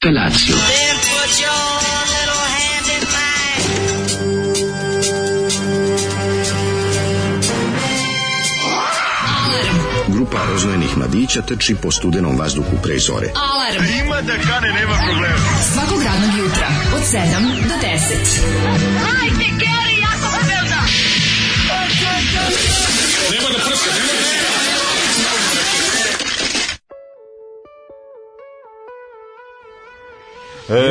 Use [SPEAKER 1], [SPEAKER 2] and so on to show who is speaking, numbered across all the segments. [SPEAKER 1] Pelaciju.
[SPEAKER 2] Grupa roznojenih mladića trči po studenom vazduhu pre zore.
[SPEAKER 3] Alarm
[SPEAKER 1] Svakog radnog jutra od 7 do 10.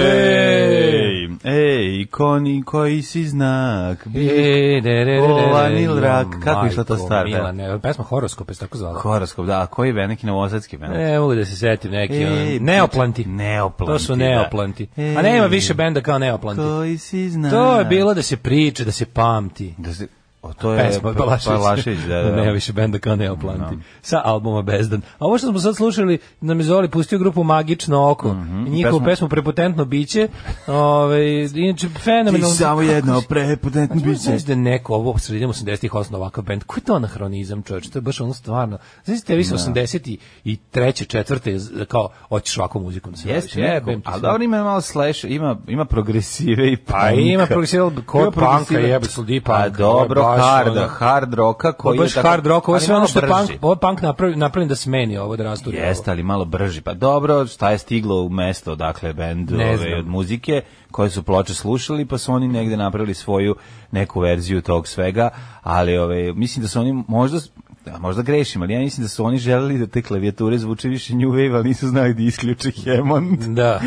[SPEAKER 4] Ej, ej, koni koji si znak.
[SPEAKER 5] E, de, de, de, de, de.
[SPEAKER 4] Olanil rak, kako je išla ta
[SPEAKER 5] Majko
[SPEAKER 4] stvar, da?
[SPEAKER 5] Milane, pesma Horoskope se tako zvala.
[SPEAKER 4] Horoskop, da, a koji je neki novosadski men?
[SPEAKER 5] Ne mogu da se setim neki. ono, neoplanti.
[SPEAKER 4] E, Neoplanti.
[SPEAKER 5] To su neoplanti.
[SPEAKER 4] da.
[SPEAKER 5] A nema
[SPEAKER 4] Ej,
[SPEAKER 5] više benda kao neoplanti.
[SPEAKER 4] Koji si znak.
[SPEAKER 5] To je bilo da se priča, da se pamti.
[SPEAKER 4] Da se, o, to je
[SPEAKER 5] Pesma Balašić.
[SPEAKER 4] Balašić, da, da.
[SPEAKER 5] Nema više benda kao neoplanti. Sa albuma Bezdan. A ovo što smo sad slušali, nam je Zoli pustio grupu Magično oko. I njihovu
[SPEAKER 4] Pesmu-
[SPEAKER 5] pesmu Prepotentno biće. Ove, inače,
[SPEAKER 4] Ti
[SPEAKER 5] fenomenalno.
[SPEAKER 4] samo jedno prepotentno biće.
[SPEAKER 5] Znaš da je neko ovo sredinom 80-ih osnova ovakav bend, koji je to anahronizam čovječ, to je baš ono stvarno, znaš da
[SPEAKER 4] Da.
[SPEAKER 5] vi se 80 i treće, četvrte, z- kao, hoćeš ovakvom muzikom da se baviš.
[SPEAKER 4] Jeste, neko,
[SPEAKER 5] Jebem ti
[SPEAKER 4] ali
[SPEAKER 5] sve.
[SPEAKER 4] dobro ima malo slash, ima, ima progresive i punka.
[SPEAKER 5] Pa ima progresive, kod
[SPEAKER 4] Ima
[SPEAKER 5] punka,
[SPEAKER 4] progresive.
[SPEAKER 5] jebe, sludi punk,
[SPEAKER 4] A dobro,
[SPEAKER 5] ovo je baš
[SPEAKER 4] hard,
[SPEAKER 5] ono-
[SPEAKER 4] hard roka
[SPEAKER 5] Ovo
[SPEAKER 4] koji
[SPEAKER 5] je
[SPEAKER 4] je
[SPEAKER 5] baš hard rock, ovo je
[SPEAKER 4] ali
[SPEAKER 5] sve ono
[SPEAKER 4] malo
[SPEAKER 5] što je
[SPEAKER 4] brži.
[SPEAKER 5] punk, ovo je punk napravi, napravljen da smeni ovo, da rasturi ovo.
[SPEAKER 4] Jeste, ali malo brži. Pa dobro, šta je stiglo u mesto, dakle, bend
[SPEAKER 5] Ne
[SPEAKER 4] ove,
[SPEAKER 5] znam.
[SPEAKER 4] od muzike, koje su ploče slušali, pa su oni negde napravili svoju neku verziju tog svega, ali ove, mislim da su oni možda da, možda grešim, ali ja mislim da su oni želeli da te klavijature zvuče više New Wave, ali nisu znali da isključe Hammond.
[SPEAKER 5] Da.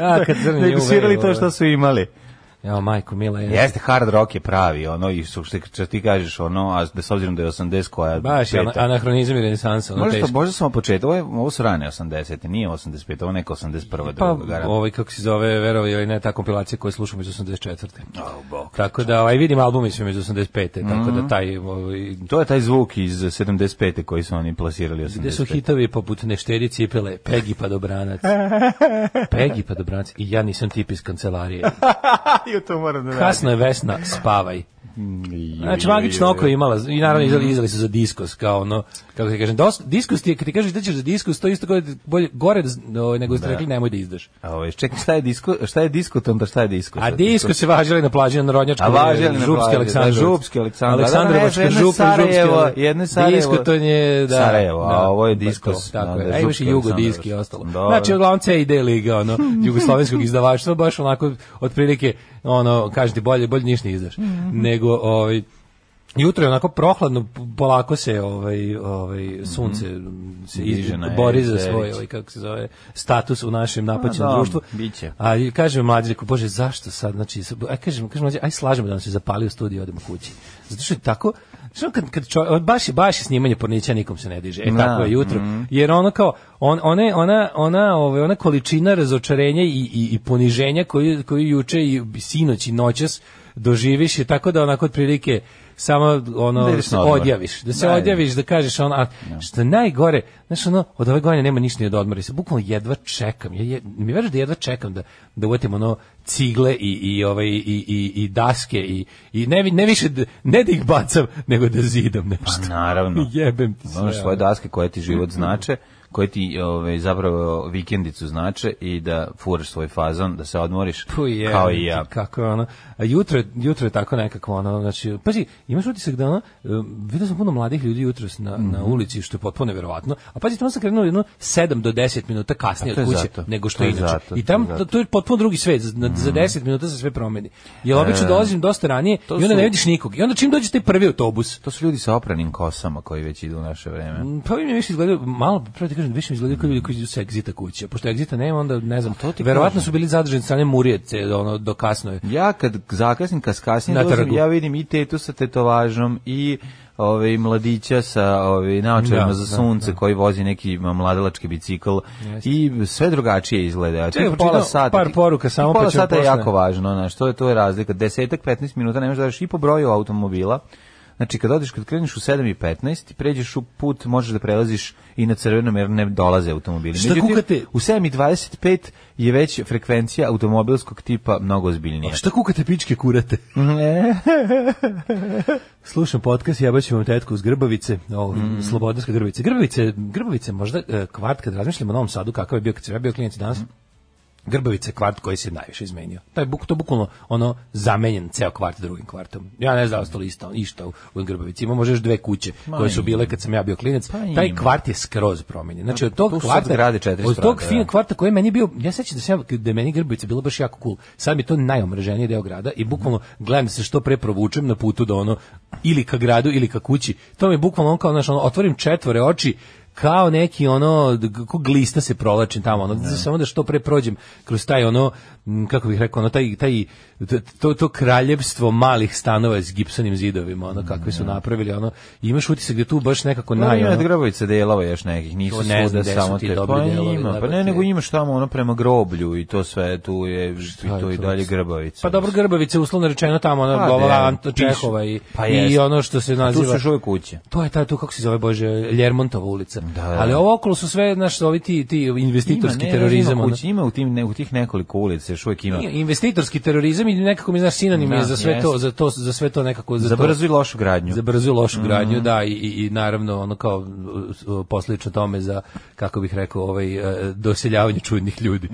[SPEAKER 5] Ja, kad crni
[SPEAKER 4] Nego
[SPEAKER 5] New
[SPEAKER 4] svirali
[SPEAKER 5] Wave, ovaj.
[SPEAKER 4] to
[SPEAKER 5] ovo.
[SPEAKER 4] što su imali.
[SPEAKER 5] Evo, majko, mila je.
[SPEAKER 4] Jeste, hard rock je pravi, ono, i su, što, što ti kažeš, ono, a da s obzirom da je 80 koja...
[SPEAKER 5] Baš je ana-
[SPEAKER 4] peta.
[SPEAKER 5] anahronizam i renesansa, ono
[SPEAKER 4] Možda,
[SPEAKER 5] teško.
[SPEAKER 4] možda smo početak, ovo, je, ovo su rane 80. nije 85. ovo je neka 81.
[SPEAKER 5] Pa,
[SPEAKER 4] druga garanta.
[SPEAKER 5] ovaj, kako se zove, verovi ili ne, ta kompilacija koju slušamo iz 84.
[SPEAKER 4] Oh,
[SPEAKER 5] Tako da, ovaj, vidim album iz 85. Tako
[SPEAKER 4] Mhm.
[SPEAKER 5] da taj, ovaj,
[SPEAKER 4] To je taj zvuk iz 75. koji su oni plasirali 85.
[SPEAKER 5] Gde su hitovi poput Nešteri cipele, Pegi pa dobranac. Pegi pa dobranac i ja nisam tip iz kancelarije.
[SPEAKER 4] Ju, to moram da radim.
[SPEAKER 5] Kasno je Vesna, spavaj.
[SPEAKER 4] Ju,
[SPEAKER 5] Znači,
[SPEAKER 4] ju,
[SPEAKER 5] magično
[SPEAKER 4] ju,
[SPEAKER 5] oko je imala, i naravno izdali, izdali su za diskus, kao ono, kako ti kažem, dos, diskus ti je, kad ti kažeš da ćeš za diskus, to je isto kao da- bolje, gore da z- ovaj, nego ste rekli nemoj da izdaš.
[SPEAKER 4] A Ovo, čekaj, šta je disko, šta je disko, to onda šta je disko?
[SPEAKER 5] A disko se važili na plaži na Narodnjačkoj.
[SPEAKER 4] A važeli na plaži,
[SPEAKER 5] Župski
[SPEAKER 4] da,
[SPEAKER 5] Aleksandar.
[SPEAKER 4] Župski Aleksandar. Da, da,
[SPEAKER 5] Aleksandrovačka
[SPEAKER 4] ne, jedno je
[SPEAKER 5] župa,
[SPEAKER 4] Sarajevo,
[SPEAKER 5] Župski.
[SPEAKER 4] jedno je Sarajevo.
[SPEAKER 5] Disko to je, da.
[SPEAKER 4] Sarajevo, a
[SPEAKER 5] da,
[SPEAKER 4] ovo je
[SPEAKER 5] baš
[SPEAKER 4] disko
[SPEAKER 5] to,
[SPEAKER 4] s-
[SPEAKER 5] Tako
[SPEAKER 4] da,
[SPEAKER 5] je.
[SPEAKER 4] da,
[SPEAKER 5] A imaš i
[SPEAKER 4] Župski
[SPEAKER 5] jugo
[SPEAKER 4] Aleksandrovac.
[SPEAKER 5] diski i ostalo.
[SPEAKER 4] Dobro.
[SPEAKER 5] Znači, uglavnom C i D liga, ono, jugoslovenskog izdavaštva, baš onako, otprilike, ono, kažete, bolje, bolje niš ne izdaš.
[SPEAKER 4] Mhm.
[SPEAKER 5] Nego, ovaj, Jutro je onako prohladno, polako se ovaj ovaj sunce se
[SPEAKER 4] Mhm. Diže
[SPEAKER 5] iz-
[SPEAKER 4] na
[SPEAKER 5] bori za
[SPEAKER 4] Ezerić.
[SPEAKER 5] svoj ovaj kako se zove status u našem napaćenom
[SPEAKER 4] Pa dobro,
[SPEAKER 5] društvu.
[SPEAKER 4] biće.
[SPEAKER 5] A i kaže mlađi, rekao, bože, zašto sad, znači, s- aj kažem, kažem mlađi, aj slažemo da nam se zapali u studiju, odemo kući. Zato što je tako, što kad, kad čo, baš, je, baš je snimanje pornića, nikom se ne diže, e,
[SPEAKER 4] Da,
[SPEAKER 5] tako je jutro. Jer ono kao, on, one, ona, ona, ovaj, ona količina razočarenja i, i, i poniženja koju, koju juče i sinoć i noćas doživiš je tako da onako otprilike samo ono
[SPEAKER 4] Da ideš na odmor.
[SPEAKER 5] odjaviš, da se
[SPEAKER 4] Da,
[SPEAKER 5] odjaviš, da kažeš ono, a što je najgore, znaš ono, od ove godine nema ništa ni od odmora, ja se bukvalno jedva čekam, ja, je, mi veruješ da jedva čekam da, da uvatim ono cigle i, i, ovaj, i, i, i daske i, i ne, vi- ne više, da, ne da ih bacam, nego da zidam nešto.
[SPEAKER 4] Pa naravno.
[SPEAKER 5] Jebem ti sve.
[SPEAKER 4] Ono svoje
[SPEAKER 5] ono.
[SPEAKER 4] daske koje ti život znače, koje ti ove, zapravo vikendicu znače i da furaš svoj fazon, da se odmoriš
[SPEAKER 5] Pu, je,
[SPEAKER 4] kao i ja.
[SPEAKER 5] Kako je ono. A jutro, je- jutro je tako nekako ono, znači, pazi, imaš utisak da ono, um, vidio sam puno mladih ljudi jutros na, na
[SPEAKER 4] Mhm.
[SPEAKER 5] ulici, što je potpuno neverovatno, a pazi, tamo sam krenuo jedno 7 do 10 minuta kasnije
[SPEAKER 4] A to
[SPEAKER 5] od
[SPEAKER 4] je
[SPEAKER 5] kuće
[SPEAKER 4] zato,
[SPEAKER 5] nego što
[SPEAKER 4] to je
[SPEAKER 5] inače.
[SPEAKER 4] zato, Mhm.
[SPEAKER 5] I tam,
[SPEAKER 4] to je
[SPEAKER 5] to, to je potpuno drugi svet, za, za 10 minuta se sve promeni. Jer obično dolazim dosta ranije i onda
[SPEAKER 4] E. su-
[SPEAKER 5] ne vidiš nikog. I onda čim dođe taj prvi autobus,
[SPEAKER 4] To su ljudi sa opranim kosama koji već idu u naše vreme.
[SPEAKER 5] Pa ovi mi više izgledaju, malo, prvo ti kažem, više mi izgledaju kao ljudi koji su sa egzita kuće. Pošto egzita nema, onda ne znam, to verovatno su bili zadržani od strane Murijece, ono, do kasno je.
[SPEAKER 4] Ja kad zakasnim, kad kasnije
[SPEAKER 5] Na
[SPEAKER 4] dolazim,
[SPEAKER 5] trgu.
[SPEAKER 4] ja vidim i tetu sa tetovažom i ove, mladića sa ove, naočarima
[SPEAKER 5] Da,
[SPEAKER 4] za
[SPEAKER 5] da,
[SPEAKER 4] sunce koji vozi neki mladalački bicikl i sve drugačije izgleda.
[SPEAKER 5] Čekaj,
[SPEAKER 4] Tek
[SPEAKER 5] pročitam par
[SPEAKER 4] ti-
[SPEAKER 5] poruka
[SPEAKER 4] ti
[SPEAKER 5] samo, pa
[SPEAKER 4] pola
[SPEAKER 5] ćemo
[SPEAKER 4] sata je
[SPEAKER 5] posle.
[SPEAKER 4] jako važno, znaš, to je, to je razlika. Desetak, 15 minuta nemaš da daš i po broju automobila. Znači, kad odeš, kad kreniš u 7 i 15, pređeš u put, možeš da prelaziš i na crvenom jer ne dolaze automobili.
[SPEAKER 5] Šta
[SPEAKER 4] Međutim,
[SPEAKER 5] kukate?
[SPEAKER 4] U 7 i 25 je već frekvencija automobilskog tipa mnogo ozbiljnija.
[SPEAKER 5] Šta kukate pičke kurate? Slušam podcast, jebaću vam tetku uz Grbavice, o,
[SPEAKER 4] Mm.
[SPEAKER 5] Slobodarska
[SPEAKER 4] Mm.
[SPEAKER 5] Grbavica. Grbavice, Grbavice možda e, kvart kad razmišljam o Novom Sadu, kakav je bio kad sam ja bio klijent i danas, Grbavice kvart koji se najviše izmenio. Taj buk to je bukvalno ono zamenjen ceo kvart drugim kvartom. Ja ne znam ostalo isto, ništa u, u Grbavici. Ima možeš dve kuće
[SPEAKER 4] Ma
[SPEAKER 5] koje su
[SPEAKER 4] ima.
[SPEAKER 5] bile kad sam ja bio klinac.
[SPEAKER 4] Pa
[SPEAKER 5] taj
[SPEAKER 4] ima. Pa,
[SPEAKER 5] kvart je skroz promenjen. Znači od
[SPEAKER 4] Tu
[SPEAKER 5] tog
[SPEAKER 4] su sad
[SPEAKER 5] kvarta
[SPEAKER 4] grade četiri
[SPEAKER 5] od tog
[SPEAKER 4] strane,
[SPEAKER 5] fin
[SPEAKER 4] da.
[SPEAKER 5] kvarta koji je meni bio, ja sećam da sam ja, da je meni Grbavica bila baš jako cool. Sad mi je to najomraženiji deo grada i bukvalno gledam da se što pre provučem na putu do ono ili ka gradu ili ka kući. To mi je bukvalno ono kao znaš, ono, otvorim četvore oči kao neki ono d- ko glista se provlačim tamo ono samo da što pre prođem kroz taj ono m, kako bih rekao ono taj taj t- to to kraljevstvo malih stanova s gipsanim zidovima ono kakve su napravili ono imaš utisak da tu baš nekako
[SPEAKER 4] Da. Pa
[SPEAKER 5] naj
[SPEAKER 4] ima
[SPEAKER 5] ono,
[SPEAKER 4] od Grabovica delova još nekih, nisu
[SPEAKER 5] To ne znam
[SPEAKER 4] svuda
[SPEAKER 5] gde su
[SPEAKER 4] samo
[SPEAKER 5] ti
[SPEAKER 4] te. Pa
[SPEAKER 5] dobri delovi,
[SPEAKER 4] ima, pa
[SPEAKER 5] brate.
[SPEAKER 4] ne, nego ima šta ono prema groblju i to sve, tu je, i to i dalje Grabovica.
[SPEAKER 5] Pa dobro Grbavice uslovno rečeno tamo ona
[SPEAKER 4] Pa,
[SPEAKER 5] govola
[SPEAKER 4] da,
[SPEAKER 5] Anto
[SPEAKER 4] pišu.
[SPEAKER 5] Čehova i
[SPEAKER 4] Pa
[SPEAKER 5] i
[SPEAKER 4] jeste.
[SPEAKER 5] ono što se
[SPEAKER 4] Tu su
[SPEAKER 5] naziva
[SPEAKER 4] još uvijek kuće.
[SPEAKER 5] To je ta tu kako se zove bože Ljermontova ulica.
[SPEAKER 4] da.
[SPEAKER 5] Ali ovo okolo su sve naš ovi ti ti investitorski
[SPEAKER 4] ne,
[SPEAKER 5] terorizam.
[SPEAKER 4] Ima,
[SPEAKER 5] ono.
[SPEAKER 4] kući, ima u, tim, ne, u tih nekoliko ulica, još uvijek ima.
[SPEAKER 5] Nije, investitorski terorizam i nekako mi znaš sinonim je
[SPEAKER 4] Da,
[SPEAKER 5] za sve to
[SPEAKER 4] jest.
[SPEAKER 5] za to za sve to nekako za,
[SPEAKER 4] Za
[SPEAKER 5] to-
[SPEAKER 4] brzu Mhm. i lošu gradnju.
[SPEAKER 5] za brzu i lošu gradnju da i, i, i naravno ono kao uh, uh, posljedično tome za kako bih rekao ovaj uh, doseljavanje čudnih ljudi.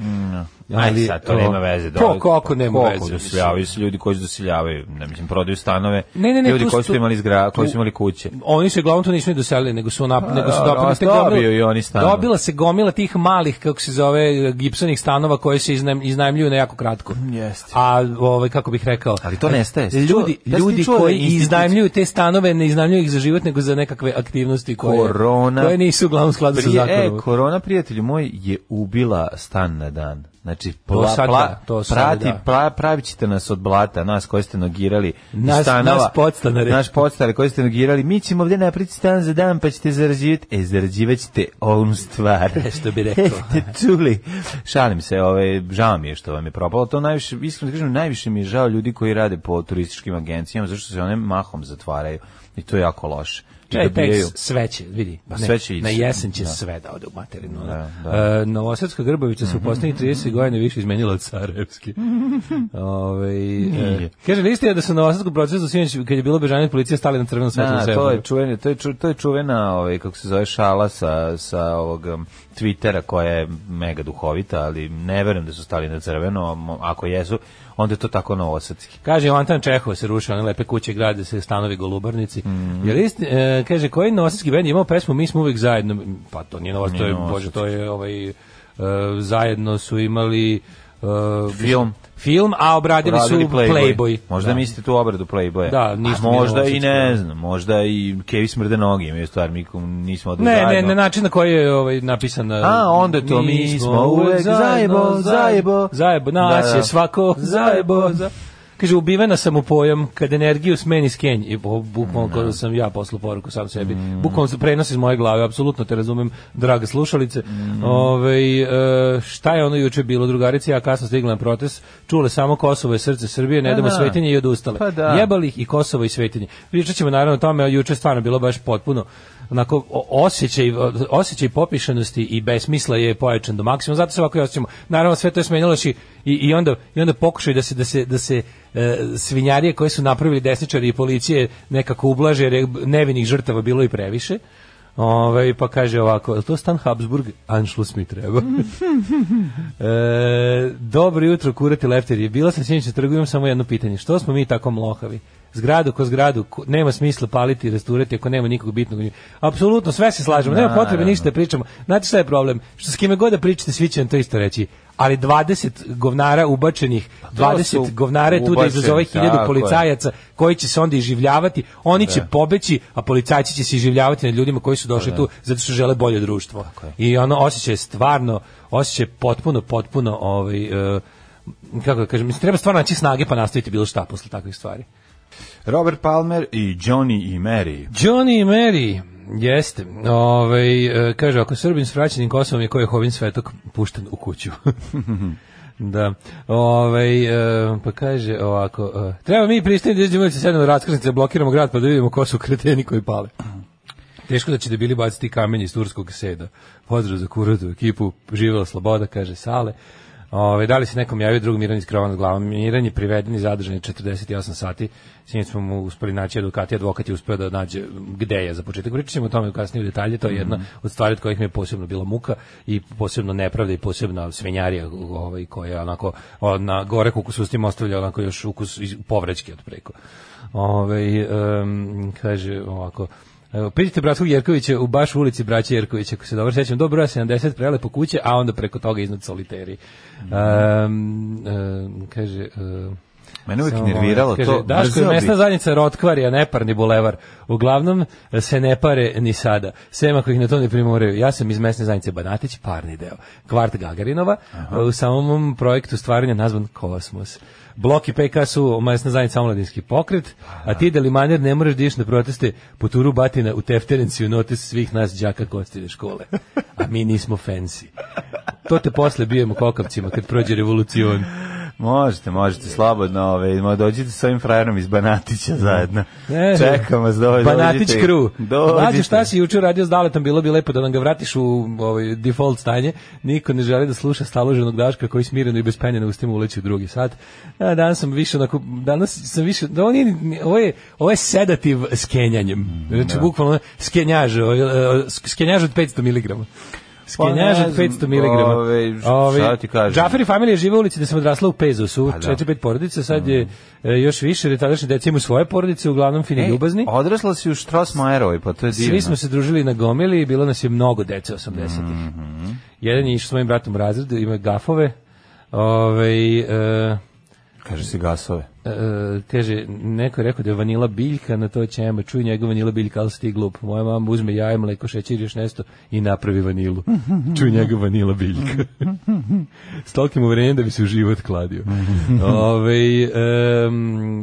[SPEAKER 4] Ali, Mm, sad, to
[SPEAKER 5] o,
[SPEAKER 4] nema veze. da
[SPEAKER 5] ko-
[SPEAKER 4] ovi-
[SPEAKER 5] kako nema
[SPEAKER 4] koliko
[SPEAKER 5] veze,
[SPEAKER 4] Doseljavaju se ljudi koji se doseljavaju, ne mislim, prodaju stanove,
[SPEAKER 5] Ne, ne, ne,
[SPEAKER 4] ljudi
[SPEAKER 5] tu
[SPEAKER 4] koji
[SPEAKER 5] su-
[SPEAKER 4] su imali, zgra, koji
[SPEAKER 5] tu-
[SPEAKER 4] su imali kuće.
[SPEAKER 5] Oni se uglavnom to nisu ni doselili, nego su nap, nego su
[SPEAKER 4] da,
[SPEAKER 5] dobili
[SPEAKER 4] da,
[SPEAKER 5] te
[SPEAKER 4] dobio
[SPEAKER 5] gomile-
[SPEAKER 4] i oni stanove.
[SPEAKER 5] Dobila se gomila tih malih kako se zove gipsanih stanova koji se iznajm, iznajmljuju na jako kratko.
[SPEAKER 4] Jeste.
[SPEAKER 5] A ovaj kako bih rekao,
[SPEAKER 4] Ali to nestaje. Si čuo-
[SPEAKER 5] Ljudi,
[SPEAKER 4] jesi ti
[SPEAKER 5] ljudi
[SPEAKER 4] čuo da
[SPEAKER 5] koji
[SPEAKER 4] je institut-
[SPEAKER 5] iznajmljuju te stanove ne iznajmljuju ih za život nego za nekakve aktivnosti koje
[SPEAKER 4] Korona.
[SPEAKER 5] koje nisu uglavnom u skladu sa
[SPEAKER 4] Prije, e,
[SPEAKER 5] zakonom.
[SPEAKER 4] korona, prijatelju moj, je ubila stan na dan. Znači, pla,
[SPEAKER 5] sad
[SPEAKER 4] pla-
[SPEAKER 5] da, to sad
[SPEAKER 4] prati,
[SPEAKER 5] da.
[SPEAKER 4] pla- pravit ćete nas od blata, nas koji ste nogirali iz
[SPEAKER 5] Nas-
[SPEAKER 4] stanova.
[SPEAKER 5] nas podstanare.
[SPEAKER 4] Naš podstare koji ste nogirali. Mi ćemo ovdje napriti stan za dan, pa ćete zarađivati. E, zarađivat ćete ovom stvar.
[SPEAKER 5] E, Što bi rekao.
[SPEAKER 4] Jeste čuli. Šalim se, ove, žao mi je što vam je propalo. To najviše, iskreno da kažem, najviše mi je žao ljudi koji rade po turističkim agencijama, zašto se one mahom zatvaraju. I to je jako loše.
[SPEAKER 5] Čekaj,
[SPEAKER 4] da Dobijaju-
[SPEAKER 5] tek sve će, E, vidi.
[SPEAKER 4] Pa
[SPEAKER 5] ne,
[SPEAKER 4] sve će ići.
[SPEAKER 5] Na jesen će
[SPEAKER 4] Da.
[SPEAKER 5] sve da ode u materinu. ono.
[SPEAKER 4] Da, Mhm.
[SPEAKER 5] E, Novosadska Grbavića se u poslednjih 30 godina više izmenila od Sarajevske. Ove, e,
[SPEAKER 4] Nije.
[SPEAKER 5] kaže, niste je da su na Novosadsku procesu sinoć, kad je bilo bežanje policije, stali na crveno svetlo u
[SPEAKER 4] Da, to
[SPEAKER 5] Srebrenici.
[SPEAKER 4] je čuvena, to je ču, to je čuvena, ovaj kako se zove šala sa sa ovog um, Twittera koja je mega duhovita, ali ne verujem da su stali na crveno, mo- ako jesu, onda je to tako novosadski.
[SPEAKER 5] Kaže Antan Čehov se rušio, one lepe kuće grade se stanovi golubarnici.
[SPEAKER 4] Mhm.
[SPEAKER 5] Jer isti, e, kaže koji novosadski bend je imao pesmu Mi smo uvek zajedno. Pa to nije novost, to je
[SPEAKER 4] Nije
[SPEAKER 5] bože, to je ovaj e, zajedno su imali e,
[SPEAKER 4] Film.
[SPEAKER 5] film, a obradili su
[SPEAKER 4] Radili
[SPEAKER 5] Playboy.
[SPEAKER 4] Možda
[SPEAKER 5] Da.
[SPEAKER 4] mislite tu obradu Playboya.
[SPEAKER 5] Da, ništa
[SPEAKER 4] A možda
[SPEAKER 5] nije
[SPEAKER 4] i ne znam, možda i Kevi smrde noge, je stvar, mi kom- nismo odli
[SPEAKER 5] Ne, ne, na način na koji je ovaj napisan.
[SPEAKER 4] A, onda je to, mi smo uvek zajebo, zajebo.
[SPEAKER 5] Zajebo, nas
[SPEAKER 4] Da, da.
[SPEAKER 5] je svako zajebo. za- Kaže, ubivena sam u pojam kad energiju smeni s Kenji. I bu- bukvalno kao da sam ja poslao poruku sam sebi.
[SPEAKER 4] Mm.
[SPEAKER 5] Bukvalno se prenos iz moje glave, apsolutno te razumem, drage slušalice.
[SPEAKER 4] Mm.
[SPEAKER 5] Ovaj, e, šta je ono juče bilo, drugarice, ja kasno stigla na protest, čule samo Kosovo je srce Srbije, ne
[SPEAKER 4] Pa
[SPEAKER 5] damo
[SPEAKER 4] da.
[SPEAKER 5] svetinje i odustale.
[SPEAKER 4] Pa da.
[SPEAKER 5] Jeba Balih i Kosovo i Svetinje. Pričat ćemo naravno o tome, a juče je stvarno bilo baš potpuno onako o- osjećaj, osjećaj popišenosti i besmisla je pojačan do maksimuma, zato se ovako i osjećamo. Naravno sve to je smenjalo još i, i, i onda, i onda pokušaju da se, da se, da se e, svinjarije koje su napravili desničari i policije nekako ublaže, jer je nevinih žrtava bilo i previše. Ove, pa kaže ovako, "Jel to Stan Habsburg, Anschluss mi treba. E, dobro jutro, kurati lefteri. Bila sam sinoć na trgu, imam samo jedno pitanje. Što smo mi tako mlohavi? Zgradu ko zgradu, ko- nema smisla paliti i rasturati ako nema nikog bitnog. u njoj. Apsolutno, sve se slažemo, nema potrebe ništa da pričamo. Znate šta je problem? Što s kime god da pričate, svi će vam to isto reći. Ali 20 govnara ubačenih,
[SPEAKER 4] to
[SPEAKER 5] 20
[SPEAKER 4] su
[SPEAKER 5] govnara je tu da
[SPEAKER 4] ubačeni,
[SPEAKER 5] izazove hiljadu
[SPEAKER 4] tako je. Da.
[SPEAKER 5] policajaca koji će se onda iživljavati, oni će pobeći, a policajci će se iživljavati nad ljudima koji su
[SPEAKER 4] Pa
[SPEAKER 5] došli tu zato što žele bolje društvo. I ono osjećaj je stvarno, osjećaj je potpuno, potpuno ovaj, e, kako da kažem, mislim, treba stvarno naći snage pa nastaviti bilo šta posle takvih stvari.
[SPEAKER 4] Robert Palmer i Johnny i Mary.
[SPEAKER 5] Johnny i Mary, jeste. Ovaj, e, kaže, ako Srbin s vraćenim Kosovom je koji je Hovin Svetok pušten u kuću. da. Ovaj, e, pa kaže ovako, e, treba mi pristati da izdjemo se sedemo raskrsnice, blokiramo grad pa da vidimo ko su kreteni koji pale. Teško da će debili baciti kamenje iz turskog seda. Pozdrav za kuratu ekipu, živela sloboda, kaže Sale. Ove, da li se nekom javio drug Miran iz krova nad glavom? Miran je priveden i zadržan je 48 sati. Sinoć smo mu uspeli naći advokat i advokat je uspeo da nađe gde je za početak. Pričat ćemo o tome kasnije u detalje. To je jedna od stvari od kojih mi je posebno bila muka i posebno nepravda i posebna svinjarija ovaj, koja je onako o, na gore kukusustima ostavlja onako još ukus iz povrećke od preko. Ove, em, kaže ovako, Evo, Pitajte bratskog Jerkovića u baš ulici braća Jerkovića, ako se dobro sećam, do broja 70 prelepo kuće, a onda preko toga iznad soliteri. Um, um, kaže... um,
[SPEAKER 4] Mene uvijek
[SPEAKER 5] samo
[SPEAKER 4] nerviralo
[SPEAKER 5] moment,
[SPEAKER 4] to.
[SPEAKER 5] kaže, Daško je
[SPEAKER 4] mrzeo
[SPEAKER 5] mesna
[SPEAKER 4] bih.
[SPEAKER 5] zajednica Rotkvarija, neparni bulevar. Uglavnom se ne pare ni sada. Sem ako ih na to ne primoraju. Ja sam iz mesne zajednice Banatić, parni deo. Kvart Gagarinova, u samom mom projektu stvaranja nazvan Kosmos. Blok i PK su mesna zajednica omladinski pokret, a ti delimaner ne moraš da ideš na proteste po turu batina u Tefterenciju notis svih nas đaka kostilje škole. A mi nismo fancy. To te posle bijemo kokavcima kad prođe revolucion.
[SPEAKER 4] Možete, možete, slobodno. Ove, ma dođite s ovim frajerom iz Banatića zajedno.
[SPEAKER 5] Ne,
[SPEAKER 4] Čekam vas, dođite.
[SPEAKER 5] Banatić crew.
[SPEAKER 4] Dođite.
[SPEAKER 5] Mlađe, šta si juče radio s Daletom, bilo bi lepo da nam ga vratiš u ovaj, default stanje. Niko ne želi da sluša staloženog Daška koji smireno i bez penja na ustima uleći u drugi sat. A, danas sam više onako, danas sam više, da ovo, nije, ni- ovo, je, ovo je sedativ s kenjanjem.
[SPEAKER 4] Da.
[SPEAKER 5] Znači, bukvalno skenjaž, ovaj, eh, sk- skenjaž od 500 miligrama.
[SPEAKER 4] Pa ne
[SPEAKER 5] Skenjaž od
[SPEAKER 4] znam,
[SPEAKER 5] 500 miligrama.
[SPEAKER 4] ovaj, šta ti kažem?
[SPEAKER 5] Džaferi familija žive u ulici da sam odrasla u Pezusu,
[SPEAKER 4] da. Mm.
[SPEAKER 5] četiri, pet porodica, sad je e, još više, jer tadašnje deca imaju svoje porodice, uglavnom fini
[SPEAKER 4] E,
[SPEAKER 5] ljubazni.
[SPEAKER 4] Odrasla si u Štrosmajerovoj, pa to je divno.
[SPEAKER 5] Svi smo se družili na gomili i bilo nas je mnogo dece 80-ih. Jedan je išao s mojim bratom u razredu, ima gafove, ovaj, e,
[SPEAKER 4] Kaže si gasove.
[SPEAKER 5] e, teže, neko je rekao da je vanila biljka, na to će ema, čuj njega vanila biljka, ali si ti glup. Moja mama uzme jaje, mleko, šećer, i još nešto i napravi vanilu. čuj njega vanila biljka. S tolkim uverenjem da bi se u život kladio. Ove,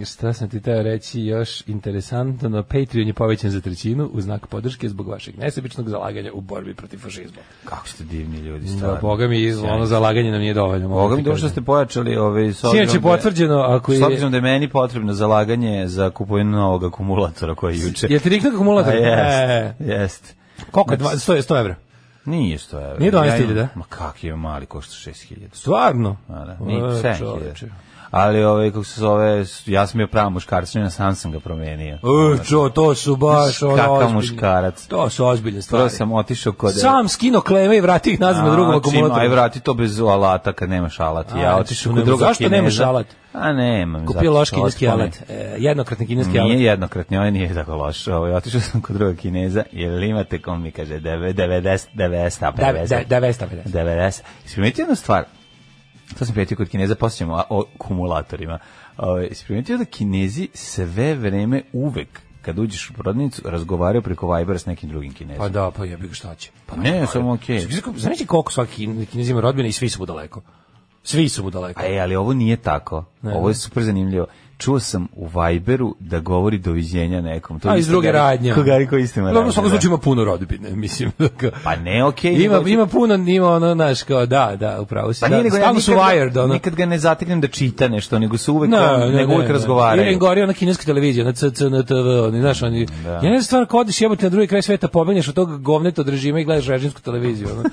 [SPEAKER 5] šta sam ti teo reći još interesantno, na Patreon je povećan za trećinu u znak podrške zbog vašeg nesebičnog zalaganja u borbi protiv fašizma.
[SPEAKER 4] Kako ste divni ljudi,
[SPEAKER 5] Da,
[SPEAKER 4] stvarno.
[SPEAKER 5] boga mi, ono zalaganje nam nije dovoljno. mogu
[SPEAKER 4] Boga
[SPEAKER 5] ti
[SPEAKER 4] mi dobro što
[SPEAKER 5] kažem.
[SPEAKER 4] ste pojačali ove s
[SPEAKER 5] Sinoć je
[SPEAKER 4] obzirom da-
[SPEAKER 5] potvrđeno, ako je...
[SPEAKER 4] S obzirom da je meni potrebno zalaganje za kupovinu novog akumulatora koji je juče. Pa
[SPEAKER 5] Jel ti riknu akumulator?
[SPEAKER 4] A
[SPEAKER 5] E.
[SPEAKER 4] jest, jest.
[SPEAKER 5] Koliko je? dva- 100, 100 evra.
[SPEAKER 4] Znači, Nije 100 evra.
[SPEAKER 5] Nije 12.000?
[SPEAKER 4] Ma kak je mali, košta 6.000.
[SPEAKER 5] Stvarno?
[SPEAKER 4] A da, nije
[SPEAKER 5] E,
[SPEAKER 4] 7.000.
[SPEAKER 5] čoveče.
[SPEAKER 4] Ali ove, kako se zove, ja sam bio pravi muškarac, ja sam sam ga promenio.
[SPEAKER 5] E, čo, to su baš ono
[SPEAKER 4] Kakav
[SPEAKER 5] ozbiljne-
[SPEAKER 4] muškarac.
[SPEAKER 5] To su ozbiljne
[SPEAKER 4] Prvo
[SPEAKER 5] stvari.
[SPEAKER 4] sam Znači, otišao kod...
[SPEAKER 5] Sam skino kleme i vrati ih nazad na
[SPEAKER 4] A,
[SPEAKER 5] drugom
[SPEAKER 4] čim- Aj
[SPEAKER 5] akumulatoru.
[SPEAKER 4] vrati to bez alata kad nemaš alat. Ja
[SPEAKER 5] A,
[SPEAKER 4] otišao
[SPEAKER 5] nema-
[SPEAKER 4] kod druga
[SPEAKER 5] zašto nemaš
[SPEAKER 4] Kineza.
[SPEAKER 5] alat?
[SPEAKER 4] A nemam.
[SPEAKER 5] Kupio
[SPEAKER 4] zato
[SPEAKER 5] loš
[SPEAKER 4] što
[SPEAKER 5] kineski
[SPEAKER 4] otpone.
[SPEAKER 5] alat. E, jednokratni kineski alat.
[SPEAKER 4] Znači, Nije jednokratni, ovaj nije tako loš. Ovaj, otišao sam kod druga Kineza, jel imate, on mi kaže, deve- 90, 90,
[SPEAKER 5] Deve-
[SPEAKER 4] 90.
[SPEAKER 5] de- 950.
[SPEAKER 4] 90. Isprimetio jednu stvar, to sam primetio kod Kineza, poslije ćemo a- o kumulatorima. Ovaj, Isprimetio da Kinezi sve vreme uvek kad uđeš u prodavnicu, razgovaraju preko Vibera s nekim drugim Kinezom.
[SPEAKER 5] Pa da, pa jebi ga šta će. Pa
[SPEAKER 4] ne, samo okej.
[SPEAKER 5] Znači koliko svaki Kin- kinez ima rodbine i svi su mu daleko. Svi su mu daleko.
[SPEAKER 4] A E, ali ovo nije tako. Ovo je super zanimljivo. Čuo sam u Viberu da govori doviđenja nekom. To
[SPEAKER 5] A iz druge radnje.
[SPEAKER 4] Kogari koji istima
[SPEAKER 5] Dobro, u svakom slučaju ima puno rodbine, mislim.
[SPEAKER 4] da.
[SPEAKER 5] da
[SPEAKER 4] Pa ne, okej.
[SPEAKER 5] Ima,
[SPEAKER 4] dođe-
[SPEAKER 5] ima puno, ima ono, znaš, kao, da, da, upravo si.
[SPEAKER 4] Pa
[SPEAKER 5] da,
[SPEAKER 4] nije nego ja
[SPEAKER 5] stalno su
[SPEAKER 4] nikad ga-
[SPEAKER 5] wired, ono.
[SPEAKER 4] Nikad ga ne zateknem da čita nešto, nego se uvek,
[SPEAKER 5] Ne,
[SPEAKER 4] on-
[SPEAKER 5] ne,
[SPEAKER 4] nego uvek
[SPEAKER 5] ne, ne. da, Ili
[SPEAKER 4] razgovaraju.
[SPEAKER 5] im gori ona kineska televizija, na CCNTV, oni, znaš, oni,
[SPEAKER 4] Da.
[SPEAKER 5] ja ne znam stvarno, kao odiš jebote na drugi kraj sveta, pobegneš od tog govneta od režima i gledaš režimsku televiziju, ono.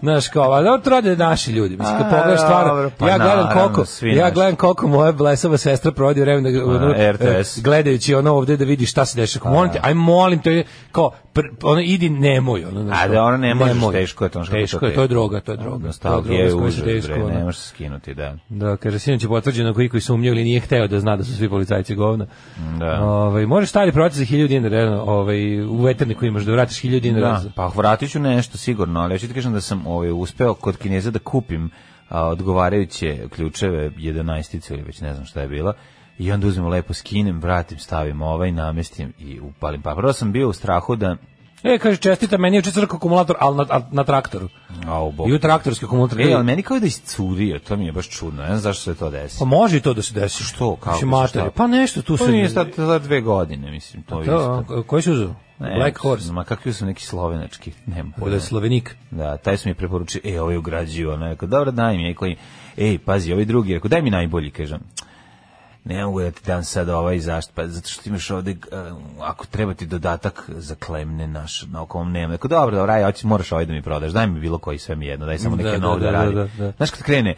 [SPEAKER 5] znaš, kao, a dobro, to rade naši ljudi, mislim, kad
[SPEAKER 4] A,
[SPEAKER 5] pogledaš stvarno,
[SPEAKER 4] dobro, pa
[SPEAKER 5] ja gledam
[SPEAKER 4] naravno,
[SPEAKER 5] koliko,
[SPEAKER 4] svi
[SPEAKER 5] ja
[SPEAKER 4] naši.
[SPEAKER 5] gledam koliko moja blesava sestra provodi vreme na, ono,
[SPEAKER 4] A, RTS.
[SPEAKER 5] e, gledajući ono ovde da vidi šta se
[SPEAKER 4] Pa
[SPEAKER 5] dešava, molim te, aj molim te, kao, pr, ono, idi nemoj, ono, znaš,
[SPEAKER 4] A
[SPEAKER 5] kao,
[SPEAKER 4] da ono ne možeš, teško je to. znaš kako
[SPEAKER 5] teško je, to je droga, to je droga, to je droga,
[SPEAKER 4] Nostalgija je
[SPEAKER 5] s kojom se
[SPEAKER 4] užas,
[SPEAKER 5] teško,
[SPEAKER 4] bre,
[SPEAKER 5] ono.
[SPEAKER 4] ne možeš se skinuti, da.
[SPEAKER 5] Da, kaže, sinoć je potvrđeno koji koji sumnjao ili nije hteo da zna da su svi policajci govna.
[SPEAKER 4] Da.
[SPEAKER 5] Ovaj, možeš stari prodati za 1000 dinara, jedno, ovaj, u veterniku imaš da vratiš 1000 dinara.
[SPEAKER 4] Da,
[SPEAKER 5] za-
[SPEAKER 4] pa vratit ću nešto sigurno, ali ja ću ti kažem da sam ovaj, uspeo kod Kineza da kupim a, odgovarajuće ključeve 11 ili već ne znam šta je bila i onda uzmem lepo skinem, vratim, stavim ovaj, namestim i upalim. Pa prvo sam bio u strahu da...
[SPEAKER 5] E, kaže, čestita, meni je juče crkao akumulator, ali na, al- na traktoru.
[SPEAKER 4] Au, Bog.
[SPEAKER 5] I u traktorski akumulator.
[SPEAKER 4] E, ali meni kao da je iscurio, to mi je baš čudno, ne znam zašto se to
[SPEAKER 5] Pa
[SPEAKER 4] desi.
[SPEAKER 5] može i to da se desi.
[SPEAKER 4] Što, kako,
[SPEAKER 5] Mislim,
[SPEAKER 4] šta?
[SPEAKER 5] materi. Pa nešto tu
[SPEAKER 4] To
[SPEAKER 5] se...
[SPEAKER 4] nije sad za dve godine, mislim, to je
[SPEAKER 5] Pa To,
[SPEAKER 4] isto.
[SPEAKER 5] a, koji si uzeo?
[SPEAKER 4] Ne,
[SPEAKER 5] Black Horse.
[SPEAKER 4] Ma kakvi su neki slovenački, nema
[SPEAKER 5] Da
[SPEAKER 4] pojma.
[SPEAKER 5] je slovenik.
[SPEAKER 4] Da, taj su mi preporučio, e, ovaj ugrađio, ono, rekao, dobro, daj mi, rekao im, ej, pazi, ovaj drugi, rekao, daj mi najbolji, kažem, ne mogu da ti dam sad ovaj zašto, pa zato što ti imaš ovde, uh, ako treba ti dodatak za klemne naš, na oko ovom nema. Dakle, dobro, dobro, aj, hoćeš, moraš ovaj da mi prodaš, daj mi bilo koji, sve mi jedno, daj samo
[SPEAKER 5] Da,
[SPEAKER 4] neke
[SPEAKER 5] da,
[SPEAKER 4] novog da,
[SPEAKER 5] da,
[SPEAKER 4] radim.
[SPEAKER 5] da, da.
[SPEAKER 4] Znaš, kad krene,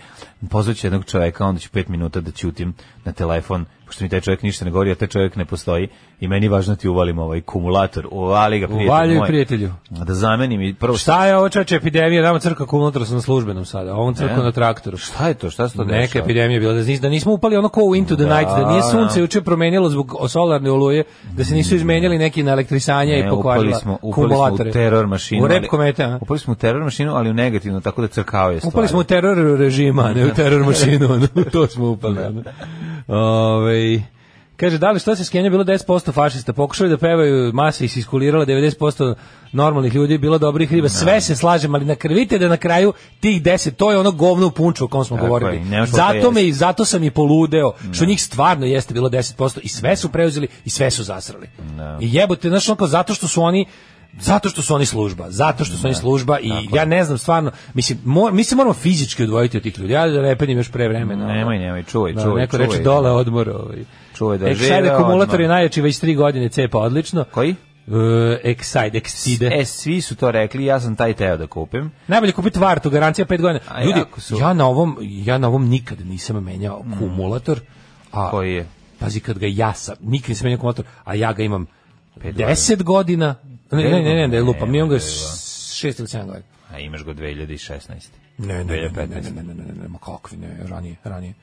[SPEAKER 4] pozvaću jednog čoveka, onda ću pet minuta da ćutim na telefon, pošto mi taj čovjek ništa ne govori, a taj čovjek ne postoji, i meni je važno da ti uvalim ovaj kumulator, uvali ga prijatelju
[SPEAKER 5] Uvaljuj
[SPEAKER 4] moj.
[SPEAKER 5] prijatelju.
[SPEAKER 4] Da zamenim i prvo
[SPEAKER 5] Šta je ovo čoveče epidemija, nama crka kumulator sam na službenom sada, a on crka
[SPEAKER 4] Ne.
[SPEAKER 5] na traktoru.
[SPEAKER 4] E? Šta je to? Šta se to dešava?
[SPEAKER 5] Neka epidemija je bila, da, nis, da nismo upali ono ko u Into the
[SPEAKER 4] Da,
[SPEAKER 5] Night, da nije sunce
[SPEAKER 4] da. Mm.
[SPEAKER 5] juče promenilo zbog solarne oluje, da se nisu izmenjali neki na elektrisanja i
[SPEAKER 4] Ne, E, upali
[SPEAKER 5] pokvarila
[SPEAKER 4] smo, upali smo
[SPEAKER 5] kumulatore.
[SPEAKER 4] u teror mašinu.
[SPEAKER 5] U rep
[SPEAKER 4] ali-
[SPEAKER 5] kometa, a?
[SPEAKER 4] Upali smo u teror mašinu, ali u negativno, tako da crkavaju stvari.
[SPEAKER 5] Upali smo u teror režima, a ne
[SPEAKER 4] Da.
[SPEAKER 5] u teror mašinu, ono, u to smo upali. ono. Ovaj, Kaže, da li što se skenja bilo 10% fašista, pokušali da pevaju, masa ih se iskulirala, 90% normalnih ljudi, bilo dobrih
[SPEAKER 4] Da.
[SPEAKER 5] riba, sve se slažem, ali nakrvite da na kraju tih 10, to je ono govno u punču o kom smo
[SPEAKER 4] Tako je,
[SPEAKER 5] govorili.
[SPEAKER 4] ne možemo to
[SPEAKER 5] Zato
[SPEAKER 4] jesti.
[SPEAKER 5] me i zato sam i poludeo,
[SPEAKER 4] Da.
[SPEAKER 5] što njih stvarno jeste bilo 10% i sve su preuzeli i sve su zasrali.
[SPEAKER 4] Da.
[SPEAKER 5] I jebote, znaš, ono kao zato što su oni Zato što su oni služba, zato što su
[SPEAKER 4] Da,
[SPEAKER 5] oni služba i ja ne znam stvarno, mislim, mor, mi se moramo fizički odvojiti od tih ljudi, ja da repenim još pre vremena. ono.
[SPEAKER 4] Nemoj, nemoj, čuvaj,
[SPEAKER 5] Da,
[SPEAKER 4] čuvaj,
[SPEAKER 5] neko
[SPEAKER 4] čuvaj.
[SPEAKER 5] reče dole odmor. Ovaj.
[SPEAKER 4] Čuvaj da
[SPEAKER 5] Excite
[SPEAKER 4] žive
[SPEAKER 5] akumulator
[SPEAKER 4] odmor.
[SPEAKER 5] je najjači već tri godine, cepa odlično.
[SPEAKER 4] Koji?
[SPEAKER 5] E, Excite, Excite.
[SPEAKER 4] E, svi su to rekli, ja sam taj teo da kupim.
[SPEAKER 5] Najbolje kupiti vartu, garancija 5 godina.
[SPEAKER 4] A
[SPEAKER 5] Ljudi,
[SPEAKER 4] jako su. Mm.
[SPEAKER 5] ja na ovom ja na ovom nikad nisam menjao kumulator. A
[SPEAKER 4] Koji je?
[SPEAKER 5] Pazi kad ga ja sam, nikad nisam menjao kumulator, a ja ga imam
[SPEAKER 4] Pet
[SPEAKER 5] 10 godina. Ne, ne, ne, ne, da je lupa, mi imam ga
[SPEAKER 4] Ne,
[SPEAKER 5] 6 ili 7 godina.
[SPEAKER 4] A imaš ga 2016.
[SPEAKER 5] Ne, ne, ne, ne, ne, ne, ne, ne, ne, ma kakvi, ne, ranije, ranije.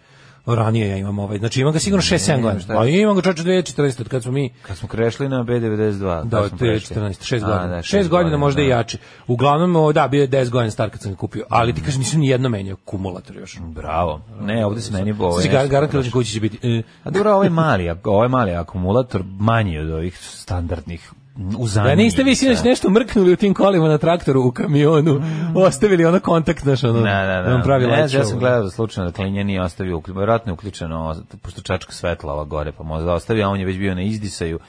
[SPEAKER 5] Ranije ja imam ovaj, znači imam ga sigurno 6-7
[SPEAKER 4] šta
[SPEAKER 5] godina.
[SPEAKER 4] je?
[SPEAKER 5] A imam ga čoč 2014, od kad smo mi
[SPEAKER 4] Kad smo krešli na B92,
[SPEAKER 5] Da,
[SPEAKER 4] tad
[SPEAKER 5] od
[SPEAKER 4] smo
[SPEAKER 5] 14,
[SPEAKER 4] prešli.
[SPEAKER 5] 6
[SPEAKER 4] A,
[SPEAKER 5] godina.
[SPEAKER 4] da,
[SPEAKER 5] 6
[SPEAKER 4] šest
[SPEAKER 5] godina, možda i
[SPEAKER 4] da.
[SPEAKER 5] jači. Uglavnom, o, da, bio je 10 godina star kad sam ga kupio, ali ti kažem, nisam ni jedno menjao kumulator
[SPEAKER 4] Mm.
[SPEAKER 5] još.
[SPEAKER 4] da. Bravo. Ne, ovde se meni ovo.
[SPEAKER 5] Znači, gar, garant kažem koji će biti. e,
[SPEAKER 4] A dobro, ovaj mali, ak- ovaj mali akumulator manji od ovih standardnih uzanjica.
[SPEAKER 5] Da niste vi sinoć nešto mrknuli u tim kolima na traktoru u kamionu, ostavili ono kontakt naš, ono,
[SPEAKER 4] Mm. Da, da, da.
[SPEAKER 5] nam pravi
[SPEAKER 4] ne,
[SPEAKER 5] light
[SPEAKER 4] ja sam
[SPEAKER 5] show.
[SPEAKER 4] gledao da slučajno da klinje nije ostavio, uključeno, verovatno je uključeno, o- pošto čačka svetla ova gore, pa možda ostavio, a on je već bio na izdisaju,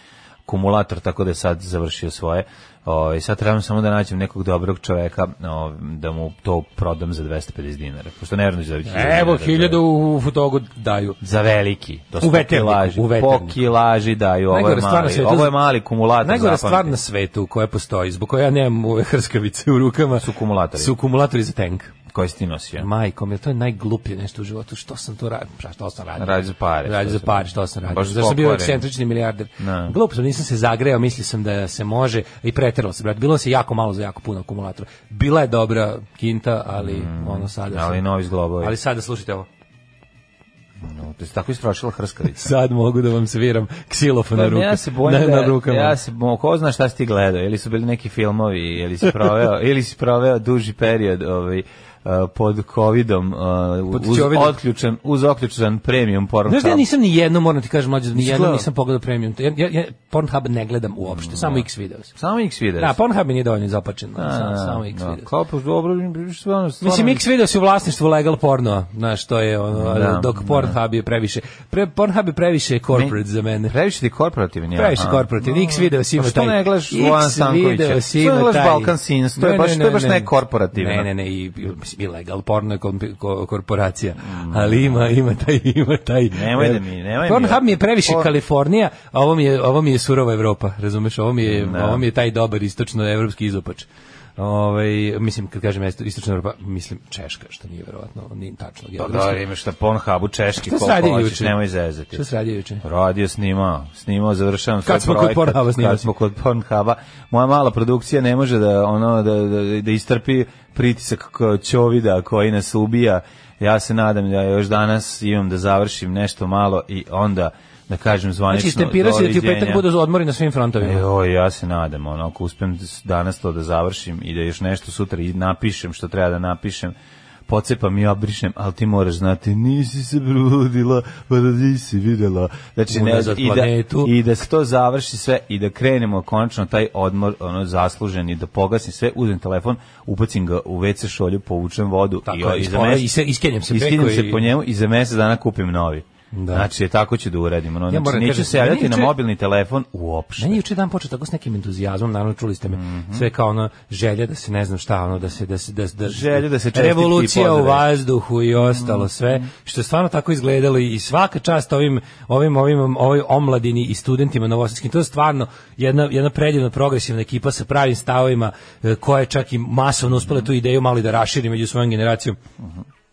[SPEAKER 4] kumulator, tako da je sad završio svoje. O, sad trebam samo da nađem nekog dobrog čoveka o, da mu to prodam za 250 dinara, pošto ne vjerujem da će dobiti 1000
[SPEAKER 5] Evo,
[SPEAKER 4] dinara.
[SPEAKER 5] hiljadu u fotogu daju.
[SPEAKER 4] Za veliki. To su
[SPEAKER 5] U veterniku,
[SPEAKER 4] pokilaži.
[SPEAKER 5] u veterniku.
[SPEAKER 4] Pokilaži daju, ovo
[SPEAKER 5] Najgore
[SPEAKER 4] je
[SPEAKER 5] stvar na
[SPEAKER 4] mali.
[SPEAKER 5] svetu-
[SPEAKER 4] Ovo je mali kumulator.
[SPEAKER 5] Najgora
[SPEAKER 4] zapamtite.
[SPEAKER 5] stvar na svetu koja postoji, zbog koje ja nemam ove hrskavice u rukama,
[SPEAKER 4] Su kumulatori.
[SPEAKER 5] Su kumulatori za tank.
[SPEAKER 4] Koji si ti nosio?
[SPEAKER 5] Majkom, jer to je najgluplje nešto u životu. Što sam to radio? Šta, što sam radio?
[SPEAKER 4] Radi za pare.
[SPEAKER 5] Radi
[SPEAKER 4] Što
[SPEAKER 5] za
[SPEAKER 4] sam-
[SPEAKER 5] pare, što sam radio.
[SPEAKER 4] Baš
[SPEAKER 5] Zašto sam bio
[SPEAKER 4] pokvaren.
[SPEAKER 5] ekscentrični milijarder.
[SPEAKER 4] Da.
[SPEAKER 5] Glup sam, nisam se zagreo, mislio sam da se može i preteralo se, brat. Bilo se jako malo za jako puno akumulatora. Bila je dobra kinta, ali ono sada...
[SPEAKER 4] Mm, Ali
[SPEAKER 5] sam-
[SPEAKER 4] novi zglobovi.
[SPEAKER 5] ali sada slušajte ovo.
[SPEAKER 4] No, to je tako istrošila hrskavica.
[SPEAKER 5] Sad mogu da vam sviram ksilofon na, ruke,
[SPEAKER 4] Ja se bojim
[SPEAKER 5] na,
[SPEAKER 4] da,
[SPEAKER 5] na rukama.
[SPEAKER 4] ja se bojim, ko zna šta si ti gledao, ili su bili neki filmovi, ili si proveo, ili si proveo duži period ovaj, eh, pod covidom eh,
[SPEAKER 5] Pod
[SPEAKER 4] uz
[SPEAKER 5] ćovidom.
[SPEAKER 4] otključen uz otključan premium porno
[SPEAKER 5] Znaš da ja
[SPEAKER 4] channel.
[SPEAKER 5] nisam ni jedno, moram ti kažem, mlađe, ni jedno
[SPEAKER 4] gledao?
[SPEAKER 5] nisam pogledao premium. Ja, ja, ja Pornhub ne gledam uopšte, samo X video sam.
[SPEAKER 4] samo X videos
[SPEAKER 5] Da, Pornhub mi nije dovoljno zapačen, samo, samo X
[SPEAKER 4] Da. da,
[SPEAKER 5] video.
[SPEAKER 4] kao pa dobro mi- stvarno
[SPEAKER 5] Mislim, X video su u vlasništvu legal porno, znaš, to je ono,
[SPEAKER 4] Da,
[SPEAKER 5] dok
[SPEAKER 4] da.
[SPEAKER 5] Pornhub je previše, pre, Pornhub je previše corporate za mene.
[SPEAKER 4] Previše ti korporativni.
[SPEAKER 5] Previše
[SPEAKER 4] aha.
[SPEAKER 5] korporativni, X video si ima
[SPEAKER 4] Pa što
[SPEAKER 5] taj.
[SPEAKER 4] ne gledaš
[SPEAKER 5] X
[SPEAKER 4] Zoana Stankovića?
[SPEAKER 5] video si
[SPEAKER 4] Što ne
[SPEAKER 5] ima
[SPEAKER 4] gledaš
[SPEAKER 5] taj-
[SPEAKER 4] Balkan Sins? To je
[SPEAKER 5] Ne,
[SPEAKER 4] baš-
[SPEAKER 5] ne,
[SPEAKER 4] to je baš
[SPEAKER 5] ne,
[SPEAKER 4] nekorporativno.
[SPEAKER 5] Ne, ne, ne, i, i- mislim, ilegal porno je komp- ko- korporacija, ali ima, ima taj, ima taj.
[SPEAKER 4] Nemoj da mi- nemoj mi-
[SPEAKER 5] Pornhub mi je previše
[SPEAKER 4] Por-
[SPEAKER 5] Kalifornija, a ovo mi je, ovo mi je surova Evropa, razumeš? Ovo mi je,
[SPEAKER 4] Da.
[SPEAKER 5] ovo mi je taj dobar istočno-evropski izopač. Ovaj mislim, kad kažem isto- istočna Evropa, mislim Češka, što nije verovatno, nije tačno.
[SPEAKER 4] Pa
[SPEAKER 5] geografski.
[SPEAKER 4] da, imaš na Pornhubu češki,
[SPEAKER 5] Šta si
[SPEAKER 4] koliko
[SPEAKER 5] radio
[SPEAKER 4] hoćeš,
[SPEAKER 5] juče?
[SPEAKER 4] nemoj zezati.
[SPEAKER 5] Što se radi juče?
[SPEAKER 4] Radio snimao, snimao, završavam svoj
[SPEAKER 5] smo kod
[SPEAKER 4] projekat.
[SPEAKER 5] Pornhuba snimali.
[SPEAKER 4] Kad smo kod Pornhuba. Moja mala produkcija ne može da, ono, da, da, da istrpi pritisak k- čovida koji nas ubija. Ja se nadam da još danas imam da završim nešto malo i onda da kažem zvanično
[SPEAKER 5] Znači, stempira se da ti u petak
[SPEAKER 4] doviđenja.
[SPEAKER 5] budu odmori na svim frontovima.
[SPEAKER 4] Jo, E, ja se nadam, ono, ako uspem danas to da završim i da još nešto sutra i napišem što treba da napišem, pocepam i obrišem, ali ti moraš znati, nisi se brudila, pa da nisi videla. Znači, ne,
[SPEAKER 5] Unazad
[SPEAKER 4] i, da,
[SPEAKER 5] planetu.
[SPEAKER 4] I da se to završi sve i da krenemo konačno taj odmor ono, zasluženi, da pogasim sve, uzmem telefon, upacim ga u WC šolju, povučem vodu
[SPEAKER 5] Tako
[SPEAKER 4] i,
[SPEAKER 5] je,
[SPEAKER 4] i, za
[SPEAKER 5] ispo-
[SPEAKER 4] mesec-
[SPEAKER 5] i se- iskenjam se
[SPEAKER 4] iskenjam
[SPEAKER 5] preko
[SPEAKER 4] se
[SPEAKER 5] i-
[SPEAKER 4] po njemu i za mesec dana kupim novi. Da. Znači, tako ću da uradim. Ono, znači,
[SPEAKER 5] moram
[SPEAKER 4] neću
[SPEAKER 5] kažem,
[SPEAKER 4] se javljati
[SPEAKER 5] meni
[SPEAKER 4] na
[SPEAKER 5] juče-
[SPEAKER 4] mobilni telefon uopšte.
[SPEAKER 5] Meni je juče dan počeo tako s nekim entuzijazmom, naravno čuli ste me.
[SPEAKER 4] Mhm.
[SPEAKER 5] Sve kao ono želja da se ne znam šta, ono da se da se da, da
[SPEAKER 4] Želja da se čestitki
[SPEAKER 5] revolucija u
[SPEAKER 4] pozdravi.
[SPEAKER 5] vazduhu i
[SPEAKER 4] Mhm.
[SPEAKER 5] ostalo sve, što je stvarno tako izgledalo i svaka čast ovim ovim ovim ovoj omladini i studentima novosadskim. To je stvarno jedna jedna predivna progresivna ekipa sa pravim stavovima e, koja je čak i masovno uspela
[SPEAKER 4] Mhm.
[SPEAKER 5] tu ideju malo i da raširi među svojom generacijom.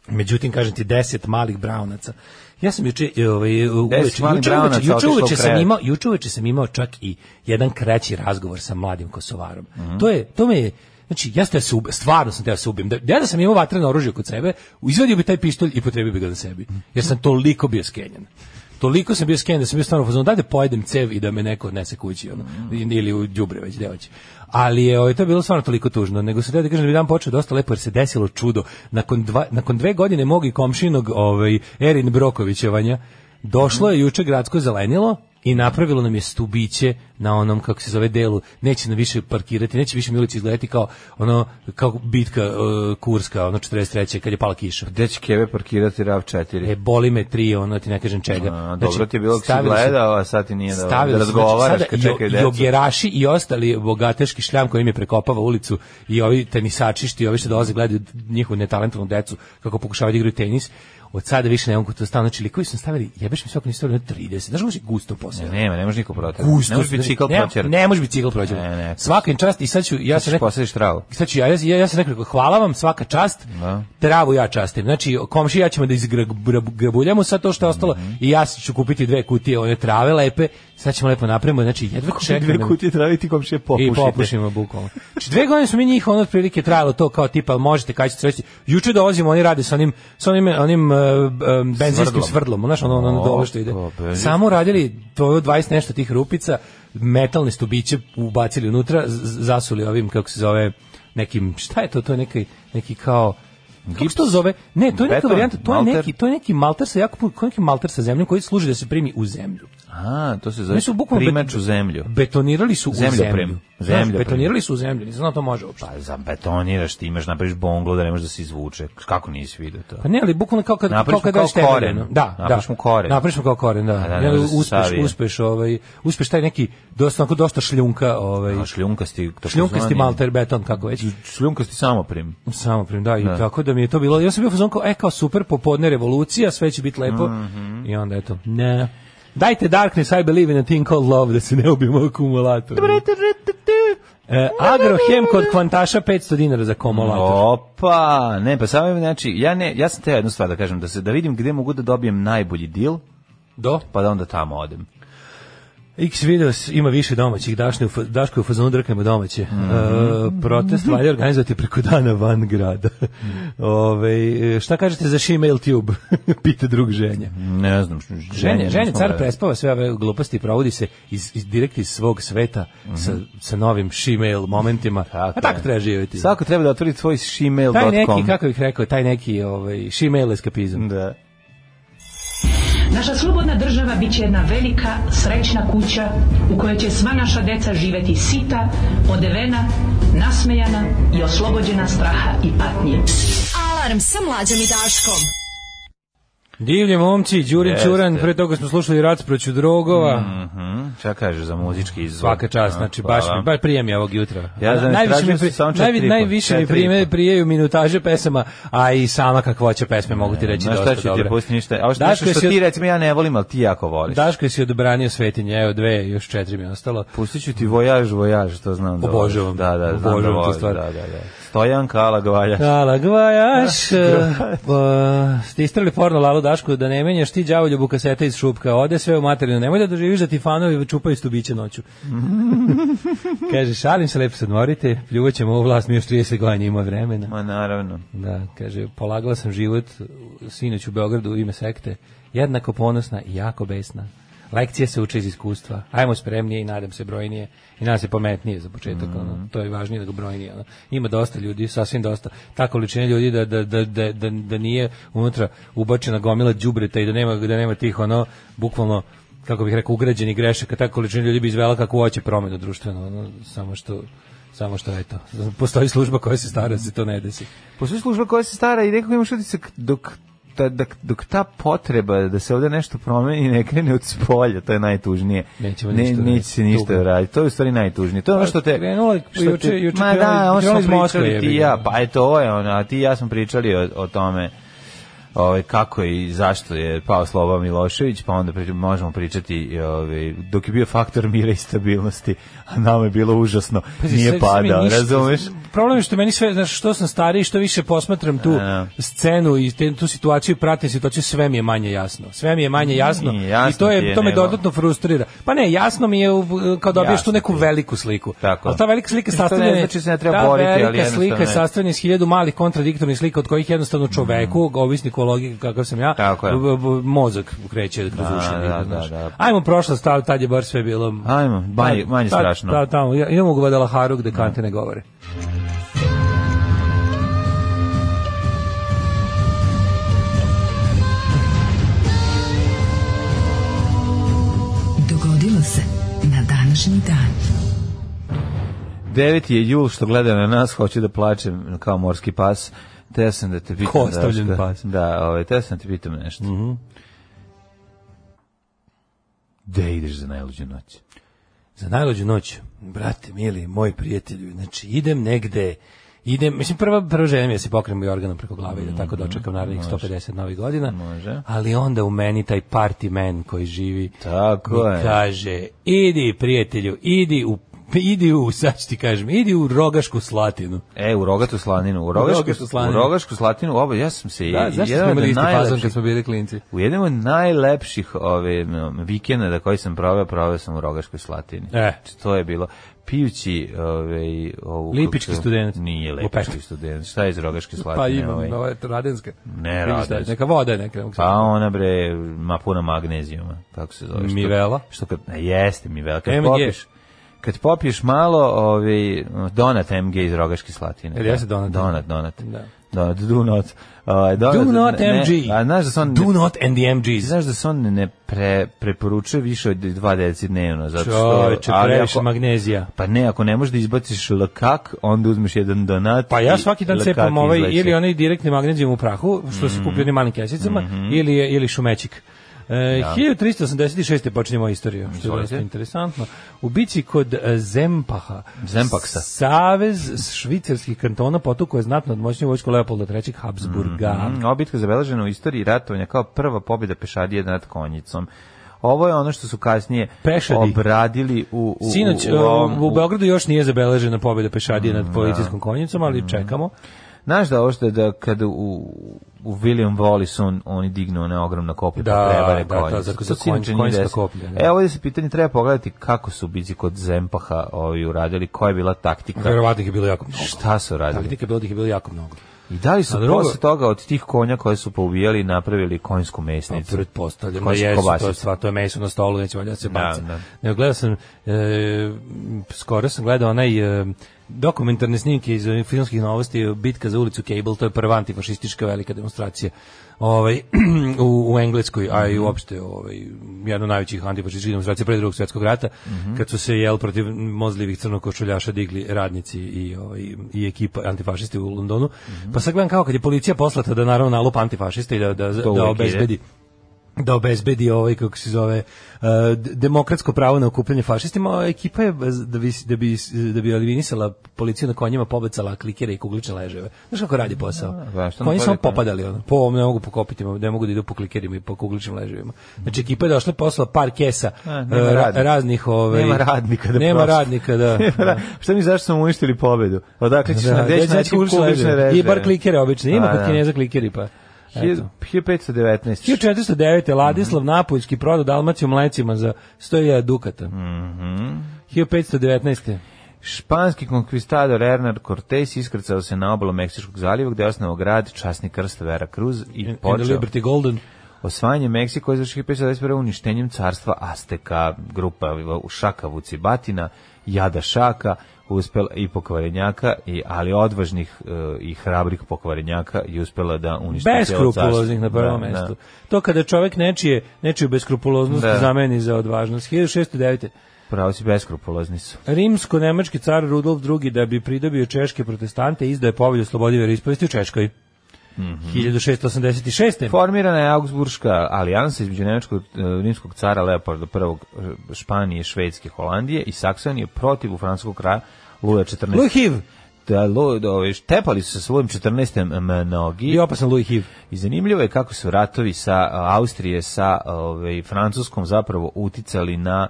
[SPEAKER 5] Međutim, kažem ti, deset malih braunaca. Ja sam juče, e, ovaj,
[SPEAKER 4] Deset
[SPEAKER 5] uveče,
[SPEAKER 4] malih
[SPEAKER 5] juče,
[SPEAKER 4] braunaca
[SPEAKER 5] uveče, juče
[SPEAKER 4] otišlo u
[SPEAKER 5] uveče sam
[SPEAKER 4] krevet.
[SPEAKER 5] imao, juče uveče sam imao čak i jedan kraći razgovor sa mladim Kosovarom. To je, to me je, znači, ja sam teo se ube, stvarno sam teo se ubijem. Da, ja da sam imao vatreno oružje kod sebe, izvadio bi taj pištolj i potrebio bi ga na sebi. Jer sam toliko bio skenjan. Toliko sam bio skenjan da sam bio stvarno fazon da da pojedem cev i da me neko odnese kući ono, ili u đubre već gde hoće. Ali je ovaj, to je bilo stvarno toliko tužno, nego se da kažem da bi dan počeo dosta lepo jer se desilo čudo. Nakon, dva, nakon dve godine mog i komšinog ovaj, Erin Brokovićevanja, Došlo je juče gradsko zelenilo i napravilo nam je stubiće na onom kako se zove delu. Neće nam više parkirati, neće više mi ulici izgledati kao ono kao bitka e, Kurska, ono 43. kad je pala kiša.
[SPEAKER 4] Gde će Keve parkirati RAV 4?
[SPEAKER 5] E, boli me tri, ono da ti ne kažem čega. Znači,
[SPEAKER 4] A, dobro ti je bilo ako si
[SPEAKER 5] stavili su-
[SPEAKER 4] gledao, a sad ti nije da-
[SPEAKER 5] stavili
[SPEAKER 4] da
[SPEAKER 5] su, znači,
[SPEAKER 4] razgovaraš
[SPEAKER 5] sada
[SPEAKER 4] kad
[SPEAKER 5] i-
[SPEAKER 4] čekaju
[SPEAKER 5] i
[SPEAKER 4] decu.
[SPEAKER 5] Jeraši i ostali bogateški šljam koji im je prekopava ulicu i ovi tenisačišti, ovi što dolaze gledaju njihovu netalentovnu decu kako pokušavaju da igraju tenis. Od sada više ne mogu to stano. Znači, likovi su nam stavili, jebeš mi svako nisu stavili na 30. Znaš kako si gusto posebno?
[SPEAKER 4] Nema, ne može niko proterati.
[SPEAKER 5] Gusto.
[SPEAKER 4] Ne može biti
[SPEAKER 5] znači,
[SPEAKER 4] čikal
[SPEAKER 5] ne-
[SPEAKER 4] proterati.
[SPEAKER 5] Ne može biti cikl prođer.
[SPEAKER 4] Ne, ne.
[SPEAKER 5] Svaka im čast i sad ću, ja sam
[SPEAKER 4] Možeš
[SPEAKER 5] rekao,
[SPEAKER 4] da posadiš travu.
[SPEAKER 5] Sad ću ja, ja, ja sam rekao, hvala vam, svaka čast,
[SPEAKER 4] Da.
[SPEAKER 5] travu ja častim. Znači, komši ja ćemo da izgrabuljamo sad to što je ostalo
[SPEAKER 4] Mhm.
[SPEAKER 5] i ja ću kupiti dve kutije one trave lepe, sad ćemo lepo napravimo, znači jedva čekam. da-
[SPEAKER 4] kutije traviti komšije
[SPEAKER 5] I popušimo bukvalno. Znači dve godine su mi njih ono otprilike trajalo to kao tipa ali možete kad ćete sreći. Juče dolazimo, oni rade sa onim sa onim onim e, e, benzinskim
[SPEAKER 4] Svrdlom.
[SPEAKER 5] svrdlom, znaš ono ono
[SPEAKER 4] O,
[SPEAKER 5] dole što ide.
[SPEAKER 4] o, benzinsko.
[SPEAKER 5] Samo radili to je 20 nešto tih rupica, metalne stubiće ubacili unutra, z- z- zasuli ovim kako se zove nekim šta je to to je neki neki kao Gips to zove? Ne, to je neka
[SPEAKER 4] Beton?
[SPEAKER 5] varijanta, to je
[SPEAKER 4] Malter?
[SPEAKER 5] neki, to je neki malter sa jako puno, kao neki malter sa zemljom koji služi da se primi u zemlju.
[SPEAKER 4] A, to se zove
[SPEAKER 5] Oni su bukvalno
[SPEAKER 4] primač
[SPEAKER 5] bet-
[SPEAKER 4] u zemlju.
[SPEAKER 5] Betonirali su u
[SPEAKER 4] Zemljoprem.
[SPEAKER 5] zemlju. Znaš,
[SPEAKER 4] Zemljoprem.
[SPEAKER 5] betonirali su u zemlju, nisam znao da to može uopšte.
[SPEAKER 4] Pa zabetoniraš, ti imaš, napraviš bonglo da ne može da se izvuče. Kako nisi vidio to?
[SPEAKER 5] Pa ne, ali bukvalno kao kad
[SPEAKER 4] Napraviš
[SPEAKER 5] kao
[SPEAKER 4] mu
[SPEAKER 5] kad
[SPEAKER 4] kao
[SPEAKER 5] daješ temelj,
[SPEAKER 4] koren.
[SPEAKER 5] ono. Da,
[SPEAKER 4] Napraviš
[SPEAKER 5] da.
[SPEAKER 4] mu koren.
[SPEAKER 5] Napraviš mu kao koren, da.
[SPEAKER 4] da,
[SPEAKER 5] I
[SPEAKER 4] ne
[SPEAKER 5] onda
[SPEAKER 4] može se
[SPEAKER 5] uspeš,
[SPEAKER 4] savije.
[SPEAKER 5] uspeš, ovaj, uspeš taj neki dosta, onako dosta šljunka, ovaj,
[SPEAKER 4] A šljunkasti, tako
[SPEAKER 5] šljunkasti
[SPEAKER 4] zvani-
[SPEAKER 5] malter beton, kako već.
[SPEAKER 4] Šljunkasti samoprim.
[SPEAKER 5] Samo prim, da, i tako da mi je to bilo, ja sam bio fazon kao, e, kao super, popodne revolucija, sve će biti lepo, i onda eto, ne. Dajte Darkness, I believe in a thing called love, da se ne ubijemo akumulator. E, Agrohem kod kvantaša 500 dinara za komulator.
[SPEAKER 4] Opa, ne, pa samo znači ja ne, ja sam te jednu stvar da kažem da se da vidim gde mogu da dobijem najbolji deal,
[SPEAKER 5] Do?
[SPEAKER 4] pa da onda tamo odem.
[SPEAKER 5] X videos ima više domaćih, Daško je u fa- Daško je u fazonu drkajmo domaće. E, protest valja organizovati preko dana van grada. Ove, e, šta kažete za Shemale Tube? Pita drug ženja.
[SPEAKER 4] Ne znam,
[SPEAKER 5] Ženja, ženja
[SPEAKER 4] nismo
[SPEAKER 5] car
[SPEAKER 4] gledali.
[SPEAKER 5] prespava sve ove gluposti i provodi se iz, iz, direkt iz svog sveta sa, sa novim Shemale momentima. A tako
[SPEAKER 4] Mhm. je.
[SPEAKER 5] treba živjeti.
[SPEAKER 4] Svako treba da otvori svoj
[SPEAKER 5] taj neki,
[SPEAKER 4] shemale.com.
[SPEAKER 5] kako bih rekao, taj neki ovaj, Shemale eskapizam.
[SPEAKER 4] Da.
[SPEAKER 3] Naša slobodna država bit će jedna velika, srećna kuća u kojoj će sva naša deca živeti sita, odevena, nasmejana i oslobođena straha i patnje.
[SPEAKER 1] Alarm sa mlađom i Daškom.
[SPEAKER 5] Divlje momci, Đurin
[SPEAKER 4] Jeste.
[SPEAKER 5] Čuran, pre toga smo slušali Rac proću drogova.
[SPEAKER 4] Mhm. Šta kažeš za muzički izvor?
[SPEAKER 5] Svaka čast,
[SPEAKER 4] A,
[SPEAKER 5] znači
[SPEAKER 4] hvala.
[SPEAKER 5] baš mi baš prije mi ovog jutra.
[SPEAKER 4] Ja znam, tražio sam samo četiri i po,
[SPEAKER 5] najviše mi
[SPEAKER 4] četiri i
[SPEAKER 5] prime
[SPEAKER 4] po.
[SPEAKER 5] prijeju minutaže pesama, a i sama kakvoća pesme mogu ti reći
[SPEAKER 4] Znaš
[SPEAKER 5] dosta
[SPEAKER 4] šta ću ti
[SPEAKER 5] dobre.
[SPEAKER 4] pustiti ništa. A što, nešto
[SPEAKER 5] Daško
[SPEAKER 4] što
[SPEAKER 5] si- Da.
[SPEAKER 4] ti recimo ja ne volim, ali ti jako voliš.
[SPEAKER 5] Daško je si odbranio svetinje, evo dve, još četiri mi je ostalo.
[SPEAKER 4] Pustit ću ti vojaž, vojaž, to znam da voliš.
[SPEAKER 5] Obožavam.
[SPEAKER 4] Da, da, znam
[SPEAKER 5] Obožavam
[SPEAKER 4] da
[SPEAKER 5] tu
[SPEAKER 4] voliš,
[SPEAKER 5] stvar. Da.
[SPEAKER 4] Da, da, da. Stojan Kala Gvalja.
[SPEAKER 5] Kala gvajaš, e, pa, ste istrali porno lalu Dašku da ne menjaš ti đavoljubu kasete iz šupka, ode sve u materinu, nemoj da doživiš da ti fanovi čupaju stubiće noću. kaže, šalim se, lepo se odmorite, pljuvaćemo ovu vlast, mi još 30 godina ima vremena.
[SPEAKER 4] Ma naravno.
[SPEAKER 5] Da, kaže, polagala sam život sinoć u Beogradu u ime sekte, jednako ponosna i jako besna. Lekcije se uče iz iskustva. Ajmo spremnije i nadam se brojnije. I nadam se pametnije za početak. ono. To je važnije nego brojnije. ono. Ima dosta ljudi, sasvim dosta. Ta količina ljudi da, da, da, da, da, da nije unutra ubačena gomila đubreta i da nema, da nema tih ono, bukvalno, kako bih rekao, ugrađenih grešaka. Ta količina ljudi bi izvela kako hoće promenu društveno. ono, samo što samo što eto, postoji služba koja se stara da se to ne desi.
[SPEAKER 4] Postoji služba koja se stara i nekako imaš utisak dok ta, dok, dok ta potreba da se ovde nešto promeni ne krene od spolja, to je najtužnije.
[SPEAKER 5] Nećemo
[SPEAKER 4] ne,
[SPEAKER 5] ništa
[SPEAKER 4] neće se
[SPEAKER 5] raditi.
[SPEAKER 4] ništa raditi. To je u stvari najtužnije. To je ono što te...
[SPEAKER 5] Krenulo je
[SPEAKER 4] što
[SPEAKER 5] juče-
[SPEAKER 4] te-
[SPEAKER 5] juče
[SPEAKER 4] ma
[SPEAKER 5] krenulo-
[SPEAKER 4] da, ono
[SPEAKER 5] krenulo
[SPEAKER 4] što
[SPEAKER 5] je
[SPEAKER 4] smo
[SPEAKER 5] pričali,
[SPEAKER 4] pričali ti i
[SPEAKER 5] jebi
[SPEAKER 4] ja.
[SPEAKER 5] ga.
[SPEAKER 4] Pa je to je ono, a ti i ja smo pričali o, o tome ovaj kako i zašto je pao Slobodan Milošević, pa onda pri- možemo pričati ovaj dok je bio faktor mira i stabilnosti, a nama je bilo užasno.
[SPEAKER 5] Pazi,
[SPEAKER 4] Nije
[SPEAKER 5] sve- sve mi
[SPEAKER 4] padao,
[SPEAKER 5] ništa-
[SPEAKER 4] razumeš?
[SPEAKER 5] Problem je što meni sve, znaš, što sam stariji, što više posmatram tu
[SPEAKER 4] A.
[SPEAKER 5] scenu i te, tu situaciju, pratim situaciju, sve mi je manje jasno. Sve mi je manje jasno,
[SPEAKER 4] Nije, jasno
[SPEAKER 5] i to,
[SPEAKER 4] ti
[SPEAKER 5] je,
[SPEAKER 4] je,
[SPEAKER 5] to me
[SPEAKER 4] nego-
[SPEAKER 5] dodatno frustrira. Pa ne, jasno mi je u- kao dobiješ
[SPEAKER 4] Jasno
[SPEAKER 5] tu neku
[SPEAKER 4] ti je.
[SPEAKER 5] veliku sliku.
[SPEAKER 4] Tako.
[SPEAKER 5] Ali ta velika slika
[SPEAKER 4] Što ne
[SPEAKER 5] sastavljena je-
[SPEAKER 4] znači se ne treba
[SPEAKER 5] ta
[SPEAKER 4] boriti, ali
[SPEAKER 5] velika
[SPEAKER 4] jednostavno
[SPEAKER 5] slika je
[SPEAKER 4] je.
[SPEAKER 5] sastavljena iz hiljadu malih kontradiktornih slika od kojih jednostavno čoveku, ovisniku o logiki kakav sam ja,
[SPEAKER 4] Mhm. Tako je.
[SPEAKER 5] b- b- mozak kreće kroz
[SPEAKER 4] Da,
[SPEAKER 5] uši.
[SPEAKER 4] da,
[SPEAKER 5] nekako,
[SPEAKER 4] da,
[SPEAKER 5] znaš.
[SPEAKER 4] da.
[SPEAKER 5] Ajmo prošla stav, tad je bar sve bilo...
[SPEAKER 4] Ajmo, manje- manje
[SPEAKER 5] Tad-
[SPEAKER 4] strašno.
[SPEAKER 5] tad- tamo, ja- idemo u Guadalajaru gde kante ne govore.
[SPEAKER 1] Dogodilo se na današnji dan.
[SPEAKER 4] 9. je jul što gleda na nas, hoće da plačem kao morski pas. Te sam da te pitam
[SPEAKER 5] Ko ostavljen
[SPEAKER 4] Daško.
[SPEAKER 5] pas? Mhm.
[SPEAKER 4] Da, ovaj, te sam da te pitam nešto. Mm Gde ideš za najluđu noć?
[SPEAKER 5] Za najlođu noć, brate, mili, moj prijatelju, znači idem negde, idem, mislim prva, prva želja mi je da se pokrem organom preko glave i da tako dočekam narednih 150 novih godina,
[SPEAKER 4] Mhm. Može.
[SPEAKER 5] ali onda u meni taj party man koji živi
[SPEAKER 4] Tako
[SPEAKER 5] mi
[SPEAKER 4] je.
[SPEAKER 5] kaže, idi prijatelju, idi u idi u, sad ću ti kažem, idi u rogašku slatinu.
[SPEAKER 4] E, u rogatu slaninu. U rogašku,
[SPEAKER 5] Rogastu
[SPEAKER 4] slaninu.
[SPEAKER 5] slaninu.
[SPEAKER 4] U rogašku slatinu, oba, ja sam se...
[SPEAKER 5] Da, zašto smo
[SPEAKER 4] E, od
[SPEAKER 5] imali isti fazon
[SPEAKER 4] najlepših-
[SPEAKER 5] kad smo bili klinci?
[SPEAKER 4] U jednom od najlepših ove, m, vikenda da koji sam proveo, proveo sam u Rogaškoj Slatini.
[SPEAKER 5] E.
[SPEAKER 4] Znači, To je bilo pijući ove, ovu...
[SPEAKER 5] Lipički
[SPEAKER 4] kako-
[SPEAKER 5] student.
[SPEAKER 4] Nije
[SPEAKER 5] Lupešnik.
[SPEAKER 4] Lipički student. Šta je iz Rogaške Slatine?
[SPEAKER 5] Pa imam,
[SPEAKER 4] ovaj?
[SPEAKER 5] ova je Radenska.
[SPEAKER 4] Ne,
[SPEAKER 5] Ili šta je,
[SPEAKER 4] Radenska.
[SPEAKER 5] Neka voda je neka. neka-
[SPEAKER 4] Pa ona bre, ma puna magnezijuma, tako se zove. Što-
[SPEAKER 5] Mivela?
[SPEAKER 4] Što kad, ne, jeste Mivela, kad
[SPEAKER 5] MG.
[SPEAKER 4] popiješ, kad popiješ malo, ovaj, donat MG iz Rogaške Slatine.
[SPEAKER 5] Jel jeste donat?
[SPEAKER 4] Donat, donat.
[SPEAKER 5] Da.
[SPEAKER 4] Donat, do not. ovaj, donat,
[SPEAKER 5] Do not
[SPEAKER 4] ne,
[SPEAKER 5] MG.
[SPEAKER 4] a znaš da se on
[SPEAKER 5] Do not and the MGs.
[SPEAKER 4] Ti znaš da se on ne pre, preporučuje više od dva deci dnevno, zato što...
[SPEAKER 5] Čovječe,
[SPEAKER 4] ali
[SPEAKER 5] previše
[SPEAKER 4] ako-
[SPEAKER 5] magnezija.
[SPEAKER 4] Pa ne, ako ne možeš da izbaciš lakak, onda uzmeš jedan donat
[SPEAKER 5] Pa
[SPEAKER 4] i
[SPEAKER 5] ja svaki dan
[SPEAKER 4] lakak
[SPEAKER 5] cepam ovaj
[SPEAKER 4] izleće.
[SPEAKER 5] ili onaj direktni magnezijum u prahu, što
[SPEAKER 4] Mhm.
[SPEAKER 5] se kupi u onim malim kesicama, ili, je- ili šumećik. E, 1386. počinje moja istorija, što je
[SPEAKER 4] Da. Izvolite.
[SPEAKER 5] dosta interesantno. U bici kod e, Zempaha,
[SPEAKER 4] Zempaksa.
[SPEAKER 5] Savez švicarskih kantona potukao je znatno od moćnju vojsku Leopolda III. Habsburga.
[SPEAKER 4] Mm, Ova bitka je zabeležena u istoriji ratovanja kao prva pobjeda pešadije nad konjicom. Ovo je ono što su kasnije
[SPEAKER 5] Pešadi.
[SPEAKER 4] obradili u... u
[SPEAKER 5] Sinoć, e,
[SPEAKER 4] u, Mhm, ovom-
[SPEAKER 5] u, u Beogradu još nije zabeležena pobjeda pešadije nad
[SPEAKER 4] da.
[SPEAKER 5] policijskom konjicom,
[SPEAKER 4] Mhm.
[SPEAKER 5] ali čekamo.
[SPEAKER 4] Znaš da ovo što je da kada u, u William Wallace on, oni dignu one ogromna koplja
[SPEAKER 5] Da,
[SPEAKER 4] pa prevare
[SPEAKER 5] da, da,
[SPEAKER 4] konjicu.
[SPEAKER 5] zato
[SPEAKER 4] To
[SPEAKER 5] za
[SPEAKER 4] sinoć
[SPEAKER 5] konj-
[SPEAKER 4] nije
[SPEAKER 5] konjska
[SPEAKER 4] desilo.
[SPEAKER 5] koplja, da.
[SPEAKER 4] E, ovdje se pitanje treba pogledati kako su bici kod Zempaha ovi uradili, koja je bila taktika.
[SPEAKER 5] Verovatno ih je bilo jako mnogo.
[SPEAKER 4] Šta su radili?
[SPEAKER 5] Taktika je bilo da ih je bilo jako mnogo.
[SPEAKER 4] I da li su
[SPEAKER 5] A drugo-
[SPEAKER 4] posle toga od tih konja koje su poubijali napravili konjsku
[SPEAKER 5] Pa
[SPEAKER 4] mesnicu?
[SPEAKER 5] pretpostavljam da
[SPEAKER 4] Koja se
[SPEAKER 5] jesu, to je
[SPEAKER 4] kobasica.
[SPEAKER 5] sva, to je meso na stolu, neće valjda da se
[SPEAKER 4] Da,
[SPEAKER 5] baca.
[SPEAKER 4] da.
[SPEAKER 5] Nego gledao sam, e, m, skoro sam gledao onaj e, dokumentarne snimke iz ovih filmskih novosti, bitka za ulicu Cable, to je prva antifašistička velika demonstracija ovaj, u, u Engleskoj, a i uopšte ovaj, jedna od najvećih antifašističkih demonstracija pre drugog svjetskog rata, kad su se jel protiv mozljivih crnokošuljaša digli radnici i, ovaj, i ekipa antifašisti u Londonu. Pa sad gledam kao kad je policija poslata da naravno nalup antifašiste i da, da,
[SPEAKER 4] To
[SPEAKER 5] da
[SPEAKER 4] uvek
[SPEAKER 5] obezbedi da obezbedi ovaj kako se zove eh, d- demokratsko pravo na okupljanje fašistima a ekipa je bez- da bi da bi da bi eliminisala policiju na konjima pobacala klikere i kuglične leževe znaš kako radi posao
[SPEAKER 4] da, što
[SPEAKER 5] konji
[SPEAKER 4] napravite?
[SPEAKER 5] samo popadali ono po ovom ne mogu pokopiti ne mogu da idu po klikerima i po kugličnim leževima znači ekipa je došla i poslala par kesa
[SPEAKER 4] A, nema
[SPEAKER 5] eh, ra-
[SPEAKER 4] radnika.
[SPEAKER 5] raznih ovaj
[SPEAKER 4] Nema radnika da
[SPEAKER 5] nema
[SPEAKER 4] prosto-
[SPEAKER 5] radnika da
[SPEAKER 4] da. Šta mi zašto smo uništili pobedu? Odakle ćeš na
[SPEAKER 5] Da, gde
[SPEAKER 4] gde ćeš
[SPEAKER 5] će naći
[SPEAKER 4] naći
[SPEAKER 5] kuglične
[SPEAKER 4] kuglične
[SPEAKER 5] leževe?
[SPEAKER 4] reževe?
[SPEAKER 5] i bar klikere obično ima
[SPEAKER 4] A,
[SPEAKER 5] kod
[SPEAKER 4] da.
[SPEAKER 5] Kineza klikeri pa eto.
[SPEAKER 4] 1519.
[SPEAKER 5] 1409. Ladislav Napoljski prodao Dalmaciju mlecima za 100.000 dukata. Mm
[SPEAKER 4] Mhm.
[SPEAKER 5] 1519.
[SPEAKER 4] Španski konkvistador Hernán Cortés iskrcao se na obalu Meksičkog zaliva gde je osnovao grad Časni krst Vera Cruz i
[SPEAKER 5] In the
[SPEAKER 4] počeo
[SPEAKER 5] Liberty Golden.
[SPEAKER 4] osvajanje Meksika iz 1521. uništenjem carstva Azteka, grupa u Šaka Vucibatina, Jada Šaka, uspela i pokvarenjaka, i, ali odvažnih e, i hrabrih pokvarenjaka je uspela da uništi
[SPEAKER 5] Bez
[SPEAKER 4] cijelo carstvo.
[SPEAKER 5] skrupuloznih na prvom
[SPEAKER 4] Da, da.
[SPEAKER 5] mestu. To kada čovjek nečije, nečiju beskrupuloznost
[SPEAKER 4] Da.
[SPEAKER 5] zameni za odvažnost. 1609.
[SPEAKER 4] Pravo si beskrupulozni su.
[SPEAKER 5] Rimsko-nemački car Rudolf II da bi pridobio češke protestante izdao je povelju slobodi vjeroispovesti u Češkoj.
[SPEAKER 4] Mhm.
[SPEAKER 5] 1686.
[SPEAKER 4] Formirana je Augsburška alijansa između nemačkog e, rimskog cara Leopolda I Španije, Švedske, Holandije i Saksonije protiv u francuskog kraja Luja 14.
[SPEAKER 5] Louis Hiv
[SPEAKER 4] Da, lo, da, ove, tepali su se s Lujem 14. mnogi.
[SPEAKER 5] i opasan Louis Hiv.
[SPEAKER 4] I zanimljivo je kako su ratovi sa a, Austrije sa ovaj Francuskom zapravo uticali na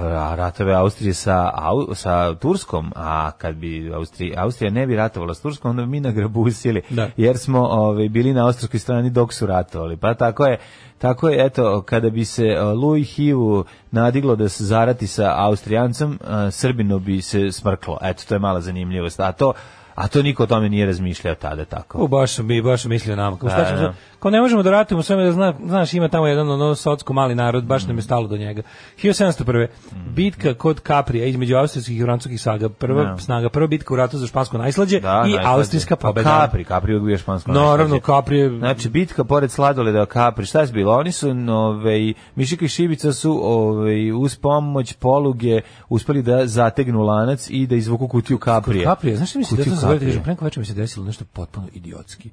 [SPEAKER 4] ra- ratove Austrije sa Au- sa Turskom, a kad bi Austrija, Austrija ne bi ratovala s Turskom, onda bi mi nagrabusili,
[SPEAKER 5] Da.
[SPEAKER 4] jer smo ovaj, bili na austrijskoj strani dok su ratovali. Pa tako je, tako je, eto, kada bi se e, Louis Hivu nadiglo da se zarati sa Austrijancem, e, Srbino bi se smrklo. Eto, to je mala zanimljivost. A to, a to niko o tome nije razmišljao tada tako.
[SPEAKER 5] U, baš mi baš mislio nama. Kao, šta
[SPEAKER 4] Da,
[SPEAKER 5] ćemo
[SPEAKER 4] da.
[SPEAKER 5] sad? Kao ne možemo da ratujemo s vama, da zna, znaš, ima tamo jedan ono socko mali narod, baš nam je stalo do njega. 1701.
[SPEAKER 4] Mhm.
[SPEAKER 5] Bitka kod Kaprija između austrijskih i francuskih saga, prva
[SPEAKER 4] Da.
[SPEAKER 5] snaga, prva bitka u ratu za špansko najslađe
[SPEAKER 4] Da,
[SPEAKER 5] i
[SPEAKER 4] najslađe.
[SPEAKER 5] austrijska
[SPEAKER 4] Pa
[SPEAKER 5] pobeda.
[SPEAKER 4] Capri, Capri je uvijek bio špansko.
[SPEAKER 5] Naravno,
[SPEAKER 4] najslađe.
[SPEAKER 5] Capri je-
[SPEAKER 4] Znači, bitka pored sladoleda Capri, šta je bilo? Oni su, ovaj, Mišika i Šibica su ovaj, uz pomoć poluge uspeli da zategnu lanac i da izvuku kutiju Caprije.
[SPEAKER 5] Kaprija, znaš šta mi se
[SPEAKER 4] Kutiju E,
[SPEAKER 5] desilo? Zaboravio ti
[SPEAKER 4] Caprija.
[SPEAKER 5] kažem, pre neko večer mi se desilo nešto potpuno idiotski.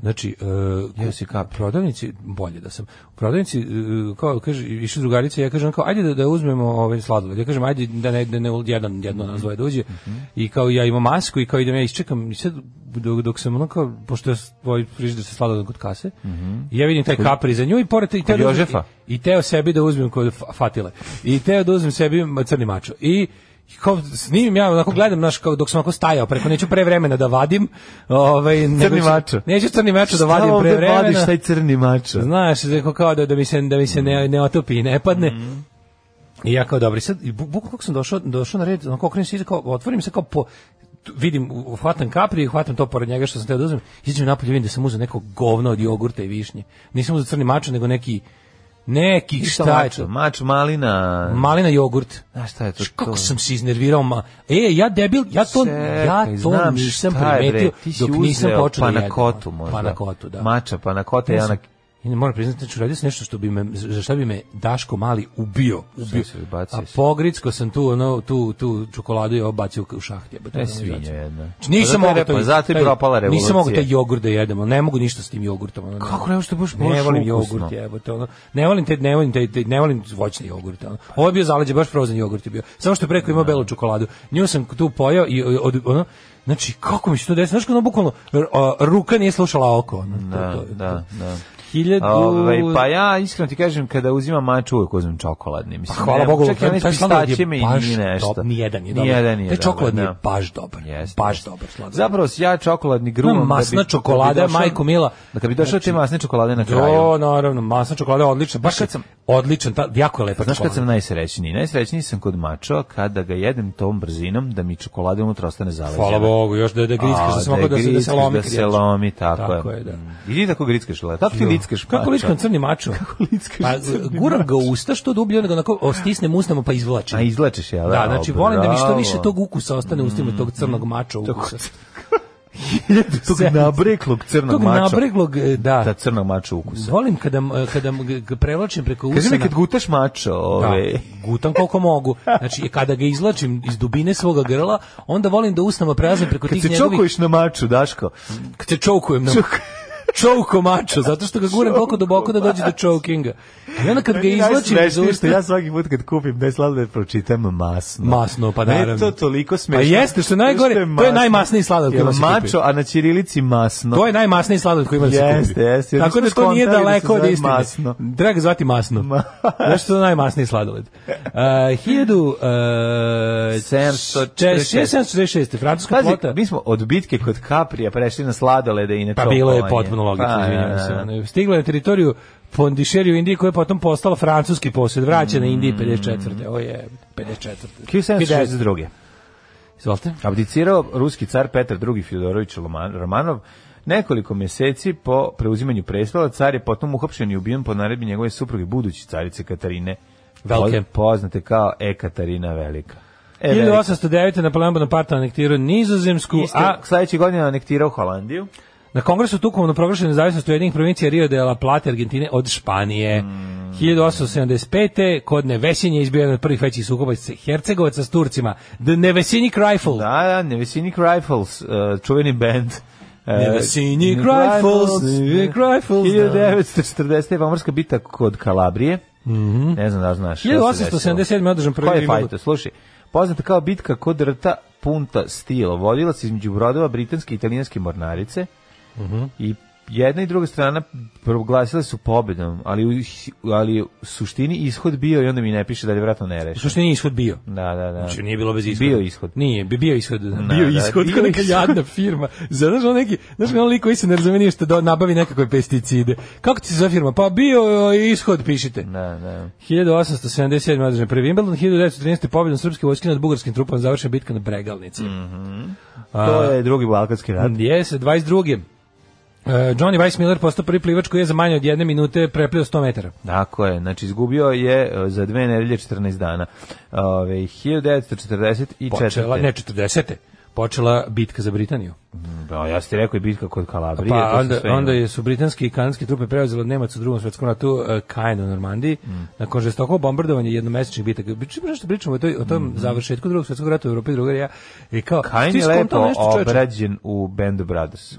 [SPEAKER 5] Znači, uh, jesi Kaprija. Prodavnici, bolje da sam. U prodavnici, e, kao kaže, išu drugarice, ja kažem, kao, ajde da, da uzmemo ovaj sladoled. Ja kažem, ajde da ne, da ne jedan, jedno nas dvoje dođe.
[SPEAKER 4] Mhm.
[SPEAKER 5] I kao ja imam masku i kao idem ja isčekam. I sad, dok, dok sam ono kao, pošto je tvoj frižider sa sladoled kod kase, i ja vidim taj kapri za nju i pored... I, teo da uzmem-
[SPEAKER 4] Mhm. Jožefa?
[SPEAKER 5] i teo sebi da uzmem kod fa- Fatile. I teo da uzmem sebi ma- crni mačo. I i kao snimim ja, onako gledam, naš, kao, dok sam onako stajao, preko neću pre vremena da vadim. Ovaj, nego ću-
[SPEAKER 4] mačo.
[SPEAKER 5] Neću crni mačo da
[SPEAKER 4] Šta
[SPEAKER 5] vadim
[SPEAKER 4] ovde
[SPEAKER 5] pre vremena.
[SPEAKER 4] vadiš taj crni mačo?
[SPEAKER 5] Znaš, neko kao da, da mi se, da mi se ne, ne otopi i ne padne.
[SPEAKER 4] Mhm.
[SPEAKER 5] I ja kao dobri sad, i bu- bukvalno kako sam došao, došao na red, onako okrenem se, iza, kao, otvorim se kao po, tu vidim, u- u- hvatam kapri, hvatam to pored njega što sam teo da uzmem, izađem napolje, vidim da sam uzeo neko govno od jogurta i višnje. Nisam uzeo crni mačo, nego neki, neki,
[SPEAKER 4] Šta
[SPEAKER 5] šta je
[SPEAKER 4] mačo?
[SPEAKER 5] to?
[SPEAKER 4] Mač malina.
[SPEAKER 5] Malina jogurt.
[SPEAKER 4] Znaš šta je to?
[SPEAKER 5] Znaš Kako
[SPEAKER 4] to?
[SPEAKER 5] sam se iznervirao, ma. E, ja debil, ja to,
[SPEAKER 4] Čekaj,
[SPEAKER 5] ja to
[SPEAKER 4] znam
[SPEAKER 5] nisam
[SPEAKER 4] šta je, bre,
[SPEAKER 5] primetio
[SPEAKER 4] ti si
[SPEAKER 5] dok nisam
[SPEAKER 4] uzeo
[SPEAKER 5] počeo da jedem.
[SPEAKER 4] panakotu možda.
[SPEAKER 5] Panakotu, da.
[SPEAKER 4] Mača, panakote,
[SPEAKER 5] Ja sam-
[SPEAKER 4] Janak.
[SPEAKER 5] I ne moram priznati, znači uradio sam nešto što bi me, za šta bi me Daško Mali ubio. ubio.
[SPEAKER 4] si bacio
[SPEAKER 5] A
[SPEAKER 4] si?
[SPEAKER 5] pogricko sam tu, ono, tu, tu čokoladu je obacio u šaht. jebote,
[SPEAKER 4] E,
[SPEAKER 5] ono,
[SPEAKER 4] svinja
[SPEAKER 5] znači.
[SPEAKER 4] jedna.
[SPEAKER 5] Znači, nisam
[SPEAKER 4] Pa zato je
[SPEAKER 5] mogao to...
[SPEAKER 4] repa-
[SPEAKER 5] i-
[SPEAKER 4] zato je
[SPEAKER 5] taj-
[SPEAKER 4] propala revolucija.
[SPEAKER 5] Nisam mogao taj jogurt da jedem, ono, ne mogu ništa s tim jogurtom. ono, ne
[SPEAKER 4] Kako
[SPEAKER 5] mogu.
[SPEAKER 4] ne možeš da budeš
[SPEAKER 5] Ne
[SPEAKER 4] baš
[SPEAKER 5] volim
[SPEAKER 4] ukusno?
[SPEAKER 5] jogurt, jebote, ono. Ne volim te, ne volim te, te- ne volim voćni jogurt, ono. Ovo je bio zaleđe, baš frozen jogurt je bio. Samo što je preko
[SPEAKER 4] Da.
[SPEAKER 5] imao belu čokoladu. Nju sam tu pojao i od, ono, Znači, kako mi se to desilo? Znaš, ono, bukvalno, r- a, ruka nije slušala oko. Ono, To-
[SPEAKER 4] Da,
[SPEAKER 5] to- to-
[SPEAKER 4] da, da.
[SPEAKER 5] Hiljadu...
[SPEAKER 4] Ovaj, pa ja iskreno ti kažem kada uzimam mač uvek uzmem čokoladni. Mislim,
[SPEAKER 5] Pa Hvala
[SPEAKER 4] ne,
[SPEAKER 5] Bogu,
[SPEAKER 4] čak i onaj s
[SPEAKER 5] taj sladoled je
[SPEAKER 4] pistaćima i
[SPEAKER 5] baš
[SPEAKER 4] nije nešto.
[SPEAKER 5] dobar, nijedan je dobar.
[SPEAKER 4] Nijedan je
[SPEAKER 5] Taj
[SPEAKER 4] dobar,
[SPEAKER 5] čokoladni
[SPEAKER 4] da.
[SPEAKER 5] je baš dobar,
[SPEAKER 4] Jeste,
[SPEAKER 5] baš
[SPEAKER 4] jeste.
[SPEAKER 5] dobar sladoled.
[SPEAKER 4] Zapravo ja čokoladni grumam.
[SPEAKER 5] Ono,
[SPEAKER 4] da bi-
[SPEAKER 5] masna
[SPEAKER 4] da bi
[SPEAKER 5] čokolada,
[SPEAKER 4] došao-
[SPEAKER 5] majko mila.
[SPEAKER 4] Da kad bi došao te
[SPEAKER 5] Znači,
[SPEAKER 4] masne čokolade na kraju.
[SPEAKER 5] Do, naravno, masna čokolada je odlična. Baš
[SPEAKER 4] kad
[SPEAKER 5] kad
[SPEAKER 4] sam-
[SPEAKER 5] sam... Odličan, ta, jako je lepa
[SPEAKER 4] Znaš kad
[SPEAKER 5] čokolada.
[SPEAKER 4] sam najsrećniji? Najsrećniji sam kod mačo kada ga jedem tom brzinom da mi čokolada unutra ostane zaleđena.
[SPEAKER 5] Hvala Bogu, još da, da grickaš,
[SPEAKER 4] A,
[SPEAKER 5] da se mogu da, se- da se
[SPEAKER 4] grickaš,
[SPEAKER 5] lomi.
[SPEAKER 4] Da
[SPEAKER 5] kad
[SPEAKER 4] se
[SPEAKER 5] jedeš.
[SPEAKER 4] lomi, tako,
[SPEAKER 5] Tako
[SPEAKER 4] je.
[SPEAKER 5] je, da.
[SPEAKER 4] Mm. I ti tako grickaš, leda. Tako ti lickaš
[SPEAKER 5] Kako
[SPEAKER 4] mačo.
[SPEAKER 5] ličkam crni mačo? Kako
[SPEAKER 4] lickaš
[SPEAKER 5] Pa,
[SPEAKER 4] crni
[SPEAKER 5] guram ga u usta što dublje, nego onako o, stisnem usnama pa izvlačim.
[SPEAKER 4] A izlečeš, jel?
[SPEAKER 5] Da, znači volim da mi što više
[SPEAKER 4] Bravo. Mm,
[SPEAKER 5] tog ukusa ostane u ustima tog crnog mača ukusa.
[SPEAKER 4] tog
[SPEAKER 5] Sedam.
[SPEAKER 4] nabreklog crnog
[SPEAKER 5] Tog
[SPEAKER 4] mača.
[SPEAKER 5] nabreglog, e, da.
[SPEAKER 4] Ta crnog mača ukusa.
[SPEAKER 5] Volim kada, m- kada m- ga- ga prevlačim preko usta.
[SPEAKER 4] Kaži mi
[SPEAKER 5] na-
[SPEAKER 4] kad gutaš mačo, ove...
[SPEAKER 5] Da, gutam koliko mogu. Znači, kada ga izlačim iz dubine svoga grla, onda volim da usnama prelazim preko
[SPEAKER 4] Kad
[SPEAKER 5] tih
[SPEAKER 4] se
[SPEAKER 5] njegovih... Da
[SPEAKER 4] čokuješ na maču, Daško,
[SPEAKER 5] Kad se čoukujem na... Čouko mačo, zato što ga guram toliko duboko da dođe do čoukinga. I onda kad ga
[SPEAKER 4] Meni
[SPEAKER 5] izlačim iz
[SPEAKER 4] najsmešnije što
[SPEAKER 5] usta...
[SPEAKER 4] ja svaki put kad kupim taj sladoled pročitam masno.
[SPEAKER 5] Masno, pa
[SPEAKER 4] Meni je
[SPEAKER 5] naravno.
[SPEAKER 4] to toliko
[SPEAKER 5] Pa
[SPEAKER 4] smešno.
[SPEAKER 5] jeste, što je najgore,
[SPEAKER 4] masno.
[SPEAKER 5] to je najmasniji sladoled koji
[SPEAKER 4] Jel
[SPEAKER 5] može se kupiti.
[SPEAKER 4] mačo, a na ćirilici masno.
[SPEAKER 5] To je najmasniji sladoled koji ima da se kupi.
[SPEAKER 4] Jeste, jeste, jer
[SPEAKER 5] Tako da
[SPEAKER 4] nismo
[SPEAKER 5] to nije
[SPEAKER 4] skontali da se
[SPEAKER 5] daleko od
[SPEAKER 4] zove
[SPEAKER 5] istine.
[SPEAKER 4] masno.
[SPEAKER 5] Treba ga zvati masno.
[SPEAKER 4] Ma-
[SPEAKER 5] Znaš što je najmasniji sladoled? Uh, 1746. Francuska
[SPEAKER 4] Pazi,
[SPEAKER 5] flota.
[SPEAKER 4] mi smo od bitke kod Kaprija prešli na sladolede i na
[SPEAKER 5] Pa
[SPEAKER 4] čokolanje.
[SPEAKER 5] bilo je potpuno logično,
[SPEAKER 4] Pa,
[SPEAKER 5] izvinjavam
[SPEAKER 4] da,
[SPEAKER 5] se.
[SPEAKER 4] da, da.
[SPEAKER 5] Ono, Stigla je na teritoriju Pondišeri u Indiji koja je potom postala francuski posjed. Vraćena Indiji
[SPEAKER 4] Mm.
[SPEAKER 5] 54. Ovo je 54.
[SPEAKER 4] 1762. E,
[SPEAKER 5] Izvolite.
[SPEAKER 4] Abdicirao ruski car Petar II. Fjodorović Roman- Romanov nekoliko mjeseci po preuzimanju prestola. Car je potom uhapšen i ubijen po naredbi njegove supruge buduće carice Katarine.
[SPEAKER 5] Velike.
[SPEAKER 4] Po- Poznate kao Ekatarina Velika. E, Velika.
[SPEAKER 5] 1809. Napoleon Bonaparte anektirao Nizozemsku,
[SPEAKER 4] Isto,
[SPEAKER 5] a
[SPEAKER 4] sledeće godine anektirao Holandiju.
[SPEAKER 5] Na kongresu Tukovno proglašena nezavisnost Ujedinih provincija Rio de la Plata Argentine od Španije.
[SPEAKER 4] Mm.
[SPEAKER 5] 1875. kod Nevesinje izbio jedan od prvih većih sukoba s- Hercegovaca s Turcima. The Nevesinjik Rifle.
[SPEAKER 4] Da, da, Nevisinik Rifles, uh, e, čuveni band.
[SPEAKER 5] Never seen you cry fools, you cry fools.
[SPEAKER 4] 1940. Pomorska bita kod Kalabrije.
[SPEAKER 5] Mhm.
[SPEAKER 4] Ne znam da znaš. šta se desilo.
[SPEAKER 5] 1877. održan prvi
[SPEAKER 4] Ko je
[SPEAKER 5] Wimbledon.
[SPEAKER 4] fajto? Slušaj, poznata kao bitka kod rta Punta Stilo, vodila se između brodova britanske i italijanske mornarice
[SPEAKER 5] Mhm.
[SPEAKER 4] i jedna i druga strana proglasile su pobedom, ali u, ali u suštini ishod bio i onda mi ne piše da li vratno ne
[SPEAKER 5] U
[SPEAKER 4] reši.
[SPEAKER 5] suštini je ishod bio.
[SPEAKER 4] Da, da, da.
[SPEAKER 5] Znači nije bilo bez ishoda.
[SPEAKER 4] Bio ishod.
[SPEAKER 5] Nije, bi bio ishod.
[SPEAKER 4] Da,
[SPEAKER 5] bio
[SPEAKER 4] da,
[SPEAKER 5] ishod,
[SPEAKER 4] bio
[SPEAKER 5] kao neka
[SPEAKER 4] ishod.
[SPEAKER 5] jadna firma. Znaš, on neki, znaš, on lik koji se ne razume ništa da nabavi nekakve pesticide. Kako ti se zove firma? Pa bio je ishod, pišite.
[SPEAKER 4] Da, da.
[SPEAKER 5] 1877. održan prvi Wimbledon, 1913. pobjedom srpske vojske nad bugarskim trupama završena bitka na Bregalnici. Da.
[SPEAKER 4] To je drugi balkanski rat.
[SPEAKER 5] Jeste, 22. Uh, Johnny Weissmiller postao prvi plivač koji je za manje od jedne minute preplio 100 metara.
[SPEAKER 4] Tako je, znači izgubio je e, za dve nedelje 14 dana. Ove, 1944.
[SPEAKER 5] Počela, ne 40. Počela bitka za Britaniju.
[SPEAKER 4] Da, ja sam ti rekao i bitka kod Kalabrije. to
[SPEAKER 5] Pa
[SPEAKER 4] sam
[SPEAKER 5] onda,
[SPEAKER 4] sve imao.
[SPEAKER 5] onda je su britanske i kanadske trupe preuzele od Nemaca u drugom svjetskom ratu uh, Kajen u Normandiji.
[SPEAKER 4] Mm.
[SPEAKER 5] Nakon žestokog bombardovanja jednomesečnih bitaka. Pričamo nešto pričamo o, toj, o tom završetku drugog svjetskog rata u Europi druga ja. I kao,
[SPEAKER 4] Kajn
[SPEAKER 5] ti
[SPEAKER 4] Mm-hmm. je
[SPEAKER 5] skontao
[SPEAKER 4] lepo
[SPEAKER 5] nešto, čoveče?
[SPEAKER 4] obrađen u Bandu Brothers.
[SPEAKER 5] Uh,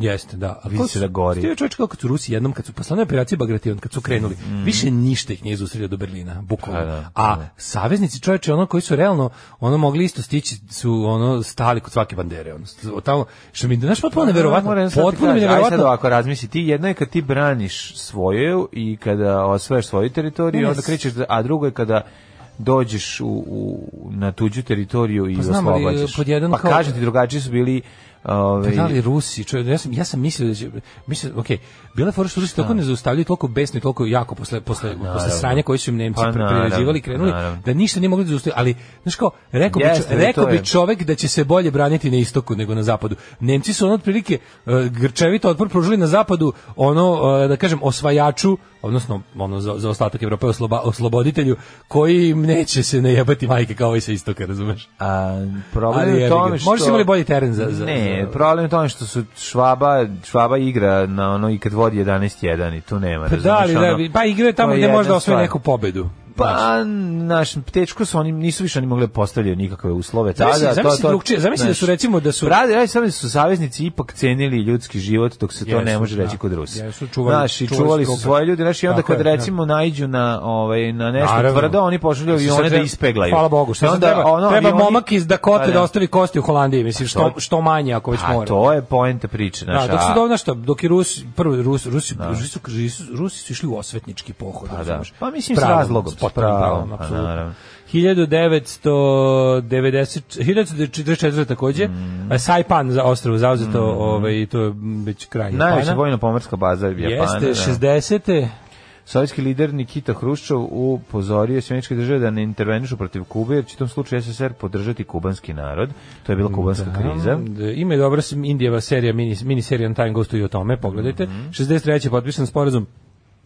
[SPEAKER 5] jeste, da. A
[SPEAKER 4] Vidi
[SPEAKER 5] ko
[SPEAKER 4] se
[SPEAKER 5] su-
[SPEAKER 4] da gori.
[SPEAKER 5] Stio je čovječ kao kad su Rusi jednom, kad su poslane operacije Bagration, kad su krenuli, više ništa ih nije zaustavljao do Berlina, bukvalno.
[SPEAKER 4] Mm-hmm. Pa da,
[SPEAKER 5] A saveznici čovječe, ono koji su realno, ono mogli isto stići, su ono stali kod svake bandere. Ono, s- od tamo, što mi, znaš, potpuno Pa, neverovatno,
[SPEAKER 4] Pa da, Moram sad ti
[SPEAKER 5] potpuno mi
[SPEAKER 4] kažem, Aj sad
[SPEAKER 5] neverovatno.
[SPEAKER 4] ovako razmisli, ti jedno je kad ti braniš svoje i kada osvajaš svoju teritoriju,
[SPEAKER 5] Ne, ne,
[SPEAKER 4] onda krećeš, da- a drugo je kada dođeš u, u, na tuđu teritoriju i
[SPEAKER 5] Pa znam, ali,
[SPEAKER 4] oslobađaš.
[SPEAKER 5] pod jedan
[SPEAKER 4] pa
[SPEAKER 5] kao-
[SPEAKER 4] kažem ti, drugačiji su bili ovaj,
[SPEAKER 5] Pa
[SPEAKER 4] ove,
[SPEAKER 5] Da li Rusi, čovjek, ja sam, ja sam mislio da će, mislim, okej, bila je fora što
[SPEAKER 4] Da.
[SPEAKER 5] Rusi toliko ne zaustavljaju, toliko besni, toliko jako posle, posle, posle sranja koji su im Nemci
[SPEAKER 4] Pa
[SPEAKER 5] pa,
[SPEAKER 4] naravno,
[SPEAKER 5] priređivali, krenuli,
[SPEAKER 4] naravno.
[SPEAKER 5] da ništa nije mogli da zaustavljaju, ali, znaš kao, rekao,
[SPEAKER 4] Jeste,
[SPEAKER 5] bi,
[SPEAKER 4] ali
[SPEAKER 5] čo- rekao
[SPEAKER 4] to je-
[SPEAKER 5] bi čovek da će se bolje braniti na istoku nego na zapadu. Nemci su ono otprilike e, grčevito otpor pružili na zapadu, ono, e, da kažem, osvajaču, odnosno, ono, za, za ostatak Evrope, osloba, osloboditelju, koji im neće se najebati majke kao ovaj sa istoka, razumeš?
[SPEAKER 4] A, problem
[SPEAKER 5] Ali
[SPEAKER 4] je u
[SPEAKER 5] jebi ga.
[SPEAKER 4] tome što...
[SPEAKER 5] Možda su imali bolji teren za- za-
[SPEAKER 4] Ne,
[SPEAKER 5] za-
[SPEAKER 4] problem je u tome što su Švaba, Švaba igra na ono i kad vodi 11-1 i tu nema.
[SPEAKER 5] Pa da,
[SPEAKER 4] razumeš,
[SPEAKER 5] ali
[SPEAKER 4] ono,
[SPEAKER 5] da, bi- pa igraju tamo
[SPEAKER 4] to je
[SPEAKER 5] gdje
[SPEAKER 4] jedna
[SPEAKER 5] možda osvoje
[SPEAKER 4] stvar.
[SPEAKER 5] neku pobedu.
[SPEAKER 4] Pa, naš, tečko su oni, nisu više oni mogli da postavljaju nikakve uslove. Tada,
[SPEAKER 5] Zamisli-
[SPEAKER 4] Da, to-
[SPEAKER 5] zamisli
[SPEAKER 4] to-
[SPEAKER 5] drugčije, zamisli da su,
[SPEAKER 4] znaš,
[SPEAKER 5] recimo, da su-
[SPEAKER 4] Brade, radi samo da su saveznici ipak cenili ljudski život, dok se to
[SPEAKER 5] Jesu,
[SPEAKER 4] ne može
[SPEAKER 5] da.
[SPEAKER 4] reći kod Rusa.
[SPEAKER 5] Jesu, čuvali-
[SPEAKER 4] Znaš, i
[SPEAKER 5] čuvali su
[SPEAKER 4] čuvali su
[SPEAKER 5] trupe.
[SPEAKER 4] svoje ljudi, znaš, i onda
[SPEAKER 5] Tako
[SPEAKER 4] kad
[SPEAKER 5] je, da.
[SPEAKER 4] recimo naiđu na, ovaj, na nešto
[SPEAKER 5] Naravno.
[SPEAKER 4] tvrdo, oni pošalju
[SPEAKER 5] Mislim,
[SPEAKER 4] avione
[SPEAKER 5] sad
[SPEAKER 4] da
[SPEAKER 5] treba-
[SPEAKER 4] ispegleju.
[SPEAKER 5] Hvala Bogu, što
[SPEAKER 4] I
[SPEAKER 5] onda,
[SPEAKER 4] onda,
[SPEAKER 5] treba,
[SPEAKER 4] ono,
[SPEAKER 5] treba
[SPEAKER 4] avioni-
[SPEAKER 5] momak iz Dakote
[SPEAKER 4] Pa
[SPEAKER 5] da. ostavi kosti u Holandiji, mislim, što,
[SPEAKER 4] to-
[SPEAKER 5] što manje ako već
[SPEAKER 4] A
[SPEAKER 5] mora.
[SPEAKER 4] to je poenta priče, znaš.
[SPEAKER 5] Da, dok
[SPEAKER 4] a-
[SPEAKER 5] su dovoljno što, dok i Rusi, prvo Rusi, Rusi, Rusi, su, kaže, su, Rusi su išli u osvetnički pohod.
[SPEAKER 4] da.
[SPEAKER 5] razumeš?
[SPEAKER 4] Pa mislim,
[SPEAKER 5] S pravom,
[SPEAKER 4] s razlogom,
[SPEAKER 5] S potpunim
[SPEAKER 4] s pravom,
[SPEAKER 5] pravom,
[SPEAKER 4] pa
[SPEAKER 5] apsolutno.
[SPEAKER 4] naravno.
[SPEAKER 5] 1990 1944 takođe mm. Saipan za ostrvo zauzeto ovaj to je mm, već kraj
[SPEAKER 4] Najveća
[SPEAKER 5] Japana
[SPEAKER 4] vojno-pomorska baza Japana.
[SPEAKER 5] jeste
[SPEAKER 4] da.
[SPEAKER 5] 60
[SPEAKER 4] Sovjetski lider Nikita Hruščov upozorio Sjemeničke države da ne intervenišu protiv Kube, jer će u tom slučaju SSR podržati kubanski narod. To je bila kubanska kriza.
[SPEAKER 5] Da, Ima je dobra s- Indijeva serija, mini, mini serija na Time Ghostu i o tome, pogledajte.
[SPEAKER 4] Mhm.
[SPEAKER 5] 63. je potpisan sporazum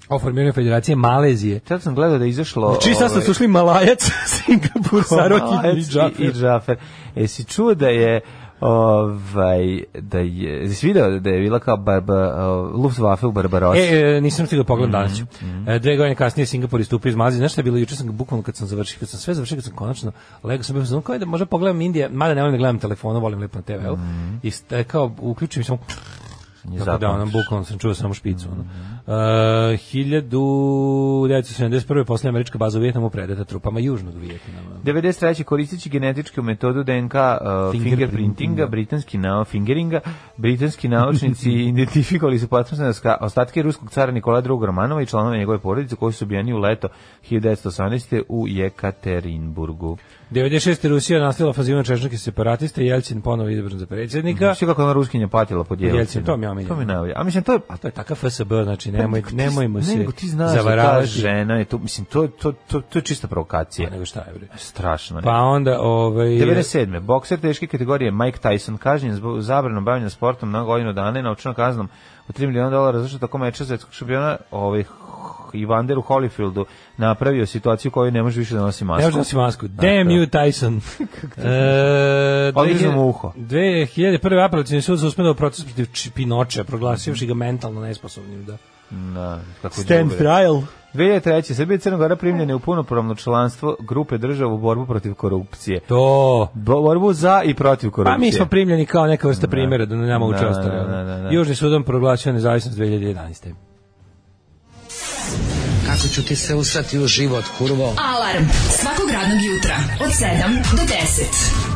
[SPEAKER 5] o formiranju federacije Malezije.
[SPEAKER 4] Sad sam gledao da je izašlo...
[SPEAKER 5] Čiji sastav
[SPEAKER 4] ovaj,
[SPEAKER 5] su ušli Malajac, Singapur, Sarok i
[SPEAKER 4] Malajac
[SPEAKER 5] Džafer.
[SPEAKER 4] I Džafer. Jesi čuo da je ovaj da je jesi video da je bila kao barba uh, Luftwaffe u Barbarosi.
[SPEAKER 5] E, e, nisam stigao pogled danas. ću.
[SPEAKER 4] Mhm,
[SPEAKER 5] E, dve godine kasnije Singapur istupio iz Malezije. Znaš šta je bilo? Juče sam bukvalno kad sam završio, kad sam sve završio, kad sam konačno legao sam bio sam kao da možda pogledam Indija, mada ne volim da gledam telefonu, volim lepo na TV-u. I st- kao uključim i samo Tako da, ono,
[SPEAKER 4] Mhm. zapamtiš. Mhm.
[SPEAKER 5] bukvalno sam čuo samo špicu. Ono. E, 1971. posle američka baza u Vjetnamu predata trupama južnog Vjetnama.
[SPEAKER 4] 93. koristeći genetičku metodu DNK uh, fingerprintinga, britanski nao fingeringa, britanski naučnici identifikovali su patmosne ostatke ruskog cara Nikola II. Romanova i članova njegove porodice koji su ubijeni u leto 1918. u Jekaterinburgu.
[SPEAKER 5] Da. 96. Rusija nastavila fazivno češnjake separatiste, Jelcin ponovo izabran za predsjednika.
[SPEAKER 4] Sve kako je ona Ruskinja patila pod Jelcinom.
[SPEAKER 5] Jelcin, to mi je omiljeno.
[SPEAKER 4] To mi je najbolje. A mislim, to je... A
[SPEAKER 5] To je takav FSB, znači nemoj,
[SPEAKER 4] nego Pa, ti-
[SPEAKER 5] nemojmo
[SPEAKER 4] ne,
[SPEAKER 5] se
[SPEAKER 4] nego ti znaš da ta
[SPEAKER 5] zavaravati.
[SPEAKER 4] žena je to, mislim, to, je- to, to, to je čista provokacija.
[SPEAKER 5] Pa nego šta je, bre.
[SPEAKER 4] Strašno. ne?
[SPEAKER 5] Pa onda, ovaj...
[SPEAKER 4] 97. Bokser teške kategorije Mike Tyson kažnjen zbog zabranom bavljanja sportom na godinu dana i novčanom kaznom od 3 miliona dolara zašto tako meča svetskog šampiona ovaj Ivander u Holyfieldu napravio situaciju u kojoj ne može više da nosi masku.
[SPEAKER 5] Ne možda nosi masku.
[SPEAKER 4] Da,
[SPEAKER 5] Damn
[SPEAKER 4] to.
[SPEAKER 5] you, Tyson. e,
[SPEAKER 4] Odgrizno mu uho.
[SPEAKER 5] 2001. apelacijni sud suspendao proces protiv Č- Pinoča, proglasivši ga mentalno nesposobnim da
[SPEAKER 4] Na, kako
[SPEAKER 6] Stand
[SPEAKER 4] đubre.
[SPEAKER 6] trial.
[SPEAKER 4] 2003. Srbija i Crna Gora primljene u punopravno članstvo grupe država u borbu protiv korupcije.
[SPEAKER 5] To.
[SPEAKER 4] Bo- Borbu za i protiv korupcije.
[SPEAKER 5] Pa mi smo primljeni kao neka vrsta primjera da na nama uče
[SPEAKER 4] Da,
[SPEAKER 5] ostale.
[SPEAKER 4] da, da,
[SPEAKER 5] ono.
[SPEAKER 4] da.
[SPEAKER 5] Južni sudan proglasio nezavisnost 2011.
[SPEAKER 7] Kako ću ti se usrati u život, kurvo?
[SPEAKER 1] Alarm svakog radnog jutra od 7 do 10.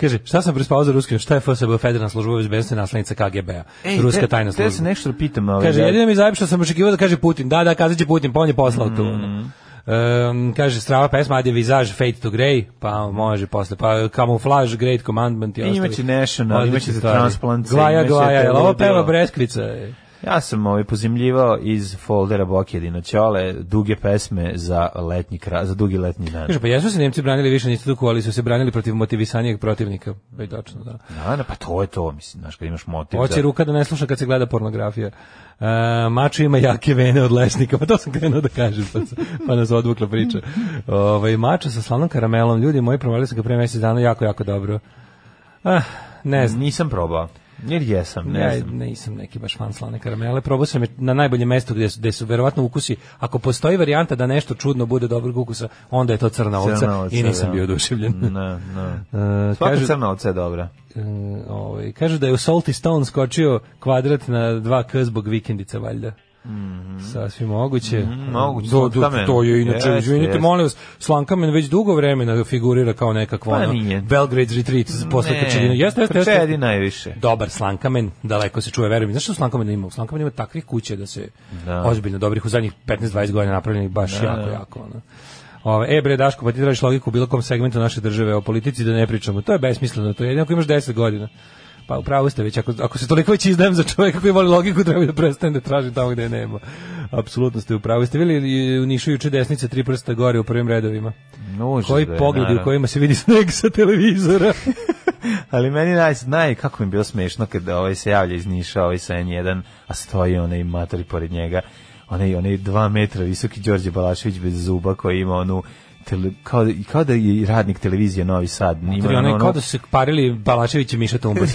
[SPEAKER 5] Kaže, šta sam prespao za ruskim? Šta je FSB Federalna služba bezbednosti naslednica KGB-a? Ruska
[SPEAKER 4] te-
[SPEAKER 5] tajna služba.
[SPEAKER 4] Te se nešto pitam. Ovaj,
[SPEAKER 5] Kaže,
[SPEAKER 4] da-
[SPEAKER 5] jedino mi je zajebao što sam očekivao da kaže Putin. Da, da, kazat će Putin, pa on je poslao tu.
[SPEAKER 4] Mhm.
[SPEAKER 5] ono. Um, kaže, strava pesma, adje vizaž, fade to grey, pa može posle, pa kamuflaž, great commandment i ostali.
[SPEAKER 4] Imaće national,
[SPEAKER 5] Odlične
[SPEAKER 4] imaće za
[SPEAKER 5] stvari.
[SPEAKER 4] transplance,
[SPEAKER 5] Glaja,
[SPEAKER 4] imaće
[SPEAKER 5] glaja,
[SPEAKER 4] te
[SPEAKER 5] jel ovo
[SPEAKER 4] ludilo.
[SPEAKER 5] peva Breskvica? je?
[SPEAKER 4] Ja sam ovaj pozimljivao iz foldera Bokjedina Ćole duge pesme za letnji kra, za dugi letnji dan.
[SPEAKER 5] Kaže, pa jesu se Nemci branili više nisu tuku, ali su se branili protiv motivisanijeg protivnika. Pa i točno, da.
[SPEAKER 4] Da, da, pa to je to, mislim, znaš, kad imaš motiv.
[SPEAKER 5] Hoće
[SPEAKER 4] da-
[SPEAKER 5] ruka da ne sluša kad se gleda pornografija. Uh, maču ima jake vene od lešnika, pa to sam krenuo da kažem, pa, sam- pa nas odvukla priča. Ovaj, mača sa slanom karamelom, ljudi moji, provalili sam ga pre mjesec dana, jako, jako dobro. Ah, ne znam.
[SPEAKER 4] Nisam probao. Jer jesam, ne
[SPEAKER 5] Ne,
[SPEAKER 4] znam.
[SPEAKER 5] nisam neki baš fan slane karamele. Probao sam je na najboljem mestu gdje su, gde su verovatno ukusi. Ako postoji varijanta da nešto čudno bude dobrog ukusa, onda je to crna ovca,
[SPEAKER 4] Crna ovca,
[SPEAKER 5] i nisam
[SPEAKER 4] da.
[SPEAKER 5] bio oduševljen.
[SPEAKER 4] Ne, ne.
[SPEAKER 5] E,
[SPEAKER 4] Svaka
[SPEAKER 5] kaže-
[SPEAKER 4] crna ovca je dobra.
[SPEAKER 5] E, ovaj, kaže da je u Salty Stone skočio kvadrat na 2K zbog vikendica, valjda. Sasvim moguće.
[SPEAKER 4] Mhm.
[SPEAKER 5] E,
[SPEAKER 4] moguće,
[SPEAKER 5] Do- do-
[SPEAKER 4] slankamen.
[SPEAKER 5] to je inače,
[SPEAKER 4] Jeste,
[SPEAKER 5] izvinite,
[SPEAKER 4] jeste.
[SPEAKER 5] molim vas, Slankamen već dugo vremena figurira kao nekakva
[SPEAKER 4] Pa
[SPEAKER 5] ono,
[SPEAKER 4] nije.
[SPEAKER 5] Belgrade Retreat z- posle Krčevina. Jeste, jeste, jeste.
[SPEAKER 4] Krčedi najviše.
[SPEAKER 5] Dobar Slankamen, daleko se čuje, verujem. Znaš što u Slankamenu ima? U Slankamenu ima takvih kuća da se ozbiljno dobrih u zadnjih 15-20 godina napravljenih baš
[SPEAKER 4] Da,
[SPEAKER 5] jako, jako. Ono. Ove, e bre Daško, pa ti tražiš logiku u bilo kom segmentu naše države o politici da ne pričamo. To je besmisleno, to je jedino ako imaš 10 godina. Pa upravo ste već, ako, ako se toliko već izdajem za čovjeka koji voli logiku, treba da prestane da traži tamo gde je nema. Apsolutno ste upravo. Ste bili u Nišu juče desnica tri prsta gore u prvim redovima?
[SPEAKER 4] Užas
[SPEAKER 5] Koji
[SPEAKER 4] da je,
[SPEAKER 5] pogledi u
[SPEAKER 4] naravno.
[SPEAKER 5] kojima se vidi sneg sa televizora?
[SPEAKER 4] Ali meni naj, naj kako mi je bilo smešno kad ovaj se javlja iz Niša, ovaj sa N1, a stoji onaj matori pored njega, onaj, onaj dva metra visoki Đorđe Balašević bez zuba koji ima onu tele, kao, da- kao da je radnik televizije Novi Sad. Ima
[SPEAKER 5] Tri, onaj
[SPEAKER 4] ono-
[SPEAKER 5] kao da su se parili Balašević i Miša Tumbac.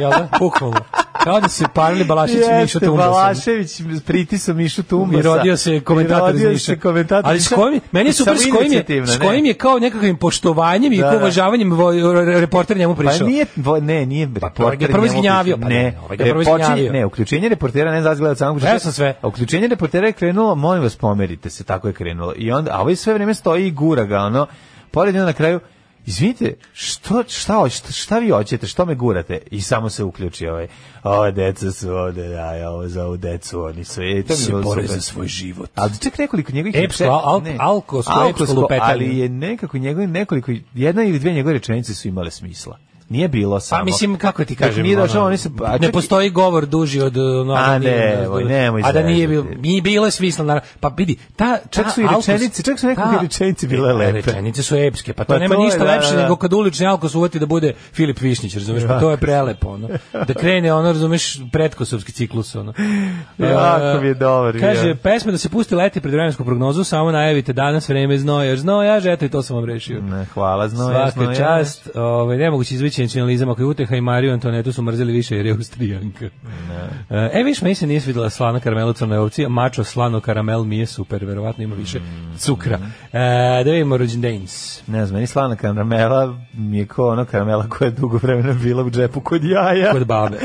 [SPEAKER 5] Jel da? Bukvalno. Kao da su se parili Balašević i Miša
[SPEAKER 4] Jeste,
[SPEAKER 5] Tumbac.
[SPEAKER 4] Balašević s pritisom Mišu Tumbasa.
[SPEAKER 5] I rodio se komentator iz
[SPEAKER 4] I rodio
[SPEAKER 5] Niša.
[SPEAKER 4] se komentator
[SPEAKER 5] Ali
[SPEAKER 4] iz
[SPEAKER 5] s
[SPEAKER 4] Niša.
[SPEAKER 5] kojim, meni je
[SPEAKER 4] Samo
[SPEAKER 5] super s kojim je,
[SPEAKER 4] inicijativno,
[SPEAKER 5] s
[SPEAKER 4] ne.
[SPEAKER 5] kojim je kao nekakvim poštovanjem i
[SPEAKER 4] Da,
[SPEAKER 5] kao
[SPEAKER 4] da.
[SPEAKER 5] uvažavanjem vo- re- reporter njemu
[SPEAKER 4] Pa
[SPEAKER 5] prišao.
[SPEAKER 4] nije, vo- ne, nije reporter.
[SPEAKER 5] ga je prvo
[SPEAKER 4] njemu
[SPEAKER 5] izgnjavio, pa
[SPEAKER 4] uključio.
[SPEAKER 5] ne, ovaj ga je prvo
[SPEAKER 4] repočinje-
[SPEAKER 5] izgnjavio.
[SPEAKER 4] Ne, uključenje reportera ne zazgleda od samog
[SPEAKER 5] Rekao sam sve.
[SPEAKER 4] A uključenje reportera je krenulo, molim vas pomerite se, tako je krenulo. I onda, a ovaj sve vrijeme stoji i gura ga, ono, pored njega na kraju, Izvinite, što, šta, hoć- šta, vi hoćete, što me gurate? I samo se uključi ovaj, ove deca su ovde, da, ovo za ovu decu, oni su, i to mi je
[SPEAKER 5] se
[SPEAKER 4] bilo
[SPEAKER 5] bore
[SPEAKER 4] super.
[SPEAKER 5] za svoj život.
[SPEAKER 4] Ali čak nekoliko njegovih
[SPEAKER 5] Epsko, al-
[SPEAKER 4] ne.
[SPEAKER 5] alkosko, epsko lupetanje.
[SPEAKER 4] ali je nekako njegovih nekoliko jedna ili dve njegove rečenice su imale smisla. Nije bilo samo.
[SPEAKER 5] Pa mislim kako ti
[SPEAKER 4] Dok
[SPEAKER 5] kažem.
[SPEAKER 4] Nije došao,
[SPEAKER 5] ono,
[SPEAKER 4] oni su pa, čak
[SPEAKER 5] ne
[SPEAKER 4] i-
[SPEAKER 5] postoji govor duži od uh, no,
[SPEAKER 4] A ne, nemoj, nemoj
[SPEAKER 5] A da nije bilo,
[SPEAKER 4] zezati.
[SPEAKER 5] nije bilo je smisla naravno. Pa vidi, ta
[SPEAKER 4] Čak
[SPEAKER 5] ta
[SPEAKER 4] su i
[SPEAKER 5] alkos-
[SPEAKER 4] rečenice, čak su nekakve
[SPEAKER 5] ta-
[SPEAKER 4] rečenice bile
[SPEAKER 5] E,
[SPEAKER 4] lepe.
[SPEAKER 5] Rečenice su epske, pa to
[SPEAKER 4] Pa
[SPEAKER 5] nema
[SPEAKER 4] to je,
[SPEAKER 5] ništa
[SPEAKER 4] da,
[SPEAKER 5] lepše
[SPEAKER 4] da.
[SPEAKER 5] nego kad ulični alkos uvati da bude Filip Višnić, razumeš? Pa to je prelepo, ono. Da krene ono, razumeš, pretkosovski ciklus, ono.
[SPEAKER 4] Jako mi je dobar,
[SPEAKER 5] Kaže,
[SPEAKER 4] ja.
[SPEAKER 5] pesma da se pusti leti pred vremensku prognozu, samo najavite danas vreme znoja, znoja, eto i to sam vam rešio.
[SPEAKER 4] Ne, hvala, znoja,
[SPEAKER 5] Svaka
[SPEAKER 4] znoja.
[SPEAKER 5] čast, ovaj nemoguće izvući nacionalizam ako je Uteha i Mariju Antonetu su mrzeli više jer je Austrijanka.
[SPEAKER 4] Da.
[SPEAKER 5] E, viš, meni se nije svidjela slana karamela u crnoj ovci, a mačo slano karamel mi je super, verovatno ima više
[SPEAKER 4] Mm.
[SPEAKER 5] cukra. E, da vidimo rođendejns.
[SPEAKER 4] Ne znam, meni slana karamela mi je ko ono karamela koja je dugo vremena bila u džepu kod jaja.
[SPEAKER 5] Kod babe.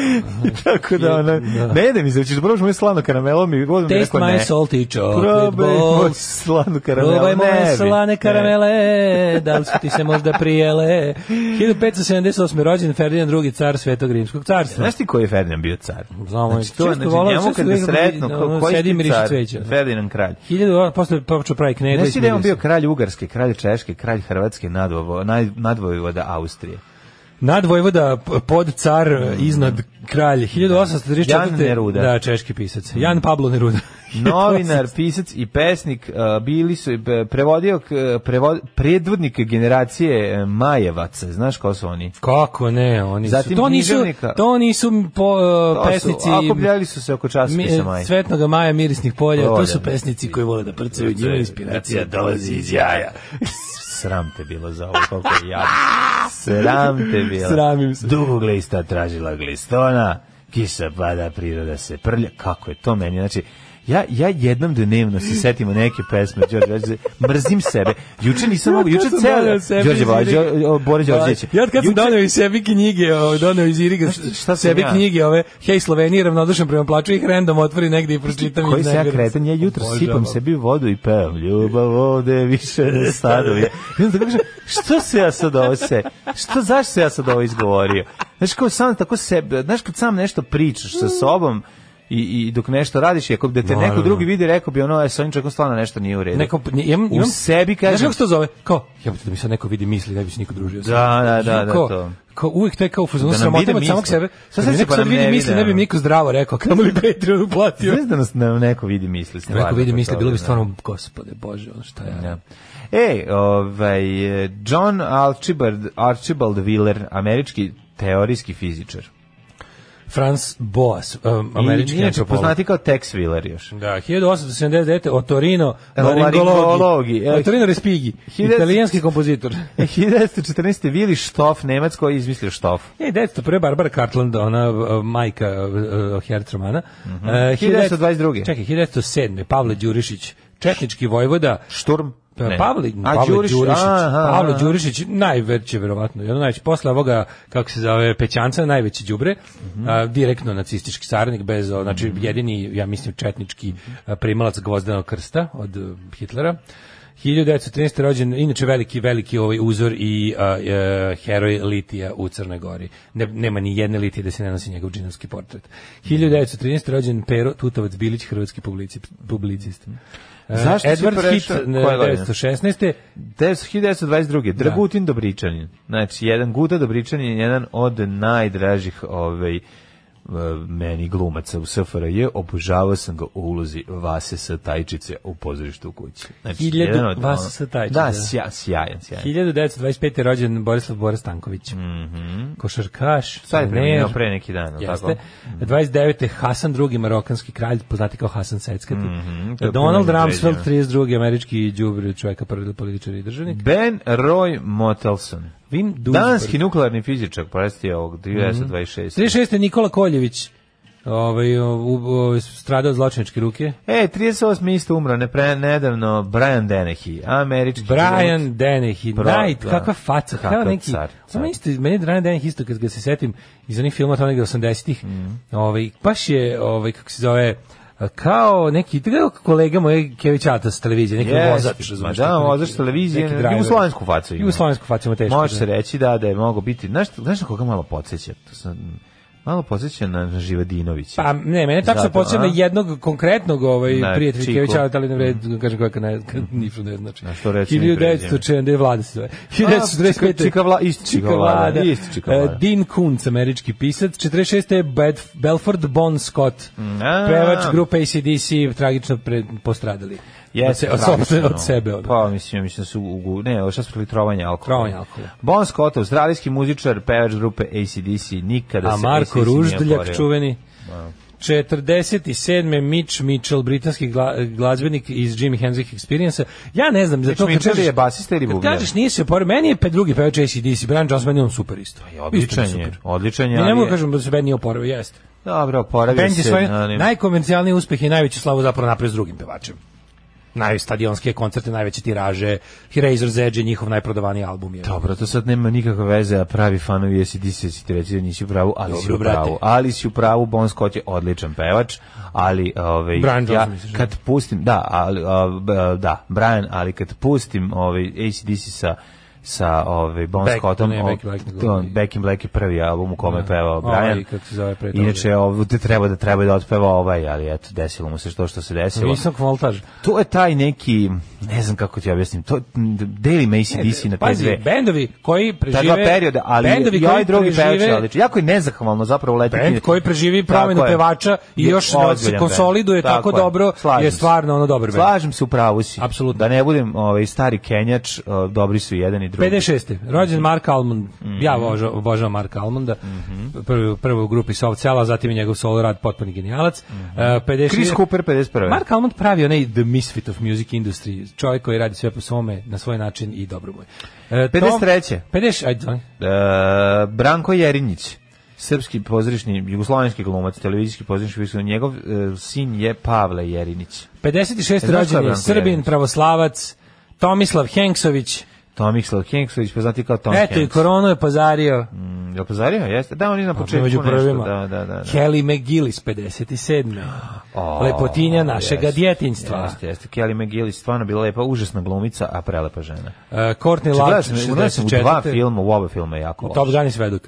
[SPEAKER 4] Tako da, ono,
[SPEAKER 5] Da.
[SPEAKER 4] ne idem izreći, da probaš moju slanu karamelu, mi god mi je
[SPEAKER 5] Taste
[SPEAKER 4] rekao
[SPEAKER 5] my
[SPEAKER 4] ne.
[SPEAKER 5] salty chocolate
[SPEAKER 4] Probaj moju
[SPEAKER 5] balls.
[SPEAKER 4] slanu karamelu, ne.
[SPEAKER 5] Probaj moje
[SPEAKER 4] bi.
[SPEAKER 5] slane
[SPEAKER 4] Ne.
[SPEAKER 5] karamele, da li su ti se možda prijele? 1578. rođen Ferdinand II. car Svetog Rimskog carstva.
[SPEAKER 4] Znaš ti koji je Ferdinand bio car?
[SPEAKER 5] Znamo,
[SPEAKER 4] znači, to,
[SPEAKER 5] često
[SPEAKER 4] je, znači,
[SPEAKER 5] volao,
[SPEAKER 4] njemu
[SPEAKER 5] često
[SPEAKER 4] kad ga
[SPEAKER 5] uvijek
[SPEAKER 4] sretnu,
[SPEAKER 5] bi-
[SPEAKER 4] ko-
[SPEAKER 5] ono,
[SPEAKER 4] koji
[SPEAKER 5] sedi i
[SPEAKER 4] si ti
[SPEAKER 5] miriši
[SPEAKER 4] car?
[SPEAKER 5] cveće.
[SPEAKER 4] Ferdinand kralj.
[SPEAKER 5] 1000 posle počeo pravi knedle.
[SPEAKER 4] Znaš ti da je on bio
[SPEAKER 5] smirio se.
[SPEAKER 4] kralj Ugarske, kralj Češke, kralj Hrvatske, nadvovo, naj, nadvojevoda Austrije.
[SPEAKER 5] Nad Vojvoda, p- pod car, iznad kralj. 1834.
[SPEAKER 4] Jan Neruda.
[SPEAKER 5] Da, češki pisac. Jan Pablo Neruda.
[SPEAKER 4] Novinar, pisac i pesnik uh, bili su, b- prevodio, k- prevo, predvodnik generacije e, Majevaca, znaš ko su oni?
[SPEAKER 5] Kako ne, oni su,
[SPEAKER 4] Zatim
[SPEAKER 5] to nisu,
[SPEAKER 4] književnika.
[SPEAKER 5] to nisu po, uh,
[SPEAKER 4] To
[SPEAKER 5] pesnici
[SPEAKER 4] Su,
[SPEAKER 5] e,
[SPEAKER 4] akupljali su se oko časopisa Maje.
[SPEAKER 5] Svetnog Maja mirisnih polja, to
[SPEAKER 4] Polja,
[SPEAKER 5] su
[SPEAKER 4] da.
[SPEAKER 5] pesnici koji vole da prcaju, njima inspiracija dolazi iz jaja.
[SPEAKER 4] Sram te bilo za ovo, koliko je jadno. Sram te bilo.
[SPEAKER 5] Sramim se.
[SPEAKER 4] Dugo glista tražila glistona, kiša pada, priroda se prlja, kako je to meni, znači, Ja, ja jednom dnevno se setim neke pesme, Đorđe, Đorđe, mrzim sebe. Juče nisam mogao, juče
[SPEAKER 5] sam
[SPEAKER 4] ceo,
[SPEAKER 5] doneo sebi
[SPEAKER 4] Đorđe,
[SPEAKER 5] iz
[SPEAKER 4] Bora,
[SPEAKER 5] Iriga.
[SPEAKER 4] Đor- o, Bore Đorđević.
[SPEAKER 5] Ja od kad sam
[SPEAKER 4] Juče-
[SPEAKER 5] doneo i sebi knjige, ovaj, doneo iz Iriga,
[SPEAKER 4] Znaš, šta sam
[SPEAKER 5] sebi
[SPEAKER 4] ja?
[SPEAKER 5] knjige ove, hej Slovenija, ravnodušan prema plaću, ih random otvori negde i pročitam.
[SPEAKER 4] Znači, koji
[SPEAKER 5] iz
[SPEAKER 4] se ja
[SPEAKER 5] nekog-
[SPEAKER 4] kreten, ja jutro sipam
[SPEAKER 5] Obožavam.
[SPEAKER 4] sebi vodu i pevam ljubav vode više ne stadovi. I onda kažem, što se ja sad ovo se, što, zašto se ja sad ovo izgovorio? Znaš, kao sam tako sebe, znaš kad sam nešto pričaš sa sobom, I, i dok nešto radiš, i ako da te neko
[SPEAKER 5] Naravno.
[SPEAKER 4] drugi vidi, rekao bi ono, e, sa ovim čovjekom stvarno nešto nije u redu.
[SPEAKER 5] Neko, ne, imam,
[SPEAKER 4] U
[SPEAKER 5] imam,
[SPEAKER 4] sebi kažem-
[SPEAKER 5] Znaš kako se to zove? Kao, jebote da mi sad neko vidi misli, da bi se niko družio. sa
[SPEAKER 4] Da,
[SPEAKER 5] mnom. Znači,
[SPEAKER 4] da, da, da,
[SPEAKER 5] Kao-
[SPEAKER 4] to.
[SPEAKER 5] Kao uvijek to je kao fuzon,
[SPEAKER 4] Da
[SPEAKER 5] da
[SPEAKER 4] nam
[SPEAKER 5] sramotam
[SPEAKER 4] vide
[SPEAKER 5] od samog
[SPEAKER 4] misle.
[SPEAKER 5] sebe.
[SPEAKER 4] Sad
[SPEAKER 5] Sad
[SPEAKER 4] se
[SPEAKER 5] se
[SPEAKER 4] pa
[SPEAKER 5] neko sad
[SPEAKER 4] nam
[SPEAKER 5] vidi
[SPEAKER 4] ne
[SPEAKER 5] misli,
[SPEAKER 4] vide,
[SPEAKER 5] ne bi
[SPEAKER 4] ono.
[SPEAKER 5] mi niko zdravo rekao, kamo li Patreon uplatio.
[SPEAKER 4] Znaš da nas nam neko vidi misli. stvarno,
[SPEAKER 5] Neko vidi
[SPEAKER 4] kod
[SPEAKER 5] misli,
[SPEAKER 4] toga,
[SPEAKER 5] bilo bi
[SPEAKER 4] da.
[SPEAKER 5] stvarno, gospode bože, ono šta ja.
[SPEAKER 4] Ja. Ej, ovaj, eh, John Archibald, Archibald Wheeler, američki teorijski fizičar.
[SPEAKER 5] Franz Boas, um, američki
[SPEAKER 4] I, inače,
[SPEAKER 5] antropolog.
[SPEAKER 4] poznati kao Tex Wheeler još.
[SPEAKER 5] Da, 1879. Otorino,
[SPEAKER 4] Laringologi,
[SPEAKER 5] laringologi.
[SPEAKER 4] evo.
[SPEAKER 5] Otorino Respighi,
[SPEAKER 4] Hiljadu-
[SPEAKER 5] italijanski kompozitor.
[SPEAKER 4] E, 1914. Vili Štof, Nemac koji je izmislio Štof.
[SPEAKER 5] E, 1901. Barbara Cartland, ona uh, majka uh, Hertromana. Mm
[SPEAKER 4] Mhm.
[SPEAKER 5] -hmm.
[SPEAKER 4] 1922..
[SPEAKER 5] Čekaj, 1907. Pavle Đurišić, četnički vojvoda.
[SPEAKER 4] Šturm?
[SPEAKER 5] Ne. Pavle,
[SPEAKER 4] A,
[SPEAKER 5] Pavle
[SPEAKER 4] Đuriš-
[SPEAKER 5] Đurišić,
[SPEAKER 4] aha,
[SPEAKER 5] Pavle
[SPEAKER 4] aha.
[SPEAKER 5] Đurišić najveće verovatno, jedno najveće posle ovoga kako se zove Pećanca najveći đubre,
[SPEAKER 4] Mhm.
[SPEAKER 5] a, direktno nacistički saradnik bez o, znači jedini ja mislim četnički a, primalac gvozdenog krsta od e, Hitlera. 1913. rođen, inače veliki, veliki ovaj uzor i a, e, heroj litija u Crnoj Gori. Ne, nema ni jedne litije da se ne nosi njegov džinovski portret. 1913. rođen Pero Tutovac Bilić, hrvatski publici, publicist. E,
[SPEAKER 4] Zašto si
[SPEAKER 5] Edward Hit,
[SPEAKER 4] prešao- koje godine?
[SPEAKER 5] 1916.
[SPEAKER 4] 1922. Dragutin Dobričanin. Znači, jedan Guta Dobričanin je jedan od najdražih ovaj, eh, meni glumaca u SFRJ. Obožavao sam ga u ulozi Vase sa Tajčice u pozorištu u kući. Znači,
[SPEAKER 5] Hiljadu
[SPEAKER 4] jedan od-
[SPEAKER 5] Vase
[SPEAKER 4] ono-
[SPEAKER 5] Satajčice,
[SPEAKER 4] Da,
[SPEAKER 5] da.
[SPEAKER 4] sja, sjajan, sjajan.
[SPEAKER 5] 1925. je rođen Borislav Bora Stanković. Mm -hmm. Košarkaš,
[SPEAKER 4] Mhm. Sad je
[SPEAKER 5] trener,
[SPEAKER 4] preminuo pre neki dan, jel
[SPEAKER 5] Jeste.
[SPEAKER 4] tako? Mhm.
[SPEAKER 5] 29. Hasan II. marokanski kralj, poznati kao Hasan Seckati.
[SPEAKER 4] Mhm, to je
[SPEAKER 5] Donald
[SPEAKER 4] puno
[SPEAKER 5] Rumsfeld,
[SPEAKER 4] izređeno.
[SPEAKER 5] 32. američki džubri čoveka, prvi političar i državnik.
[SPEAKER 4] Ben Roy Mottelson.
[SPEAKER 5] Wim Duisberg.
[SPEAKER 4] Danski nuklearni fizičar, prestio
[SPEAKER 5] Mhm.
[SPEAKER 4] ovog 1926.
[SPEAKER 5] 36. Nikola Koljević, ovaj, u, u, stradao od zločinačke ruke.
[SPEAKER 4] E, 38. isto umro, ne pre, nedavno, Brian Dennehy, američki pilot.
[SPEAKER 5] Brian Dennehy,
[SPEAKER 4] Pro-
[SPEAKER 5] Knight,
[SPEAKER 4] da.
[SPEAKER 5] kakva faca,
[SPEAKER 4] Kakav
[SPEAKER 5] kakav neki.
[SPEAKER 4] car, car.
[SPEAKER 5] Samo isto, meni je Brian Dennehy isto kad ga se setim iz onih filmova tamo negde 80-ih.
[SPEAKER 4] Mhm.
[SPEAKER 5] Ovaj baš je ovaj kako se zove kao neki kao kolega moj Kevićata s televizije, neki
[SPEAKER 4] Jeste,
[SPEAKER 5] vozač, razumeš.
[SPEAKER 4] ma da,
[SPEAKER 5] tako neki-
[SPEAKER 4] vozač televizije,
[SPEAKER 5] neki driver.
[SPEAKER 4] jugoslavensku facu ima.
[SPEAKER 5] Jugoslavensku facu ima teško.
[SPEAKER 4] Može se
[SPEAKER 5] da.
[SPEAKER 4] reći da, da je mogo biti, znaš, znaš na koga malo podsjeća? To sam, malo podsjeća na, na Živadinovića.
[SPEAKER 5] Pa ne, mene tačno
[SPEAKER 4] Zato,
[SPEAKER 5] počeo na
[SPEAKER 4] a?
[SPEAKER 5] jednog konkretnog ovaj
[SPEAKER 4] Da,
[SPEAKER 5] prijatelja
[SPEAKER 4] Čiku.
[SPEAKER 5] Kevićata, ali ne vredi, kažem kako ne, kad ni što ne znači.
[SPEAKER 4] Mm. Na što reći, ne pređe.
[SPEAKER 5] 1940 vlada se zove. 1945.
[SPEAKER 4] Čika- Čika Vla- isti Čika Vlada, isti Čika Vlada.
[SPEAKER 5] E, Dean Kuntz, američki pisac. 46. je Bed, Belford Bon Scott,
[SPEAKER 4] Mm, a.
[SPEAKER 5] pevač grupe ACDC, tragično pre, postradali. od, se, od, sopstvene- od sebe. Od.
[SPEAKER 4] Pa mislim, mislim da su ugu, ne, ovo šta su bili trovanje alkohola.
[SPEAKER 5] Trovanje alkohola.
[SPEAKER 4] Bon Scott, australijski muzičar, pevač grupe ACDC, nikada
[SPEAKER 5] A
[SPEAKER 4] Da se
[SPEAKER 5] Marko
[SPEAKER 4] AC/DC nije
[SPEAKER 5] Ruždeljak,
[SPEAKER 4] oborio. Da.
[SPEAKER 5] čuveni. 47. Mitch Mitchell, britanski gla- glazbenik iz Jimi Hendrix Experience. Ja ne znam, za to
[SPEAKER 4] Mitchell da je basista ili bubnjar?
[SPEAKER 5] Kažeš nije se pored meni je pe drugi pevač ACDC, Brian Jones meni je on super isto.
[SPEAKER 4] Pa Je, Odličan
[SPEAKER 5] Isto mi
[SPEAKER 4] je,
[SPEAKER 5] super.
[SPEAKER 4] odličan je.
[SPEAKER 5] Ja
[SPEAKER 4] ali
[SPEAKER 5] ne mogu
[SPEAKER 4] je-
[SPEAKER 5] kažem da se Ben nije oporavio, jeste.
[SPEAKER 4] Dobro, oporavio
[SPEAKER 5] Bend je
[SPEAKER 4] se. da,
[SPEAKER 5] svoj
[SPEAKER 4] ali-
[SPEAKER 5] najkomercijalniji uspeh i najveću slavu zapravo napravio s drugim pevačem. Najstadionske koncerte, najveće tiraže, Razor's Edge je njihov najprodavaniji album. Je.
[SPEAKER 4] Dobro, to sad nema nikakve veze, a pravi fanovi jesi ti se si ti reći da nisi u pravu, ali
[SPEAKER 5] Dobro,
[SPEAKER 4] si u pravu.
[SPEAKER 5] brate.
[SPEAKER 4] Ali si u pravu, Bon Scott je odličan pevač, ali ovaj
[SPEAKER 5] Brian Johnson,
[SPEAKER 4] ja
[SPEAKER 5] misliš,
[SPEAKER 4] kad pustim, da, ali a, b- a, da, Brian, ali kad pustim ovaj ACDC sa sa ovaj Bon
[SPEAKER 5] Back-
[SPEAKER 4] Scottom,
[SPEAKER 5] ne,
[SPEAKER 4] o-
[SPEAKER 5] Back in Black, nego
[SPEAKER 4] to,
[SPEAKER 5] ovaj-
[SPEAKER 4] Back in Black je prvi album u kome je pevao
[SPEAKER 5] Ovaj,
[SPEAKER 4] Brian.
[SPEAKER 5] kako se zove pre toga.
[SPEAKER 4] Inače ovde treba da treba da otpeva ovaj, ali eto desilo mu se to što se desilo.
[SPEAKER 5] Visok voltaž.
[SPEAKER 4] To je taj neki, ne znam kako ti objasnim, to deli me ACDC na te
[SPEAKER 5] Pazi,
[SPEAKER 4] dve
[SPEAKER 5] bendovi koji
[SPEAKER 4] ta
[SPEAKER 5] prežive...
[SPEAKER 4] dva perioda, ali
[SPEAKER 5] bendovi
[SPEAKER 4] i
[SPEAKER 5] koji
[SPEAKER 4] ovaj drugi pevač je
[SPEAKER 5] prežive-
[SPEAKER 4] odličan. Jako je nezahvalno zapravo leti.
[SPEAKER 5] Bend koji preživi promenu pevača i još se konsoliduje tako, dobro, je stvarno ono dobar bend.
[SPEAKER 4] Slažem se, u pravu si.
[SPEAKER 5] Apsolutno.
[SPEAKER 4] Da ne budem ovaj, stari kenjač, o, dobri su i jedan i drugi.
[SPEAKER 5] 56. Rođen Mark Almond.
[SPEAKER 4] Mhm.
[SPEAKER 5] Ja oboža- obožavam Marka Almonda. prvi, prvi u grupi Soft Cell, a zatim je njegov solo rad potpuni genijalac. E, 50
[SPEAKER 4] Mhm. Chris Cooper, 51.
[SPEAKER 5] Mark Almond pravi onaj The Misfit of Music Industry. Čovjek koji radi sve po svome, na svoj način i dobro mu je. E, Tom-
[SPEAKER 4] 53.
[SPEAKER 5] 50, ajde, zvoni.
[SPEAKER 4] E, Branko Jerinjić. srpski pozorišni, jugoslovenski glumac, televizijski pozorišni, njegov e, sin je Pavle Jerinić.
[SPEAKER 5] 56.
[SPEAKER 4] E, je
[SPEAKER 5] rođen je
[SPEAKER 4] Branko
[SPEAKER 5] Srbin,
[SPEAKER 4] Jeremić?
[SPEAKER 5] pravoslavac, Tomislav Henksović,
[SPEAKER 4] Tomislav Henksović, poznati kao Tom
[SPEAKER 5] eto i
[SPEAKER 4] Hanks.
[SPEAKER 5] koronu je pozario.
[SPEAKER 4] Mm, Jel pozario? Jeste. Da, on je na početku
[SPEAKER 5] među
[SPEAKER 4] nešto.
[SPEAKER 5] prvima.
[SPEAKER 4] Da, da, da. da.
[SPEAKER 5] Kelly McGillis, 57.
[SPEAKER 4] O,
[SPEAKER 5] Lepotinja našega
[SPEAKER 4] jeste,
[SPEAKER 5] djetinjstva.
[SPEAKER 4] Jeste, jeste. Kelly McGillis stvarno bila lepa, užasna glumica, a prelepa žena.
[SPEAKER 5] Uh, Courtney
[SPEAKER 4] Gledao
[SPEAKER 5] Love,
[SPEAKER 4] sam, gledao sam u dva
[SPEAKER 5] 64.
[SPEAKER 4] filma, u oba filma je jako
[SPEAKER 5] Top
[SPEAKER 4] loš.
[SPEAKER 5] Gun i Sveduk.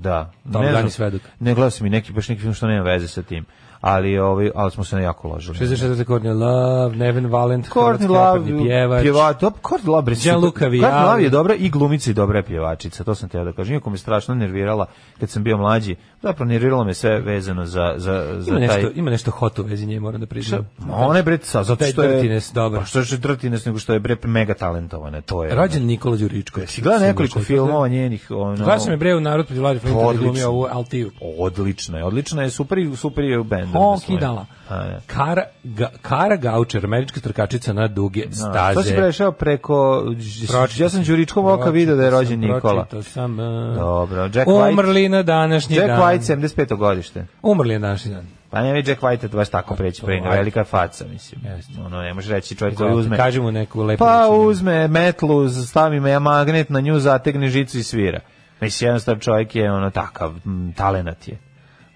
[SPEAKER 4] Da. Ne
[SPEAKER 5] Top Gun
[SPEAKER 4] znam,
[SPEAKER 5] i Svedok.
[SPEAKER 4] Ne gledao sam i neki, baš neki film što nema veze sa tim. Ali, ovaj, ali smo se jako ložili.
[SPEAKER 5] 64. Courtney Love, Neven Valent,
[SPEAKER 4] Courtney
[SPEAKER 5] Courtney
[SPEAKER 4] Love,
[SPEAKER 5] Love, pjevač.
[SPEAKER 4] pjevač, dobro, Courtney Love, bre,
[SPEAKER 5] Gianluca
[SPEAKER 4] super.
[SPEAKER 5] Vialli.
[SPEAKER 4] Courtney Love je dobra i glumica i dobra je pjevačica, to sam teo da kažem. Iako me strašno nervirala kad sam bio mlađi, zapravo nerviralo me sve vezano za, za, za
[SPEAKER 5] Ima
[SPEAKER 4] taj...
[SPEAKER 5] nešto, ima nešto hot u vezi nje, moram da priznam.
[SPEAKER 4] Ma Ona je bre, sa, zato
[SPEAKER 5] Taj
[SPEAKER 4] što je...
[SPEAKER 5] drtines, dobar.
[SPEAKER 4] Pa što je drtines, nego što je bre mega talentovana, to je...
[SPEAKER 5] Rođen Nikola Đuričko.
[SPEAKER 4] Si gledao nekoliko filmova njenih, ono...
[SPEAKER 5] Gledao sam je bre u narod protiv vlade Flinta da
[SPEAKER 4] Odlično.
[SPEAKER 5] glumio ovu Altiju.
[SPEAKER 4] Odlična je, odlična je, super, i- super je u bendu.
[SPEAKER 5] Honky dala.
[SPEAKER 4] Da.
[SPEAKER 5] Kara, ga, Kara Gaučer, američka trkačica na duge staze.
[SPEAKER 4] Da, To si prešao preko...
[SPEAKER 5] Da, Pročitao
[SPEAKER 4] Ja sam Đuričkov oka
[SPEAKER 5] Pročitao
[SPEAKER 4] video da je rođen
[SPEAKER 5] sam,
[SPEAKER 4] Nikola.
[SPEAKER 5] Pročitao sam. uh,
[SPEAKER 4] Dobro, Jack White-
[SPEAKER 5] Umrli na današnji
[SPEAKER 4] Jack
[SPEAKER 5] dan.
[SPEAKER 4] White, 75. godište.
[SPEAKER 5] Umrli na današnji dan.
[SPEAKER 4] Pa ne vidi Jack White baš tako preći pre njega,
[SPEAKER 5] ajde.
[SPEAKER 4] velika je faca, mislim.
[SPEAKER 5] Pa Jeste.
[SPEAKER 4] Ono, ne može reći čovjek koji
[SPEAKER 5] Izvolite,
[SPEAKER 4] uzme.
[SPEAKER 5] kaži mu neku lepu
[SPEAKER 4] Pa
[SPEAKER 5] rečenicu.
[SPEAKER 4] uzme metlu, stavi me magnet na nju, zategne žicu i svira. Mislim, jednostavno čovjek je ono takav, mm, talenat je.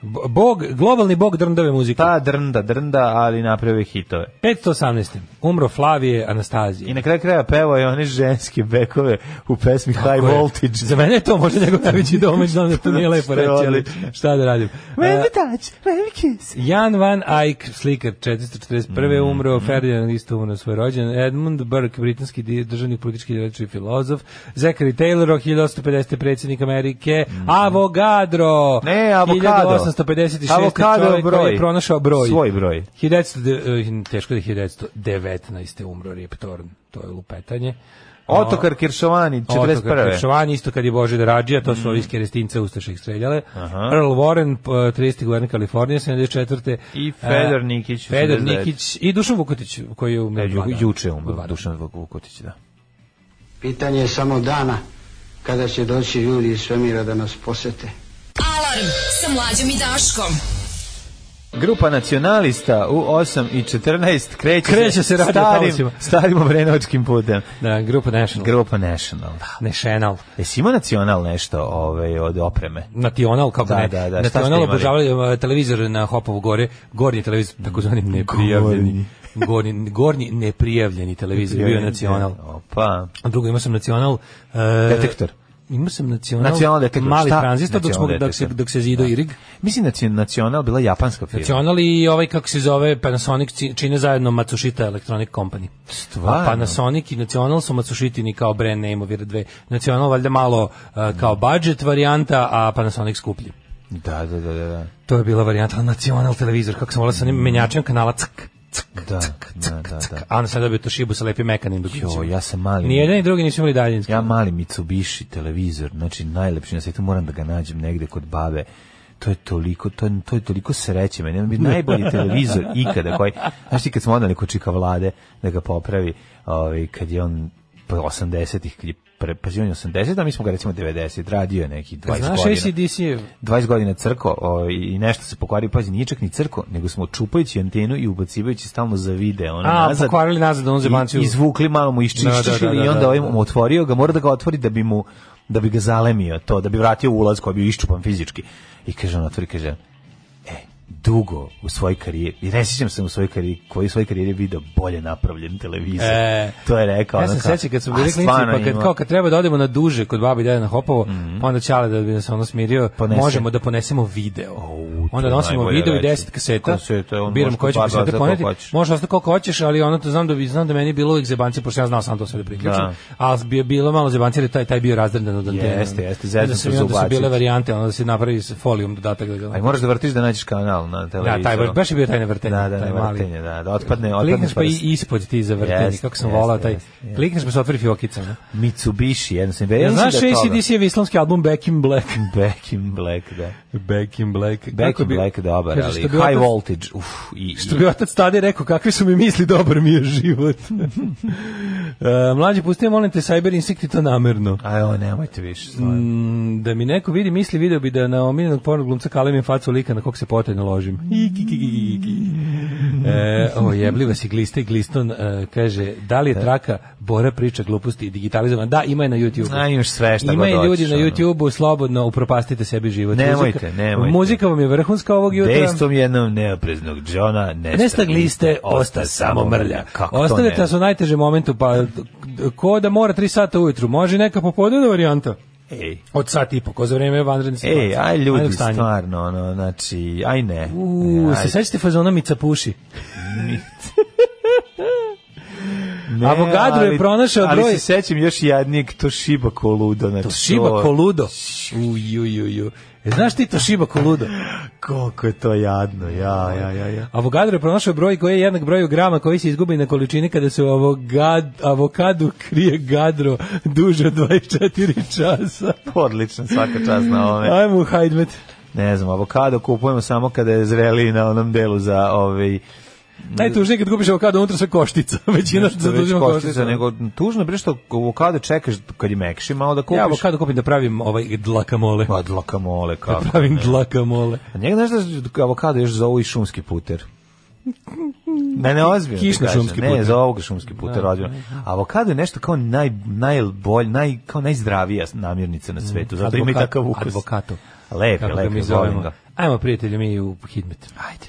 [SPEAKER 5] B- Bog, globalni bog drndave muzike.
[SPEAKER 4] Ta drnda, drnda, ali napravio je hitove.
[SPEAKER 5] 518. Umro Flavije
[SPEAKER 4] I
[SPEAKER 5] Anastazije.
[SPEAKER 4] na kraju kraja pevao je one ženske bekove u pesmi High
[SPEAKER 5] Koje-
[SPEAKER 4] Voltage.
[SPEAKER 5] Za mene je to možda njegov najveći domaći, znam da to nije lepo
[SPEAKER 4] Što je
[SPEAKER 5] reći, ali
[SPEAKER 4] odlično.
[SPEAKER 5] šta da radim.
[SPEAKER 4] When
[SPEAKER 5] Uh,
[SPEAKER 4] we touch, when we kiss.
[SPEAKER 5] Jan van Eyck, slikar 441.
[SPEAKER 4] Mhm,
[SPEAKER 5] umro, Ferdinand isto umro na svoj rođen, Edmund Burke, britanski di- državnik, politički djevač i filozof, Zachary Taylor, 1850. predsjednik Amerike, Avogadro,
[SPEAKER 4] Mhm. Ne, avokado.
[SPEAKER 5] 1856.
[SPEAKER 4] Avokado
[SPEAKER 5] čovjek koji
[SPEAKER 4] broj.
[SPEAKER 5] je pronašao broj.
[SPEAKER 4] Svoj broj.
[SPEAKER 5] 1900, de- eh, teško da je 1919. umro Rip Torn, to je lupetanje.
[SPEAKER 4] Otokar Kiršovani, 41.
[SPEAKER 5] Šovan isto kad je Bože Drađija, to
[SPEAKER 4] Mm.
[SPEAKER 5] su ovi iz Kerestinca Ustaše ih streljale. Earl Warren, p- 30. guverner Kalifornije, 74.
[SPEAKER 4] I
[SPEAKER 5] E,
[SPEAKER 4] Feder Nikić,
[SPEAKER 5] Feder
[SPEAKER 4] 89.
[SPEAKER 5] Nikić i Dušan Vukotić, koji je umro.
[SPEAKER 4] E,
[SPEAKER 5] dva dana.
[SPEAKER 4] ju, juče je umro,
[SPEAKER 5] Dva
[SPEAKER 4] Dušan Vukotić, da.
[SPEAKER 6] Pitanje je samo dana kada će doći ljudi iz svemira da nas posete.
[SPEAKER 1] Alarm sa mlađom i Daškom.
[SPEAKER 4] Grupa nacionalista u 8 i 14 kreće,
[SPEAKER 5] Kreće se radio
[SPEAKER 4] starim,
[SPEAKER 5] talasima.
[SPEAKER 4] starim obrenovačkim putem.
[SPEAKER 5] Da, grupa National.
[SPEAKER 4] Grupa National.
[SPEAKER 5] National.
[SPEAKER 4] Jesi imao nacional nešto ovaj, od opreme?
[SPEAKER 5] National, kako
[SPEAKER 4] Da,
[SPEAKER 5] ne.
[SPEAKER 4] da, da, šta ste
[SPEAKER 5] National
[SPEAKER 4] imali?
[SPEAKER 5] obožavali e, televizor na Hopovu gore, gornji televizor, takozvani neprijavljeni. Gornji, gornji neprijavljeni televizor, bio je Nacional.
[SPEAKER 4] da, Opa.
[SPEAKER 5] A drugo, imao sam nacional... Uh,
[SPEAKER 4] Detektor.
[SPEAKER 5] Imao sam nacional,
[SPEAKER 4] Nacional detektor,
[SPEAKER 5] mali
[SPEAKER 4] šta?
[SPEAKER 5] tranzistor dok, smo,
[SPEAKER 4] Nacional
[SPEAKER 5] dok, se,
[SPEAKER 4] detektor.
[SPEAKER 5] dok se zido
[SPEAKER 4] Da.
[SPEAKER 5] irig.
[SPEAKER 4] Mislim da je nacional bila japanska firma.
[SPEAKER 5] Nacional i ovaj, kako se zove, Panasonic ci- čine zajedno Matsushita Electronic Company.
[SPEAKER 4] Stvarno?
[SPEAKER 5] A Panasonic i Nacional su Matsushitini kao brand name ovire dve. Nacional valjda malo uh, kao budget varijanta, a Panasonic skuplji.
[SPEAKER 4] Da, da, da, da. da.
[SPEAKER 5] To je bila varijanta Nacional televizor, kako sam volao sa
[SPEAKER 4] Mm.
[SPEAKER 5] onim menjačem kanala ck, ck,
[SPEAKER 4] Da,
[SPEAKER 5] ck,
[SPEAKER 4] da,
[SPEAKER 5] ck,
[SPEAKER 4] da,
[SPEAKER 5] ck.
[SPEAKER 4] da.
[SPEAKER 5] A onda sam dobio Toshibu sa lepim
[SPEAKER 4] Jo,
[SPEAKER 5] mekanim dokućima.
[SPEAKER 4] ja sam mali.
[SPEAKER 5] Ni jedan ni drugi nisu imali daljinski.
[SPEAKER 4] Ja mali Mitsubishi televizor, znači najlepši na svetu, moram da ga nađem negde kod babe. To je toliko, to je, to je toliko sreće meni. On bi najbolji televizor ikada koji, znaš ti kad smo odnali kod čika vlade da ga popravi, ovaj, kad je on po 80-ih, kad je pre, pa on je 80, a mi smo ga recimo 90, radio je neki 20
[SPEAKER 5] Pa Znaš,
[SPEAKER 4] godina.
[SPEAKER 5] ACDC je
[SPEAKER 4] 20 godina crko ovaj, i nešto se pokvario, pazi, nije čak ni crko, nego smo čupajući antenu i ubacivajući stalno za vide, ono,
[SPEAKER 5] A,
[SPEAKER 4] nazad.
[SPEAKER 5] pokvarili nazad da onu zebanciju.
[SPEAKER 4] I, izvukli malo mu iščišćili
[SPEAKER 5] Da, da, da,
[SPEAKER 4] i
[SPEAKER 5] da,
[SPEAKER 4] onda
[SPEAKER 5] da,
[SPEAKER 4] ovaj
[SPEAKER 5] da.
[SPEAKER 4] mu otvorio ga, mora da ga otvori da bi mu da bi ga zalemio to, da bi vratio ulaz koji je bio iščupan fizički. I kaže on otvori, kaže, e, dugo u svojoj karijeri, i ne sjećam se u svojoj karijeri, koji u svojoj karijeri je video bolje napravljen televizor.
[SPEAKER 5] E,
[SPEAKER 4] to je rekao.
[SPEAKER 5] Ja sam
[SPEAKER 4] ono kao,
[SPEAKER 5] sećam kad smo
[SPEAKER 4] da, a,
[SPEAKER 5] bili klinci,
[SPEAKER 4] stvarno
[SPEAKER 5] pa kad,
[SPEAKER 4] ima-
[SPEAKER 5] kao kad treba da odemo na duže kod babi i dede na Hopovo, pa onda ćale da bi nas ono smirio,
[SPEAKER 4] Ponese.
[SPEAKER 5] možemo da ponesemo video.
[SPEAKER 4] to
[SPEAKER 5] onda
[SPEAKER 4] je
[SPEAKER 5] nosimo
[SPEAKER 4] najbolja
[SPEAKER 5] video i
[SPEAKER 4] reč.
[SPEAKER 5] 10 kaseta.
[SPEAKER 4] Kasete, on
[SPEAKER 5] biram
[SPEAKER 4] može
[SPEAKER 5] koje ćemo
[SPEAKER 4] baba za
[SPEAKER 5] kasete
[SPEAKER 4] koliko
[SPEAKER 5] poneti.
[SPEAKER 4] hoćeš.
[SPEAKER 5] Može ostati koliko hoćeš, ali ono to znam da bi znam da meni je bilo uvijek zebanci, pošto ja znao sam to sve da priključim.
[SPEAKER 4] Da.
[SPEAKER 5] Ali bi je bilo malo zebanci, jer je taj taj bio razdradan od antene.
[SPEAKER 4] Jeste, jeste, zezno
[SPEAKER 5] Onda sam
[SPEAKER 4] su
[SPEAKER 5] i onda su
[SPEAKER 4] zubaciti.
[SPEAKER 5] bile varijante, onda da se napravi s folijom dodatak da
[SPEAKER 4] A i
[SPEAKER 5] ga.
[SPEAKER 4] moraš da vrtiš da nađeš kanal na televizoru.
[SPEAKER 5] Da, taj baš- baš je bio taj na vrtenju,
[SPEAKER 4] Da, da,
[SPEAKER 5] taj
[SPEAKER 4] na
[SPEAKER 5] mali.
[SPEAKER 4] vrtenju, da, da, otpadne, otpadne
[SPEAKER 5] Klikneš pa i ispod ti zavrteni,
[SPEAKER 4] Jeste,
[SPEAKER 5] kako sam
[SPEAKER 4] jeste,
[SPEAKER 5] volao taj.
[SPEAKER 4] jeste, jeste.
[SPEAKER 5] Klikneš pa se otvori fiokica. ne?
[SPEAKER 4] Mitsubishi, jednostavno. Ja,
[SPEAKER 5] Ja,
[SPEAKER 4] mislim
[SPEAKER 5] znaš,
[SPEAKER 4] da je toga.
[SPEAKER 5] ACDC je islamski album Back in Black.
[SPEAKER 4] Back in Black, da.
[SPEAKER 5] Back in Black.
[SPEAKER 4] Back Black and Black je dobar,
[SPEAKER 5] kaže,
[SPEAKER 4] ali
[SPEAKER 5] što bi
[SPEAKER 4] High
[SPEAKER 5] otac-
[SPEAKER 4] Voltage, uf, i,
[SPEAKER 5] Što bi otac tada rekao, kakvi su mi misli, dobar mi je život. e, mlađi, pusti, molim te, Cyber Instinct i to namerno.
[SPEAKER 4] Aj, o, nemojte više. stvarno.
[SPEAKER 5] Mm, da mi neko vidi misli, video bi da na omiljenog pornog glumca kalemim facu lika na kog se potajno ložim. Iki, ki, ki, ki, ki. E, o, jebliva si glista i gliston, e, kaže, da li je traka Bora priča gluposti digitalizovana? Da, ima je na YouTube.
[SPEAKER 4] A, imaš sve E, šta
[SPEAKER 5] Ima
[SPEAKER 4] god
[SPEAKER 5] i ljudi
[SPEAKER 4] hoćeš,
[SPEAKER 5] na
[SPEAKER 4] ono.
[SPEAKER 5] YouTube-u, slobodno upropastite sebi život.
[SPEAKER 4] Nemojte,
[SPEAKER 5] Muzika-
[SPEAKER 4] nemojte.
[SPEAKER 5] Muzika vam je vrhunska ovog jutra.
[SPEAKER 4] Dejstvom jednom neopreznog Johna
[SPEAKER 5] Nestag liste, osta samo mrlja. Ostavite da nas u najtežem momentu, pa ko da mora 3 sata ujutru, može i neka popodnevna varijanta.
[SPEAKER 4] Ej,
[SPEAKER 5] Od sat i po, ko za vreme vanredne situacije.
[SPEAKER 4] ej, aj ljudi,
[SPEAKER 5] vanrednog stanja.
[SPEAKER 4] stvarno, ono, znači, aj ne.
[SPEAKER 5] U,
[SPEAKER 4] Aj, Pa
[SPEAKER 5] se sećate fazona mi capuši?
[SPEAKER 4] ne,
[SPEAKER 5] Avogadro je
[SPEAKER 4] ali-
[SPEAKER 5] pronašao broj-
[SPEAKER 4] Ali se sećam još jednijeg, to šiba koludo, znači.
[SPEAKER 5] To šiba koludo. Uj, uj, uj, uj. E, znaš ti to šiba koludo?
[SPEAKER 4] Koliko je to jadno, ja, ja, ja, ja.
[SPEAKER 5] Avogadro je pronašao broj koji je jednak broju grama koji se izgubi na količini kada se u avogad, avokadu krije gadro duže od 24 časa.
[SPEAKER 4] Odlično, svaka čast na ovome.
[SPEAKER 5] Ajmo u hajdmet.
[SPEAKER 4] Ne znam, avokado kupujemo samo kada je zreli na onom delu za ovaj
[SPEAKER 5] Najtužnije kad kupiš avokado, unutra sve koštica. Većina
[SPEAKER 4] što već
[SPEAKER 5] zadužimo koštica.
[SPEAKER 4] koštica, nego tužno je bre što avokado čekaš kad je mekši, malo da kupiš.
[SPEAKER 5] Ja avokado kupim da pravim ovaj dlakamole.
[SPEAKER 4] Pa dlakamole,
[SPEAKER 5] Da
[SPEAKER 4] kako.
[SPEAKER 5] pravim dlakamole.
[SPEAKER 4] A njega znaš da avokado još zovu i šumski puter. Ne, ne, ozbiljno. ti
[SPEAKER 5] Kišni
[SPEAKER 4] kažem.
[SPEAKER 5] šumski
[SPEAKER 4] ne,
[SPEAKER 5] puter. Da,
[SPEAKER 4] zovu ga šumski puter, ozbiljno. Avokado je nešto kao naj, najbolj, naj, kao najzdravija namirnica na svetu, zato ima i
[SPEAKER 5] Mm. Advokat-
[SPEAKER 4] takav ukus.
[SPEAKER 5] Advokato.
[SPEAKER 4] Lep je,
[SPEAKER 5] Kako
[SPEAKER 4] lep
[SPEAKER 5] ga mi
[SPEAKER 4] je, volim
[SPEAKER 5] zovemo.
[SPEAKER 4] ga.
[SPEAKER 5] Ajmo prijatelji mi u hitmet.
[SPEAKER 4] Ajde.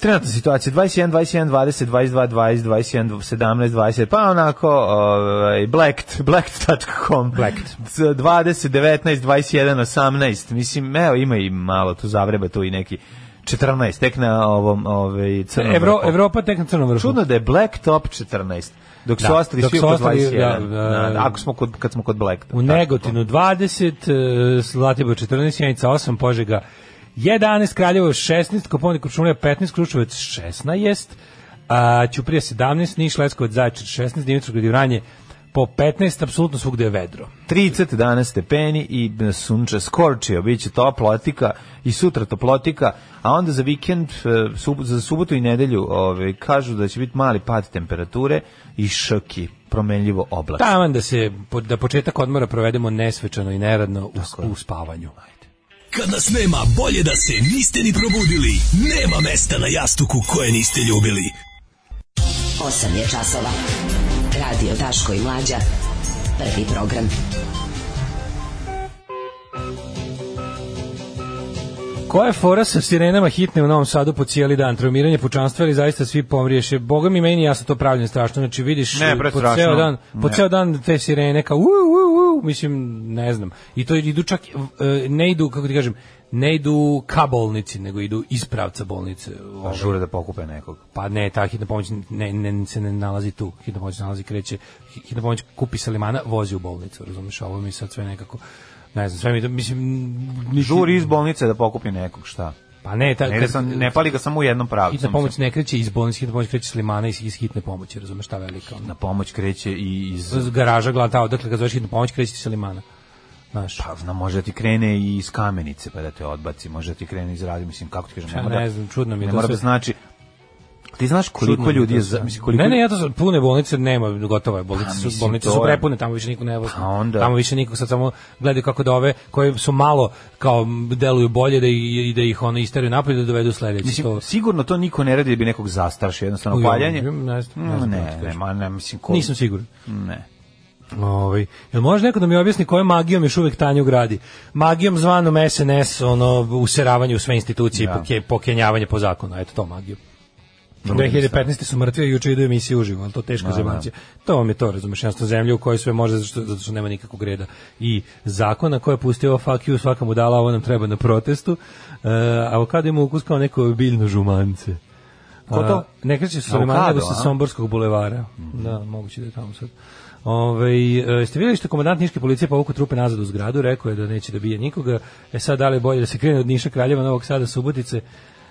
[SPEAKER 4] Trenutna situacija 21 21 20 22 20 21 17 20 pa onako ovaj blacked blacked.com blacked 20 19 21 18 mislim evo ima i malo tu zavreba tu i neki 14 tek na ovom ovaj crnom
[SPEAKER 5] Evro,
[SPEAKER 4] vrhu.
[SPEAKER 5] Evropa tek na crnom vrhu.
[SPEAKER 4] Čudno da je Black Top 14. Dok su
[SPEAKER 5] Da,
[SPEAKER 4] ostali
[SPEAKER 5] dok
[SPEAKER 4] svi
[SPEAKER 5] su
[SPEAKER 4] oko
[SPEAKER 5] ostali,
[SPEAKER 4] 21.
[SPEAKER 5] da, da.
[SPEAKER 4] Da, da, ako smo kod, kad smo kod Black Top.
[SPEAKER 5] U Negotinu 20, e, Zlatibor 14, Sjenica 8, Požega 11, Kraljevo 16, Koponik Kručunija 15, Kručevac 16, a, Ćuprija 17, Niš, Leskovac, Zaječar 16, Dimitrovgrad i Vranje po 15, apsolutno svugde je vedro.
[SPEAKER 4] 30 danas stepeni i sunče skorčio, bit će toplotika i sutra toplotika, a onda za vikend, e, sub, za subotu i nedelju ove, kažu da će biti mali pad temperature i šoki, promenljivo oblak.
[SPEAKER 5] Taman da se po- da početak odmora provedemo nesvečano i neradno u, u spavanju.
[SPEAKER 8] Kad nas nema, bolje da se niste ni probudili. Nema mesta na jastuku koje niste ljubili.
[SPEAKER 1] 8 je časova. Radio Daško i Mlađa. Prvi program.
[SPEAKER 5] Koja je fora sa sirenama hitne u Novom Sadu po cijeli dan? Traumiranje pučanstva ili zaista svi pomriješe? Boga mi meni ja sam to pravljen strašno. Znači vidiš
[SPEAKER 4] Ne,
[SPEAKER 5] eh,
[SPEAKER 4] bre,
[SPEAKER 5] po
[SPEAKER 4] strašno.
[SPEAKER 5] ceo dan, po
[SPEAKER 4] Ne.
[SPEAKER 5] ceo dan te sirene kao u, u, u, mislim ne znam. I to idu čak eh, ne idu kako ti kažem, ne idu ka bolnici, nego idu iz pravca bolnice. Ovaj,
[SPEAKER 4] Žure da pokupe nekog.
[SPEAKER 5] Pa ne, ta hitna pomoć ne, ne, se ne nalazi tu. Hitna pomoć se nalazi kreće. hi- Hitna pomoć kupi sa limana, vozi u bolnicu, razumiješ? Ovo mi sad sve nekako ne znam, sve mi to, mislim... niti-
[SPEAKER 4] Žuri iz bolnice da pokupi nekog, šta?
[SPEAKER 5] Pa ne, ta,
[SPEAKER 4] Ne, da
[SPEAKER 5] kad-
[SPEAKER 4] sam, ne pali ga samo u jednom pravcu.
[SPEAKER 5] Hitna pomoć ne kreće iz bolnice, hitna pomoć kreće s limana iz, iz hitne pomoći, razumeš šta velika. Ono.
[SPEAKER 4] Na pomoć kreće i iz...
[SPEAKER 5] Z- Garaža, glava, ta odakle ga zoveš hitnu pomoć, kreće s limana. Znaš,
[SPEAKER 4] Pa zna, može da ti krene i iz kamenice pa da te odbaci, može da ti krene iz radi, mislim kako ti kažem,
[SPEAKER 5] Ja
[SPEAKER 4] mora
[SPEAKER 5] ne znam, čudno mi je
[SPEAKER 4] ne
[SPEAKER 5] to
[SPEAKER 4] mora
[SPEAKER 5] sve.
[SPEAKER 4] Pa, da znači Ti znaš koliko
[SPEAKER 5] čudno mi
[SPEAKER 4] ljudi je,
[SPEAKER 5] to sve.
[SPEAKER 4] za- mislim koliko
[SPEAKER 5] Ne, ne, ja to sam, pune bolnice nema, gotovo je, bolnice,
[SPEAKER 4] Pa,
[SPEAKER 5] su,
[SPEAKER 4] mislim,
[SPEAKER 5] bolnice
[SPEAKER 4] to
[SPEAKER 5] su
[SPEAKER 4] je-
[SPEAKER 5] prepune, tamo više niko ne vozi.
[SPEAKER 4] Pa onda-
[SPEAKER 5] Tamo više nikog, sad samo gledaju kako da ove, koje su malo, kao, m, deluju bolje, da, i, i da ih ono isteraju napolje, da dovedu sledeće.
[SPEAKER 4] mislim,
[SPEAKER 5] to...
[SPEAKER 4] sigurno to niko ne radi da bi nekog zastrašio, jednostavno
[SPEAKER 5] Uj,
[SPEAKER 4] paljanje.
[SPEAKER 5] ne znam, ne znam, ne
[SPEAKER 4] Mm,
[SPEAKER 5] znam kako
[SPEAKER 4] ne,
[SPEAKER 5] ti
[SPEAKER 4] ne,
[SPEAKER 5] kažem.
[SPEAKER 4] ma, ne, mislim ko.
[SPEAKER 5] Nisam siguran.
[SPEAKER 4] Ne.
[SPEAKER 5] Ovaj, jel može neko da mi objasni kojom magijom još uvek Tanju gradi? Magijom zvanom SNS, ono, useravanje u sve institucije
[SPEAKER 4] Da.
[SPEAKER 5] i poke, pokenjavanje po zakonu, eto to magijom. 2015. su mrtvi, a juče idu emisije uživo, ali to
[SPEAKER 4] Da,
[SPEAKER 5] teško zemancija. To vam je to, razumeš, jednostavno zemlja u kojoj sve može, zato što, zato što nema nikakvog reda. I zakona koja je pustio "Oh, fuck you, svaka mu dala, ovo nam treba na protestu, e, avokado ima ukus kao neko biljno žumance.
[SPEAKER 4] Ko to?
[SPEAKER 5] A, Ne kreće se Solimana,
[SPEAKER 4] Avokado,
[SPEAKER 5] nego
[SPEAKER 4] a?
[SPEAKER 5] sa
[SPEAKER 4] Mhm.
[SPEAKER 5] Somborskog bulevara. Da, moguće da je tamo sad. Ovaj, Ove, ste vidjeli što je komandant Niške policije povuku trupe nazad u zgradu, rekao je da neće da bije nikoga. E sad, da li je bolje da se krene od Niša Kraljeva, Novog Sada, Subotice,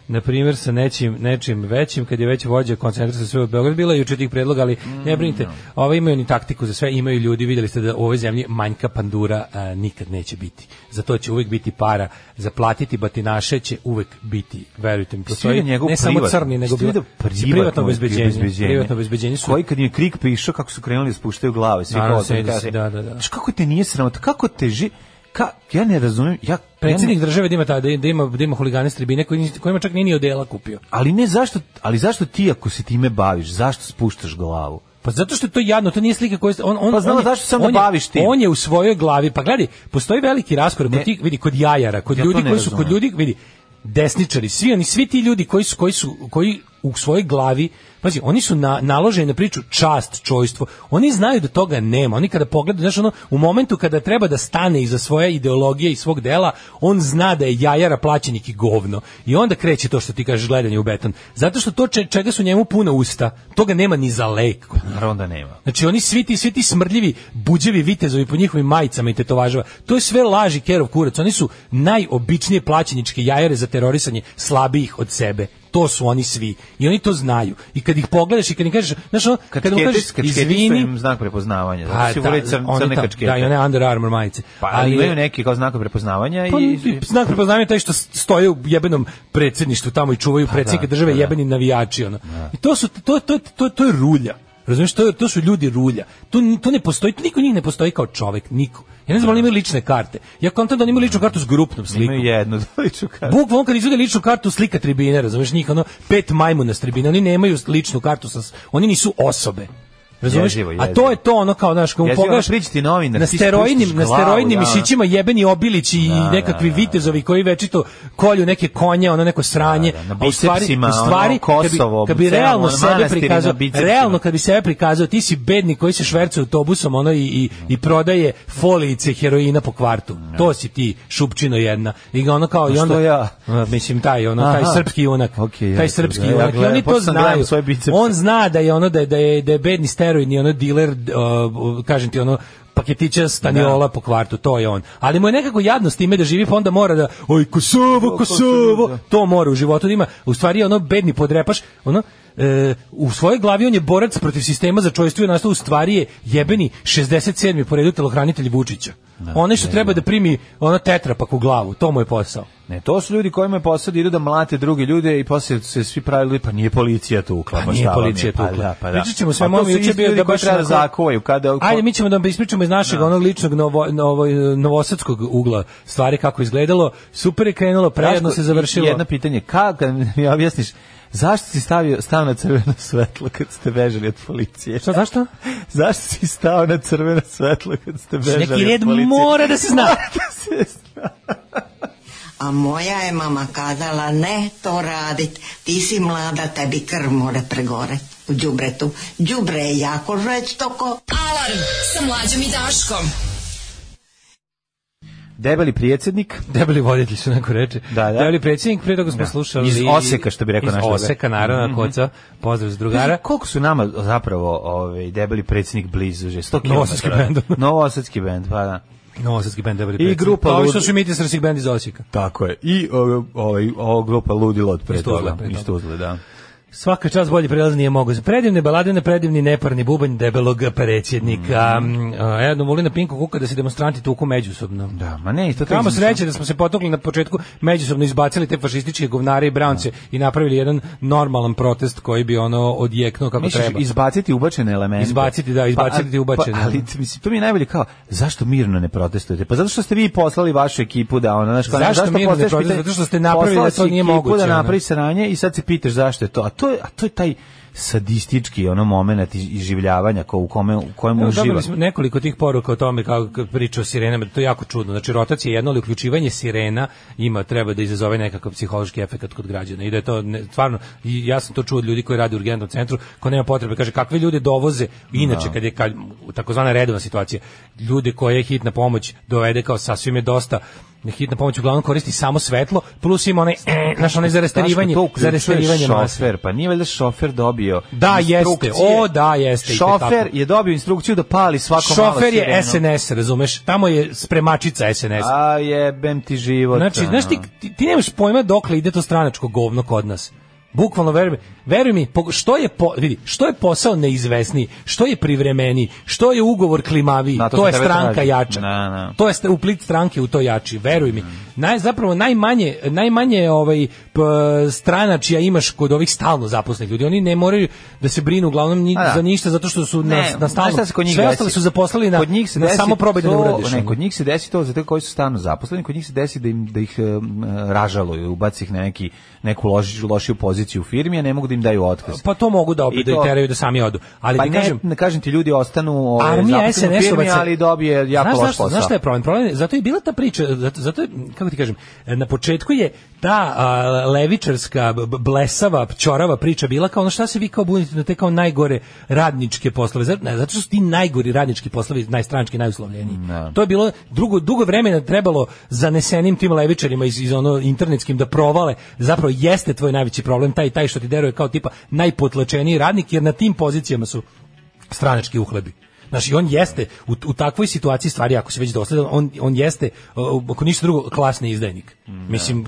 [SPEAKER 5] na primjer sa nečim nečim većim kad je već vođa koncentracija sve u Beograd bila juče tih predloga ali
[SPEAKER 4] Mm,
[SPEAKER 5] ne
[SPEAKER 4] da.
[SPEAKER 5] brinite ovo imaju ni taktiku za sve imaju ljudi vidjeli ste da u ovoj zemlji manjka pandura a, nikad neće biti zato će uvijek biti para zaplatiti batinaše će uvijek biti verujte mi postoji
[SPEAKER 4] Svi
[SPEAKER 5] ne
[SPEAKER 4] da njegov da
[SPEAKER 5] samo
[SPEAKER 4] privatno-
[SPEAKER 5] crni nego
[SPEAKER 4] Jesi vidio
[SPEAKER 5] bilo- privatno obezbeđenje
[SPEAKER 4] obezbeđenje?
[SPEAKER 5] privatno obezbeđenje su
[SPEAKER 4] Koji kad im je krik prišao kako su krenuli da spuštaju glave, svi
[SPEAKER 5] Naravno,
[SPEAKER 4] kao
[SPEAKER 5] sjedi
[SPEAKER 4] da,
[SPEAKER 5] se, da, da, da.
[SPEAKER 4] Znaš, kako te nije sramota? Kako te ži... Ka, ja ne razumijem, ja,
[SPEAKER 5] predsjednik
[SPEAKER 4] ja ne-
[SPEAKER 5] države da ima, ta, da, da ima, da ima huligane s tribine koji, ni- kojima čak nije ni odela kupio.
[SPEAKER 4] ali ne zašto, ali zašto ti ako se time baviš, zašto spuštaš glavu?
[SPEAKER 5] Pa zato što je to jadno, to nije slika koju on on
[SPEAKER 4] Pa znam
[SPEAKER 5] on je-
[SPEAKER 4] zašto se onda
[SPEAKER 5] on je-
[SPEAKER 4] baviš tim.
[SPEAKER 5] On je u svojoj glavi, pa gledi, postoji veliki raskorak
[SPEAKER 4] Ne.
[SPEAKER 5] kod tih, vidi kod jajara, kod
[SPEAKER 4] Ja to
[SPEAKER 5] ljudi
[SPEAKER 4] ne
[SPEAKER 5] koji su kod
[SPEAKER 4] razumem.
[SPEAKER 5] ljudi, vidi desničari, svi oni svi ti ljudi koji su koji su koji u svojoj glavi Pazi, oni su na, naloženi na priču čast, čojstvo. Oni znaju da toga nema. Oni kada pogledaju, znaš, ono, u momentu kada treba da stane iza svoje ideologije i svog dela, on zna da je jajara plaćenik i govno. I onda kreće to što ti kažeš gledanje u beton. Zato što to če- čega su njemu puna usta, toga nema ni za lek kod
[SPEAKER 4] Naravno da nema.
[SPEAKER 5] Znači oni svi ti svi ti smrdljivi buđevi vitezovi po njihovim majicama i tetovažama. To je sve laži Kerov kurac. Oni su najobičnije plaćeničke jajare za terorisanje slabijih od sebe. To su oni svi. I oni to znaju. I kad ih pogledaš i kad im kažeš, znaš, ono,
[SPEAKER 4] Kad,
[SPEAKER 5] kad mu
[SPEAKER 4] sketiš-
[SPEAKER 5] kažeš,
[SPEAKER 4] kad sketiš, to
[SPEAKER 5] izvini,
[SPEAKER 4] im znak prepoznavanja,
[SPEAKER 5] Pa,
[SPEAKER 4] zato si vole crn,
[SPEAKER 5] oni
[SPEAKER 4] crne
[SPEAKER 5] ta-
[SPEAKER 4] kačkete.
[SPEAKER 5] Da, i one Under Armour majice.
[SPEAKER 4] Pa, ali imaju neki kao znak prepoznavanja
[SPEAKER 5] Pa,
[SPEAKER 4] i...
[SPEAKER 5] i znak prepoznavanja je taj što stoje u jebenom predsjedništvu tamo i čuvaju predsjednike
[SPEAKER 4] da,
[SPEAKER 5] države
[SPEAKER 4] pa da.
[SPEAKER 5] jebeni navijači ono. I to su to to to to je rulja. Razumeš, to, je- to su ljudi rulja. To, ni- to ne postoji, to niko od njih ne postoji kao čovjek, niko. Ja ne znam, oni imaju lične karte. Ja kontam da oni imaju ličnu kartu s grupnom slikom.
[SPEAKER 4] Imaju jednu doliču kartu.
[SPEAKER 5] Bukvalno kad izvede ličnu kartu slika tribine, razumeš, njih ono pet majmuna s tribine, oni nemaju ličnu kartu sa s- oni nisu osobe. Razumeš?
[SPEAKER 4] Jezivo, jezivo.
[SPEAKER 5] A to je to ono kao znaš, kao
[SPEAKER 4] Jezivo,
[SPEAKER 5] pogledaš
[SPEAKER 4] ono priđe ti novinar,
[SPEAKER 5] na
[SPEAKER 4] ti
[SPEAKER 5] steroidnim
[SPEAKER 4] spustiš
[SPEAKER 5] na
[SPEAKER 4] glavu,
[SPEAKER 5] steroidnim
[SPEAKER 4] da, ono.
[SPEAKER 5] mišićima jebeni obilići i nekakvi
[SPEAKER 4] da,
[SPEAKER 5] vitezovi koji večito kolju neke konje, ono neko sranje,
[SPEAKER 4] Da, da, na
[SPEAKER 5] a u stvari,
[SPEAKER 4] bicepsima,
[SPEAKER 5] u stvari
[SPEAKER 4] ono,
[SPEAKER 5] kad bi,
[SPEAKER 4] Kosovo,
[SPEAKER 5] kad bi
[SPEAKER 4] celom,
[SPEAKER 5] realno
[SPEAKER 4] ono,
[SPEAKER 5] sebe
[SPEAKER 4] manastiri na
[SPEAKER 5] prikazao,
[SPEAKER 4] bicepsima.
[SPEAKER 5] realno kad bi sebe prikazao, ti si bednik koji se šverca autobusom ono i, i, i prodaje folijice heroina po kvartu. To si ti, šupčino jedna. I ga ono kao i
[SPEAKER 4] Da. što
[SPEAKER 5] onda
[SPEAKER 4] ja?
[SPEAKER 5] A, mislim taj ono taj
[SPEAKER 4] Aha.
[SPEAKER 5] srpski junak,
[SPEAKER 4] Okej, ja
[SPEAKER 5] taj
[SPEAKER 4] to
[SPEAKER 5] srpski
[SPEAKER 4] gledam. Ja
[SPEAKER 5] junak. I
[SPEAKER 4] gledam,
[SPEAKER 5] oni to
[SPEAKER 4] počeo sam da gledam
[SPEAKER 5] znaju.
[SPEAKER 4] svoje bicepse.
[SPEAKER 5] On zna da je ono da je da je, da je bedni steroidni ono diler d- o, kažem ti ono paketića staniola
[SPEAKER 4] Da.
[SPEAKER 5] po kvartu, to je on. Ali mu je nekako jadno s time da živi, pa onda mora da, oj, Kosovo, Kosovo, to mora u životu da ima. U stvari je ono bedni podrepaš, ono, e, u svojoj glavi on je borac protiv sistema za čojstvo i nastao u stvari je jebeni 67. po redu telohranitelj Vučića. Onaj što treba da primi ono tetrapak u glavu, to mu je posao.
[SPEAKER 4] Ne, to su ljudi kojima je posao da idu da mlate druge ljude i posle su se svi pravili, pa nije policija tukla.
[SPEAKER 5] Pa
[SPEAKER 4] pa
[SPEAKER 5] nije
[SPEAKER 4] šta vam je,
[SPEAKER 5] policija
[SPEAKER 4] pa
[SPEAKER 5] tukla.
[SPEAKER 4] da, pa da.
[SPEAKER 5] Pričat ćemo sve,
[SPEAKER 4] Pa to
[SPEAKER 5] mom
[SPEAKER 4] su
[SPEAKER 5] juče
[SPEAKER 4] isti
[SPEAKER 5] bio
[SPEAKER 4] ljudi
[SPEAKER 5] da
[SPEAKER 4] koji
[SPEAKER 5] baš
[SPEAKER 4] treba da
[SPEAKER 5] onako-
[SPEAKER 4] zakuvaju. Kada,
[SPEAKER 5] Ajde, mi ćemo da ispričamo iz našeg onog ličnog novo, novo, novosadskog ugla stvari kako je izgledalo. Super je krenulo, prejedno
[SPEAKER 4] Daško,
[SPEAKER 5] se završilo.
[SPEAKER 4] i- Jedno pitanje, kako mi objasniš, zašto si stavio stav na crveno svetlo kad ste bežali od policije?
[SPEAKER 5] Šta, zašto?
[SPEAKER 4] Zašto si stao na crveno svetlo kad ste bežali
[SPEAKER 5] Neki red
[SPEAKER 4] od policije?
[SPEAKER 5] mora da se zna.
[SPEAKER 9] A moja je mama kazala, ne to radit, ti si mlada, tebi krv more pregore u džubretu. Džubre je jako žveć toko.
[SPEAKER 1] Alarm sa mlađom i Daškom.
[SPEAKER 4] Debeli predsjednik,
[SPEAKER 5] Debeli voditelj što neko reče.
[SPEAKER 4] Da, da.
[SPEAKER 5] Debeli predsjednik, prije toga smo
[SPEAKER 4] Da.
[SPEAKER 5] slušali...
[SPEAKER 4] Iz Osijeka, što bi rekao
[SPEAKER 5] iz
[SPEAKER 4] naš drugar. Mhm.
[SPEAKER 5] Oseka, naravno, koca. Pozdrav s drugara.
[SPEAKER 4] koliko su nama zapravo ovaj, debeli predsjednik blizu, že 100 km.
[SPEAKER 5] Novosadski bend.
[SPEAKER 4] Novosadski bend, pa da.
[SPEAKER 5] Novosadski bend Debeli predsjednik.
[SPEAKER 4] grupa
[SPEAKER 5] Ovi što
[SPEAKER 4] Lud-
[SPEAKER 5] su imiti srsih bend iz Osijeka.
[SPEAKER 4] Tako je. I ovaj, ovaj, ova grupa ludilo od pre
[SPEAKER 5] Iz Tuzle,
[SPEAKER 4] toga.
[SPEAKER 5] pre
[SPEAKER 4] Iz
[SPEAKER 5] toga.
[SPEAKER 4] Tuzle, da.
[SPEAKER 5] Svaka čas bolji prelaz nije mogo. Predivne balade na predivni neparni bubanj debelog predsjednika.
[SPEAKER 4] Mhm.
[SPEAKER 5] Mm. Edno voli na Pinku kuka da se demonstranti tuku međusobno.
[SPEAKER 4] Da, ma ne, to
[SPEAKER 5] Kamo
[SPEAKER 4] tek-
[SPEAKER 5] sreće da smo se potukli na početku, međusobno izbacili te fašističke govnare i braunce
[SPEAKER 4] Da.
[SPEAKER 5] i napravili jedan normalan protest koji bi ono odjeknuo kako
[SPEAKER 4] Misliš,
[SPEAKER 5] treba.
[SPEAKER 4] izbaciti ubačene elemente.
[SPEAKER 5] Izbaciti, da, izbaciti
[SPEAKER 4] a-
[SPEAKER 5] ti ubačene.
[SPEAKER 4] Pa, ali mislim, to mi je najbolje kao, zašto mirno ne protestujete? Pa zato što ste vi poslali vašu ekipu da ona, znaš, kao,
[SPEAKER 5] Zašto mirno ne
[SPEAKER 4] postavljaš
[SPEAKER 5] protestujete?
[SPEAKER 4] pitanje?
[SPEAKER 5] Zato što ste napravili
[SPEAKER 4] Poslala
[SPEAKER 5] da to
[SPEAKER 4] si
[SPEAKER 5] nije
[SPEAKER 4] ekipu
[SPEAKER 5] moguće,
[SPEAKER 4] da
[SPEAKER 5] ono.
[SPEAKER 4] napravi sranje i sad se pitaš zašto je to. A to je, a to je taj sadistički ono moment iz- iživljavanja ko, u kome u kojem
[SPEAKER 5] Evo,
[SPEAKER 4] uživa.
[SPEAKER 5] Dobili smo nekoliko tih poruka o tome kako kako priča o sirenama, to je jako čudno. Znači rotacija je jedno, ali uključivanje sirena ima treba da izazove nekakav psihološki efekat kod građana. I da je to ne- stvarno i ja sam to čuo od ljudi koji rade u urgentnom centru, ko nema potrebe, kaže kakve ljude dovoze inače
[SPEAKER 4] Da.
[SPEAKER 5] kad je kad, takozvana redovna situacija, ljude koje je hitna pomoć dovede kao sasvim je dosta Ne hitna pomoć uglavnom koristi samo svetlo, plus ima onaj, e, znaš, onaj za rasterivanje,
[SPEAKER 4] Daško, to
[SPEAKER 5] za
[SPEAKER 4] uključuje
[SPEAKER 5] rasterivanje mase.
[SPEAKER 4] šofer, pa nije valjda šofer dobio
[SPEAKER 5] Da,
[SPEAKER 4] instrukcije?
[SPEAKER 5] jeste, o, da, jeste, i to je
[SPEAKER 4] Šofer
[SPEAKER 5] tako.
[SPEAKER 4] je dobio instrukciju da pali svako malo
[SPEAKER 5] Šofer je
[SPEAKER 4] sirenu.
[SPEAKER 5] SNS, razumeš? Tamo je spremačica SNS.
[SPEAKER 4] A jebem ti život.
[SPEAKER 5] Znači, znaš ti,
[SPEAKER 4] ono.
[SPEAKER 5] ti, ti nemaš pojma dokle ide to stranačko govno kod nas. Bukvalno veruj mi, veruj mi, po- što je po, vidi, što je posao neizvesniji, što je privremeniji, što je ugovor klimaviji,
[SPEAKER 4] Na,
[SPEAKER 5] to,
[SPEAKER 4] to sam
[SPEAKER 5] je
[SPEAKER 4] tebe
[SPEAKER 5] stranka
[SPEAKER 4] tražio.
[SPEAKER 5] jača.
[SPEAKER 4] Na, na. Mm.
[SPEAKER 5] To je st- uplit stranke u to jači, veruj mi. Naj zapravo najmanje najmanje ovaj p, stranačija imaš kod ovih stalno zaposlenih ljudi. Oni ne moraju da se brinu uglavnom ni,
[SPEAKER 4] A da.
[SPEAKER 5] za ništa zato što su na,
[SPEAKER 4] Ne,
[SPEAKER 5] na stalno.
[SPEAKER 4] znaš šta se kod njih
[SPEAKER 5] Sve
[SPEAKER 4] desi?
[SPEAKER 5] ostale su zaposlili na,
[SPEAKER 4] Kod njih se
[SPEAKER 5] na
[SPEAKER 4] desi
[SPEAKER 5] samo probaj da ne
[SPEAKER 4] to-
[SPEAKER 5] uradiš.
[SPEAKER 4] Ne,
[SPEAKER 5] ono.
[SPEAKER 4] kod njih se desi to za te koji su stalno zaposleni, kod njih se desi da im da ih em, ražaluju, ubaci ih na neki neku loši, lošiju poziciju u firmi, a ne mogu da im daju otkaz.
[SPEAKER 5] Pa to mogu da
[SPEAKER 4] I
[SPEAKER 5] opet da ih
[SPEAKER 4] to-
[SPEAKER 5] teraju da sami odu. Ali
[SPEAKER 4] pa
[SPEAKER 5] ti
[SPEAKER 4] ne,
[SPEAKER 5] kažem,
[SPEAKER 4] ne kažem ti ljudi ostanu ovaj,
[SPEAKER 5] Armija
[SPEAKER 4] zaposleni u firmi,
[SPEAKER 5] SNS-ovaca.
[SPEAKER 4] ali dobije jako
[SPEAKER 5] znaš,
[SPEAKER 4] loš
[SPEAKER 5] zašto-
[SPEAKER 4] posao.
[SPEAKER 5] Znaš šta je problem? Problem je, zato je bila ta priča, zato, zato je, kako ti kažem, na početku je ta a, levičarska, b- b- blesava, pčorava priča bila kao ono šta se vi kao bunite na te kao najgore radničke poslove. Zato, ne, zato što su ti najgori radnički poslovi, najstranački, najuslovljeniji.
[SPEAKER 4] Da.
[SPEAKER 5] To je bilo drugo, dugo vremena trebalo zanesenim tim levičarima iz, iz ono internetskim da provale zapravo jeste tvoj najveći problem, taj taj što ti deruje kao tipa najpotlačeniji radnik, jer na tim pozicijama su stranački uhlebi. Znaš, i on jeste u, u takvoj situaciji stvari, ako se već dosledan, on, on jeste, uh, ako ništa drugo, klasni izdajnik.
[SPEAKER 4] Mm,
[SPEAKER 5] Mislim,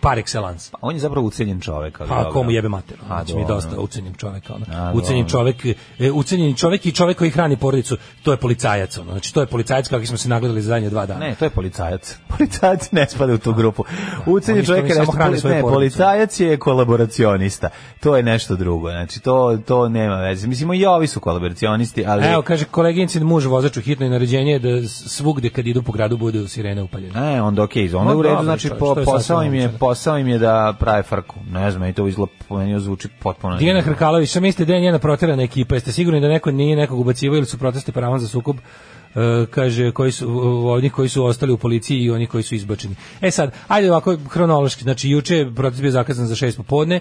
[SPEAKER 5] par excellence.
[SPEAKER 4] On je zapravo ucenjen čovek. Ali
[SPEAKER 5] Pa
[SPEAKER 4] da. dobro.
[SPEAKER 5] komu jebe mater,
[SPEAKER 4] A,
[SPEAKER 5] znači mi je
[SPEAKER 4] dobro.
[SPEAKER 5] dosta ucenjen čovjek, ono.
[SPEAKER 4] A,
[SPEAKER 5] ucenjen
[SPEAKER 4] dobro.
[SPEAKER 5] čovjek, e, ucenjen čovjek i čovjek koji hrani porodicu, to je policajac, ono. Znači to je policajac kakvi smo se nagledali za zadnje dva dana.
[SPEAKER 4] Ne, to je policajac. Policajac ne spada u tu grupu. Ucenje
[SPEAKER 5] Da. Oni
[SPEAKER 4] čovjek je
[SPEAKER 5] samo
[SPEAKER 4] nešto,
[SPEAKER 5] hrane svoje
[SPEAKER 4] ne,
[SPEAKER 5] porodice.
[SPEAKER 4] policajac je kolaboracionista. To je nešto drugo. Znači, to, to nema veze. Mislimo i ovi su kolaboracionisti, ali...
[SPEAKER 5] Evo, kaže koleginicin muž vozač u hitnoj naređenje je da svugde kad idu po gradu budu sirene upaljene.
[SPEAKER 4] Ne, onda okej, onda
[SPEAKER 5] Ma
[SPEAKER 4] u redu,
[SPEAKER 5] dobro,
[SPEAKER 4] znači
[SPEAKER 5] čovječ,
[SPEAKER 4] po,
[SPEAKER 5] to je
[SPEAKER 4] posao
[SPEAKER 5] sasvim
[SPEAKER 4] im je,
[SPEAKER 5] logično.
[SPEAKER 4] posao im je da prave farku. Ne znam, i to izgleda, po meni zvuči potpuno...
[SPEAKER 5] Dijana Hrkalović, sam mislite da je njena proterana ekipa. Jeste sigurni da neko nije nekog ubacivao ili su protesti paravan za sukob? E, kaže koji su o- oni koji su ostali u policiji i oni koji su izbačeni. E sad, ajde ovako hronološki. Znači juče je protest bio zakazan za 6 popodne.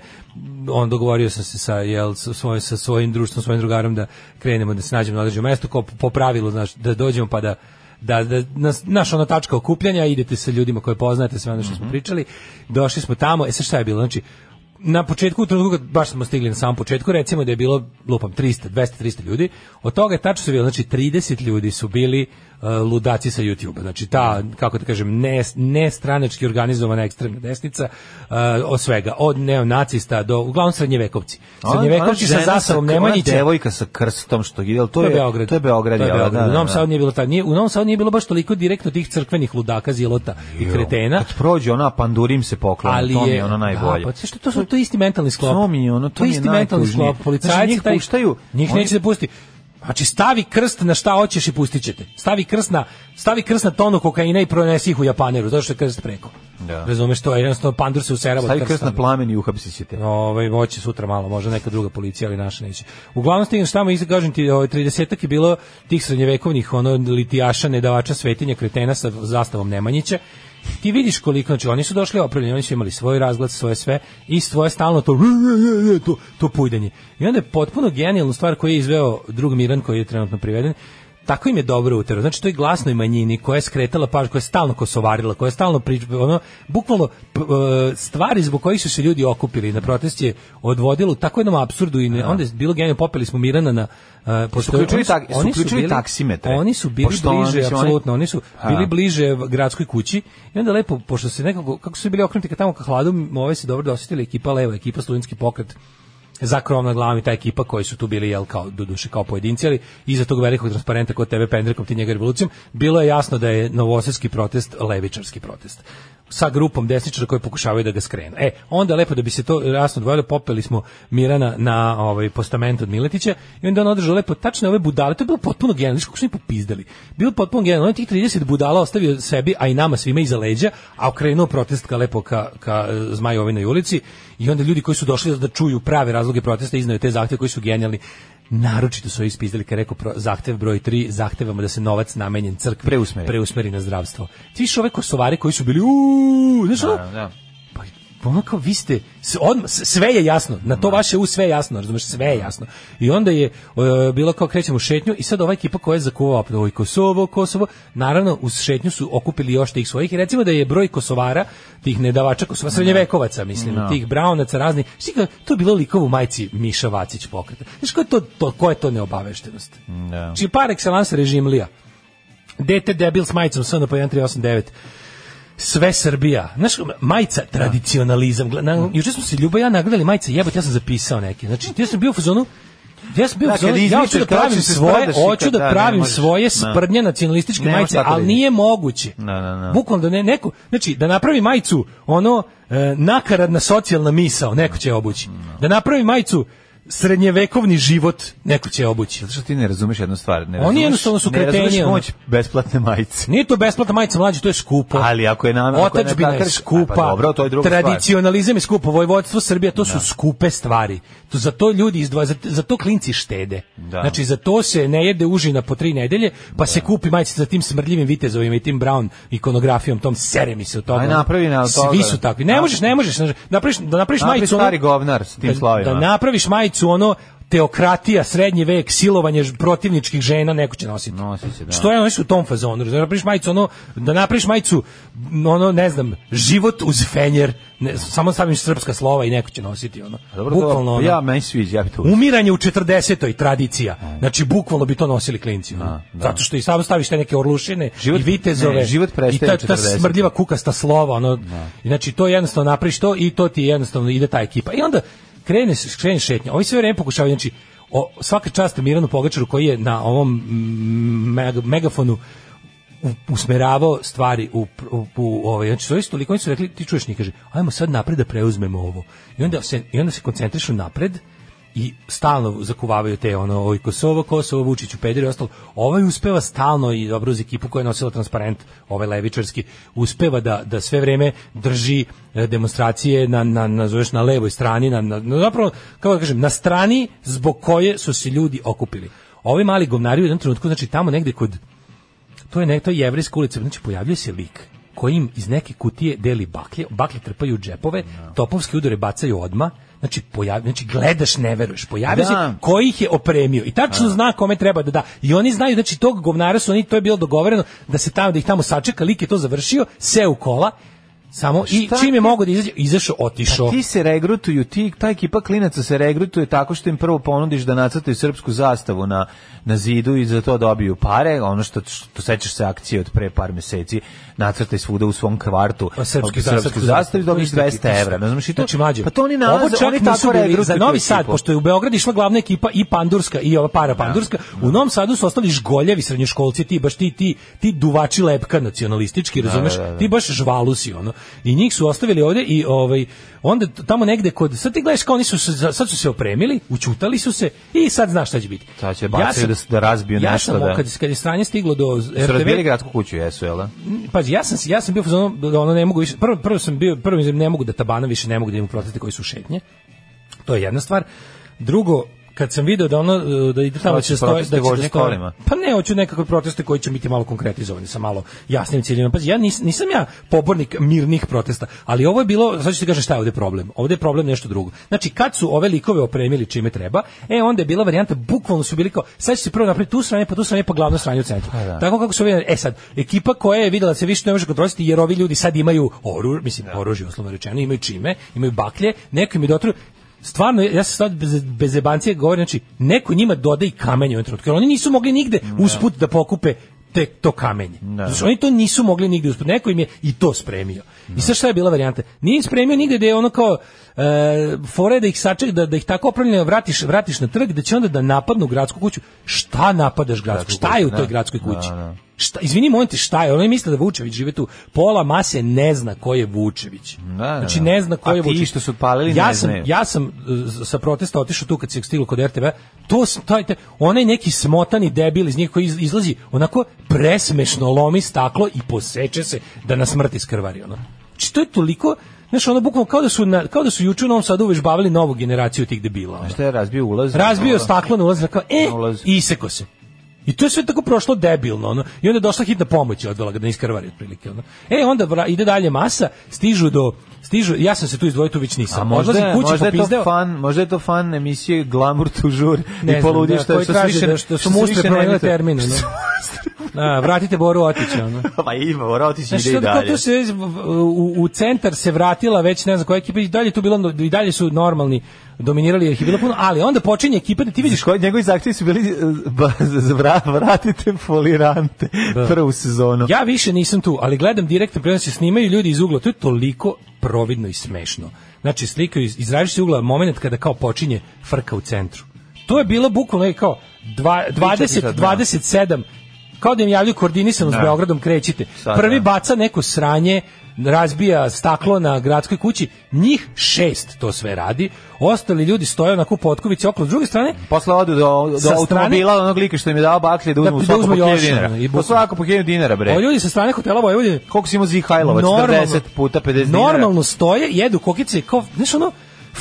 [SPEAKER 5] On dogovorio sam se sa jel sa svojim sa svojim društvom, svojim drugarom da krenemo da se nađemo na određenom mestu, kao po pravilu, znaš, da dođemo pa da da, da nas, naš ono tačka okupljanja, idete sa ljudima koje poznajete, sve ono što smo pričali, došli smo tamo, e sad šta je bilo, znači, na početku, u trenutku, kad baš smo stigli na samom početku, recimo da je bilo, lupam, 300, 200, 300 ljudi, od toga je tačno se bilo, znači 30 ljudi su bili uh, ludaci sa YouTube-a, znači ta, kako da kažem, ne, nestranački organizovana ekstremna desnica, uh, od svega, od neonacista do, uglavnom srednjevekovci. Srednjevekovci sa zasavom
[SPEAKER 4] Nemanjića.
[SPEAKER 5] Nemanjića,
[SPEAKER 4] devojka sa krstom što ide, ali to,
[SPEAKER 5] to je
[SPEAKER 4] je,
[SPEAKER 5] Beograd.
[SPEAKER 4] To je Beograd,
[SPEAKER 5] To je
[SPEAKER 4] jel da,
[SPEAKER 5] Beograd.
[SPEAKER 4] da,
[SPEAKER 5] u Novom
[SPEAKER 4] da.
[SPEAKER 5] Sadu nije bilo ta, nije, u Novom Sadu nije bilo baš toliko direktno tih crkvenih ludaka, zilota i kretena.
[SPEAKER 4] Kad prođe ona, pandurim se poklon,
[SPEAKER 5] Ali
[SPEAKER 4] to mi
[SPEAKER 5] je,
[SPEAKER 4] je ono najbolje.
[SPEAKER 5] Da, pa što to su to je isti mentalni sklop.
[SPEAKER 4] To mi je ono, to mi je
[SPEAKER 5] isti mentalni
[SPEAKER 4] najtužnije.
[SPEAKER 5] sklop. Policajci
[SPEAKER 4] Znači, njih
[SPEAKER 5] taj-
[SPEAKER 4] puštaju,
[SPEAKER 5] Njih
[SPEAKER 4] oni-
[SPEAKER 5] neće da pusti. Znači stavi krst na šta hoćeš i pustit ćete. Stavi krst na, stavi krst na tonu kokaina i pronesi ih u Japaneru, zato što je krst preko.
[SPEAKER 4] Da.
[SPEAKER 5] Razumeš to, je jednostavno pandur se userava od
[SPEAKER 4] Stavi krst
[SPEAKER 5] krsta.
[SPEAKER 4] na plamen i uhapsit ćete.
[SPEAKER 5] Ovaj moći sutra malo, možda neka druga policija, ali naša neće. Uglavnom stignem šta mu isto kažem ti, ovaj 30 je bilo tih srednjevekovnih ono litijaša, nedavača svetinja, kretena sa zastavom Nemanjića. Ti vidiš koliko, znači oni su došli opravljeni, oni su imali svoj razgled, svoje sve i svoje stalno to to, to pujdanje. I onda je potpuno genijalna stvar koju je izveo drug Miran koji je trenutno priveden, tako im je dobro uterao. Znači to je glasnoj manjini koja je skretala pažnju, koja je stalno kosovarila, koja je stalno prič, ono bukvalno p- e, stvari zbog kojih su se ljudi okupili na protest je odvodilo u tako jednom apsurdu i ne- onda je bilo genijalno popeli smo Mirana na e, postoje-
[SPEAKER 4] uključili
[SPEAKER 5] oni su-
[SPEAKER 4] tak- Da. jesu
[SPEAKER 5] oni su
[SPEAKER 4] uključili
[SPEAKER 5] bili-
[SPEAKER 4] taksimetre?
[SPEAKER 5] Oni su bili
[SPEAKER 4] Pošto oni-
[SPEAKER 5] bliže
[SPEAKER 4] mislim, oni-
[SPEAKER 5] apsolutno, oni su
[SPEAKER 4] A.
[SPEAKER 5] bili bliže v- gradskoj kući i onda lepo pošto se nekako kako su bili okrenuti ka tamo ka hladu, m, ove se dobro dosetili ekipa leva, ekipa studentski pokret za krov nad glavom i ta ekipa koji su tu bili jel kao doduše kao pojedinci ali iza tog velikog transparenta kod tebe pendrekom ti njega revolucijom bilo je jasno da je novosadski protest levičarski protest sa grupom desničara koji pokušavaju da ga skrenu. E, onda je lepo da bi se to jasno odvojilo, popeli smo Mirana na ovaj postament od Miletića i onda on održao lepo tačno ove budale, to je bilo potpuno genijalno, znači kako su oni popizdali. Bilo je potpuno genijalno, on je tih 30 budala ostavio sebi, a i nama svima iza leđa, a okrenuo protest ka lepo ka, ka e, Zmajovinoj ulici i onda ljudi koji su došli da čuju prave razloge protesta iznaju te zahteve koji su genijalni naročito su ovi ispizdali kad je rekao pro, zahtev broj 3, zahtevamo da se novac namenjen crkvi
[SPEAKER 4] Preusmeri.
[SPEAKER 5] preusmeri na zdravstvo. Ti više ove kosovari koji su bili uuu, znaš ono,
[SPEAKER 4] Da, da.
[SPEAKER 5] pa, ono kao vi ste s- odmah, s- sve je jasno na to vaše u sve je jasno razumeš sve je jasno i onda je e, bilo kao krećemo u šetnju i sad ova ekipa koja je zakuvala ovaj Kosovo Kosovo naravno uz šetnju su okupili još tih svojih i recimo da je broj Kosovara tih nedavača Kosova srednjevekovaca mislim tih braunaca raznih Znaš ti kao, to je bilo likovo majci Miša Vacić pokreta znaš ko je to, to ko je to neobaveštenost
[SPEAKER 4] Da.
[SPEAKER 5] čiji Znači, par excellence režimlija dete debil s majicom SNP 1389 sve Srbija. Znaš, majica,
[SPEAKER 4] Da.
[SPEAKER 5] tradicionalizam. Gle-
[SPEAKER 4] Mm.
[SPEAKER 5] Na, juče smo se Ljuba i ja nagledali majice, jebote, ja sam zapisao neke. Znači, ja sam bio u fazonu, ja sam bio u
[SPEAKER 4] Da, kad
[SPEAKER 5] fazonu, ja hoću
[SPEAKER 4] izmičeš,
[SPEAKER 5] da
[SPEAKER 4] to
[SPEAKER 5] pravim
[SPEAKER 4] ćeš se
[SPEAKER 5] svoje,
[SPEAKER 4] sprdaš i
[SPEAKER 5] hoću
[SPEAKER 4] kad-
[SPEAKER 5] da
[SPEAKER 4] da, ne
[SPEAKER 5] pravim
[SPEAKER 4] možeš.
[SPEAKER 5] svoje
[SPEAKER 4] Da.
[SPEAKER 5] sprdnje nacionalističke
[SPEAKER 4] Ne možeš
[SPEAKER 5] majice,
[SPEAKER 4] tako da
[SPEAKER 5] ali
[SPEAKER 4] ideš.
[SPEAKER 5] nije moguće.
[SPEAKER 4] Da, da, da.
[SPEAKER 5] Bukvalno da ne, neko, znači, da napravi majicu, ono, e, nakaradna socijalna misao, neko će je obući. Da napravi majicu, srednjevekovni život, neko će je obući.
[SPEAKER 4] Zato što ti ne razumeš jednu stvar. Ne
[SPEAKER 5] Oni
[SPEAKER 4] razumeš-
[SPEAKER 5] jednostavno su
[SPEAKER 4] Ne
[SPEAKER 5] kreteni,
[SPEAKER 4] razumeš
[SPEAKER 5] ono.
[SPEAKER 4] moć besplatne majice.
[SPEAKER 5] Nije to besplatna majica mlađe, to je skupo.
[SPEAKER 4] Ali ako je nam- ako je
[SPEAKER 5] Otadžbina je
[SPEAKER 4] natakarka-
[SPEAKER 5] skupa.
[SPEAKER 4] E, pa dobro, to je druga stvar. Da.
[SPEAKER 5] Tradicionalizam je skupo, vojvodstvo Srbija, to su skupe stvari. To, za to ljudi izdva, za, za to klinci štede.
[SPEAKER 4] Da.
[SPEAKER 5] Znači, za to se ne jede užina po tri nedelje, pa se kupi majica sa tim smrdljivim vitezovima i tim brown ikonografijom, tom sere mi se u toga.
[SPEAKER 4] Aj, napravi na
[SPEAKER 5] Svi
[SPEAKER 4] toga.
[SPEAKER 5] su takvi. Ne
[SPEAKER 4] Napravi-
[SPEAKER 5] možeš, ne možeš. Napraviš, da napraviš
[SPEAKER 4] Napravi
[SPEAKER 5] majicu... ono-
[SPEAKER 4] stari govnar s tim
[SPEAKER 5] da-
[SPEAKER 4] slovima.
[SPEAKER 5] Da napraviš majicu ono teokratija, srednji vek, silovanje ž- protivničkih žena, neko će nositi.
[SPEAKER 4] Nosi se, da.
[SPEAKER 5] Što je ono što je u tom fazonu? Da napraviš majicu ono da napraviš majicu ono ne znam, život uz fenjer, ne, samo staviš srpska slova i neko će nositi ono.
[SPEAKER 4] A Dobro, to, pa
[SPEAKER 5] ono,
[SPEAKER 4] ja meni sviđa, ja bi to uzeo.
[SPEAKER 5] Umiranje u 40. tradicija. Znači bukvalno bi to nosili klinci. ono. Zato što i samo staviš te neke orlušine
[SPEAKER 4] da. Život-
[SPEAKER 5] i vitezove.
[SPEAKER 4] ne, život
[SPEAKER 5] I
[SPEAKER 4] prestaje
[SPEAKER 5] ta,
[SPEAKER 4] u Da.
[SPEAKER 5] ta
[SPEAKER 4] 40.
[SPEAKER 5] smrdljiva kukasta slova, ono. i Znači to jednostavno napraviš to i to ti jednostavno ide ta ekipa. I onda krene krene šetnja. Ovi sve vreme pokušavaju znači o, svaka čast Miranu Pogačaru koji je na ovom mm, meg- megafonu u- usmeravao stvari u, u, u ovaj znači su toliko oni su rekli ti čuješ ni kaže ajmo sad napred da preuzmemo ovo i onda se i onda se koncentrišu napred i stalno zakuvavaju te ono oj Kosovo Kosovo Vučić u pederi i ostalo ovaj uspeva stalno i dobro uz ekipu koja je nosila transparent ovaj levičarski uspeva da da sve vreme drži e, demonstracije na na nazoveš na levoj strani na, na, na zapravo kako da kažem na strani zbog koje su se ljudi okupili ovi mali govnari u jednom trenutku znači tamo negde kod to je neka jevrejska ulica, znači pojavljuje se lik koji im iz neke kutije deli baklje, baklje trpaju u džepove,
[SPEAKER 4] Da.
[SPEAKER 5] topovske udare bacaju odma, znači, pojavi, znači gledaš, ne veruješ, pojavio
[SPEAKER 4] Da.
[SPEAKER 5] se koji ih je opremio i tačno zna kome treba da da. I oni znaju, znači tog govnara su oni, to je bilo dogovoreno da se tamo, da ih tamo sačeka, lik je to završio, se u kola, samo i
[SPEAKER 4] Pa Šta
[SPEAKER 5] čim je
[SPEAKER 4] ti-
[SPEAKER 5] mogao da izađe, izašao, otišao.
[SPEAKER 4] Pa ti se regrutuju, ti, ta ekipa klinaca se regrutuje tako što im prvo ponudiš da nacrtaju srpsku zastavu na, na zidu i za to dobiju pare, ono što, što sećaš se akcije od pre par meseci, nacrtaj svuda u svom kvartu
[SPEAKER 5] Pa srpski
[SPEAKER 4] srpsku,
[SPEAKER 5] srpsku
[SPEAKER 4] zastavu i dobiješ
[SPEAKER 5] isto ekipa,
[SPEAKER 4] 200 evra.
[SPEAKER 5] isto.
[SPEAKER 4] Ne znam, i to,
[SPEAKER 5] Znači, mlađe,
[SPEAKER 4] pa to oni
[SPEAKER 5] ovo
[SPEAKER 4] nalaze,
[SPEAKER 5] čak
[SPEAKER 4] oni
[SPEAKER 5] nisu
[SPEAKER 4] tako
[SPEAKER 5] bili-
[SPEAKER 4] regrutuju.
[SPEAKER 5] Za Novi
[SPEAKER 4] tu
[SPEAKER 5] Sad,
[SPEAKER 4] ekipu.
[SPEAKER 5] pošto je u Beogradu išla glavna ekipa i Pandurska i ova para Pandurska,
[SPEAKER 4] Da,
[SPEAKER 5] u Novom Sadu su ostali žgoljevi srednjoškolci, ti baš ti, ti, ti duvači lepka nacionalistički, razumeš?
[SPEAKER 4] da, da.
[SPEAKER 5] Ti baš žvalusi, ono. I njih su ostavili ovde i ovaj, onda t- tamo negde kod... Sad ti gledaš kao oni su se, za- sad su se opremili, učutali su se i sad znaš šta će biti.
[SPEAKER 4] Sad će bacaju
[SPEAKER 5] sam-
[SPEAKER 4] da s- da razbiju
[SPEAKER 5] ja
[SPEAKER 4] nešto,
[SPEAKER 5] sam,
[SPEAKER 4] da.
[SPEAKER 5] Kad, kad je stranje stiglo do
[SPEAKER 4] Su razbijali
[SPEAKER 5] RTV,
[SPEAKER 4] gradsku kuću, jesu, jel? da?
[SPEAKER 5] pazi, ja sam ja sam bio ono, ono ne mogu više. Prvo prvo sam bio prvo ne mogu da tabana više ne mogu da im proteste koji su šetnje. To je jedna stvar. Drugo, kad sam video da ono e, da ide tamo
[SPEAKER 4] Hoćeš
[SPEAKER 5] će stoje
[SPEAKER 4] proteste
[SPEAKER 5] da će da
[SPEAKER 4] vožnje
[SPEAKER 5] stoje-
[SPEAKER 4] kolima?
[SPEAKER 5] Pa ne, hoću nekakve proteste koji će biti malo konkretizovani sa malo jasnim ciljevima. Pazi, ja nis, nisam ja pobornik mirnih protesta, ali ovo je bilo, sad ću ti kažem šta je ovde problem. Ovde je problem nešto drugo. Znači, kad su ove likove opremili čime treba, e, onda je bila varijanta, bukvalno su bili kao, sad će se prvo napraviti tu stranje, pa tu stranje, pa glavno stranje u centru.
[SPEAKER 4] da.
[SPEAKER 5] Tako kako su vidjeli, e sad, ekipa koja je videla da se više ne može kontrolisati, jer ovi ljudi sad imaju oružje, mislim,
[SPEAKER 4] Da.
[SPEAKER 5] oružje, uslovno rečeno, imaju čime, imaju baklje, neko im je dotru, stvarno ja se sad bez, bez jebancije govorim znači neko njima doda i kamenje u jednom trenutku jer oni nisu mogli nigde usput da pokupe te, to kamenje. Znači, oni to nisu mogli nigde usput. Neko im je i to spremio. I sad šta je bila varijanta? Nije im spremio nigde da je ono kao e, fore da ih saček, da, da ih tako opravljeno vratiš, vratiš na trg, da će onda da napadnu gradsku kuću. Šta napadaš gradsku?
[SPEAKER 4] Gradsku
[SPEAKER 5] Šta je u
[SPEAKER 4] kuću,
[SPEAKER 5] toj
[SPEAKER 4] da.
[SPEAKER 5] gradskoj kući?
[SPEAKER 4] Da, da.
[SPEAKER 5] Šta, izvini, molim te, šta je? Oni misle da Vučević žive tu. Pola mase ne zna ko je Vučević.
[SPEAKER 4] Da, da,
[SPEAKER 5] Znači,
[SPEAKER 4] da.
[SPEAKER 5] ne zna ko
[SPEAKER 4] A
[SPEAKER 5] je
[SPEAKER 4] ti
[SPEAKER 5] Vučević.
[SPEAKER 4] što su palili
[SPEAKER 5] ja
[SPEAKER 4] ne
[SPEAKER 5] sam,
[SPEAKER 4] znaju.
[SPEAKER 5] ja sam uh, z- sa protesta otišao tu kad se stiglo kod RTV, to s- taj, taj, onaj neki smotani debil iz njih koji iz- izlazi onako presmešno lomi staklo i poseče se da na smrt iskrvari ono. Znači to je toliko Znaš, ono bukvalno kao da su, na, kao da su juče u Novom Sadu uvežbavali novu generaciju tih debila. ono.
[SPEAKER 4] Šta je razbio ulaz?
[SPEAKER 5] Razbio
[SPEAKER 4] Ono,
[SPEAKER 5] staklo na ulaz, rekao, e,
[SPEAKER 4] da. Na ulaz.
[SPEAKER 5] i isekao se. I to je sve tako prošlo debilno, ono. I onda je došla hitna pomoć i odvela ga da ne iskrvari otprilike, ono. E, onda vra- ide dalje masa, stižu do Stižu, ja sam se tu izdvojio, tu već nisam.
[SPEAKER 4] A Pa možda,
[SPEAKER 5] Odlazim kući,
[SPEAKER 4] možda, je to
[SPEAKER 5] popizdeo.
[SPEAKER 4] fan, možda je to fan emisije Glamour Tužur
[SPEAKER 5] Ne
[SPEAKER 4] i
[SPEAKER 5] znam,
[SPEAKER 4] poludi
[SPEAKER 5] da,
[SPEAKER 4] što,
[SPEAKER 5] koji
[SPEAKER 4] što, se
[SPEAKER 5] traži
[SPEAKER 4] više,
[SPEAKER 5] da- što su
[SPEAKER 4] se
[SPEAKER 5] mustre
[SPEAKER 4] više ne
[SPEAKER 5] promenile
[SPEAKER 4] emituje.
[SPEAKER 5] termin, ono.
[SPEAKER 4] Što mustre-
[SPEAKER 5] A, vratite Boru Otića, ono.
[SPEAKER 4] pa ima, Orotić ide i
[SPEAKER 5] što tako
[SPEAKER 4] dalje.
[SPEAKER 5] tu se u, u centar se vratila već ne znam koja ekipa i dalje tu bilo i dalje su normalni dominirali jer ih je bilo puno, ali onda počinje ekipa da ti vidiš
[SPEAKER 4] Vidiš, koji njegovi zahtjevi su bili eh, ba, za- vra- vratite folirante prvu sezonu.
[SPEAKER 5] Da. Ja više nisam tu, ali gledam direktno prenos se snimaju ljudi iz ugla, to je toliko providno i smešno. Znači slikaju iz, iz različitih ugla momenat kada kao počinje frka u centru. To je bilo bukvalno je kao dva, 20
[SPEAKER 4] sad, da.
[SPEAKER 5] 27 kao da im javljaju koordinisano s Beogradom krećite.
[SPEAKER 4] Sad,
[SPEAKER 5] Prvi
[SPEAKER 4] da.
[SPEAKER 5] baca neko sranje, razbija staklo na gradskoj kući, njih šest to sve radi, ostali ljudi stoje onako u potkovici okolo, s druge strane,
[SPEAKER 4] Posle odu do, do
[SPEAKER 5] Sa
[SPEAKER 4] automobila
[SPEAKER 5] strane-
[SPEAKER 4] onog lika što im je dao baklje da uzmu
[SPEAKER 5] da
[SPEAKER 4] svako po
[SPEAKER 5] uzmu
[SPEAKER 4] 1000
[SPEAKER 5] još,
[SPEAKER 4] dinara.
[SPEAKER 5] ono, i
[SPEAKER 4] Po
[SPEAKER 5] bukvalno.
[SPEAKER 4] svako po 1000 dinara, bre.
[SPEAKER 5] ovi ljudi sa strane hotela Vojvodine
[SPEAKER 4] Koliko si imao Zihajlova? 40 puta 50 dinara?
[SPEAKER 5] Normalno stoje, jedu kokice, kao, znaš ono,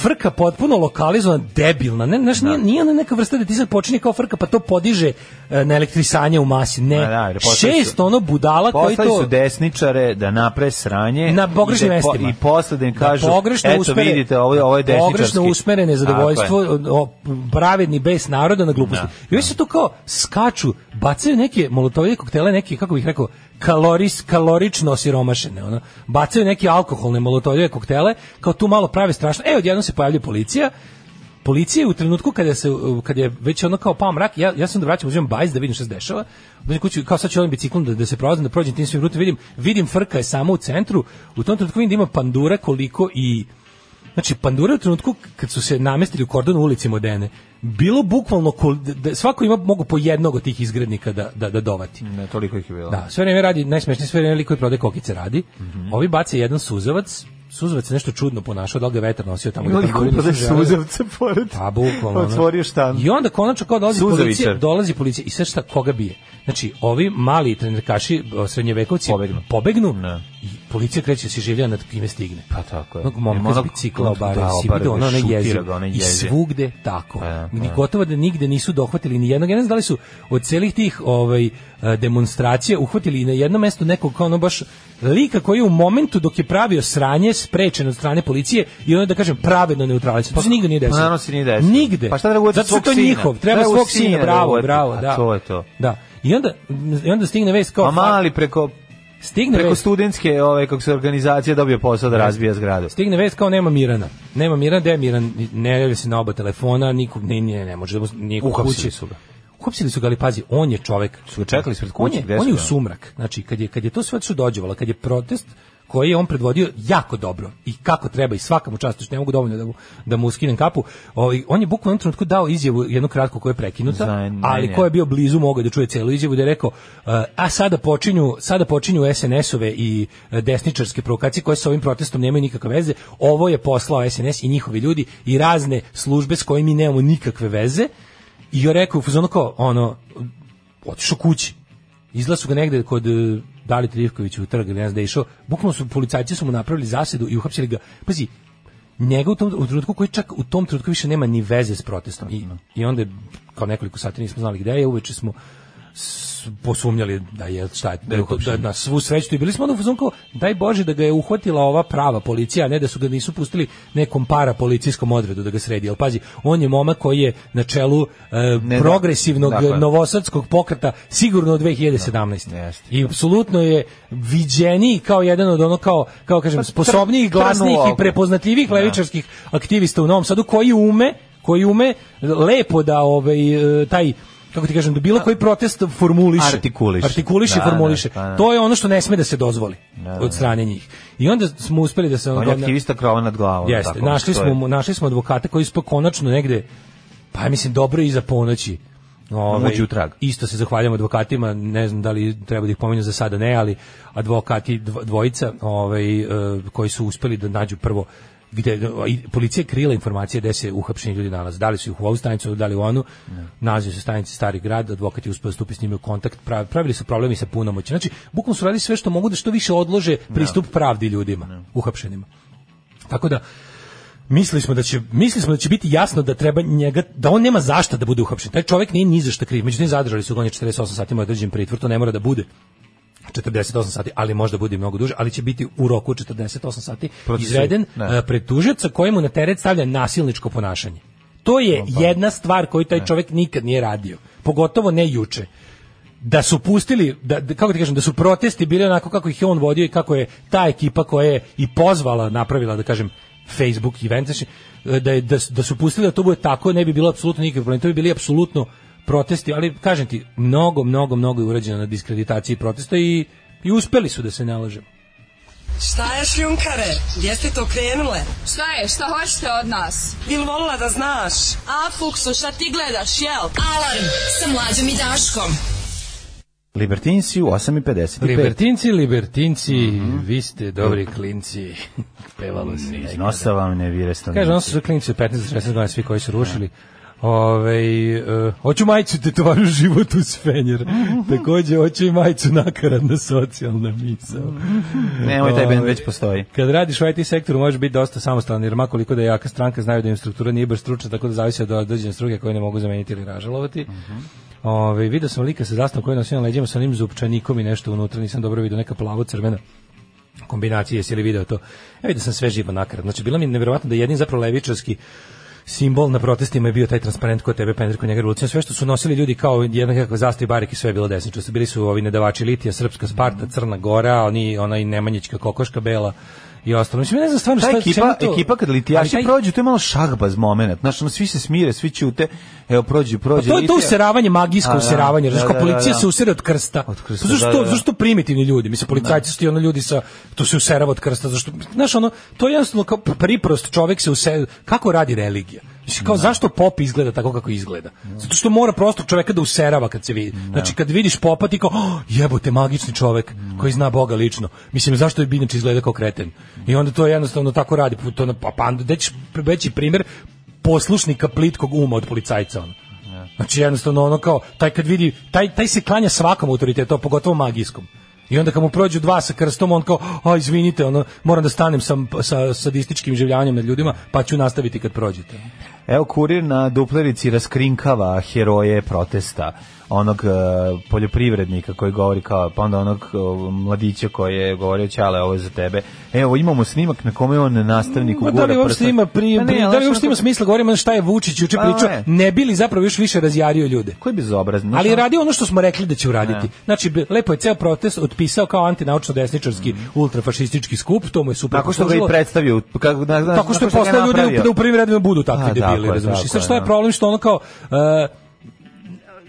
[SPEAKER 5] frka potpuno lokalizovana, debilna, ne, znaš, nije, nije ona neka vrsta da ti sad počinje kao frka, pa to podiže e, na elektrisanje u masi, ne,
[SPEAKER 4] Ma da, jer postali
[SPEAKER 5] šest
[SPEAKER 4] su-
[SPEAKER 5] ono budala koji
[SPEAKER 4] Poslali
[SPEAKER 5] to...
[SPEAKER 4] su desničare da napre sranje
[SPEAKER 5] na
[SPEAKER 4] i
[SPEAKER 5] pogrešnim
[SPEAKER 4] da po-
[SPEAKER 5] mestima.
[SPEAKER 4] i posle da im kažu
[SPEAKER 5] Na pogrešno
[SPEAKER 4] eto
[SPEAKER 5] usmere- da
[SPEAKER 4] vidite ovo ovo je desničarski
[SPEAKER 5] Pogrešno usmerene zadovoljstvo, o, pravedni bes naroda na gluposti. I oni se tu kao skaču, bacaju neke molotovlje koktele, neke, kako bih rekao, kaloris, kalorično osiromašene. Ono. Bacaju neke alkoholne molotovlje koktele, kao tu malo prave strašno. E, odjednom se pojavljuje policija, policija je u trenutku kada se uh, kada je već ono kao pao mrak, ja ja sam da vraćam uzimam bajs da vidim šta se dešava. Dođem kući kao sad ću ovim biciklom da, da se prolazim, da prođem tim svim rutom, vidim, vidim frka je samo u centru. U tom trenutku vidim da ima pandura koliko i Znači, pandure u trenutku kad su se namestili u kordon u ulici Modene, bilo bukvalno, kol- da- da, svako ima mogu po jednog od tih izgrednika da, da, da dovati.
[SPEAKER 4] Ne, toliko ih je bilo.
[SPEAKER 5] Da, sve vreme radi, najsmešnije sve vreme lik koji prodaje kokice radi. Ovi bace jedan suzavac, suzavac se nešto čudno ponašao, da li ga je vetar nosio tamo.
[SPEAKER 4] Imali
[SPEAKER 5] gde panduri
[SPEAKER 4] kupa da
[SPEAKER 5] nisu želeli.
[SPEAKER 4] suzavce pored.
[SPEAKER 5] Pa bukvalno. ono.
[SPEAKER 4] Otvorio štan.
[SPEAKER 5] I onda konačno kao dolazi
[SPEAKER 4] Suzavičar.
[SPEAKER 5] policija, dolazi policija i sve šta koga bije. Znači, ovi mali trenerkaši o, srednjevekovci
[SPEAKER 4] Pobegnu.
[SPEAKER 5] pobegnu
[SPEAKER 4] Ne.
[SPEAKER 5] i policija kreće da se življa nad kime stigne.
[SPEAKER 4] Pa tako je.
[SPEAKER 5] Onog momka
[SPEAKER 4] Ima
[SPEAKER 5] s
[SPEAKER 4] onog-
[SPEAKER 5] bicikla obare,
[SPEAKER 4] Da,
[SPEAKER 5] si
[SPEAKER 4] obare
[SPEAKER 5] vidio
[SPEAKER 4] ga,
[SPEAKER 5] ono, ono
[SPEAKER 4] šutira
[SPEAKER 5] jezivo.
[SPEAKER 4] ga, ono
[SPEAKER 5] I
[SPEAKER 4] jezivo.
[SPEAKER 5] svugde tako.
[SPEAKER 4] Pa da,
[SPEAKER 5] Ni
[SPEAKER 4] pa da.
[SPEAKER 5] gotovo da nigde nisu dohvatili ni jednog. Ja ne znam da li su od celih tih ovaj, e, demonstracija uhvatili i na jednom mestu nekog kao ono baš lika koji je u momentu dok je pravio sranje sprečen od strane policije i ono da kažem pravedno neutralizovan. To se nigde nije
[SPEAKER 4] Pa
[SPEAKER 5] desilo.
[SPEAKER 4] naravno se nije desilo.
[SPEAKER 5] Nigde.
[SPEAKER 4] Pa šta treba uvati
[SPEAKER 5] Zato što je
[SPEAKER 4] svog
[SPEAKER 5] to
[SPEAKER 4] sina?
[SPEAKER 5] njihov. Treba
[SPEAKER 4] Treba
[SPEAKER 5] svog
[SPEAKER 4] sina
[SPEAKER 5] sina,
[SPEAKER 4] da
[SPEAKER 5] bravo,
[SPEAKER 4] uvati.
[SPEAKER 5] bravo,
[SPEAKER 4] A
[SPEAKER 5] da.
[SPEAKER 4] to je to.
[SPEAKER 5] Da. I onda, i onda stigne vest kao...
[SPEAKER 4] A mali preko
[SPEAKER 5] stigne
[SPEAKER 4] preko
[SPEAKER 5] vest-
[SPEAKER 4] studentske ove kako se organizacija dobio posao da razbija zgradu.
[SPEAKER 5] Stigne vest kao nema Mirana. Nema Mirana, gde je Miran? Ne javlja se na oba telefona, niko ne, ne, ne može da mu nije kod
[SPEAKER 4] Uhapsili
[SPEAKER 5] kuće.
[SPEAKER 4] su ga.
[SPEAKER 5] Uhapsili su ga, ali pazi, on je čovek.
[SPEAKER 4] Su ga čekali ispred kuće,
[SPEAKER 5] On je,
[SPEAKER 4] gde
[SPEAKER 5] on
[SPEAKER 4] su
[SPEAKER 5] je u
[SPEAKER 4] ga?
[SPEAKER 5] sumrak. Znači, kad je, kad je to sve što dođevalo, kad je protest koji je on predvodio jako dobro i kako treba i svakamu častu, što ne mogu dovoljno da mu, da mu skinem kapu, ovaj, on je bukvalno u jednom trenutku dao izjavu jednu kratku koja je prekinuta,
[SPEAKER 4] Za- ne,
[SPEAKER 5] ali
[SPEAKER 4] ne.
[SPEAKER 5] ko je bio blizu mogao je da čuje celu izjavu da je rekao uh, a sada počinju sada počinju SNS-ove i uh, desničarske provokacije koje sa ovim protestom nemaju nikakve veze. Ovo je poslao SNS i njihovi ljudi i razne službe s kojima mi nemamo nikakve veze. I je rekao u fazonu kao ono otišao kući. Izla su ga negde kod e, Dali Trivkovića u trg, ne znam da je išao. Bukvalno su policajci su mu napravili zasedu i uhapsili ga. Pazi, njega u tom u trenutku koji čak u tom trenutku više nema ni veze s protestom. I, i onda je, kao nekoliko sati nismo znali gde je, uveče smo s- posumnjali da je šta je, da, je to- da na svu sreću i bili smo onda u fazonu kao daj bože da ga je uhvatila ova prava policija a ne da su ga nisu pustili nekom para policijskom odredu da ga sredi al pazi on je momak koji je na čelu e,
[SPEAKER 4] Ne, da.
[SPEAKER 5] progresivnog
[SPEAKER 4] Dakle.
[SPEAKER 5] novosadskog pokreta sigurno od 2017.
[SPEAKER 4] Da, jeste.
[SPEAKER 5] I apsolutno je viđeniji kao jedan od ono kao kao
[SPEAKER 4] Pa
[SPEAKER 5] kažem sposobnijih, glasnijih
[SPEAKER 4] trnuo oko.
[SPEAKER 5] i prepoznatljivih
[SPEAKER 4] Da.
[SPEAKER 5] levičarskih aktivista u Novom Sadu koji ume koji ume lepo da ovaj e, taj kako ti kažem da bilo koji protest formuliše
[SPEAKER 4] Artikuliše.
[SPEAKER 5] artikuliše i
[SPEAKER 4] Da, da,
[SPEAKER 5] formuliše
[SPEAKER 4] pa da.
[SPEAKER 5] to je ono što ne sme da se dozvoli
[SPEAKER 4] da, da. Pa
[SPEAKER 5] od strane njih i onda smo uspeli da se ono
[SPEAKER 4] On je
[SPEAKER 5] kao na-
[SPEAKER 4] aktivista krova nad glavom.
[SPEAKER 5] Jeste,
[SPEAKER 4] tako,
[SPEAKER 5] našli
[SPEAKER 4] to je-
[SPEAKER 5] smo mu- našli smo advokata koji smo konačno negde pa ja mislim dobro iza ponoći. Ovaj
[SPEAKER 4] Uđi u trag.
[SPEAKER 5] Isto se zahvaljujemo advokatima, ne znam da li treba da ih pominjem za sada ne, ali advokati dv- dvojica, ovaj e, koji su uspeli da nađu prvo gde i policija je krila informacije gde se uhapšeni ljudi nalaze. Da li su ih u ovu stanicu, da li u onu. Nalaze se u stanici Stari grad, advokat je uspeo da stupi s njima u kontakt, pravi- pravili su problemi sa punomoći. Znači, bukvalno su radili sve što mogu da što više odlože pristup pravdi ljudima, uhapšenima. Tako da mislili smo da će mislili smo da će biti jasno da treba njega da on nema zašta da bude uhapšen. Taj čovjek nije ni za šta kriv. Međutim zadržali su ga on je 48 sati mu je određen pritvor, to ne mora da bude. 48 sati, ali možda bude i mnogo duže, ali će biti u roku 48 sati
[SPEAKER 4] Procesu-
[SPEAKER 5] izveden
[SPEAKER 4] ne.
[SPEAKER 5] e, pred tužioca kojemu na teret stavlja nasilničko ponašanje. To je jedna stvar koju taj čovjek nikad nije radio, pogotovo ne juče da su pustili da, da- kako ti kažem da su protesti bili onako kako ih je on vodio i kako je ta ekipa koja je i pozvala napravila da kažem Facebook event znači, e, da, je, da, su- da su pustili da to bude tako ne bi bilo apsolutno nikakvih problema to bi bili apsolutno protesti ali kažem ti mnogo mnogo mnogo je urađeno na diskreditaciji protesta i i uspeli su da se nalažemo
[SPEAKER 10] Šta je šljunkare? Gdje ste to krenule?
[SPEAKER 11] Šta je, šta hoćete od nas?
[SPEAKER 10] Bil volila da znaš?
[SPEAKER 11] A, Fuksu, šta ti gledaš, jel? Alarm sa mlađom i Daškom.
[SPEAKER 4] Libertinci u 8.55.
[SPEAKER 5] Libertinci, libertinci, vi ste dobri klinci. Pevalo se.
[SPEAKER 4] Iz nosa vam ne vire
[SPEAKER 5] Kaže, ono
[SPEAKER 4] stanovnici.
[SPEAKER 5] su sve klinici od 15 do 16 godina, svi koji su rušili. Ove, uh, hoću majicu tetovažu život uz fenjer. Takođe, hoću i majicu nakaradna socijalna misa.
[SPEAKER 4] Nemoj, taj bend već postoji.
[SPEAKER 5] Kad radiš u IT sektoru možeš biti dosta samostalan, jer makoliko da je jaka stranka znaju da im struktura nije baš stručna, tako da zavisi od određene struke koje ne mogu zameniti ili ražalovati. Ove, vidio sam lika sa zastavom koji nosi na leđima sa onim zupčanikom i nešto unutra, nisam dobro vidio, neka plavo-crvena kombinacije, jesi li video to? Ja vidio sam sve živo nakrad. Znači, bilo mi je nevjerovatno da jedin zapravo levičarski simbol na protestima je bio taj transparent kod tebe, pendrek kod njega revolucija. Sve što su nosili ljudi kao jedna kakva zastava i barike, sve je bilo desničarstvo. Bili su ovi nedavači Litija, Srpska Sparta, Crna Gora, oni, ona i Nemanjićka kokoška bela i ostalo. Mislim, ja ne znam stvarno
[SPEAKER 4] Ta
[SPEAKER 5] šta,
[SPEAKER 4] ekipa,
[SPEAKER 5] čemu to-
[SPEAKER 4] ekipa kad
[SPEAKER 5] Ali
[SPEAKER 4] litijaši
[SPEAKER 5] taj-
[SPEAKER 4] prođu, to je malo šahbaz moment. Znaš, ono, svi se smire, svi ćute, evo, prođe,
[SPEAKER 5] Pa
[SPEAKER 4] prođe.
[SPEAKER 5] to je to
[SPEAKER 4] litija.
[SPEAKER 5] useravanje, magijsko
[SPEAKER 4] A, da,
[SPEAKER 5] useravanje.
[SPEAKER 4] da,
[SPEAKER 5] Znaš, kao
[SPEAKER 4] da,
[SPEAKER 5] policija
[SPEAKER 4] da,
[SPEAKER 5] se
[SPEAKER 4] da.
[SPEAKER 5] usere od krsta.
[SPEAKER 4] Od krsta,
[SPEAKER 5] Pa zašto,
[SPEAKER 4] da, da, da.
[SPEAKER 5] zašto primitivni ljudi? Mislim, policajci su ti ono ljudi sa, to se userava od krsta. Zašto, znaš, ono, to je jednostavno kao priprost čovek se use Kako radi religija? Mislim,
[SPEAKER 4] Da.
[SPEAKER 5] kao zašto pop izgleda tako kako izgleda? Zato što mora prosto čoveka da userava kad se vidi. Znači, kad vidiš popa, ti kao, "Oh, jebote, magični čovek koji zna Boga lično. Mislim, zašto je inače izgleda kao kreten? I onda to jednostavno tako radi. To, na- pa, pa, gde ćeš veći primer poslušnika plitkog uma od policajca. Ono. Znači jednostavno ono kao taj kad vidi taj taj se klanja svakom autoritetu, a pogotovo magijskom. I onda kad mu prođu dva sa krstom, on kao, a izvinite, ono, moram da stanem sa, sa sadističkim življanjem nad ljudima, pa ću nastaviti kad prođete.
[SPEAKER 4] Evo kurir na duplerici raskrinkava heroje protesta onog e, poljoprivrednika koji govori kao pa onda onog e, mladića koji je govorio ćale ovo je za tebe. Evo imamo snimak na kome on nastavnik
[SPEAKER 5] Ma
[SPEAKER 4] u
[SPEAKER 5] da li uopšte ima, pri,
[SPEAKER 4] Pa ne,
[SPEAKER 5] pri-
[SPEAKER 4] ali
[SPEAKER 5] da li
[SPEAKER 4] znaš
[SPEAKER 5] uopšte ima
[SPEAKER 4] onako-
[SPEAKER 5] smisla, govorimo ono šta je Vučić juče
[SPEAKER 4] Pa
[SPEAKER 5] pričao,
[SPEAKER 4] ne.
[SPEAKER 5] ne bi li zapravo još više razjario ljude.
[SPEAKER 4] Koji je bezobrazan. znaš,
[SPEAKER 5] Ali je
[SPEAKER 4] ono-
[SPEAKER 5] radio ono što smo rekli da će uraditi. Znači, b- lepo je ceo protest otpisao kao antinaučno-desničarski, ultrafašistički skup, to mu je super
[SPEAKER 4] Tako što ga i
[SPEAKER 5] poslužilo.
[SPEAKER 4] predstavio. Kako, da, znaš,
[SPEAKER 5] tako što je
[SPEAKER 4] ga
[SPEAKER 5] postao ljudi
[SPEAKER 4] napravio.
[SPEAKER 5] u- da u prvim redima budu takvi
[SPEAKER 4] A, tako
[SPEAKER 5] debili,
[SPEAKER 4] je,
[SPEAKER 5] razumiješ.
[SPEAKER 4] tako
[SPEAKER 5] I sad
[SPEAKER 4] je,
[SPEAKER 5] šta je
[SPEAKER 4] da.
[SPEAKER 5] problem što ono kao e,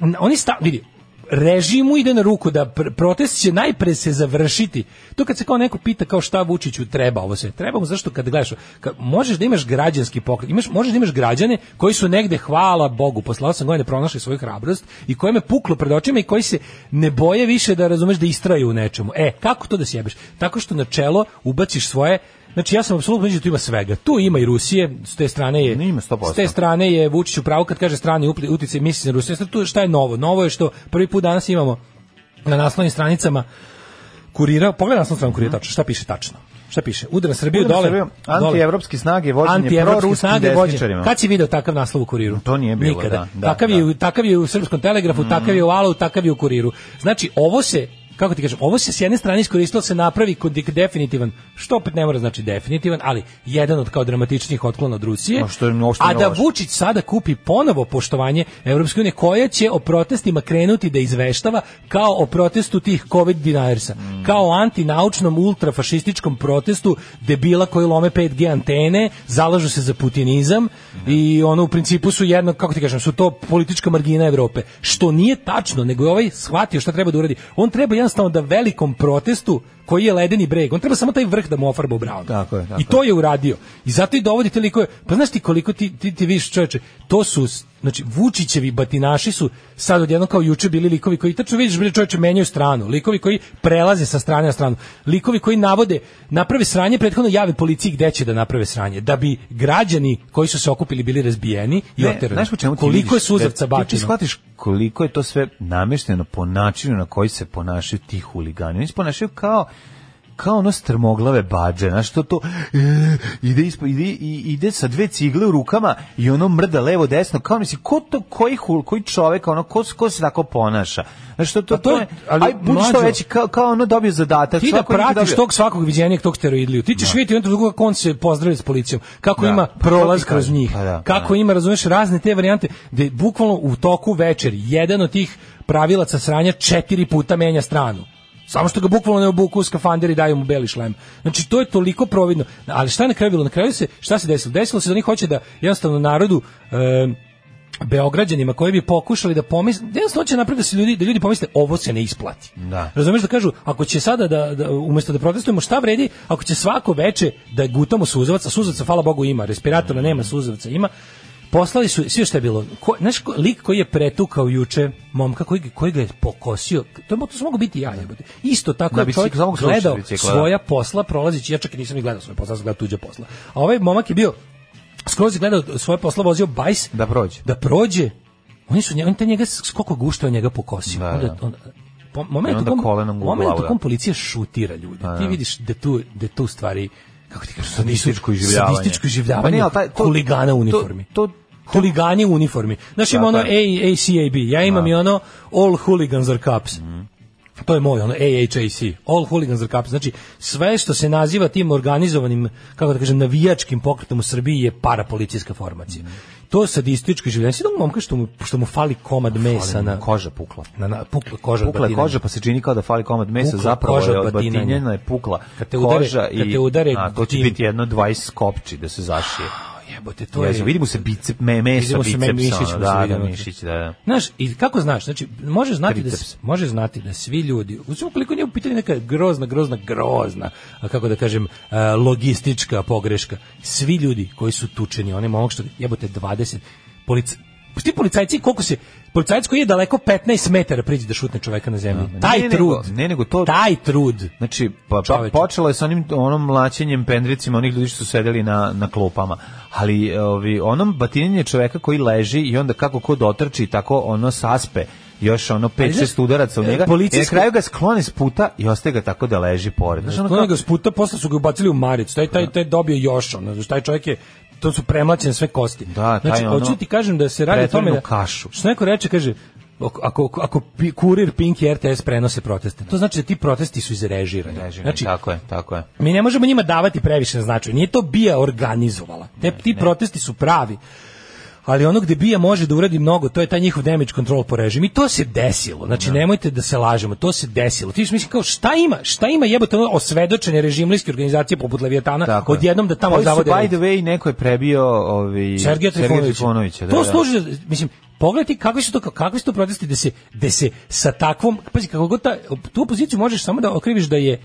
[SPEAKER 5] n- oni sta, vidi, režimu ide na ruku da pr- protest će najpre se završiti. To kad se kao neko pita kao šta Vučiću treba ovo sve. Treba mu zašto kad gledaš, ka- možeš da imaš građanski pokret, imaš, možeš da imaš građane koji su negde, hvala Bogu, posle 8 godina pronašli svoju hrabrost i kojima je puklo pred očima i koji se ne boje više da razumeš da istraju u nečemu. E, kako to da sjebeš? Tako što na čelo ubaciš svoje Znači ja sam apsolutno mislio da tu ima svega. Tu ima i Rusije, s te strane je
[SPEAKER 4] Ima 100%.
[SPEAKER 5] s te strane je Vučić u pravu kad kaže strani upli- uticaj misli na Rusiju. Sad tu šta je novo? Novo je što prvi put danas imamo na naslovnim stranicama kurira, pogledaj naslovnu stranu kurira tačno, šta piše tačno? Šta piše? Udar na Srbiju
[SPEAKER 4] Udar na
[SPEAKER 5] dole.
[SPEAKER 4] Mhm. Srbiju,
[SPEAKER 5] dole.
[SPEAKER 4] antievropski snage, vođenje
[SPEAKER 5] Antievropske
[SPEAKER 4] proruskim
[SPEAKER 5] snage, vođenje.
[SPEAKER 4] desničarima.
[SPEAKER 5] Kad si video takav naslov u kuriru?
[SPEAKER 4] To nije bilo,
[SPEAKER 5] Nikada.
[SPEAKER 4] da, Mhm. da,
[SPEAKER 5] takav, Je, u- takav je u Srpskom telegrafu, takav je u Alu, takav je u kuriru. Znači, ovo se kako ti kažem, ovo se s jedne strane iskoristilo da se napravi kod definitivan, što opet ne mora znači definitivan, ali jedan od kao dramatičnih otklona od Rusije,
[SPEAKER 4] Ma što je uopšte
[SPEAKER 5] a da
[SPEAKER 4] nelogično.
[SPEAKER 5] Vučić sada kupi ponovo poštovanje Evropske unije koja će o protestima krenuti da izveštava kao o protestu tih covid dinarsa, kao o antinaučnom ultrafašističkom protestu debila koji lome 5G antene, zalažu se za putinizam i ono u principu su jedno, kako ti kažem, su to politička margina Evrope, što nije tačno, nego je ovaj shvatio šta treba da uradi. On treba jednostavno da velikom protestu koji je ledeni breg, on treba samo taj vrh da mu ofarba u braun.
[SPEAKER 4] Tako je, tako
[SPEAKER 5] I to je uradio. I zato i dovodi te likove. Pa znaš ti koliko ti, ti, ti viš čoveče, to su, s- znači, Vučićevi batinaši su sad odjedno kao juče bili likovi koji, tačno vidiš, bre čoveče, menjaju stranu. Likovi koji prelaze sa strane na stranu. Likovi koji navode, naprave sranje, prethodno jave policiji gde će da naprave sranje. Da bi građani koji su se okupili bili razbijeni i
[SPEAKER 4] Ne,
[SPEAKER 5] oterani.
[SPEAKER 4] Znaš po čemu ti vidiš?
[SPEAKER 5] koliko je
[SPEAKER 4] Da
[SPEAKER 5] suzavca
[SPEAKER 4] ti- Ti
[SPEAKER 5] bačeno.
[SPEAKER 4] shvatiš koliko je to sve namešteno po načinu na koji se ponašaju ti huligani. Oni se ponašaju kao kao ono strmoglave bađe, znaš, to to e, ide, ispo, ide, i- ide sa dve cigle u rukama i ono mrda levo desno, kao mislim, ko to, koji hul, koji čovek, ono, ko, ko se tako ponaša? Znaš, to, to,
[SPEAKER 5] A Pa to
[SPEAKER 4] to
[SPEAKER 5] je-
[SPEAKER 4] je,
[SPEAKER 5] ali,
[SPEAKER 4] aj, budi što
[SPEAKER 5] mlađo-
[SPEAKER 4] veći, kao, kao ono dobio zadatak.
[SPEAKER 5] ti da
[SPEAKER 4] svako neki
[SPEAKER 5] pratiš
[SPEAKER 4] dobio-
[SPEAKER 5] tog svakog viđenja tog steroidliju. Ti ćeš vidjeti u jednom trenutku kako on se pozdravi s policijom, kako
[SPEAKER 4] Da.
[SPEAKER 5] ima
[SPEAKER 4] Pa to ti
[SPEAKER 5] prolaz kroz
[SPEAKER 4] kažem.
[SPEAKER 5] njih,
[SPEAKER 4] Pa da, pa
[SPEAKER 5] kako
[SPEAKER 4] da.
[SPEAKER 5] ima, razumeš, razne te varijante, da je bukvalno u toku večeri jedan od tih pravilaca sranja četiri puta menja stranu. Samo što ga bukvalno ne obuku u skafander i daju mu beli šlem. Znači, to je toliko providno. Ali šta je na kraju bilo? Na kraju se, šta se desilo? Desilo se da oni hoće da jednostavno narodu em, Beograđanima koji bi pokušali da pomisle, jednostavno hoće napraviti da se ljudi, da ljudi pomisle ovo se ne isplati.
[SPEAKER 4] Da.
[SPEAKER 5] Razumeš da kažu, ako će sada da, da umesto da protestujemo, šta vredi ako će svako veče da gutamo suzavac, a suzavca, hvala Bogu, ima, respiratora nema, suzavca ima, poslali su, sve šta je bilo, ko, znaš, ko- lik koji je pretukao juče momka, koji, ga- koji ga je pokosio, to, je mo- to su mogu biti ja, jebote. isto tako
[SPEAKER 4] Na
[SPEAKER 5] je čovjek
[SPEAKER 4] biciklu, Da, samo slušao
[SPEAKER 5] gledao
[SPEAKER 4] bicikla, da.
[SPEAKER 5] svoja posla, prolazići, ja čak i nisam ni gledao svoje posla, ja sam gledao tuđe posla. A ovaj momak je bio, skroz je gledao svoje posla, vozio bajs,
[SPEAKER 4] Da prođe.
[SPEAKER 5] da prođe. Oni su nje- on te njega s- koliko guštao njega pokosio.
[SPEAKER 4] Da,
[SPEAKER 5] onda,
[SPEAKER 4] da.
[SPEAKER 5] onda po,
[SPEAKER 4] I
[SPEAKER 5] momentu
[SPEAKER 4] onda
[SPEAKER 5] kom,
[SPEAKER 4] kolenom u
[SPEAKER 5] momentu
[SPEAKER 4] glavu,
[SPEAKER 5] kom
[SPEAKER 4] da.
[SPEAKER 5] policija šutira ljude.
[SPEAKER 4] Pa,
[SPEAKER 5] Ti vidiš da tu da tu stvari kako ti kažeš
[SPEAKER 4] Sadističko iživljavanje.
[SPEAKER 5] Sadističko
[SPEAKER 4] Pa
[SPEAKER 5] iživljavanje.
[SPEAKER 4] ne, ali taj- to-
[SPEAKER 5] huligana u
[SPEAKER 4] to-
[SPEAKER 5] uniformi.
[SPEAKER 4] to-
[SPEAKER 5] huligani u uniformi. Znaš ima
[SPEAKER 4] Da,
[SPEAKER 5] ono
[SPEAKER 4] da.
[SPEAKER 5] A- ACAB, ja imam i ono All Hooligans are Cops.
[SPEAKER 4] Mhm.
[SPEAKER 5] To je moj, ono, AHAC, All Hooligans are Cops. Znači, sve što se naziva tim organizovanim, kako da kažem, navijačkim pokretom u Srbiji je parapolicijska formacija.
[SPEAKER 4] Mhm.
[SPEAKER 5] To sadističko življenje. Sve da momka što mu, što mu fali komad mesa
[SPEAKER 4] Ali
[SPEAKER 5] na,
[SPEAKER 4] mu koža pukla.
[SPEAKER 5] na, na pukla koža. od
[SPEAKER 4] Pukla je
[SPEAKER 5] batinanja.
[SPEAKER 4] koža, pa se čini kao da fali komad mesa,
[SPEAKER 5] Pukla
[SPEAKER 4] zapravo
[SPEAKER 5] koža
[SPEAKER 4] je
[SPEAKER 5] od
[SPEAKER 4] od
[SPEAKER 5] batinanja.
[SPEAKER 4] batinjena je pukla
[SPEAKER 5] Kad te udare-
[SPEAKER 4] koža i
[SPEAKER 5] kad te udare
[SPEAKER 4] a, to će
[SPEAKER 5] tim.
[SPEAKER 4] biti jedno 20 kopči da se zašije.
[SPEAKER 5] Jebote, to
[SPEAKER 4] To
[SPEAKER 5] je...
[SPEAKER 4] je, vidimo se bicep, me, mesa,
[SPEAKER 5] Vidimo se,
[SPEAKER 4] biceps,
[SPEAKER 5] me- mišić
[SPEAKER 4] ono,
[SPEAKER 5] mu se
[SPEAKER 4] da, da,
[SPEAKER 5] vidimo.
[SPEAKER 4] mišić, da, da.
[SPEAKER 5] Znaš, i kako znaš, znači, može znati, da,
[SPEAKER 4] Triceps.
[SPEAKER 5] može znati da svi ljudi, uzmimo koliko nije u pitanju neka grozna, grozna, grozna, a kako da kažem, e, logistička pogreška, svi ljudi koji su tučeni, one momak što jebote 20, polic, ti policajci koliko se, policajac koji je daleko 15 metara priđe da šutne čoveka na zemlji,
[SPEAKER 4] ne,
[SPEAKER 5] taj
[SPEAKER 4] ne, nego-
[SPEAKER 5] trud,
[SPEAKER 4] ne, nego to-
[SPEAKER 5] taj trud,
[SPEAKER 4] Znači, pa, pa
[SPEAKER 5] Čoveče.
[SPEAKER 4] počelo je sa onim onom mlaćenjem pendricima onih ljudi što su sedeli na, na klopama. Ali ovi, onom batinjenje čoveka koji leži i onda kako ko dotrči, tako ono saspe još ono
[SPEAKER 5] Ali znaš,
[SPEAKER 4] 5-6 udaraca u
[SPEAKER 5] e,
[SPEAKER 4] njega.
[SPEAKER 5] policijski-
[SPEAKER 4] I na kraju ga sklone s puta i ostaje ga tako da leži pored. Znaš, ono
[SPEAKER 5] Sklonio
[SPEAKER 4] kao, Da.
[SPEAKER 5] ga s puta, posle su ga ubacili u maricu. Taj, taj, taj je dobio još, ono, znači, taj čovjek je, to su premlaćene sve kosti.
[SPEAKER 4] Da, taj
[SPEAKER 5] znači,
[SPEAKER 4] ono,
[SPEAKER 5] hoću ti kažem da se radi o tome
[SPEAKER 4] pretvorenu
[SPEAKER 5] da,
[SPEAKER 4] kašu.
[SPEAKER 5] što neko reče, kaže, ako, ako, ako pi- kurir Pink i RTS prenose proteste, to znači da ti protesti su izrežirani.
[SPEAKER 4] Režim,
[SPEAKER 5] Znači,
[SPEAKER 4] tako je, tako je.
[SPEAKER 5] mi ne možemo njima davati previše na značaju. Nije to Bija organizovala. Te, ti protesti su pravi. Ali ono gde Bija može da uradi mnogo, to je taj njihov damage control po režimu. I to se desilo. Znači, nemojte da se lažemo. To se desilo. Ti mislim kao, šta ima? Šta ima jebote ono osvedočene režimlijske organizacije poput Leviatana
[SPEAKER 4] Tako je.
[SPEAKER 5] odjednom da tamo
[SPEAKER 4] Koji su,
[SPEAKER 5] zavode
[SPEAKER 4] by
[SPEAKER 5] red?
[SPEAKER 4] the way, neko je prebio ovi,
[SPEAKER 5] Sergeja Trifunovića.
[SPEAKER 4] Trifunovića, da,
[SPEAKER 5] to
[SPEAKER 4] da.
[SPEAKER 5] služi, za- mislim, pogledaj ti kakvi su to, kakvi su to protesti da se, da se sa takvom, pazi, kako god ta, tu opoziciju možeš samo da okriviš da je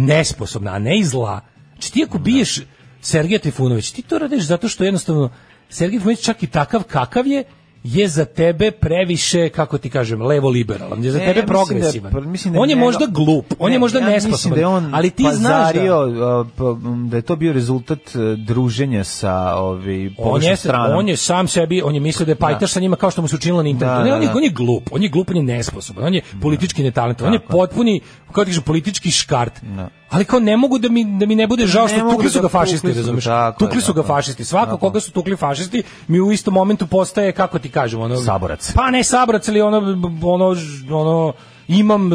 [SPEAKER 5] nesposobna, a ne i zla. Znači ti
[SPEAKER 4] Da.
[SPEAKER 5] ako biješ Sergeja Trifunovića, ti to radiš zato što jednostavno Sergej Trifunović čak i takav kakav je, je za tebe previše, kako ti kažem, levo liberalan, je za
[SPEAKER 4] Ne,
[SPEAKER 5] tebe
[SPEAKER 4] ja mislim da-
[SPEAKER 5] progresivan.
[SPEAKER 4] pa mislim da
[SPEAKER 5] on je
[SPEAKER 4] njega-
[SPEAKER 5] možda glup, on je
[SPEAKER 4] Ne,
[SPEAKER 5] možda
[SPEAKER 4] ja mislim
[SPEAKER 5] nesposoban,
[SPEAKER 4] da je on
[SPEAKER 5] ali ti znaš da...
[SPEAKER 4] pazario, a, pa, m, da je to bio rezultat e, druženja sa ovaj, ovi
[SPEAKER 5] on je,
[SPEAKER 4] pogrešnom stranom.
[SPEAKER 5] on je sam sebi, on je mislio da je pajtaš sa njima kao što mu se učinilo na internetu.
[SPEAKER 4] Da,
[SPEAKER 5] ne,
[SPEAKER 4] da,
[SPEAKER 5] on, je,
[SPEAKER 4] da.
[SPEAKER 5] on je glup, on je glup, on je nesposoban, on je politički netalentovan, on je
[SPEAKER 4] Tako je.
[SPEAKER 5] potpuni, kako ti kažem, politički škart.
[SPEAKER 4] Da.
[SPEAKER 5] Ali kao ne mogu da mi, da mi ne bude žao
[SPEAKER 4] ne
[SPEAKER 5] što
[SPEAKER 4] mogu
[SPEAKER 5] tukli
[SPEAKER 4] da
[SPEAKER 5] su ga
[SPEAKER 4] ga
[SPEAKER 5] fašisti,
[SPEAKER 4] tukli su ga,
[SPEAKER 5] razumeš?
[SPEAKER 4] tako je,
[SPEAKER 5] Tukli su ga
[SPEAKER 4] tako je.
[SPEAKER 5] fašisti. Svako
[SPEAKER 4] Tako
[SPEAKER 5] koga
[SPEAKER 4] je.
[SPEAKER 5] su tukli fašisti, mi u istom momentu postaje, kako ti kažem, ono...
[SPEAKER 4] Saborac.
[SPEAKER 5] Pa ne saborac, ali ono, ono, ono imam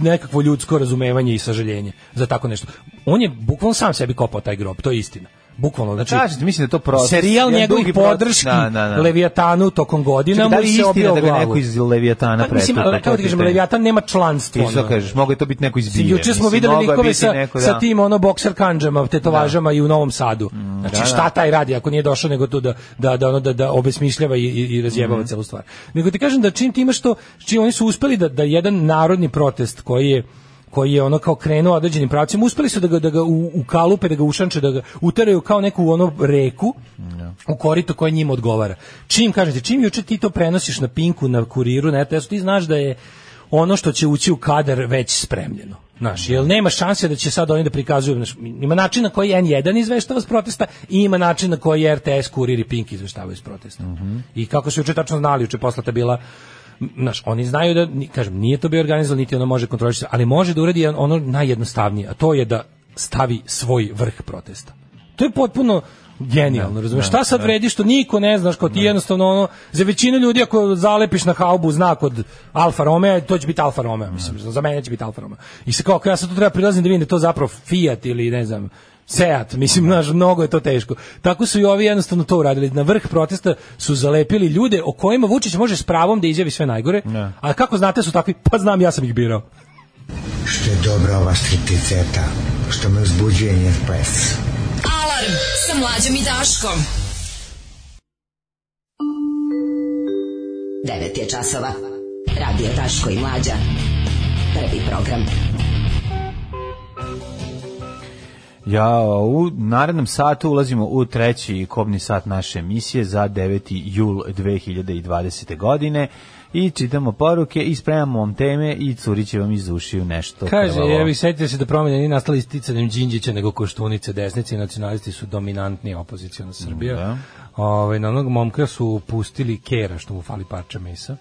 [SPEAKER 5] nekakvo ljudsko razumevanje i sažaljenje za tako nešto. On je bukvalno sam sebi kopao taj grob, to je istina. Bukvalno, znači...
[SPEAKER 4] Kažete, mislim da je to proces.
[SPEAKER 5] Serijal
[SPEAKER 4] jedan
[SPEAKER 5] njegovih
[SPEAKER 4] dugi proces.
[SPEAKER 5] podrški
[SPEAKER 4] Da, da, da.
[SPEAKER 5] Leviatanu tokom godina
[SPEAKER 4] Čekaj, da
[SPEAKER 5] mu
[SPEAKER 4] li je
[SPEAKER 5] se
[SPEAKER 4] istina
[SPEAKER 5] obio
[SPEAKER 4] da ga
[SPEAKER 5] glavu.
[SPEAKER 4] neko iz Leviatana
[SPEAKER 5] Pa, Mislim,
[SPEAKER 4] pretukao,
[SPEAKER 5] ali
[SPEAKER 4] to
[SPEAKER 5] kako
[SPEAKER 4] je
[SPEAKER 5] ti kažem,
[SPEAKER 4] pitanje.
[SPEAKER 5] Leviatan nema članstvo.
[SPEAKER 4] Ti što
[SPEAKER 5] ono.
[SPEAKER 4] kažeš, mogu je to biti neko iz Bilje.
[SPEAKER 5] Juče smo
[SPEAKER 4] mislim,
[SPEAKER 5] videli
[SPEAKER 4] mogao je
[SPEAKER 5] likove
[SPEAKER 4] biti
[SPEAKER 5] sa,
[SPEAKER 4] neko,
[SPEAKER 5] sa
[SPEAKER 4] da.
[SPEAKER 5] tim ono bokser kanđama, tetovažama i u Novom Sadu. Znači
[SPEAKER 4] da, da.
[SPEAKER 5] šta taj radi ako nije došao nego tu da da da ono da, da obesmišljava i, i, i razjebava
[SPEAKER 4] Mm.
[SPEAKER 5] celu stvar. Nego ti kažem da čim ti imaš to, čim oni su uspeli da da jedan narodni protest koji je koji je ono kao krenuo određenim pravcima, uspeli su da ga, da ga u, kalupe, da ga ušanče, da ga uteraju kao neku ono reku
[SPEAKER 4] Da.
[SPEAKER 5] u korito koje njima odgovara. Čim, kažete, čim juče ti to prenosiš na Pinku, na Kuriru, na RTS-u, ti znaš da je ono što će ući u kadar već spremljeno. Znaš, jel nema šanse da će sad oni da prikazuju, znaš, ima način na koji N1 izveštava s protesta i ima način na koji RTS, Kurir i Pink izveštavaju s protesta. I kako su juče tačno znali, juče poslata bila m, znaš, oni znaju da, ni- kažem, nije to bio organizovan, niti ono može kontrolisati, ali može da uradi ono najjednostavnije, a to je da stavi svoj vrh protesta. To je potpuno genijalno, razumiješ? Šta sad vredi što niko ne znaš, kao ti jednostavno ono, za većinu ljudi ako zalepiš na haubu znak od Alfa Romeo, to će biti Alfa Romeo, mislim, za mene će biti Alfa Romeo. I se kao, kao ja sad tu treba prilazim da vidim da je to zapravo Fiat ili ne znam, Seat, mislim, znaš, mnogo je to teško. Tako su i ovi jednostavno to uradili. Na vrh protesta su zalepili ljude o kojima Vučić može s pravom da izjavi sve najgore, a kako znate su takvi, pa znam, ja sam ih birao.
[SPEAKER 12] Što je dobra ova stripticeta, što me uzbuđuje njen pes.
[SPEAKER 11] Alarm sa mlađom i Daškom.
[SPEAKER 1] 9 je časova. Radio Daško i Mlađa. Prvi program.
[SPEAKER 4] Ja, u narednom satu ulazimo u treći kobni sat naše emisije za 9. jul 2020. godine i čitamo poruke i spremamo vam teme i curi će vam iz ušiju nešto.
[SPEAKER 5] Kaže,
[SPEAKER 4] pevalo.
[SPEAKER 5] evi, setite se da promjene nije nastali sticanjem Đinđića nego koštunice desnice i nacionalisti su dominantni opozicijona Srbija.
[SPEAKER 4] da.
[SPEAKER 5] Ovaj, na onog momka su pustili kera što mu fali parče mesa.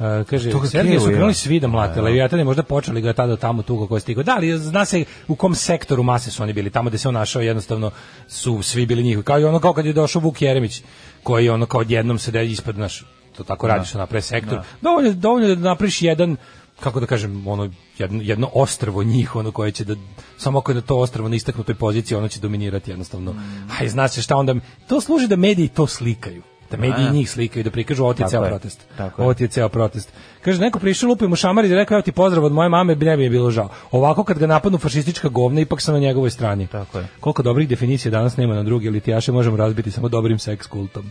[SPEAKER 5] E, kaže,
[SPEAKER 4] To ga
[SPEAKER 5] Sergije
[SPEAKER 4] Keru
[SPEAKER 5] su
[SPEAKER 4] je.
[SPEAKER 5] krenuli svi da mlate,
[SPEAKER 4] Da.
[SPEAKER 5] Leviatan je možda počeli ga tada tamo tu kako je stigao. Da, ali zna se u kom sektoru mase su oni bili, tamo gde se on našao jednostavno su svi bili njihovi. Kao i ono kao kad je došao Vuk Jeremić, koji je ono kao odjednom se da ispod naš, to tako
[SPEAKER 4] Da.
[SPEAKER 5] radiš na pre sektor.
[SPEAKER 4] Da.
[SPEAKER 5] Dovoljno, je- dovoljno je da napriš jedan kako da kažem, ono jedno, jedno ostrvo njih, ono koje će da samo ako je na to ostrvo na istaknutoj poziciji, ono će dominirati jednostavno.
[SPEAKER 4] Mm.
[SPEAKER 5] Aj, zna se šta onda to služi da mediji to slikaju. Da mediji
[SPEAKER 4] Da.
[SPEAKER 5] njih slikaju, da prikažu ovo ti je
[SPEAKER 4] Tako
[SPEAKER 5] ceo
[SPEAKER 4] je.
[SPEAKER 5] protest.
[SPEAKER 4] Tako je.
[SPEAKER 5] Ovo ti je ceo protest. Kaže, neko prišao, lupio mu šamar i da rekao, evo ti pozdrav od moje mame, bi ne bi mi bilo žao. Ovako kad ga napadnu fašistička govna, ipak sam na njegovoj strani.
[SPEAKER 4] Tako je.
[SPEAKER 5] Koliko dobrih definicija danas nema na druge litijaše, možemo razbiti samo dobrim seks kultom.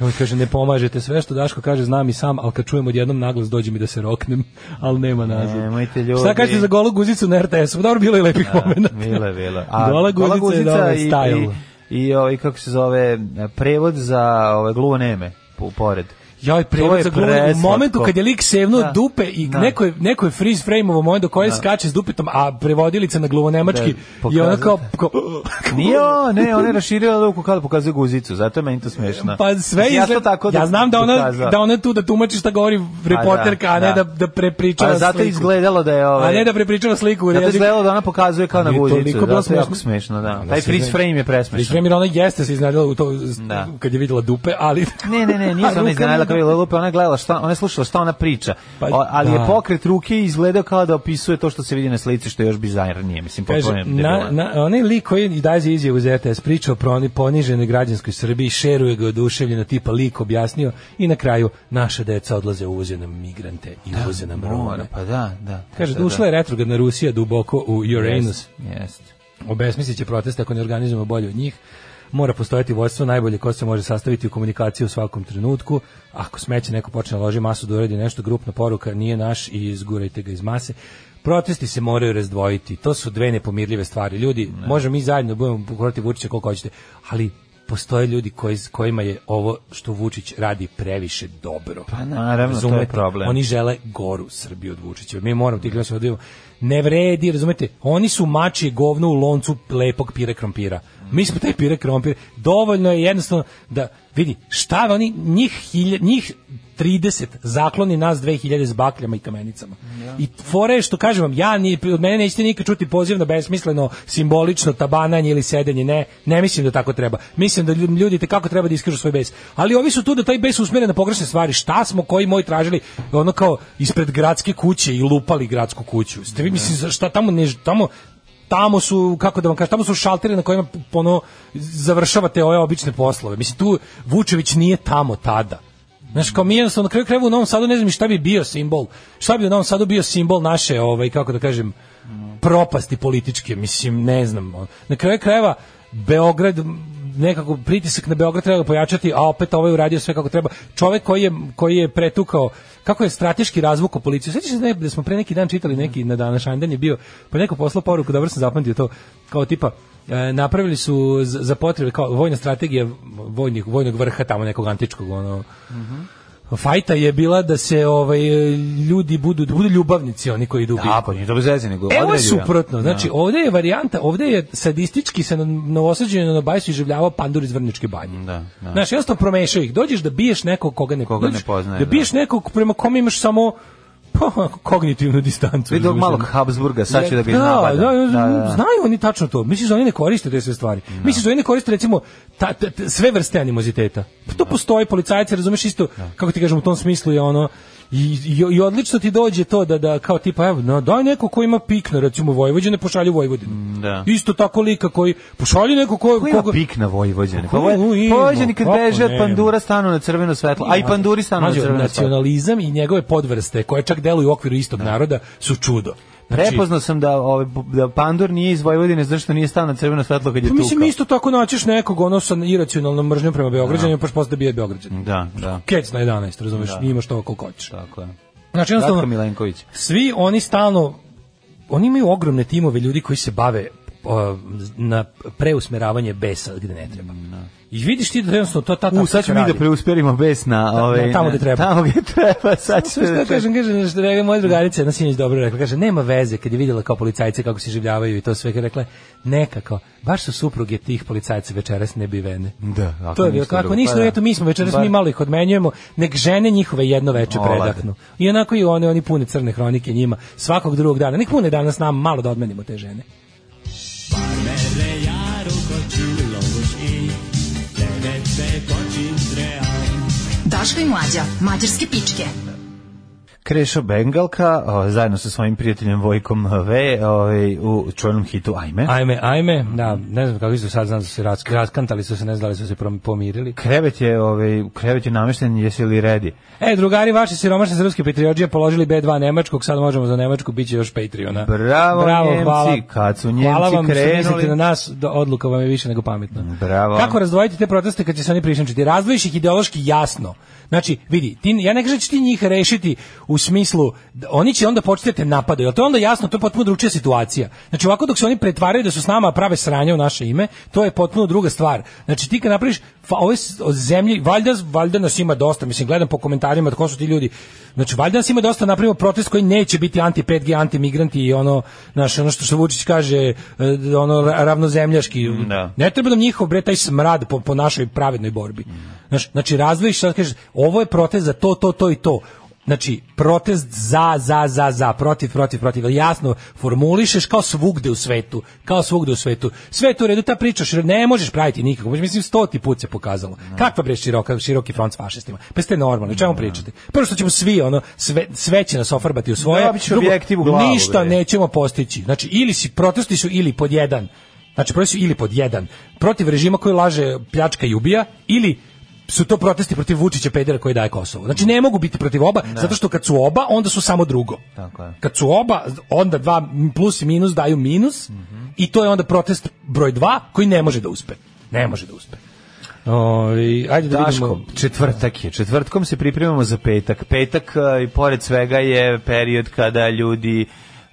[SPEAKER 5] I on kaže, ne pomažete, sve što Daško kaže znam i sam, ali kad čujem odjednom naglas dođe mi da se roknem, ali nema nazad.
[SPEAKER 4] Nemojte, ljudi.
[SPEAKER 5] Šta kažete za golu guzicu na RTS-u? Pa Dobro, bilo je lepih
[SPEAKER 4] Da,
[SPEAKER 5] momenta.
[SPEAKER 4] Bila je, bila.
[SPEAKER 5] Gola guzica, je dobra
[SPEAKER 4] i,
[SPEAKER 5] style.
[SPEAKER 4] i, i ovaj, kako se zove, prevod za ove gluvo neme, po- pored.
[SPEAKER 5] Joj,
[SPEAKER 4] To
[SPEAKER 5] prevod
[SPEAKER 4] je
[SPEAKER 5] za glume. U
[SPEAKER 4] preslatko.
[SPEAKER 5] momentu kad je lik sevnuo
[SPEAKER 4] Da.
[SPEAKER 5] dupe i
[SPEAKER 4] Da.
[SPEAKER 5] neko, je, neko je freeze frame u momentu koje skače s dupetom, a prevodilica na gluvonemački
[SPEAKER 4] Da,
[SPEAKER 5] je ono kao... kao
[SPEAKER 4] Nije on, ne, ona je raširila ruku kada pokazuje guzicu, zato je meni to smešno.
[SPEAKER 5] pa sve
[SPEAKER 4] ja,
[SPEAKER 5] izgleda-
[SPEAKER 4] to tako
[SPEAKER 5] ja znam da ona,
[SPEAKER 4] dokazao.
[SPEAKER 5] da ona je tu da tumači šta govori reporterka, a ne
[SPEAKER 4] da.
[SPEAKER 5] da, da prepričava
[SPEAKER 4] Pa zato je
[SPEAKER 5] sliku.
[SPEAKER 4] izgledalo da je ovaj...
[SPEAKER 5] A ne da prepričava sliku.
[SPEAKER 4] Zato je
[SPEAKER 5] jezik.
[SPEAKER 4] izgledalo da ona pokazuje kao na
[SPEAKER 5] Ali je
[SPEAKER 4] guzicu.
[SPEAKER 5] toliko bilo
[SPEAKER 4] Zato je jako
[SPEAKER 5] smešno.
[SPEAKER 4] smešno, da.
[SPEAKER 5] Da,
[SPEAKER 4] Taj
[SPEAKER 5] se
[SPEAKER 4] freeze
[SPEAKER 5] izgleda-
[SPEAKER 4] frame je
[SPEAKER 5] Freeze
[SPEAKER 4] presmešan.
[SPEAKER 5] frame, jer ona jeste se iznadila u to,
[SPEAKER 4] Da.
[SPEAKER 5] kad je vidjela dupe, ali...
[SPEAKER 4] Ne, ne, ne, nisam
[SPEAKER 5] A
[SPEAKER 4] ona
[SPEAKER 5] rukama
[SPEAKER 4] iznenadila kao
[SPEAKER 5] da-
[SPEAKER 4] je lupa, ona je gledala šta, ona je slušala šta ona priča.
[SPEAKER 5] Pa,
[SPEAKER 4] O, ali
[SPEAKER 5] da.
[SPEAKER 4] je pokret ruke izgledao kao da opisuje to što se vidi na slici, što je još bizarnije, mislim, potpuno
[SPEAKER 5] Kaže,
[SPEAKER 4] je
[SPEAKER 5] na,
[SPEAKER 4] debilo.
[SPEAKER 5] na, onaj lik koji i daje za izjavu za RTS priča o proni poniženoj građanskoj Srbiji, šeruje ga oduševljeno, tipa lik objasnio i na kraju naša deca odlaze uvoze nam migrante i uvoze nam
[SPEAKER 4] Da, Mora,
[SPEAKER 5] Rome.
[SPEAKER 4] pa da, da.
[SPEAKER 5] Kaže,
[SPEAKER 4] da,
[SPEAKER 5] dušla je retrogradna Rusija duboko u Uranus.
[SPEAKER 4] Jeste.
[SPEAKER 5] Obesmislit će proteste ako ne organizujemo bolje od njih. Mora postojati vođstvo najbolje ko se može sastaviti u komunikaciji u svakom trenutku. Ako smeće neko počne loži masu da uradi nešto, grupna poruka nije naš i izgurajte ga iz mase. Protesti se moraju razdvojiti. To su dve nepomirljive stvari. Ljudi, možemo mi zajedno da budemo protiv Vučića koliko hoćete, ali postoje ljudi koji, kojima je ovo što Vučić radi previše dobro.
[SPEAKER 4] Pa naravno, to je
[SPEAKER 5] Razumete?
[SPEAKER 4] problem.
[SPEAKER 5] Oni žele goru Srbiju od Vučića. Mi moramo tih ljudi odvijemo. Ne vredi, razumete? Oni su mači i govno u loncu lepog pire krompira. Mi smo taj pire krompir. Dovoljno je jednostavno da vidi šta oni njih hilja- njih 30 zakloni nas 2000 s bakljama i kamenicama. I fore je što kažem vam, ja ni, od mene nećete nikad čuti poziv na besmisleno, simbolično tabananje ili sedenje. Ne, ne mislim da tako treba. Mislim da ljud- ljudi te kako treba da iskažu svoj bes. Ali ovi su tu da taj bes usmere na pogrešne stvari. Šta smo koji moj tražili ono kao ispred gradske kuće i lupali gradsku kuću. Ste vi mislim za šta tamo ne tamo tamo su kako da vam kažem tamo su šalteri na kojima ono završavate ove obične poslove. Mislim tu Vučević nije tamo tada. Znaš, kao mi jednostavno na kraju krajeva u Novom Sadu ne znam ni šta bi bio simbol. Šta bi u Novom Sadu bio simbol naše, ovaj, kako da kažem, propasti političke, mislim, ne znam. Na kraju krajeva, Beograd, nekako pritisak na Beograd treba pojačati, a opet ovaj uradio sve kako treba. Čovek koji je, koji je pretukao, kako je strateški razvukao policiju. Sjećaš se da je- da smo pre neki dan čitali neki na današnji dan je bio, pa je neko poslao poruku, dobro sam zapamtio to, kao tipa, E, napravili su z- za potrebe kao vojna strategija vojnih, vojnog vrha tamo nekog antičkog ono fajta je bila da se ovaj ljudi budu da budu ljubavnici oni koji idu u
[SPEAKER 4] Da,
[SPEAKER 5] bitku.
[SPEAKER 4] pa nije to bez veze, nego
[SPEAKER 5] Evo je
[SPEAKER 4] određeno.
[SPEAKER 5] suprotno, znači
[SPEAKER 4] Da.
[SPEAKER 5] ovdje je varijanta, ovdje je sadistički se na novosađenje na bajsu iživljavao pandur iz Vrničke banje.
[SPEAKER 4] Da, da.
[SPEAKER 5] Znaš, jednostavno promešaju ih. Dođeš da biješ nekog koga ne,
[SPEAKER 4] Koga ne
[SPEAKER 5] dođeš
[SPEAKER 4] poznaje,
[SPEAKER 5] Da
[SPEAKER 4] da.
[SPEAKER 5] biješ nekog prema kome imaš samo pa, kognitivnu distancu.
[SPEAKER 4] Vidog malog Habsburga, sad će da ga
[SPEAKER 5] da,
[SPEAKER 4] iznabada.
[SPEAKER 5] da, znaju oni tačno to. Misliš da oni ne koriste te sve stvari. Misliš da oni ne koriste recimo ta, ta- ta- sve vrste animoziteta. Pa
[SPEAKER 4] Da.
[SPEAKER 5] to postoji, policajci, razumeš isto, kako ti kažem, u tom smislu je ono, I, i, i odlično ti dođe to da da kao tipa evo no, daj neko ko ima pikna recimo Vojvođane pošalju Vojvodinu.
[SPEAKER 4] Da.
[SPEAKER 5] Isto tako lika koji pošalju neko ko
[SPEAKER 4] Ko ima pik na Vojvođane? Pa
[SPEAKER 5] Ko ima,
[SPEAKER 4] Voj-
[SPEAKER 5] ima,
[SPEAKER 4] Vojvođani kad
[SPEAKER 5] pa, kako
[SPEAKER 4] beže od
[SPEAKER 5] nema.
[SPEAKER 4] pandura stanu na crveno svetlo, a i panduri stanu na
[SPEAKER 5] Da. Mlađo,
[SPEAKER 4] crveno svetlo.
[SPEAKER 5] Nacionalizam i njegove podvrste koje čak deluju u okviru istog
[SPEAKER 4] Da.
[SPEAKER 5] naroda su čudo. Znači,
[SPEAKER 4] Prepoznao sam da, ovaj, da pandur nije iz Vojvodine, zašto nije stao na crveno svetlo kad je
[SPEAKER 5] Pa
[SPEAKER 4] tukao.
[SPEAKER 5] mislim isto tako naćiš nekog ono sa iracionalnom mržnjom prema Beograđanima, pa posle da bije Beograđan.
[SPEAKER 4] Da, da.
[SPEAKER 5] Kec na 11, razumeš,
[SPEAKER 4] Da.
[SPEAKER 5] imaš to koliko hoćeš.
[SPEAKER 4] Tako je.
[SPEAKER 5] Znači, jednostavno,
[SPEAKER 4] Ratka Milenković.
[SPEAKER 5] svi oni stalno oni imaju ogromne timove ljudi koji se bave o, na preusmeravanje besa gde ne treba. I vidiš ti da jednostavno to ta
[SPEAKER 4] U, sad ćemo mi da preusperimo bes na... ovaj,
[SPEAKER 5] tamo gde treba.
[SPEAKER 4] Tamo gde treba, sad ćemo
[SPEAKER 5] Sve
[SPEAKER 4] da
[SPEAKER 5] što kažem, kažem, što je moja drugarica jedna sinoć dobro rekla, kaže, nema veze kad je vidjela kao policajce kako se življavaju i to sve, rekla je, neka kao, baš su supruge tih policajca večeras nebivene.
[SPEAKER 4] Da, ako
[SPEAKER 5] to je bilo,
[SPEAKER 4] ništa
[SPEAKER 5] kako
[SPEAKER 4] drugo,
[SPEAKER 5] ništa,
[SPEAKER 4] pa da.
[SPEAKER 5] eto mi smo večeras, mi
[SPEAKER 4] Bar-
[SPEAKER 5] malo ih odmenjujemo, nek žene njihove jedno veče
[SPEAKER 4] Olade.
[SPEAKER 5] predahnu. I onako i one, oni pune crne hronike njima, svakog drugog dana, nek pune danas nam malo da odmenimo te žene.
[SPEAKER 11] Daško i Mlađa, mađarske pičke.
[SPEAKER 4] Krešo Bengalka o, zajedno sa svojim prijateljem Vojkom V ovaj, u čuvenom hitu Ajme.
[SPEAKER 5] Ajme, ajme, da, ne znam kako isto sad znam da su se rask- raskantali, su se ne znali, su se prom- pomirili.
[SPEAKER 4] Krevet je, ovaj, krevet je namešten, jesi li redi?
[SPEAKER 5] E, drugari, vaši siromašni srpski patriođije položili B2 Nemačkog, sad možemo za Nemačku, bit će još Patreona.
[SPEAKER 4] Bravo, Njemci, kad su Njemci
[SPEAKER 5] hvala vam
[SPEAKER 4] krenuli.
[SPEAKER 5] što mislite na nas, da odluka vam je više nego pametna.
[SPEAKER 4] Bravo.
[SPEAKER 5] Kako razdvojiti te proteste kad će se oni prišemčiti? Razdvojiš ih ideološki jasno. Znači, vidi, ti, ja ne kažem da ćeš ti njih rešiti u smislu, da oni će onda početi da te napadaju, ali to je onda jasno, to je potpuno drugačija situacija. Znači, ovako dok se oni pretvaraju da su s nama a prave sranje u naše ime, to je potpuno druga stvar. Znači, ti kad napraviš, fa, ove s- o zemlji, valjda, valjda nas ima dosta, mislim, gledam po komentarima ko su ti ljudi, znači, valjda nas ima dosta, napravimo protest koji neće biti anti-5G, anti-migranti i ono, znaš, ono što, što Vučić kaže, e, ono, ra- ravnozemljaški,
[SPEAKER 4] Da.
[SPEAKER 5] ne treba nam njihov bre taj smrad po, po našoj pravednoj borbi. Znaš, znači razdvojiš sad kažeš ovo je protest za to to to i to. Znači, protest za, za, za, za, protiv, protiv, protiv, ali jasno formulišeš kao svugde u svetu, kao svugde u svetu. Sve je to u redu, ta pričaš, ne možeš praviti nikako, mislim, stoti put se pokazalo.
[SPEAKER 4] Da.
[SPEAKER 5] Kakva bre široka, široki front s fašistima? Pa ste normalni, o čemu pričate? Prvo što ćemo svi, ono, sve, sve će nas ofarbati u svoje,
[SPEAKER 4] Dobit ću Da, objektiv u glavu,
[SPEAKER 5] ništa
[SPEAKER 4] bre.
[SPEAKER 5] ne nećemo postići. Znači, ili si, protesti su ili pod jedan, znači protesti su ili pod jedan, protiv režima koji laže, pljačka i ubija, ili su to protesti protiv Vučića pedera koji daje Kosovo. Znači ne mogu biti protiv oba, zato što kad su oba, onda su samo drugo.
[SPEAKER 4] Da. Tako je.
[SPEAKER 5] Kad su oba, onda dva plus i minus daju minus
[SPEAKER 4] Mhm.
[SPEAKER 5] i to je onda protest broj dva koji ne može da uspe. Ne može da uspe. Ovi, ajde da
[SPEAKER 4] Daško,
[SPEAKER 5] vidimo.
[SPEAKER 4] četvrtak je. Četvrtkom se pripremamo za petak. Petak e, i pored svega je period kada ljudi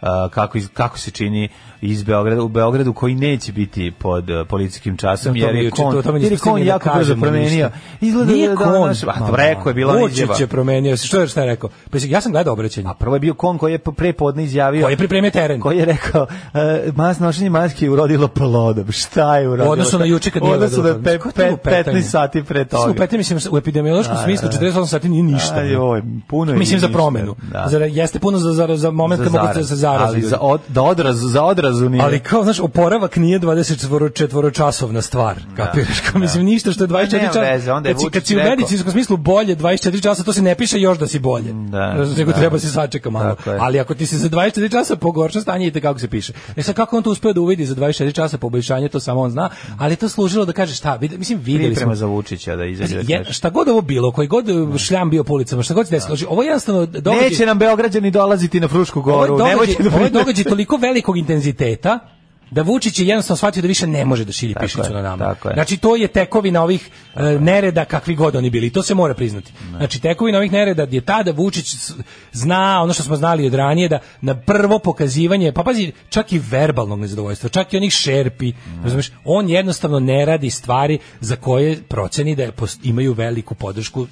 [SPEAKER 4] e, kako, iz- kako se čini iz Beograda, u Beogradu koji neće biti pod e, policijskim časom,
[SPEAKER 5] Da, to
[SPEAKER 4] jer
[SPEAKER 5] mi
[SPEAKER 4] je
[SPEAKER 5] juče- to-
[SPEAKER 4] kon,
[SPEAKER 5] to mi
[SPEAKER 4] jer je
[SPEAKER 5] nisam
[SPEAKER 4] kon
[SPEAKER 5] stigao da
[SPEAKER 4] jako brzo
[SPEAKER 5] kažem
[SPEAKER 4] promenio.
[SPEAKER 5] ništa.
[SPEAKER 4] Izgleda
[SPEAKER 5] Nije
[SPEAKER 4] da, da,
[SPEAKER 5] kon.
[SPEAKER 4] naš- a, rekao je, bila
[SPEAKER 5] Vučić
[SPEAKER 4] izjava.
[SPEAKER 5] je promenio se. Što je šta je rekao? Pa ja sam gledao obraćanje.
[SPEAKER 4] A prvo je bio kon koji je pre podne izjavio...
[SPEAKER 5] Koji je pripremio teren.
[SPEAKER 4] koji je rekao uh, mas nošenje maske je urodilo plodom. Šta je urodilo?
[SPEAKER 5] U odnosu na juče kad nije
[SPEAKER 4] Odnosno
[SPEAKER 5] urodilo
[SPEAKER 4] na
[SPEAKER 5] plodom.
[SPEAKER 4] pe-
[SPEAKER 5] Kako ti
[SPEAKER 4] pe-
[SPEAKER 5] mu petanje?
[SPEAKER 4] 15 sati pre
[SPEAKER 5] Mislim, u
[SPEAKER 4] toga.
[SPEAKER 5] petim, mislim, u epidemiološkom
[SPEAKER 4] A,
[SPEAKER 5] smislu
[SPEAKER 4] da.
[SPEAKER 5] 48 sati nije ništa.
[SPEAKER 4] A, joj, puno je
[SPEAKER 5] Mislim za
[SPEAKER 4] ništa.
[SPEAKER 5] promenu.
[SPEAKER 4] Da.
[SPEAKER 5] Za, jeste puno za, za, za moment
[SPEAKER 4] Za
[SPEAKER 5] kad mogu
[SPEAKER 4] zaraz.
[SPEAKER 5] se zarazi.
[SPEAKER 4] Ali
[SPEAKER 5] ljudi.
[SPEAKER 4] za, od, da odrazu, za odrazu nije.
[SPEAKER 5] Ali kao, znaš, oporavak nije 24 časovna stvar, kapiraš? Kao, mislim, ništa što je 24
[SPEAKER 4] Da, nema
[SPEAKER 5] časa.
[SPEAKER 4] veze, onda je
[SPEAKER 5] kad, si- kad
[SPEAKER 4] Vučić
[SPEAKER 5] si u
[SPEAKER 4] rekao-
[SPEAKER 5] medicinskom smislu bolje 24 časa, to se ne piše još da si bolje.
[SPEAKER 4] Da,
[SPEAKER 5] Razumiješ, nego
[SPEAKER 4] da.
[SPEAKER 5] treba se sačeka malo.
[SPEAKER 4] Tako je.
[SPEAKER 5] Ali ako ti se za 24 časa pogorša stanje, i kako se piše. E sad, kako on to uspeo da uvidi za 24 časa poboljšanje, to samo on zna, ali je to služilo da kaže šta, vid- mislim, videli smo
[SPEAKER 4] priprema za Vučića da izađe. da
[SPEAKER 5] je,
[SPEAKER 4] kaže.
[SPEAKER 5] šta god ovo bilo, koji god uh, šljam bio po ulicama, šta god se desilo, znači, ovo je jednostavno događaj,
[SPEAKER 4] Da. Neće nam Beograđani dolaziti na Frušku
[SPEAKER 5] ovo je
[SPEAKER 4] goru.
[SPEAKER 5] događaj-
[SPEAKER 4] nemojte da
[SPEAKER 5] ovo je
[SPEAKER 4] brinete.
[SPEAKER 5] događaj toliko velikog intenziteta, da Vučić je jednostavno shvatio da više ne može da šilji pišicu
[SPEAKER 4] je,
[SPEAKER 5] na nama.
[SPEAKER 4] tako je.
[SPEAKER 5] Znači, to je tekovina ovih uh, nereda kakvi god oni bili. I to se mora priznati. Znači, tekovina ovih nereda je ta da Vučić s- zna ono što smo znali od ranije, da na prvo pokazivanje, pa pazi, čak i verbalnog nezadovoljstva, čak i onih šerpi, razumeš, on jednostavno ne radi stvari za koje proceni da je pos- imaju veliku podršku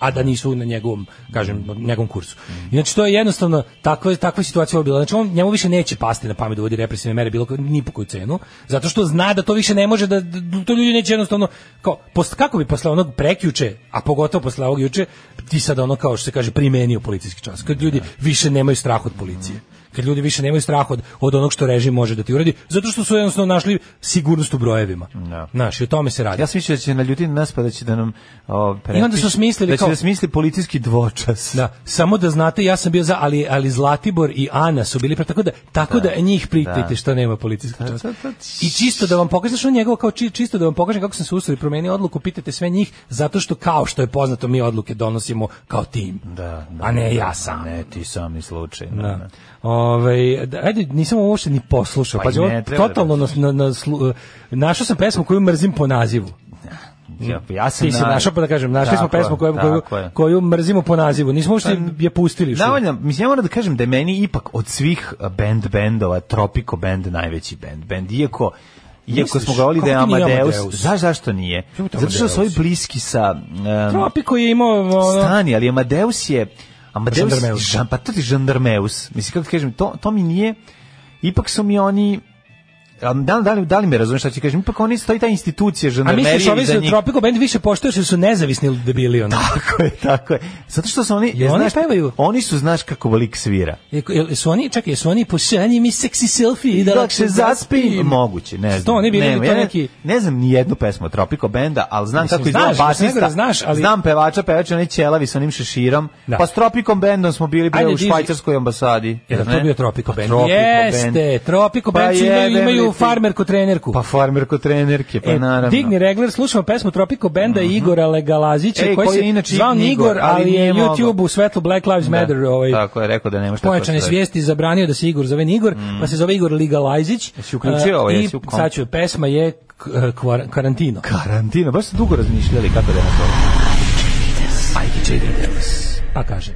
[SPEAKER 5] a da nisu na njegovom, kažem, na njegovom kursu. I znači to je jednostavno takva takva situacija je bila. Znači on njemu više neće pasti na pamet da uvodi represivne mere bilo kako- ni po koju cenu, zato što zna da to više ne može da, da to ljudi neće jednostavno kao post, kako bi posle onog prekjuče, a pogotovo posle ovog juče, ti sad ono kao što se kaže primenio policijski čas. Kad ljudi više nemaju strah od policije kad ljudi više nemaju strah od, od onog što režim može da ti uradi, zato što su jednostavno našli sigurnost u brojevima. Da. Znaš, i o tome se radi.
[SPEAKER 4] Ja sam mislio da će naljutiti nas pa da će da nam o,
[SPEAKER 5] I onda su smislili
[SPEAKER 4] da će
[SPEAKER 5] kao-
[SPEAKER 4] da smisli policijski dvočas.
[SPEAKER 5] Da, samo da znate, ja sam bio za, ali, ali Zlatibor i Ana su bili pre, tako da, tako da, njih pritajte
[SPEAKER 4] Da.
[SPEAKER 5] što nema policijskog časa. I čisto da vam pokažem, znaš, on njegovo kao či- čisto da vam pokažem kako sam se usao i promenio odluku, pitajte sve njih, zato što kao što je poznato mi odluke donosimo kao tim.
[SPEAKER 4] Da, da,
[SPEAKER 5] A ne
[SPEAKER 4] da,
[SPEAKER 5] ja sam.
[SPEAKER 4] Ne, ti sam ni slučaj. Da.
[SPEAKER 5] Da.
[SPEAKER 4] da.
[SPEAKER 5] Ovaj, da, ajde, nisam ovo uopšte ni poslušao.
[SPEAKER 4] Pa
[SPEAKER 5] Pa,
[SPEAKER 4] i ne treba
[SPEAKER 5] totalno na, na, na slu- našao sam pesmu koju mrzim po nazivu.
[SPEAKER 4] Ja, ja sam
[SPEAKER 5] Ti si
[SPEAKER 4] na-
[SPEAKER 5] našao, pa da kažem, našli smo
[SPEAKER 4] Tako je,
[SPEAKER 5] pesmu koju, koju,
[SPEAKER 4] tako je. Pa
[SPEAKER 5] koju mrzimo po nazivu. Nismo uopšte je pustili. što-
[SPEAKER 4] Navodno, mislim, ja moram da kažem da je meni ipak od svih a, band bendova Tropico band najveći band band, iako Iako
[SPEAKER 5] Misliš,
[SPEAKER 4] smo govorili da je
[SPEAKER 5] kako ti nije
[SPEAKER 4] Amadeus,
[SPEAKER 5] Amadeus?
[SPEAKER 4] znaš zašto nije? Zato što
[SPEAKER 5] Amadeus?
[SPEAKER 4] su ovi bliski sa... em,
[SPEAKER 5] Tropico je imao... ono-
[SPEAKER 4] stani, ali Amadeus je Amadeus
[SPEAKER 5] Žandarmeus.
[SPEAKER 4] Žan, pa to ti je Žandarmeus. Mislim kako ti kažem, to to mi nije ipak su mi oni a da, da, li, da li me razumeš šta ti kažem? Ipak oni stoji ta institucija
[SPEAKER 5] A
[SPEAKER 4] žandarmerije
[SPEAKER 5] misliš, ovi
[SPEAKER 4] iza
[SPEAKER 5] su
[SPEAKER 4] njih. Da.
[SPEAKER 5] Tropico Band više poštuju što su nezavisni debili, ono?
[SPEAKER 4] Tako je, tako je. Zato što su oni,
[SPEAKER 5] Jel oni
[SPEAKER 4] znaš,
[SPEAKER 5] pevaju?
[SPEAKER 4] oni su, znaš kako lik svira.
[SPEAKER 5] Jel- jel su oni, čekaj, su oni pošalji mi seksi selfie i da lakše zaspim?
[SPEAKER 4] Moguće, ne znam.
[SPEAKER 5] To oni bili
[SPEAKER 4] ne,
[SPEAKER 5] ili to
[SPEAKER 4] ja ne-
[SPEAKER 5] neki-
[SPEAKER 4] ne znam ni jednu pesmu od Tropico Benda, ali znam
[SPEAKER 5] Mislim,
[SPEAKER 4] kako izgleda
[SPEAKER 5] znaš, mislim,
[SPEAKER 4] basista.
[SPEAKER 5] nego znaš, ali-
[SPEAKER 4] Znam pevača, pevač je onaj ćelavi sa onim šeširom.
[SPEAKER 5] Da.
[SPEAKER 4] Pa s Tropico Bendom smo bili bre
[SPEAKER 5] Ajde,
[SPEAKER 4] u
[SPEAKER 5] diži-
[SPEAKER 4] švajcarskoj ambasadi.
[SPEAKER 5] Jel
[SPEAKER 4] zar
[SPEAKER 5] to
[SPEAKER 4] ne?
[SPEAKER 5] bio Tropico
[SPEAKER 4] Pa
[SPEAKER 5] Band?
[SPEAKER 4] Tropico Band. Pa
[SPEAKER 5] Jeste, Tropico Band su imaju,
[SPEAKER 4] jebem
[SPEAKER 5] imaju
[SPEAKER 4] li ti.
[SPEAKER 5] farmerku trenerku.
[SPEAKER 4] Pa farmerko trenerke, pa
[SPEAKER 5] E,
[SPEAKER 4] naravno. Mhm.
[SPEAKER 5] digni regler, slušamo pesmu Tropico Benda i Igora Legalazića,
[SPEAKER 4] Ej,
[SPEAKER 5] koji
[SPEAKER 4] koji
[SPEAKER 5] se
[SPEAKER 4] je inače
[SPEAKER 5] zvao
[SPEAKER 4] Igor,
[SPEAKER 5] Igor,
[SPEAKER 4] ali
[SPEAKER 5] ali je
[SPEAKER 4] nije mogao.
[SPEAKER 5] YouTube u svetlu Black Lives
[SPEAKER 4] Da,
[SPEAKER 5] Matter ovaj,
[SPEAKER 4] Tako je, rekao da nema šta
[SPEAKER 5] pojačane
[SPEAKER 4] postoji.
[SPEAKER 5] svijesti zabranio da se Igor zove ni Igor, pa se zove Igor Legalazić.
[SPEAKER 4] Jesi uključio ovo,
[SPEAKER 5] I
[SPEAKER 4] jesi u kom-
[SPEAKER 5] sad ću, pesma je k- kvara- Karantino.
[SPEAKER 4] Karantina, baš ste dugo razmišljali kako da je na to. Ajde, J.D. Davis.
[SPEAKER 5] Pa kaže.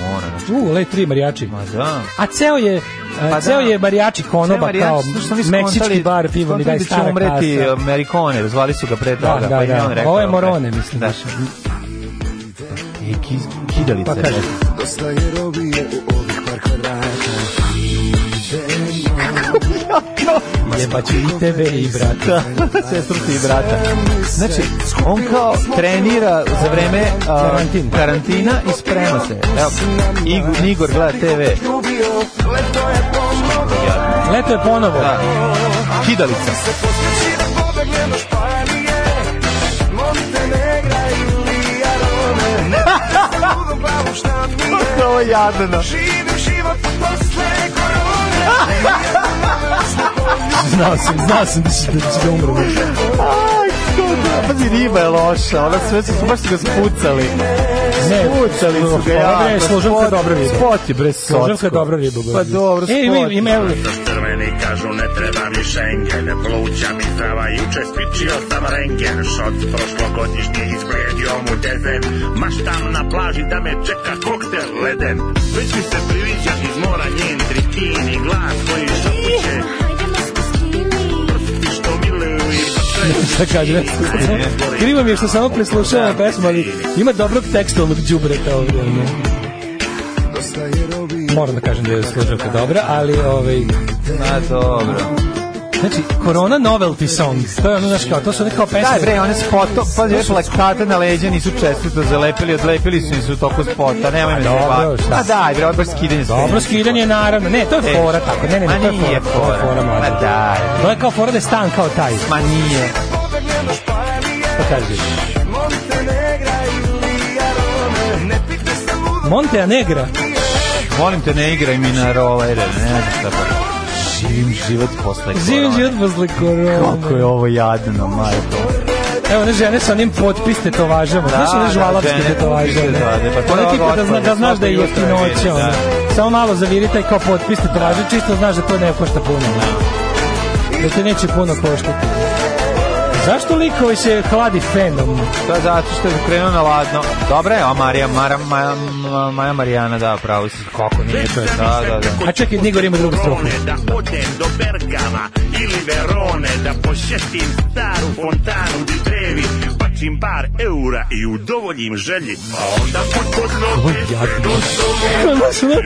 [SPEAKER 4] Mora, znači.
[SPEAKER 5] U, le tri marijači.
[SPEAKER 4] Ma da.
[SPEAKER 5] A ceo je
[SPEAKER 4] Pa
[SPEAKER 5] pa
[SPEAKER 4] da.
[SPEAKER 5] ceo je marijači konoba kao meksički bar pivo mi daj stara
[SPEAKER 4] da umreti
[SPEAKER 5] kasa.
[SPEAKER 4] Amerikone, zvali su ga pre toga,
[SPEAKER 5] Da, da,
[SPEAKER 4] pa i on
[SPEAKER 5] da.
[SPEAKER 4] rekao.
[SPEAKER 5] Ovo je
[SPEAKER 4] ok.
[SPEAKER 5] Morone, mislim.
[SPEAKER 4] Da. E, ki, kidalica.
[SPEAKER 5] Pa kaže,
[SPEAKER 13] Dosta je robije u ovih par kvadrata
[SPEAKER 5] jebaću i tebe i brata.
[SPEAKER 4] Da, sestru ti i brata. Znači, on kao trenira za vreme a,
[SPEAKER 5] Karantin.
[SPEAKER 4] karantina i sprema se. Evo, Igor, Igor gleda TV.
[SPEAKER 5] Leto je ponovo.
[SPEAKER 4] Da. Kidalica. Ovo je jadno.
[SPEAKER 5] Znao sam, znao sam da će da će da umre.
[SPEAKER 4] Aj, to da, pazi, riba je loša, ona sve su, baš su ga spucali.
[SPEAKER 5] Ne,
[SPEAKER 4] spucali su ga, ja.
[SPEAKER 5] ovo je složavka dobra riba.
[SPEAKER 4] Spoti, bre, socko.
[SPEAKER 5] Složavka je dobra riba. bre.
[SPEAKER 4] Pa dobro,
[SPEAKER 5] E, ima,
[SPEAKER 4] spoti.
[SPEAKER 5] ima, evo,
[SPEAKER 14] Crveni kažu ne treba mi Schengen Pluća mi trava juče spičio sam rengen Šot prošlogodišnji izgledio mu dezen Maštam na plaži da me čeka koktel leden Već mi se priviđa iz mora njen trikin I glas koji šapuće Prsti što pa miluju i
[SPEAKER 5] šta kaže. Da Krivo mi je što samo preslušavam pesmu, ali ima dobrog tekstualnog džubreta ovdje. ono.
[SPEAKER 13] Dosta je robije
[SPEAKER 5] Moram da kažem da je složavka dobra, ali ovaj,
[SPEAKER 4] Na, dobro.
[SPEAKER 5] znači, Corona Novelty Songs, to je ono, znaš, kao, to su one kao pesme.
[SPEAKER 4] Daj bre, one spoto, pa je plakate na leđa nisu čestito zalepili, odlepili su im se u toku spota, nemoj me
[SPEAKER 5] A dobro,
[SPEAKER 4] zabavati.
[SPEAKER 5] šta?
[SPEAKER 4] Pa daj bre, ovo je baš skidanje s
[SPEAKER 5] Dobro,
[SPEAKER 4] tempe.
[SPEAKER 5] skidanje naravno. Ne, to je
[SPEAKER 4] E,
[SPEAKER 5] fora tako. Ne, ne, ne,
[SPEAKER 4] ma
[SPEAKER 5] to je fora.
[SPEAKER 4] nije
[SPEAKER 5] To je
[SPEAKER 4] fora.
[SPEAKER 5] fora mlađe.
[SPEAKER 4] Ma daj.
[SPEAKER 5] To je kao fora da je stan kao taj.
[SPEAKER 4] Ma nije.
[SPEAKER 5] Pa kaži. Montea Negra.
[SPEAKER 4] Molim te, ne igraj mi na rolere, ne znam šta pa. Živim život posle
[SPEAKER 5] Živim
[SPEAKER 4] korone.
[SPEAKER 5] život posle korona.
[SPEAKER 4] Kako je ovo jadno, majko.
[SPEAKER 5] Evo, ne žene sa onim potpis tetovažama. Znaš
[SPEAKER 4] da,
[SPEAKER 5] one žvalavske
[SPEAKER 4] žene,
[SPEAKER 5] tetovaže?
[SPEAKER 4] potpis tetovaže, pa to
[SPEAKER 5] Ono
[SPEAKER 4] je
[SPEAKER 5] tipa da, zna,
[SPEAKER 4] gospodo,
[SPEAKER 5] da znaš da je
[SPEAKER 4] svako jutro je
[SPEAKER 5] jeftinoće.
[SPEAKER 4] vidi,
[SPEAKER 5] ono. Samo malo zaviri taj kao potpis tetovaže, čisto znaš da to ne košta puno. Da te neće puno koštati. Zašto likovi se hladi fenom?
[SPEAKER 4] To je Da, zato što je krenuo na ladno. Dobro je, a Marija, Mara, Maja, Ma- Maja Marijana, da, pravo si. Kako nije to? Da, da, da.
[SPEAKER 5] A čekaj, Nigor ima drugu strofu.
[SPEAKER 14] Verone, Da odem do Bergama ili Verone Da posjetim staru fontanu di trevi Pa uštećim par eura i udovoljim želji. A onda put pod noge,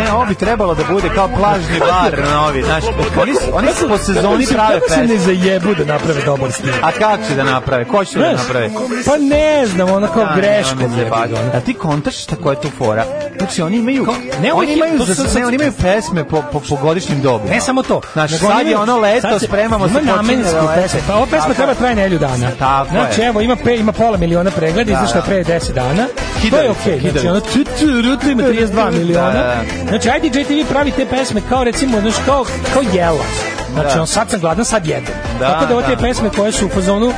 [SPEAKER 4] Ne, ovo bi trebalo da bude kao plažni bar novi, znaš, oni, su- oni su po sezoni prave
[SPEAKER 5] Kako se ne
[SPEAKER 4] pesme.
[SPEAKER 5] zajebu da naprave dobar snim?
[SPEAKER 4] A kako će da naprave? Ko će da
[SPEAKER 5] Znaš,
[SPEAKER 4] naprave?
[SPEAKER 5] Pa ne znam, ono kao
[SPEAKER 4] Da, ne,
[SPEAKER 5] greškom.
[SPEAKER 4] ne, ne,
[SPEAKER 5] jebi ga, ono.
[SPEAKER 4] A ti kontaš šta koja je tu fora? Znači oni imaju ne,
[SPEAKER 5] ovo
[SPEAKER 4] oni
[SPEAKER 5] je-
[SPEAKER 4] imaju
[SPEAKER 5] to su
[SPEAKER 4] za,
[SPEAKER 5] sad-
[SPEAKER 4] ne, oni imaju pesme po po, po godišnjim dobu.
[SPEAKER 5] Ne samo to.
[SPEAKER 4] Znači
[SPEAKER 5] nego
[SPEAKER 4] sad
[SPEAKER 5] oni
[SPEAKER 4] je
[SPEAKER 5] imaju-
[SPEAKER 4] ono
[SPEAKER 5] sad
[SPEAKER 4] leto, spremamo se
[SPEAKER 5] Ima
[SPEAKER 4] počinje
[SPEAKER 5] namensku
[SPEAKER 4] da lete.
[SPEAKER 5] pesmu. Pa ova pesma
[SPEAKER 4] Tako
[SPEAKER 5] treba
[SPEAKER 4] je.
[SPEAKER 5] traje nelju dana.
[SPEAKER 4] Tako
[SPEAKER 5] znači,
[SPEAKER 4] je.
[SPEAKER 5] evo, ima, pe, ima pola miliona pregleda,
[SPEAKER 4] Da,
[SPEAKER 5] izašla
[SPEAKER 4] da.
[SPEAKER 5] pre 10 dana. to je
[SPEAKER 4] Kidalica,
[SPEAKER 5] okej. Znači,
[SPEAKER 4] kidalica.
[SPEAKER 5] ono, tu, tu, ru, tu, ima 32
[SPEAKER 4] Da,
[SPEAKER 5] miliona.
[SPEAKER 4] da.
[SPEAKER 5] Znači, ajde, JTV pravi te pesme kao, recimo, znaš, kao, kao jela. Znači,
[SPEAKER 4] Da.
[SPEAKER 5] on sad sam gladan, sad jedem.
[SPEAKER 4] Da,
[SPEAKER 5] Tako da ovo te
[SPEAKER 4] da.
[SPEAKER 5] pesme koje su u fazonu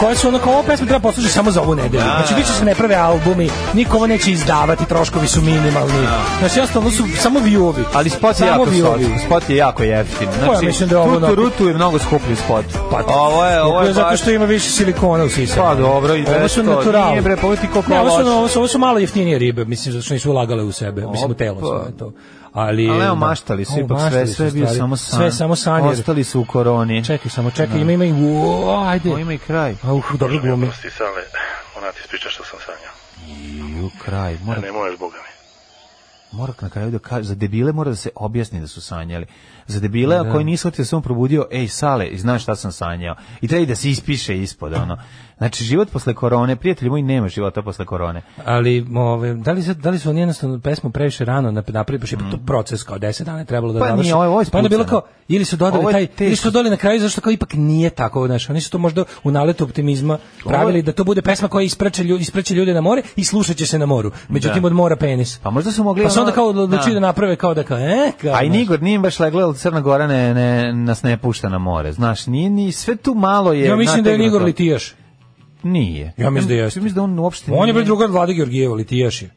[SPEAKER 5] koje su ono kao ovo pesme treba poslušati samo za ovu nedelju.
[SPEAKER 4] Da,
[SPEAKER 5] Znači,
[SPEAKER 4] da,
[SPEAKER 5] više
[SPEAKER 4] da.
[SPEAKER 5] se ne prave albumi, niko ovo neće izdavati, troškovi su minimalni. Znači, jednostavno su samo viewovi.
[SPEAKER 4] Da. Ali spot je
[SPEAKER 5] Samo
[SPEAKER 4] jako
[SPEAKER 5] viewovi.
[SPEAKER 4] sočan, spot je jako jeftin.
[SPEAKER 5] ja mislim da je ovo
[SPEAKER 4] Tutu
[SPEAKER 5] onako- Pa,
[SPEAKER 4] Rutu je mnogo skuplji spot. ovo je, ovo je
[SPEAKER 5] zato
[SPEAKER 4] baš...
[SPEAKER 5] što ima više silikona u sisama.
[SPEAKER 4] Pa dobro, i
[SPEAKER 5] Ovo
[SPEAKER 4] bez
[SPEAKER 5] su
[SPEAKER 4] to.
[SPEAKER 5] natural.
[SPEAKER 4] Nije bre, pa poveti koliko
[SPEAKER 5] Ne, ovo su,
[SPEAKER 4] loše.
[SPEAKER 5] ovo su, ovo su malo jeftinije ribe, mislim, zato što nisu ulagale u sebe, mislim, u telo
[SPEAKER 4] Opa.
[SPEAKER 5] svoje to. Ali, da.
[SPEAKER 4] Ali evo, maštali su,
[SPEAKER 5] Evo,
[SPEAKER 4] ipak sve,
[SPEAKER 5] maštali su
[SPEAKER 4] sve je bio
[SPEAKER 5] stvari.
[SPEAKER 4] samo san.
[SPEAKER 5] Sve je samo san, jer-
[SPEAKER 4] Ostali su u koroni.
[SPEAKER 5] Čekaj samo, čekaj, ima, ima i, uo, ajde.
[SPEAKER 4] Ovo ima i kraj.
[SPEAKER 5] A, uh, dobro glumi.
[SPEAKER 15] Ti sale, ona ti ispriča što sam sanjao.
[SPEAKER 4] I u kraj. Mora,
[SPEAKER 15] Ne možeš, boga mi.
[SPEAKER 4] mora na kraju da kaže, za debile mora da se objasni da su sanjali. Za debile,
[SPEAKER 5] Da.
[SPEAKER 4] ako koji nisu shvatio, sam probudio, ej, sale, i znaš šta sam sanjao. I treba i da se ispiše ispod, ono. Znači, život posle korone, prijatelji moji, nema života posle korone.
[SPEAKER 5] Ali, ove, da, li, sad- da li su oni jednostavno pesmu previše rano nap- napravili, pa je to proces kao 10 dana je trebalo da
[SPEAKER 4] Mm. Pa
[SPEAKER 5] završi.
[SPEAKER 4] nije, ovo je- ovo je
[SPEAKER 5] pa onda je bilo kao,
[SPEAKER 4] spucano.
[SPEAKER 5] ili su
[SPEAKER 4] Ovo
[SPEAKER 5] dodali
[SPEAKER 4] je
[SPEAKER 5] taj, ili
[SPEAKER 4] teško.
[SPEAKER 5] su dodali na kraju, zašto kao ipak nije tako, znaš, oni su to možda u naletu optimizma pravili da to bude pesma koja ispreče ljudi, ispreče ljude na more i slušat će se na moru. Međutim,
[SPEAKER 4] Da.
[SPEAKER 5] od mora penis.
[SPEAKER 4] Pa možda su mogli...
[SPEAKER 5] Pa su onda
[SPEAKER 4] ono-
[SPEAKER 5] kao odlučili
[SPEAKER 4] Da.
[SPEAKER 5] da naprave kao da kao, e, kao,
[SPEAKER 4] A i
[SPEAKER 5] znaš.
[SPEAKER 4] Nigor nije baš leglo, ali Crna Gora ne, ne, nas ne pušta na more. Znaš, nije ni sve tu malo je...
[SPEAKER 5] Ja mislim da je
[SPEAKER 4] nategnuto.
[SPEAKER 5] Nigor Litijaš.
[SPEAKER 4] Nije.
[SPEAKER 5] Ja mislim da
[SPEAKER 4] Ja
[SPEAKER 5] jeste.
[SPEAKER 4] mislim da on uopšte
[SPEAKER 5] On je
[SPEAKER 4] nije-
[SPEAKER 5] bio drugar Vlade Georgijeva, Litijaš je.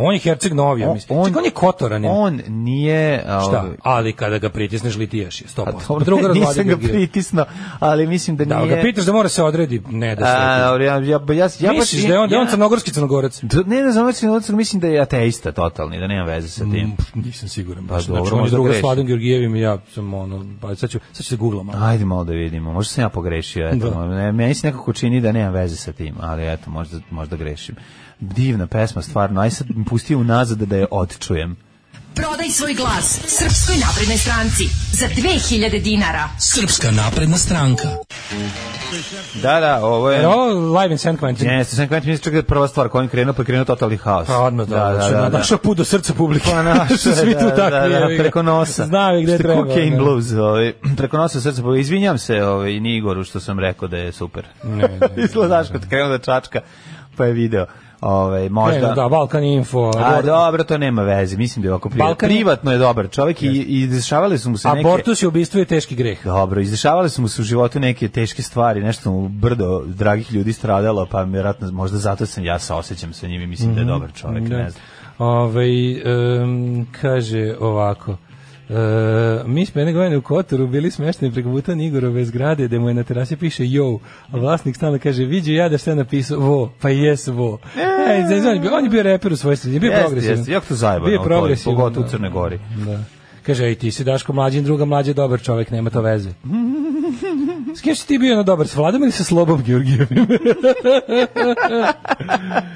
[SPEAKER 5] On je Herceg Novi, ja
[SPEAKER 4] On-
[SPEAKER 5] mislim. Čekaj, on je Kotoranin.
[SPEAKER 4] On nije... a,
[SPEAKER 5] Šta?
[SPEAKER 4] ovaj,
[SPEAKER 5] Ali kada ga pritisneš litijaš je, 100%.
[SPEAKER 4] dobro,
[SPEAKER 5] Druga razvada
[SPEAKER 4] nisam ga pritisno, ali mislim da,
[SPEAKER 5] Da,
[SPEAKER 4] nije...
[SPEAKER 5] ga pitaš da mora se odredi, ne da se.
[SPEAKER 4] A, dobro, ja, ja, ja, ja
[SPEAKER 5] ja
[SPEAKER 4] baš-
[SPEAKER 5] Misliš da je on, da je on
[SPEAKER 4] ja-
[SPEAKER 5] crnogorski crnogorac?
[SPEAKER 4] D- Ne, ne znam, već na odsek mislim da je ateista totalni, da nema veze sa tim.
[SPEAKER 5] Mm, Nisam siguran.
[SPEAKER 4] Pa
[SPEAKER 5] baš.
[SPEAKER 4] dobro,
[SPEAKER 5] znači, on je
[SPEAKER 4] možda
[SPEAKER 5] druga s
[SPEAKER 4] grešim.
[SPEAKER 5] Vladom Georgijevim i ja sam ono, pa sad ću, sad ću se googlama.
[SPEAKER 4] Ajde malo da vidimo, možda sam ja pogrešio, eto,
[SPEAKER 5] Da.
[SPEAKER 4] ne, meni se nekako čini da nema veze sa tim, ali eto, možda, možda grešim. Divna pesma, stvarno, aj sad mi pusti unazad da je odčujem.
[SPEAKER 11] Prodaj svoj glas Srpskoj naprednoj stranci za 2000 dinara.
[SPEAKER 16] Srpska napredna stranka.
[SPEAKER 4] Da, da, ovo je...
[SPEAKER 5] Jer E, ovo live in San Quentin.
[SPEAKER 4] Jeste, sam kvatim, mislim čak da je prva stvar, koja on krenuo, pa je krenuo totalni haos.
[SPEAKER 5] Pa odmah da, da, da, da, našao put do srca publike.
[SPEAKER 4] Pa naš,
[SPEAKER 5] Što svi tu
[SPEAKER 4] da,
[SPEAKER 5] takvi,
[SPEAKER 4] da,
[SPEAKER 5] jevi ga.
[SPEAKER 4] da, preko nosa.
[SPEAKER 5] Znao je
[SPEAKER 4] Što
[SPEAKER 5] gde
[SPEAKER 4] je
[SPEAKER 5] treba,
[SPEAKER 4] Cocaine
[SPEAKER 5] da.
[SPEAKER 4] blues, ovaj, preko nosa srce, pa izvinjam se ovaj, Nigoru što sam rekao da je super.
[SPEAKER 5] Ne, ne, ne.
[SPEAKER 4] Izgledaš kad krenu da čačka, pa je video. Ovaj, možda...
[SPEAKER 5] Možda. Da, Balkan Info.
[SPEAKER 4] A dobro, to nema veze, mislim da je ovako privatno.
[SPEAKER 5] Balkan-
[SPEAKER 4] Privatno je dobar čovjek i, i dešavale su mu se neke...
[SPEAKER 5] Abortus je ubistvo je teški greh.
[SPEAKER 4] Dobro, izdešavale su mu se u životu neke teške stvari, nešto mu brdo dragih ljudi stradalo, pa vjerojatno možda zato sam ja saosećam sa njim i mislim da je dobar čovjek,
[SPEAKER 5] Da.
[SPEAKER 4] ne znam.
[SPEAKER 5] Ovaj, em, kaže ovako. E, mi smo jedne godine u Kotoru bili smešteni preko puta Nigorove zgrade gde mu je na terasi piše yo, a vlasnik stana kaže viđu ja da šta napisao vo, pa jes vo. E, znači, on, je bio, on je bio reper u svojoj sredini, bio
[SPEAKER 4] Jeste,
[SPEAKER 5] progresivan.
[SPEAKER 4] jeste, jako to zajebano,
[SPEAKER 5] Bio
[SPEAKER 4] to je,
[SPEAKER 5] progresivan,
[SPEAKER 4] pogotovo u
[SPEAKER 5] da.
[SPEAKER 4] Crnoj Gori.
[SPEAKER 5] Da. Kaže, ej, ti si Daško mlađi, druga mlađa, dobar čovjek, nema to veze. S kim si ti bio na dobar, s Vladom ili sa Slobom Georgijevim?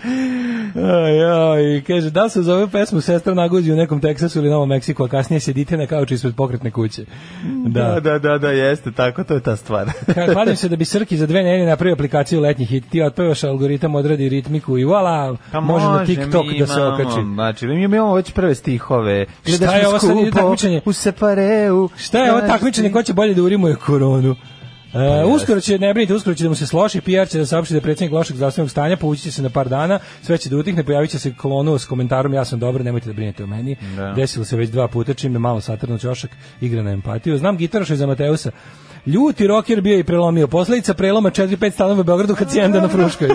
[SPEAKER 5] Aj, aj, kaže, da se za ovu pesmu sestra naguđi u nekom Teksasu ili Novom Meksiku, a kasnije sedite na kauču ispred pokretne kuće. Da.
[SPEAKER 4] Da, da, da, da, jeste, tako, to je ta stvar.
[SPEAKER 5] Ka- Kladim se da bi Srki za dve nedelje napravio aplikaciju letnjih hit, ti otpevaš algoritam, odradi ritmiku i voila,
[SPEAKER 4] Pa
[SPEAKER 5] može na
[SPEAKER 4] mi
[SPEAKER 5] TikTok da se
[SPEAKER 4] imamo,
[SPEAKER 5] okači.
[SPEAKER 4] Znači, mi imamo već prve stihove.
[SPEAKER 5] Šta je ovo sad, ide takmičenje?
[SPEAKER 4] U separeu. Znači,
[SPEAKER 5] Šta je ovo takmičenje, ko će bolje da urimuje koronu? E, uskoro će, ne brinite, uskoro će da mu se sloši, PR će da saopšti da je predsjednik lošeg zdravstvenog stanja, povući će se na par dana, sve će da utihne, pojavit će se kolonu s komentarom, ja sam dobro, nemojte da brinete o meni.
[SPEAKER 4] Da.
[SPEAKER 5] Desilo se već dva puta, čim je malo satrno ćošak, igra na empatiju. Znam gitaroša iz Amateusa, Ljuti roker bio i prelomio. Posledica preloma 4-5 stanova u Beogradu kad sjenda na Fruškoj.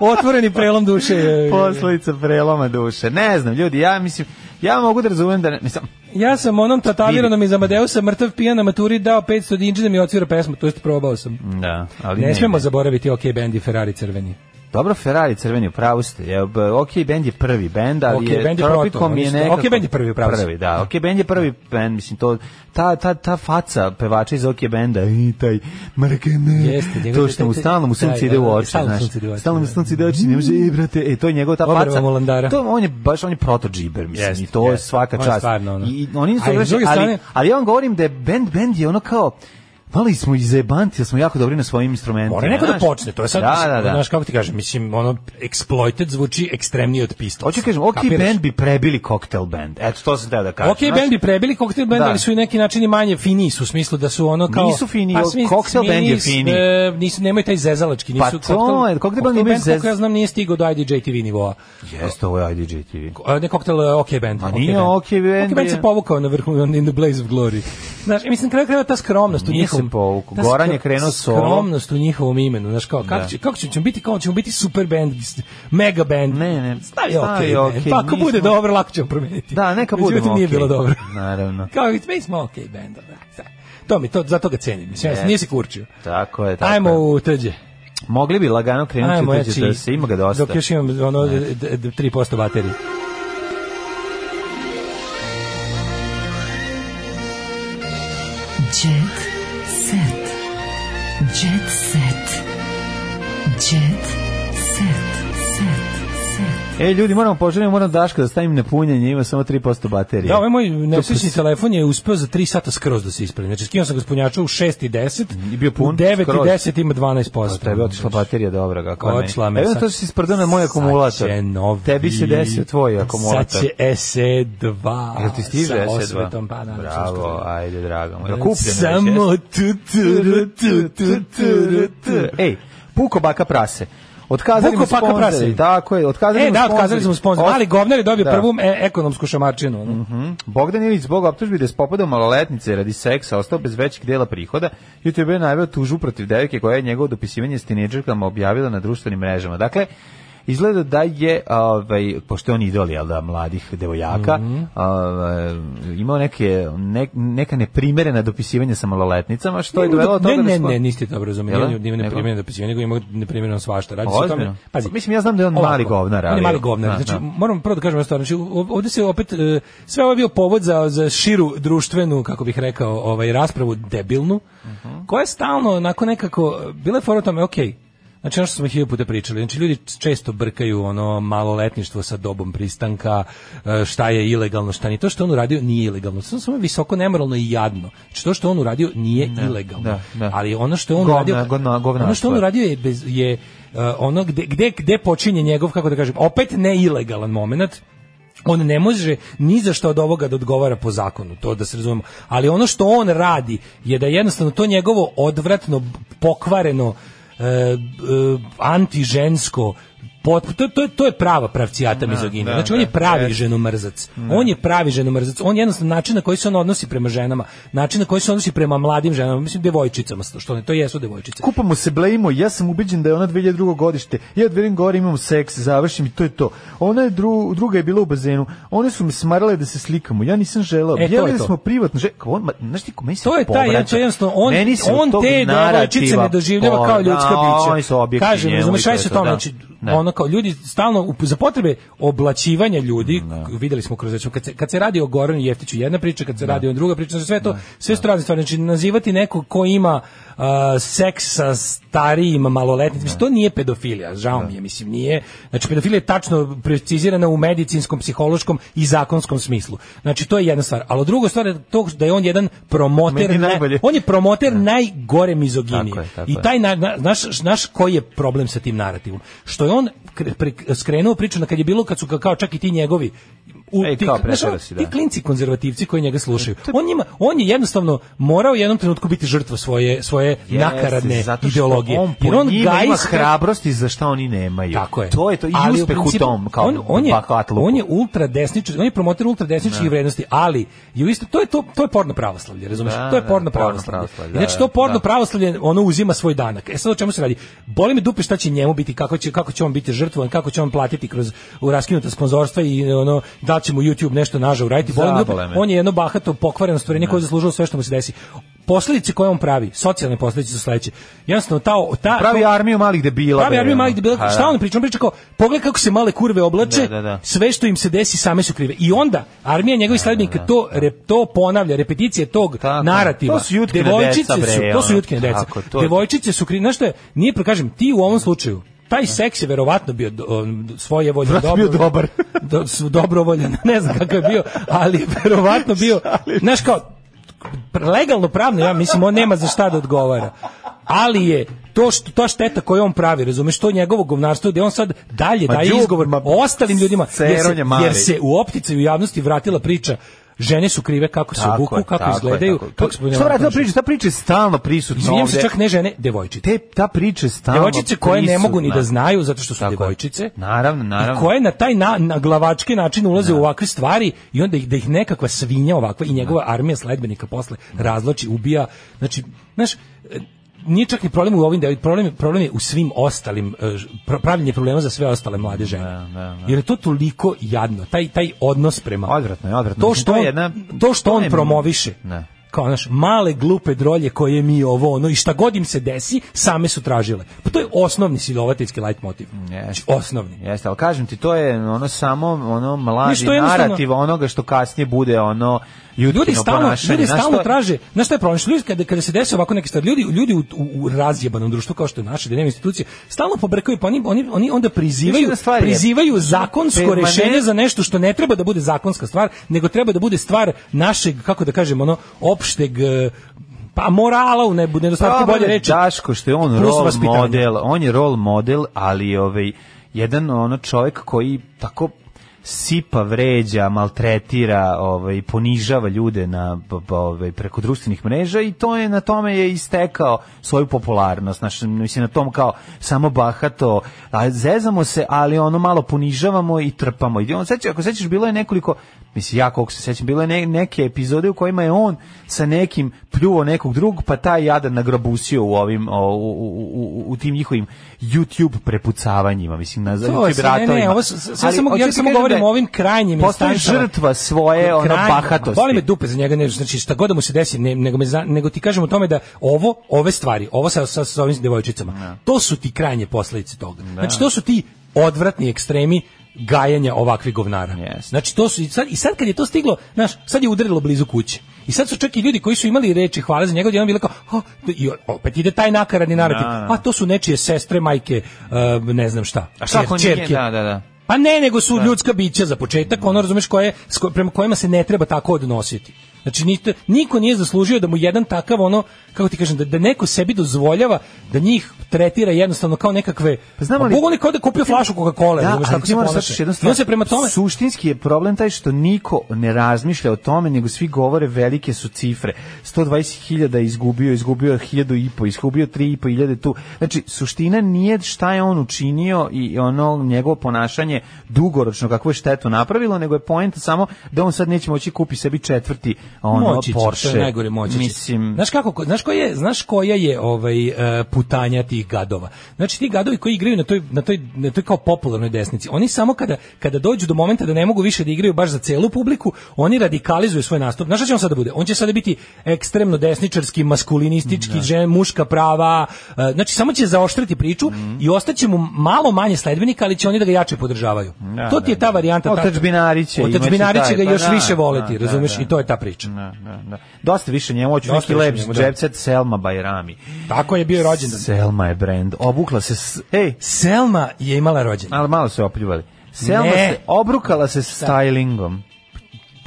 [SPEAKER 5] Otvoreni prelom duše. je.
[SPEAKER 4] Posledica preloma duše. Ne znam, ljudi, ja mislim, ja mogu da razumem da... Ne, mislim,
[SPEAKER 5] Ja sam onom tataviranom iz Amadeusa mrtav pijan na maturi dao 500 dinđe da mi odsvira pesmu, to jest probao sam.
[SPEAKER 4] da, ali
[SPEAKER 5] Ne,
[SPEAKER 4] ne
[SPEAKER 5] smemo zaboraviti OK Band i Ferrari crveni.
[SPEAKER 4] Dobro, Ferrari crveni, u pravu ste. Je, ok, bend je prvi bend, ali
[SPEAKER 5] OK
[SPEAKER 4] je
[SPEAKER 5] Band je proto,
[SPEAKER 4] Tropikom je
[SPEAKER 5] mislim,
[SPEAKER 4] nekako...
[SPEAKER 5] OK Band je prvi, u pravu ste.
[SPEAKER 4] Prvi, da. Ok bend je prvi bend, mislim, to, ta, ta, ta faca pevača iz Ok benda, i taj mrkene,
[SPEAKER 5] Jeste, njegov-
[SPEAKER 4] to što mu
[SPEAKER 5] taj-
[SPEAKER 4] stalno mu
[SPEAKER 5] taj-
[SPEAKER 4] sunce
[SPEAKER 5] taj,
[SPEAKER 4] ide u
[SPEAKER 5] da,
[SPEAKER 4] oči,
[SPEAKER 5] stalno mu
[SPEAKER 4] znaš.
[SPEAKER 5] sunce ide u oči,
[SPEAKER 4] Stalno mu
[SPEAKER 5] da.
[SPEAKER 4] sunce ide u oči, ne može, e, brate, e, to je njegova ta
[SPEAKER 5] Obrva
[SPEAKER 4] faca.
[SPEAKER 5] Molandara.
[SPEAKER 4] To on je, baš on je proto džiber, mislim,
[SPEAKER 5] Jeste,
[SPEAKER 4] i to je
[SPEAKER 5] jeste.
[SPEAKER 4] svaka
[SPEAKER 5] On je
[SPEAKER 4] čast.
[SPEAKER 5] stvarno, ono.
[SPEAKER 4] I, i oni
[SPEAKER 5] A i s
[SPEAKER 4] su grešni,
[SPEAKER 5] druge strane-
[SPEAKER 4] ali, ali ja vam govorim da je bend, bend je ono kao, Mali smo i zajebanti, ali smo jako dobri na svojim instrumentima.
[SPEAKER 5] Mora neko da
[SPEAKER 4] znaš.
[SPEAKER 5] počne, to je sad,
[SPEAKER 4] da, da, da.
[SPEAKER 5] znaš kako ti kažem, mislim, ono, exploited zvuči ekstremnije od pistola.
[SPEAKER 4] Hoću da kažem, OK band bi prebili Cocktail band. Eto, to sam teo da kažem.
[SPEAKER 5] Ok, band bi prebili, koktel band,
[SPEAKER 4] Da.
[SPEAKER 5] ali su i neki načini manje finiji su, u smislu da su ono kao...
[SPEAKER 4] Nisu finiji,
[SPEAKER 5] Pa svi-
[SPEAKER 4] koktel
[SPEAKER 5] svi
[SPEAKER 4] band je
[SPEAKER 5] nisu,
[SPEAKER 4] finiji.
[SPEAKER 5] e, nisu, nemaju taj zezalački, nisu...
[SPEAKER 4] Pa to je, koktel band imaju zez-
[SPEAKER 5] Koliko ja znam, nije stigao do IDJTV nivoa.
[SPEAKER 4] Jeste, ovo je IDJ TV.
[SPEAKER 5] E, ne koktel, e, OK band.
[SPEAKER 4] A nije OK band
[SPEAKER 5] OK band
[SPEAKER 4] je-
[SPEAKER 5] se povukao na vrhu, on in the blaze of glory. Znaš, e, mislim, na kraju krajeva ta skromnost u
[SPEAKER 4] Nije
[SPEAKER 5] njihovom...
[SPEAKER 4] se povukao,
[SPEAKER 5] ta
[SPEAKER 4] Goran
[SPEAKER 5] skro-
[SPEAKER 4] je krenuo solo.
[SPEAKER 5] Skromnost u njihovom imenu, znaš, kao, kako,
[SPEAKER 4] Da.
[SPEAKER 5] će, kako će, ćemo biti, kao, ćemo biti super band, mega band.
[SPEAKER 4] Ne, ne.
[SPEAKER 5] Stavi OK, band,
[SPEAKER 4] ok,
[SPEAKER 5] pa ako bude
[SPEAKER 4] nismo-
[SPEAKER 5] dobro, lako ćemo promeniti.
[SPEAKER 4] Da, neka bude
[SPEAKER 5] Međutim,
[SPEAKER 4] OK.
[SPEAKER 5] nije bilo dobro.
[SPEAKER 4] Naravno.
[SPEAKER 5] Kao i mi smo ok benda, da. Sve. To mi to zato ga cenim. Mislim, yes.
[SPEAKER 4] Yes.
[SPEAKER 5] nisi kurčio.
[SPEAKER 4] Tako je, tako
[SPEAKER 5] Ajmo
[SPEAKER 4] je.
[SPEAKER 5] u tđe.
[SPEAKER 4] Mogli bi lagano krenuti
[SPEAKER 5] Ajmo
[SPEAKER 4] Ajmo,
[SPEAKER 5] jači.
[SPEAKER 4] da se ima ga dosta.
[SPEAKER 5] Dok još imam ono d- d- d- 3% baterije.
[SPEAKER 11] Jet set. Jet set. Jet set. Set. Set.
[SPEAKER 4] E, ljudi, moramo poželjeti, moram Daška da stavim na punjenje, ima samo 3% baterije.
[SPEAKER 5] Da, ovaj moj nesrećni
[SPEAKER 4] E, To-
[SPEAKER 5] telefon je uspeo za 3 sata skroz da se ispravi. Znači, skinuo sam ga s punjača u 6 i 10,
[SPEAKER 4] I bio pun,
[SPEAKER 5] u 9
[SPEAKER 4] skroz.
[SPEAKER 5] i 10 ima 12%.
[SPEAKER 4] A Tebi je Pa otišla baterija dobra, kako ne.
[SPEAKER 5] Otišla me
[SPEAKER 4] Evo
[SPEAKER 5] sad.
[SPEAKER 4] to si sprdao na moj akumulator.
[SPEAKER 5] Sad će novi-
[SPEAKER 4] Tebi se desio tvoj akumulator.
[SPEAKER 5] Sad će SE2.
[SPEAKER 4] Jel ti stiže
[SPEAKER 5] sa
[SPEAKER 4] SE2?
[SPEAKER 5] osvetom, pa naravno,
[SPEAKER 4] Bravo,
[SPEAKER 5] što-
[SPEAKER 4] ajde, drago moj. Kupljeno
[SPEAKER 5] Samo
[SPEAKER 4] je
[SPEAKER 5] tu, tu, ru, tu, tu, tu, ru, tu.
[SPEAKER 4] Ej, puko baka prase. Otkazali
[SPEAKER 5] Puko
[SPEAKER 4] mu
[SPEAKER 5] baka prase.
[SPEAKER 4] sponzori. Tako je, otkazali
[SPEAKER 5] E,
[SPEAKER 4] mu
[SPEAKER 5] da,
[SPEAKER 4] sponzori.
[SPEAKER 5] otkazali smo sponzor. Ali govnar je dobio
[SPEAKER 4] Da.
[SPEAKER 5] prvu e, ekonomsku šamarčinu. ono.
[SPEAKER 4] Mhm. Bogdan Ilić zbog optužbi da je spopadao maloletnice radi seksa ostao bez većeg dela prihoda, YouTube je najavio tužbu protiv devojke koja je njegovo dopisivanje s tinejdžerkama objavila na društvenim mrežama. Dakle, izgleda da je, ovaj, pošto je on idol, jel da, mladih devojaka,
[SPEAKER 5] Mhm.
[SPEAKER 4] ovaj, imao neke, ne- neka neprimerena dopisivanja sa maloletnicama, što je dovelo do toga
[SPEAKER 5] Ne,
[SPEAKER 4] da
[SPEAKER 5] ne,
[SPEAKER 4] smo-
[SPEAKER 5] ne, niste dobro razumeli.
[SPEAKER 4] Jel
[SPEAKER 5] On
[SPEAKER 4] da?
[SPEAKER 5] je divne
[SPEAKER 4] Nego?
[SPEAKER 5] neprimjereno dopisivanje, nego ima neprimjereno svašta. Radi se o tome.
[SPEAKER 4] Ozbiljno? Mislim, ja znam da je on mali govnar,
[SPEAKER 5] On je
[SPEAKER 4] ali-
[SPEAKER 5] mali govnar.
[SPEAKER 4] Da,
[SPEAKER 5] znači,
[SPEAKER 4] da.
[SPEAKER 5] moram prvo da kažem jednu stvar. Znači, ov- ovde se opet, e, sve ovo je bio povod za, za širu društvenu, kako bih rekao, ovaj, raspravu debilnu,
[SPEAKER 4] Mhm.
[SPEAKER 5] koja je stalno, onako nekako, bila je fora u tome, okej, Znači ono što smo hiljadu puta pričali, znači ljudi često brkaju ono maloletništvo sa dobom pristanka, e, šta je ilegalno, šta nije. To što on uradio nije ilegalno, to je samo visoko nemoralno i jadno. Znači to što on uradio nije ilegalno.
[SPEAKER 4] da, da.
[SPEAKER 5] Ali ono što je on
[SPEAKER 4] Govna-
[SPEAKER 5] uradio,
[SPEAKER 4] govna- govnarstvo
[SPEAKER 5] ono što on
[SPEAKER 4] je.
[SPEAKER 5] uradio je bez je e, ono gde gde gde počinje njegov kako da kažem, opet ne ilegalan momenat on ne može ni za što od ovoga da odgovara po zakonu, to da se razumemo. Ali ono što on radi je da jednostavno to njegovo odvratno, pokvareno, e, e, antižensko, pot- to, to, to je prava pravcijata mizoginija.
[SPEAKER 4] da,
[SPEAKER 5] Znači on je
[SPEAKER 4] da,
[SPEAKER 5] pravi
[SPEAKER 4] jeste. Da.
[SPEAKER 5] ženomrzac. On je pravi ženomrzac. On jednostavno način na koji se on odnosi prema ženama, način na koji se odnosi prema mladim ženama, mislim devojčicama, što ne, to jesu devojčice.
[SPEAKER 4] Kupamo se blejimo, ja sam ubeđen da je ona 2002. godište. Ja dverim gore imamo seks, završim i to je to. Ona je dru- druga je bila u bazenu. One su me smarale da se slikamo. Ja nisam želeo.
[SPEAKER 5] E, to
[SPEAKER 4] ja
[SPEAKER 5] je
[SPEAKER 4] da
[SPEAKER 5] to.
[SPEAKER 4] smo privatno. Že, kao on, ma, znaš ti, ko, meni se
[SPEAKER 5] To je taj,
[SPEAKER 4] povraća.
[SPEAKER 5] to je jednostavno, on,
[SPEAKER 4] Meni se od
[SPEAKER 5] on
[SPEAKER 4] tog
[SPEAKER 5] te devojčice
[SPEAKER 4] narativa
[SPEAKER 5] ne doživljava kao
[SPEAKER 4] povraća.
[SPEAKER 5] ljudska
[SPEAKER 4] Da,
[SPEAKER 5] bića.
[SPEAKER 4] oni su objekti
[SPEAKER 5] Kažem,
[SPEAKER 4] njemu
[SPEAKER 5] razumeš,
[SPEAKER 4] i to
[SPEAKER 5] šta
[SPEAKER 4] je
[SPEAKER 5] se
[SPEAKER 4] to,
[SPEAKER 5] tome,
[SPEAKER 4] da.
[SPEAKER 5] znači,
[SPEAKER 4] Ne.
[SPEAKER 5] ono kao ljudi stalno, up- za potrebe oblaćivanja ljudi,
[SPEAKER 4] Da.
[SPEAKER 5] videli smo kroz, znači, kad se, kad se radi o Goranu Jeftiću jedna priča,
[SPEAKER 4] Da.
[SPEAKER 5] kad se radi o druga priča, znači sve to, sve su razne stvari, znači nazivati nekog ko ima a, seks sa starijim maloletnicima,
[SPEAKER 4] Da.
[SPEAKER 5] mislim, to nije pedofilija, žao mi je, mislim, nije, znači pedofilija je tačno precizirana u medicinskom, psihološkom i zakonskom smislu, znači to je jedna stvar, ali druga stvar je to da je on jedan promoter,
[SPEAKER 4] Meni je
[SPEAKER 5] ne-
[SPEAKER 4] najbolje.
[SPEAKER 5] on je promoter najgore mizoginije.
[SPEAKER 4] Da. Tako je, tako
[SPEAKER 5] I
[SPEAKER 4] je.
[SPEAKER 5] taj na, na- znaš, znaš koji je problem sa tim narativom? Što je on kre- pre- skrenuo priču na kad je bilo kad su ga kao čak i ti njegovi u,
[SPEAKER 4] Ej,
[SPEAKER 5] ti,
[SPEAKER 4] kao
[SPEAKER 5] znaš,
[SPEAKER 4] pretero
[SPEAKER 5] ono,
[SPEAKER 4] si,
[SPEAKER 5] ti
[SPEAKER 4] da. E,
[SPEAKER 5] klinci konzervativci koji njega slušaju. On, njima, on je jednostavno morao u jednom trenutku biti žrtva svoje, svoje
[SPEAKER 4] Jeste,
[SPEAKER 5] nakaradne
[SPEAKER 4] zato što
[SPEAKER 5] ideologije.
[SPEAKER 4] On po
[SPEAKER 5] Jer on
[SPEAKER 4] njima ima
[SPEAKER 5] gajska-
[SPEAKER 4] hrabrosti za šta oni nemaju.
[SPEAKER 5] Tako je.
[SPEAKER 4] To je to i
[SPEAKER 5] Ali
[SPEAKER 4] uspeh u
[SPEAKER 5] principu,
[SPEAKER 4] tom. Kao
[SPEAKER 5] on, on je
[SPEAKER 4] bakatluku.
[SPEAKER 5] on je ultra desničar, on je promoter ultra
[SPEAKER 4] Da.
[SPEAKER 5] desničarskih vrednosti, ali je u isto to je to to je porno pravoslavlje, razumeš?
[SPEAKER 4] Da,
[SPEAKER 5] to je
[SPEAKER 4] da, porno
[SPEAKER 5] porno pravoslavlje.
[SPEAKER 4] pravoslavlje,
[SPEAKER 5] I znači
[SPEAKER 4] da,
[SPEAKER 5] to porno
[SPEAKER 4] da.
[SPEAKER 5] pravoslavlje ono uzima svoj danak. E sad o čemu se radi? Boli me dupe šta će njemu biti, kako će kako će on biti žrtvovan, kako će on platiti kroz u raskinuta sponzorstva i ono da li će mu YouTube nešto nažao uraditi. Boli me dupe.
[SPEAKER 4] Zabole me.
[SPEAKER 5] On je jedno bahato pokvareno stvorenje koje je zaslužilo sve što mu se desi. posledice koje on pravi, socijalne posledice su sledeće. Jednostavno ta ta
[SPEAKER 4] pravi to, armiju malih debila.
[SPEAKER 5] Pravi armiju malih debila. Ha, šta on priča? On priča kao pogledaj kako se male kurve oblače,
[SPEAKER 4] Pa, Da, da, da.
[SPEAKER 5] sve što im se desi same su krive. I onda armija njegovih sledbenika to rep, to ponavlja, repeticije tog narativa.
[SPEAKER 4] da. To su jutkine deca, bre,
[SPEAKER 5] su, to su
[SPEAKER 4] ono,
[SPEAKER 5] jutkine deca.
[SPEAKER 4] tako, to-
[SPEAKER 5] Devojčice su krive. Znaš šta je? Nije pro- kažem, ti u ovom slučaju taj seks je verovatno bio do- on, svoje volje
[SPEAKER 4] Verovatno bio dobar.
[SPEAKER 5] do, su dobrovoljan, ne znam kako je bio, ali je verovatno bio, znaš kao, legalno pravno, ja mislim, on nema za šta da odgovara. Ali je to što ta šteta koju on pravi, razumeš, to njegovo govnarstvo gde on sad dalje
[SPEAKER 4] Ma
[SPEAKER 5] daje
[SPEAKER 4] đubre,
[SPEAKER 5] izgovor
[SPEAKER 4] ma
[SPEAKER 5] ostalim ljudima jer se,
[SPEAKER 4] ceronje mali.
[SPEAKER 5] jer se u opticaju javnosti vratila priča žene su krive kako se
[SPEAKER 4] Tako
[SPEAKER 5] obuku,
[SPEAKER 4] je,
[SPEAKER 5] kako
[SPEAKER 4] tako je,
[SPEAKER 5] izgledaju. Pa,
[SPEAKER 4] tako je.
[SPEAKER 5] kako se
[SPEAKER 4] Što vratila
[SPEAKER 5] ponašaju.
[SPEAKER 4] priča? Ta priča je stalno prisutna
[SPEAKER 5] Izvinjam se,
[SPEAKER 4] ovde.
[SPEAKER 5] čak ne žene, devojčice.
[SPEAKER 4] Te, ta priča je stalno
[SPEAKER 5] Devojčice koje ne mogu ni
[SPEAKER 4] prisutna.
[SPEAKER 5] da znaju zato što su
[SPEAKER 4] Tako je.
[SPEAKER 5] devojčice.
[SPEAKER 4] Naravno, naravno. Da.
[SPEAKER 5] I koje na taj na, na glavački način ulaze u ovakve stvari i onda ih, da ih nekakva svinja ovakva i njegova
[SPEAKER 4] Da.
[SPEAKER 5] armija sledbenika posle razloči, ubija. Znači, znaš, e, nije čak ni problem u ovim delovima, problem, problem je u svim ostalim, e, ž- pra- pravljenje problema za sve ostale mlade
[SPEAKER 4] Da,
[SPEAKER 5] žene. Jer je to toliko jadno, taj, taj odnos prema...
[SPEAKER 4] Odvratno je, odvratno.
[SPEAKER 5] To
[SPEAKER 4] Mislim,
[SPEAKER 5] što,
[SPEAKER 4] to je
[SPEAKER 5] on,
[SPEAKER 4] jedna-
[SPEAKER 5] to što
[SPEAKER 4] to
[SPEAKER 5] on
[SPEAKER 4] je-
[SPEAKER 5] promoviše.
[SPEAKER 4] Ne.
[SPEAKER 5] Kao, znaš, male glupe drolje koje mi ovo, ono, i šta god im se desi, same su tražile. Pa to je osnovni silovateljski light motiv. Znači, osnovni.
[SPEAKER 4] Jeste, ali kažem ti, to je ono samo ono mladi
[SPEAKER 5] Ništa, jednostavno-
[SPEAKER 4] narativ onoga što kasnije bude ono jutkino
[SPEAKER 5] Ljudi stalno,
[SPEAKER 4] ponašanje.
[SPEAKER 5] ljudi
[SPEAKER 4] Znaš,
[SPEAKER 5] stalno
[SPEAKER 4] to je-
[SPEAKER 5] traže, znaš šta je problem? Što ljudi kada, kada se dese ovako neke stvari, ljudi, ljudi u, u, u razjebanom društvu kao što je naše, gde nema institucije, stalno pobrkaju, pa oni, oni, oni onda
[SPEAKER 4] Još
[SPEAKER 5] prizivaju,
[SPEAKER 4] jedna stvar je-
[SPEAKER 5] prizivaju zakonsko
[SPEAKER 4] Permanent-
[SPEAKER 5] rešenje za nešto što ne treba da bude zakonska stvar, nego treba da bude stvar našeg, kako da kažem, ono, opšteg, eh, pa morala u ne, nedostatku
[SPEAKER 4] Problem
[SPEAKER 5] bolje
[SPEAKER 4] je
[SPEAKER 5] reći.
[SPEAKER 4] Daško što je on
[SPEAKER 5] Plus
[SPEAKER 4] rol
[SPEAKER 5] vaspitanje.
[SPEAKER 4] model, on je rol model, ali je, ovaj jedan ono čovjek koji tako sipa, vređa, maltretira, ovaj ponižava ljude na b- b- ovaj preko društvenih mreža i to je na tome je istekao svoju popularnost. Znači, mislim na tom kao samo bahato, a zezamo se, ali ono malo ponižavamo i trpamo. I on seća, ako sećaš bilo je nekoliko Mislim, ja koliko se sećam, bilo je ne- neke epizode u kojima je on sa nekim pljuo nekog drugog, pa taj jadan nagrabusio u ovim, o, u, u, u, u tim njihovim YouTube prepucavanjima, mislim, na
[SPEAKER 5] To
[SPEAKER 4] YouTube
[SPEAKER 5] se- ne, ne,
[SPEAKER 4] ratovima.
[SPEAKER 5] ovo su- s- sve
[SPEAKER 4] Ali
[SPEAKER 5] samo-
[SPEAKER 4] hoću
[SPEAKER 5] ja
[SPEAKER 4] ti
[SPEAKER 5] samo
[SPEAKER 4] kažem
[SPEAKER 5] govorim
[SPEAKER 4] da
[SPEAKER 5] o ovim krajnjim
[SPEAKER 4] Postaje
[SPEAKER 5] instancama.
[SPEAKER 4] žrtva svoje, ono,
[SPEAKER 5] krajnje-
[SPEAKER 4] bahatosti.
[SPEAKER 5] Boli me dupe za njega, ne, znači šta god da mu se desi, ne, nego, me, za- nego ti kažem o tome da ovo, ove stvari, ovo sa, sa, sa ovim devojčicama,
[SPEAKER 4] Da.
[SPEAKER 5] to su ti krajnje posledice toga. Znači to su ti odvratni ekstremi gajanja ovakvih govnara. Znači to su i sad, i sad kad je to stiglo, znaš, sad je udarilo blizu kuće. I sad su čak i ljudi koji su imali reči hvale za njega, jedan bili kao, "Ha, to- i opet ide taj nakaradni narativ.
[SPEAKER 4] Da, da.
[SPEAKER 5] A to su nečije sestre, majke, e, ne znam šta.
[SPEAKER 4] A šta ako
[SPEAKER 5] čer-
[SPEAKER 4] nije?
[SPEAKER 5] ćerke."
[SPEAKER 4] Da, da, da.
[SPEAKER 5] Pa ne, nego su ljudska bića za početak, ono razumeš koje, s ko- prema kojima se ne treba tako odnositi. Znači nito- niko nije zaslužio da mu jedan takav ono, kako ti kažem, da, da neko sebi dozvoljava da njih tretira jednostavno kao nekakve, pa
[SPEAKER 4] znamo
[SPEAKER 5] znamo
[SPEAKER 4] li-
[SPEAKER 5] li, kao da je kupio flašu Coca-Cola,
[SPEAKER 4] Da,
[SPEAKER 5] razumeš,
[SPEAKER 4] ali
[SPEAKER 5] tako
[SPEAKER 4] ti
[SPEAKER 5] se
[SPEAKER 4] moraš
[SPEAKER 5] ponaša.
[SPEAKER 4] shvatiti jednu
[SPEAKER 5] I on
[SPEAKER 4] stvar.
[SPEAKER 5] se prema tome,
[SPEAKER 4] Suštinski je problem taj što niko ne razmišlja o tome, nego svi govore velike su cifre. 120.000 je izgubio, izgubio je 1.500, i po, izgubio 3.500 tu. Znači, suština nije šta je on učinio i ono njegovo ponašanje dugoročno, kakvu je štetu napravilo, nego je poenta samo da on sad neće moći kupi sebi četvrti ono,
[SPEAKER 5] moći će,
[SPEAKER 4] Porsche.
[SPEAKER 5] To je najgore moći. će.
[SPEAKER 4] Mislim,
[SPEAKER 5] Znaš kako, znaš koja je, znaš koja je ovaj e, putanja tih gadova. Znači ti gadovi koji igraju na toj na toj na toj kao popularnoj desnici, oni samo kada kada dođu do momenta da ne mogu više da igraju baš za celu publiku, oni radikalizuju svoj nastup. Znaš šta će on sada bude? On će sada biti ekstremno desničarski,
[SPEAKER 4] Da.
[SPEAKER 5] maskulinistički, žen, muška prava. e, znači samo će zaoštriti priču
[SPEAKER 4] Mhm.
[SPEAKER 5] i ostaće mu malo manje sledbenika, ali će oni da ga jače podržavaju.
[SPEAKER 4] Da,
[SPEAKER 5] to ti je
[SPEAKER 4] da,
[SPEAKER 5] ta
[SPEAKER 4] da.
[SPEAKER 5] varijanta. ta-
[SPEAKER 4] Otadžbinari će imaće
[SPEAKER 5] Otadžbinari će
[SPEAKER 4] taj,
[SPEAKER 5] ga
[SPEAKER 4] pa
[SPEAKER 5] još
[SPEAKER 4] da,
[SPEAKER 5] više
[SPEAKER 4] da,
[SPEAKER 5] voleti,
[SPEAKER 4] da,
[SPEAKER 5] razumeš?
[SPEAKER 4] da.
[SPEAKER 5] I to je ta priča.
[SPEAKER 4] da, da, da. Dosta više njemu, hoću neki
[SPEAKER 5] Dosta više
[SPEAKER 4] lep
[SPEAKER 5] njemu, da.
[SPEAKER 4] jet set Selma Bajrami.
[SPEAKER 5] Tako je bio rođendan.
[SPEAKER 4] Selma je brend. Obukla se... S... Ej,
[SPEAKER 5] Selma je imala rođendan.
[SPEAKER 4] ali malo se opljuvali. Selma
[SPEAKER 5] Ne. Da.
[SPEAKER 4] se obrukala se stylingom.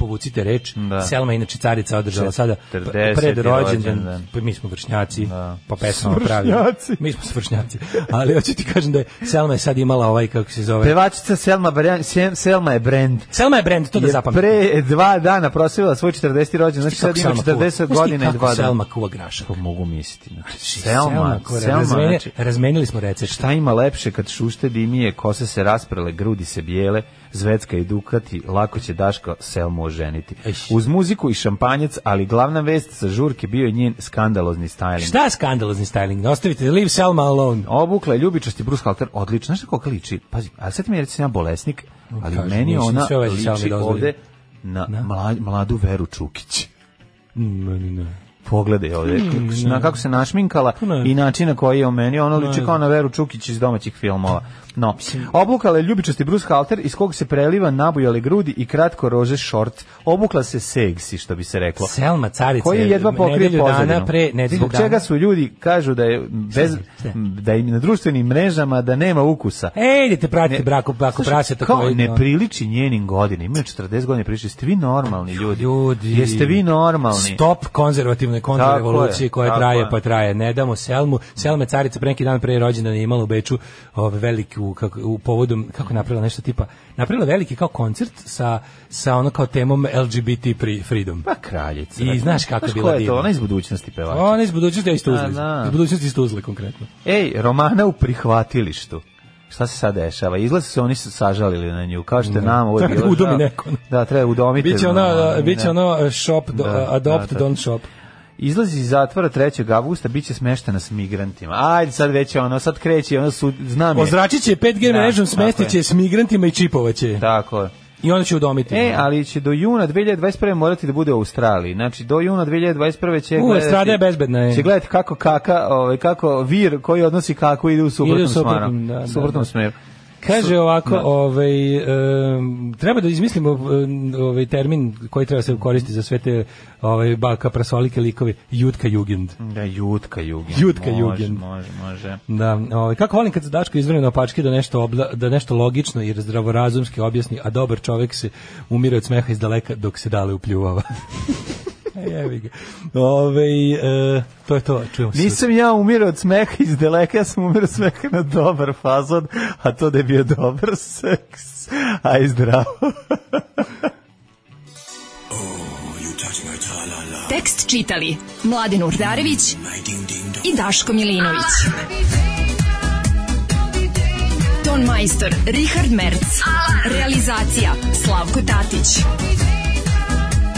[SPEAKER 5] Povucite reč.
[SPEAKER 4] Da.
[SPEAKER 5] Selma je inače carica održala sada
[SPEAKER 4] 40.
[SPEAKER 5] pred rođendan.
[SPEAKER 4] rođendan.
[SPEAKER 5] Pa mi smo vršnjaci, po pesmama
[SPEAKER 4] Svršnjaci.
[SPEAKER 5] pravi. Mi smo svršnjaci. Ali hoću ti kažem da je Selma je sad imala ovaj kako se zove.
[SPEAKER 4] Pevačica Selma, Barjan- Sem- Selma je brend.
[SPEAKER 5] Selma je brend, to da
[SPEAKER 4] Je
[SPEAKER 5] zapamtite.
[SPEAKER 4] Pre dva dana proslavila svoj 40. rođendan, znači sad
[SPEAKER 5] Kako
[SPEAKER 4] ima
[SPEAKER 5] Selma kuva?
[SPEAKER 4] 40
[SPEAKER 5] Znaš ti
[SPEAKER 4] godina i
[SPEAKER 5] kako
[SPEAKER 4] dva dana.
[SPEAKER 5] Selma kuva grašak.
[SPEAKER 4] To mogu misliti. Znači,
[SPEAKER 5] Selma,
[SPEAKER 4] Selma,
[SPEAKER 5] koja
[SPEAKER 4] Selma,
[SPEAKER 5] razmenja-
[SPEAKER 4] znači,
[SPEAKER 5] razmenili smo recept.
[SPEAKER 4] šta ima lepše kad šušte dimije, kose se rasprele, grudi se bijele, zvecka i dukati, lako će Daško Selmu oženiti. Uz muziku i šampanjac, ali glavna vest sa žurke bio je njen skandalozni styling.
[SPEAKER 5] Šta je skandalozni styling? Da Ostavite, leave Selma alone.
[SPEAKER 4] Obukla je ljubičasti Bruce Halter, odlično. Znaš na koga liči? Pazi, ali sad ti mi recimo ja bolesnik, ali
[SPEAKER 5] Kaži,
[SPEAKER 4] meni
[SPEAKER 5] ništa,
[SPEAKER 4] ona
[SPEAKER 5] sve ovaj Selma
[SPEAKER 4] liči
[SPEAKER 5] dozvoli.
[SPEAKER 4] ovde na mla- mladu Veru Čukić.
[SPEAKER 5] Mm, ne, ne.
[SPEAKER 4] pogledaj ovdje kako, na, kako se našminkala i način na koji je omenio, ono liči kao na Veru Čukić iz domaćih filmova. No, obukala je ljubičasti Bruce Halter iz kog se preliva nabujale grudi i kratko rože šort. Obukla se segsi, što bi se reklo.
[SPEAKER 5] Selma Carica
[SPEAKER 4] koji je jedva pokrije
[SPEAKER 5] dana
[SPEAKER 4] pozadinu.
[SPEAKER 5] pre nedelju
[SPEAKER 4] Zbog
[SPEAKER 5] dana.
[SPEAKER 4] čega su ljudi kažu da je bez,
[SPEAKER 5] Sve, sve.
[SPEAKER 4] da im na društvenim mrežama da nema ukusa.
[SPEAKER 5] Ej, idite pratite braku, braku
[SPEAKER 4] Slušaj,
[SPEAKER 5] prase tako.
[SPEAKER 4] Kao ne priliči njenim godinama. Imaju 40 godina priče. Jeste vi normalni ljudi?
[SPEAKER 5] Ljudi.
[SPEAKER 4] Jeste vi normalni?
[SPEAKER 5] Stop konzervativnoj
[SPEAKER 4] Tako
[SPEAKER 5] kontrarevoluciji
[SPEAKER 4] je,
[SPEAKER 5] koja
[SPEAKER 4] tako
[SPEAKER 5] traje
[SPEAKER 4] je.
[SPEAKER 5] pa traje. Ne damo Selmu. Selma je carica pre neki dan pre rođendana je imala u Beču ovaj veliku kako u povodom kako je napravila nešto tipa napravila veliki kao koncert sa sa ono kao temom LGBT pri- freedom.
[SPEAKER 4] Pa kraljica.
[SPEAKER 5] I znaš kako je
[SPEAKER 4] Znaš
[SPEAKER 5] bila
[SPEAKER 4] ko je to?
[SPEAKER 5] divna?
[SPEAKER 4] Ona iz budućnosti pevača.
[SPEAKER 5] Ona iz budućnosti a iz Tuzle.
[SPEAKER 4] A, da.
[SPEAKER 5] Iz budućnosti iz Tuzle konkretno.
[SPEAKER 4] Ej, Romana u prihvatilištu. Šta se sad dešava? Izgleda su se oni sažalili na nju. Kao što je nama ovo je
[SPEAKER 5] Treba
[SPEAKER 4] bilo.
[SPEAKER 5] da udomi
[SPEAKER 4] žao.
[SPEAKER 5] neko.
[SPEAKER 4] Da, treba udomiti.
[SPEAKER 5] Biće ono, da, biće ono shop, do,
[SPEAKER 4] Da,
[SPEAKER 5] adopt,
[SPEAKER 4] da, da.
[SPEAKER 5] don't shop.
[SPEAKER 4] Izlazi iz zatvora 3. avgusta, bit će smeštena s migrantima. Ajde, sad već je ono, sad kreće, ono su, znam je.
[SPEAKER 5] Ozračit će 5G
[SPEAKER 4] Da,
[SPEAKER 5] mrežom,
[SPEAKER 4] tako je.
[SPEAKER 5] smestit će s migrantima i čipovaće.
[SPEAKER 4] Tako je.
[SPEAKER 5] I onda će udomiti.
[SPEAKER 4] E, ali će do juna 2021. morati da bude u Australiji. Znači, do juna 2021. će
[SPEAKER 5] U, estrada je bezbedna, je.
[SPEAKER 4] Će gledati kako kaka, ovaj, kako vir koji odnosi kaku ide u suprotnom,
[SPEAKER 5] Ide u suprotnom,
[SPEAKER 4] smaru.
[SPEAKER 5] da, da,
[SPEAKER 4] suprotnom
[SPEAKER 5] da.
[SPEAKER 4] smeru.
[SPEAKER 5] Kaže
[SPEAKER 4] Su-
[SPEAKER 5] ovako,
[SPEAKER 4] da.
[SPEAKER 5] ovaj, em, treba da izmislimo em, ovaj termin koji treba se koristiti za sve te ovaj, baka prasolike likove, jutka jugend.
[SPEAKER 4] Da, jutka jugend.
[SPEAKER 5] Jutka
[SPEAKER 4] Može,
[SPEAKER 5] jugend.
[SPEAKER 4] Može, može.
[SPEAKER 5] Da, ovaj, kako volim kad se Dačko izvrne opačke da nešto, obla- da nešto logično i zdravorazumski objasni, a dobar čovek se umire od smeha iz daleka dok se dale upljuvava. Jevi ga. Ovaj, e, to je to, čujemo se.
[SPEAKER 4] Nisam ja umirao od smeha iz deleka, ja sam umirao od smeha na dobar fazon, a to da je bio dobar seks. Aj zdravo.
[SPEAKER 11] Tekst čitali Mladin Urdarević i Daško Milinović. Ton majstor Richard Merc. Realizacija Slavko Tatić.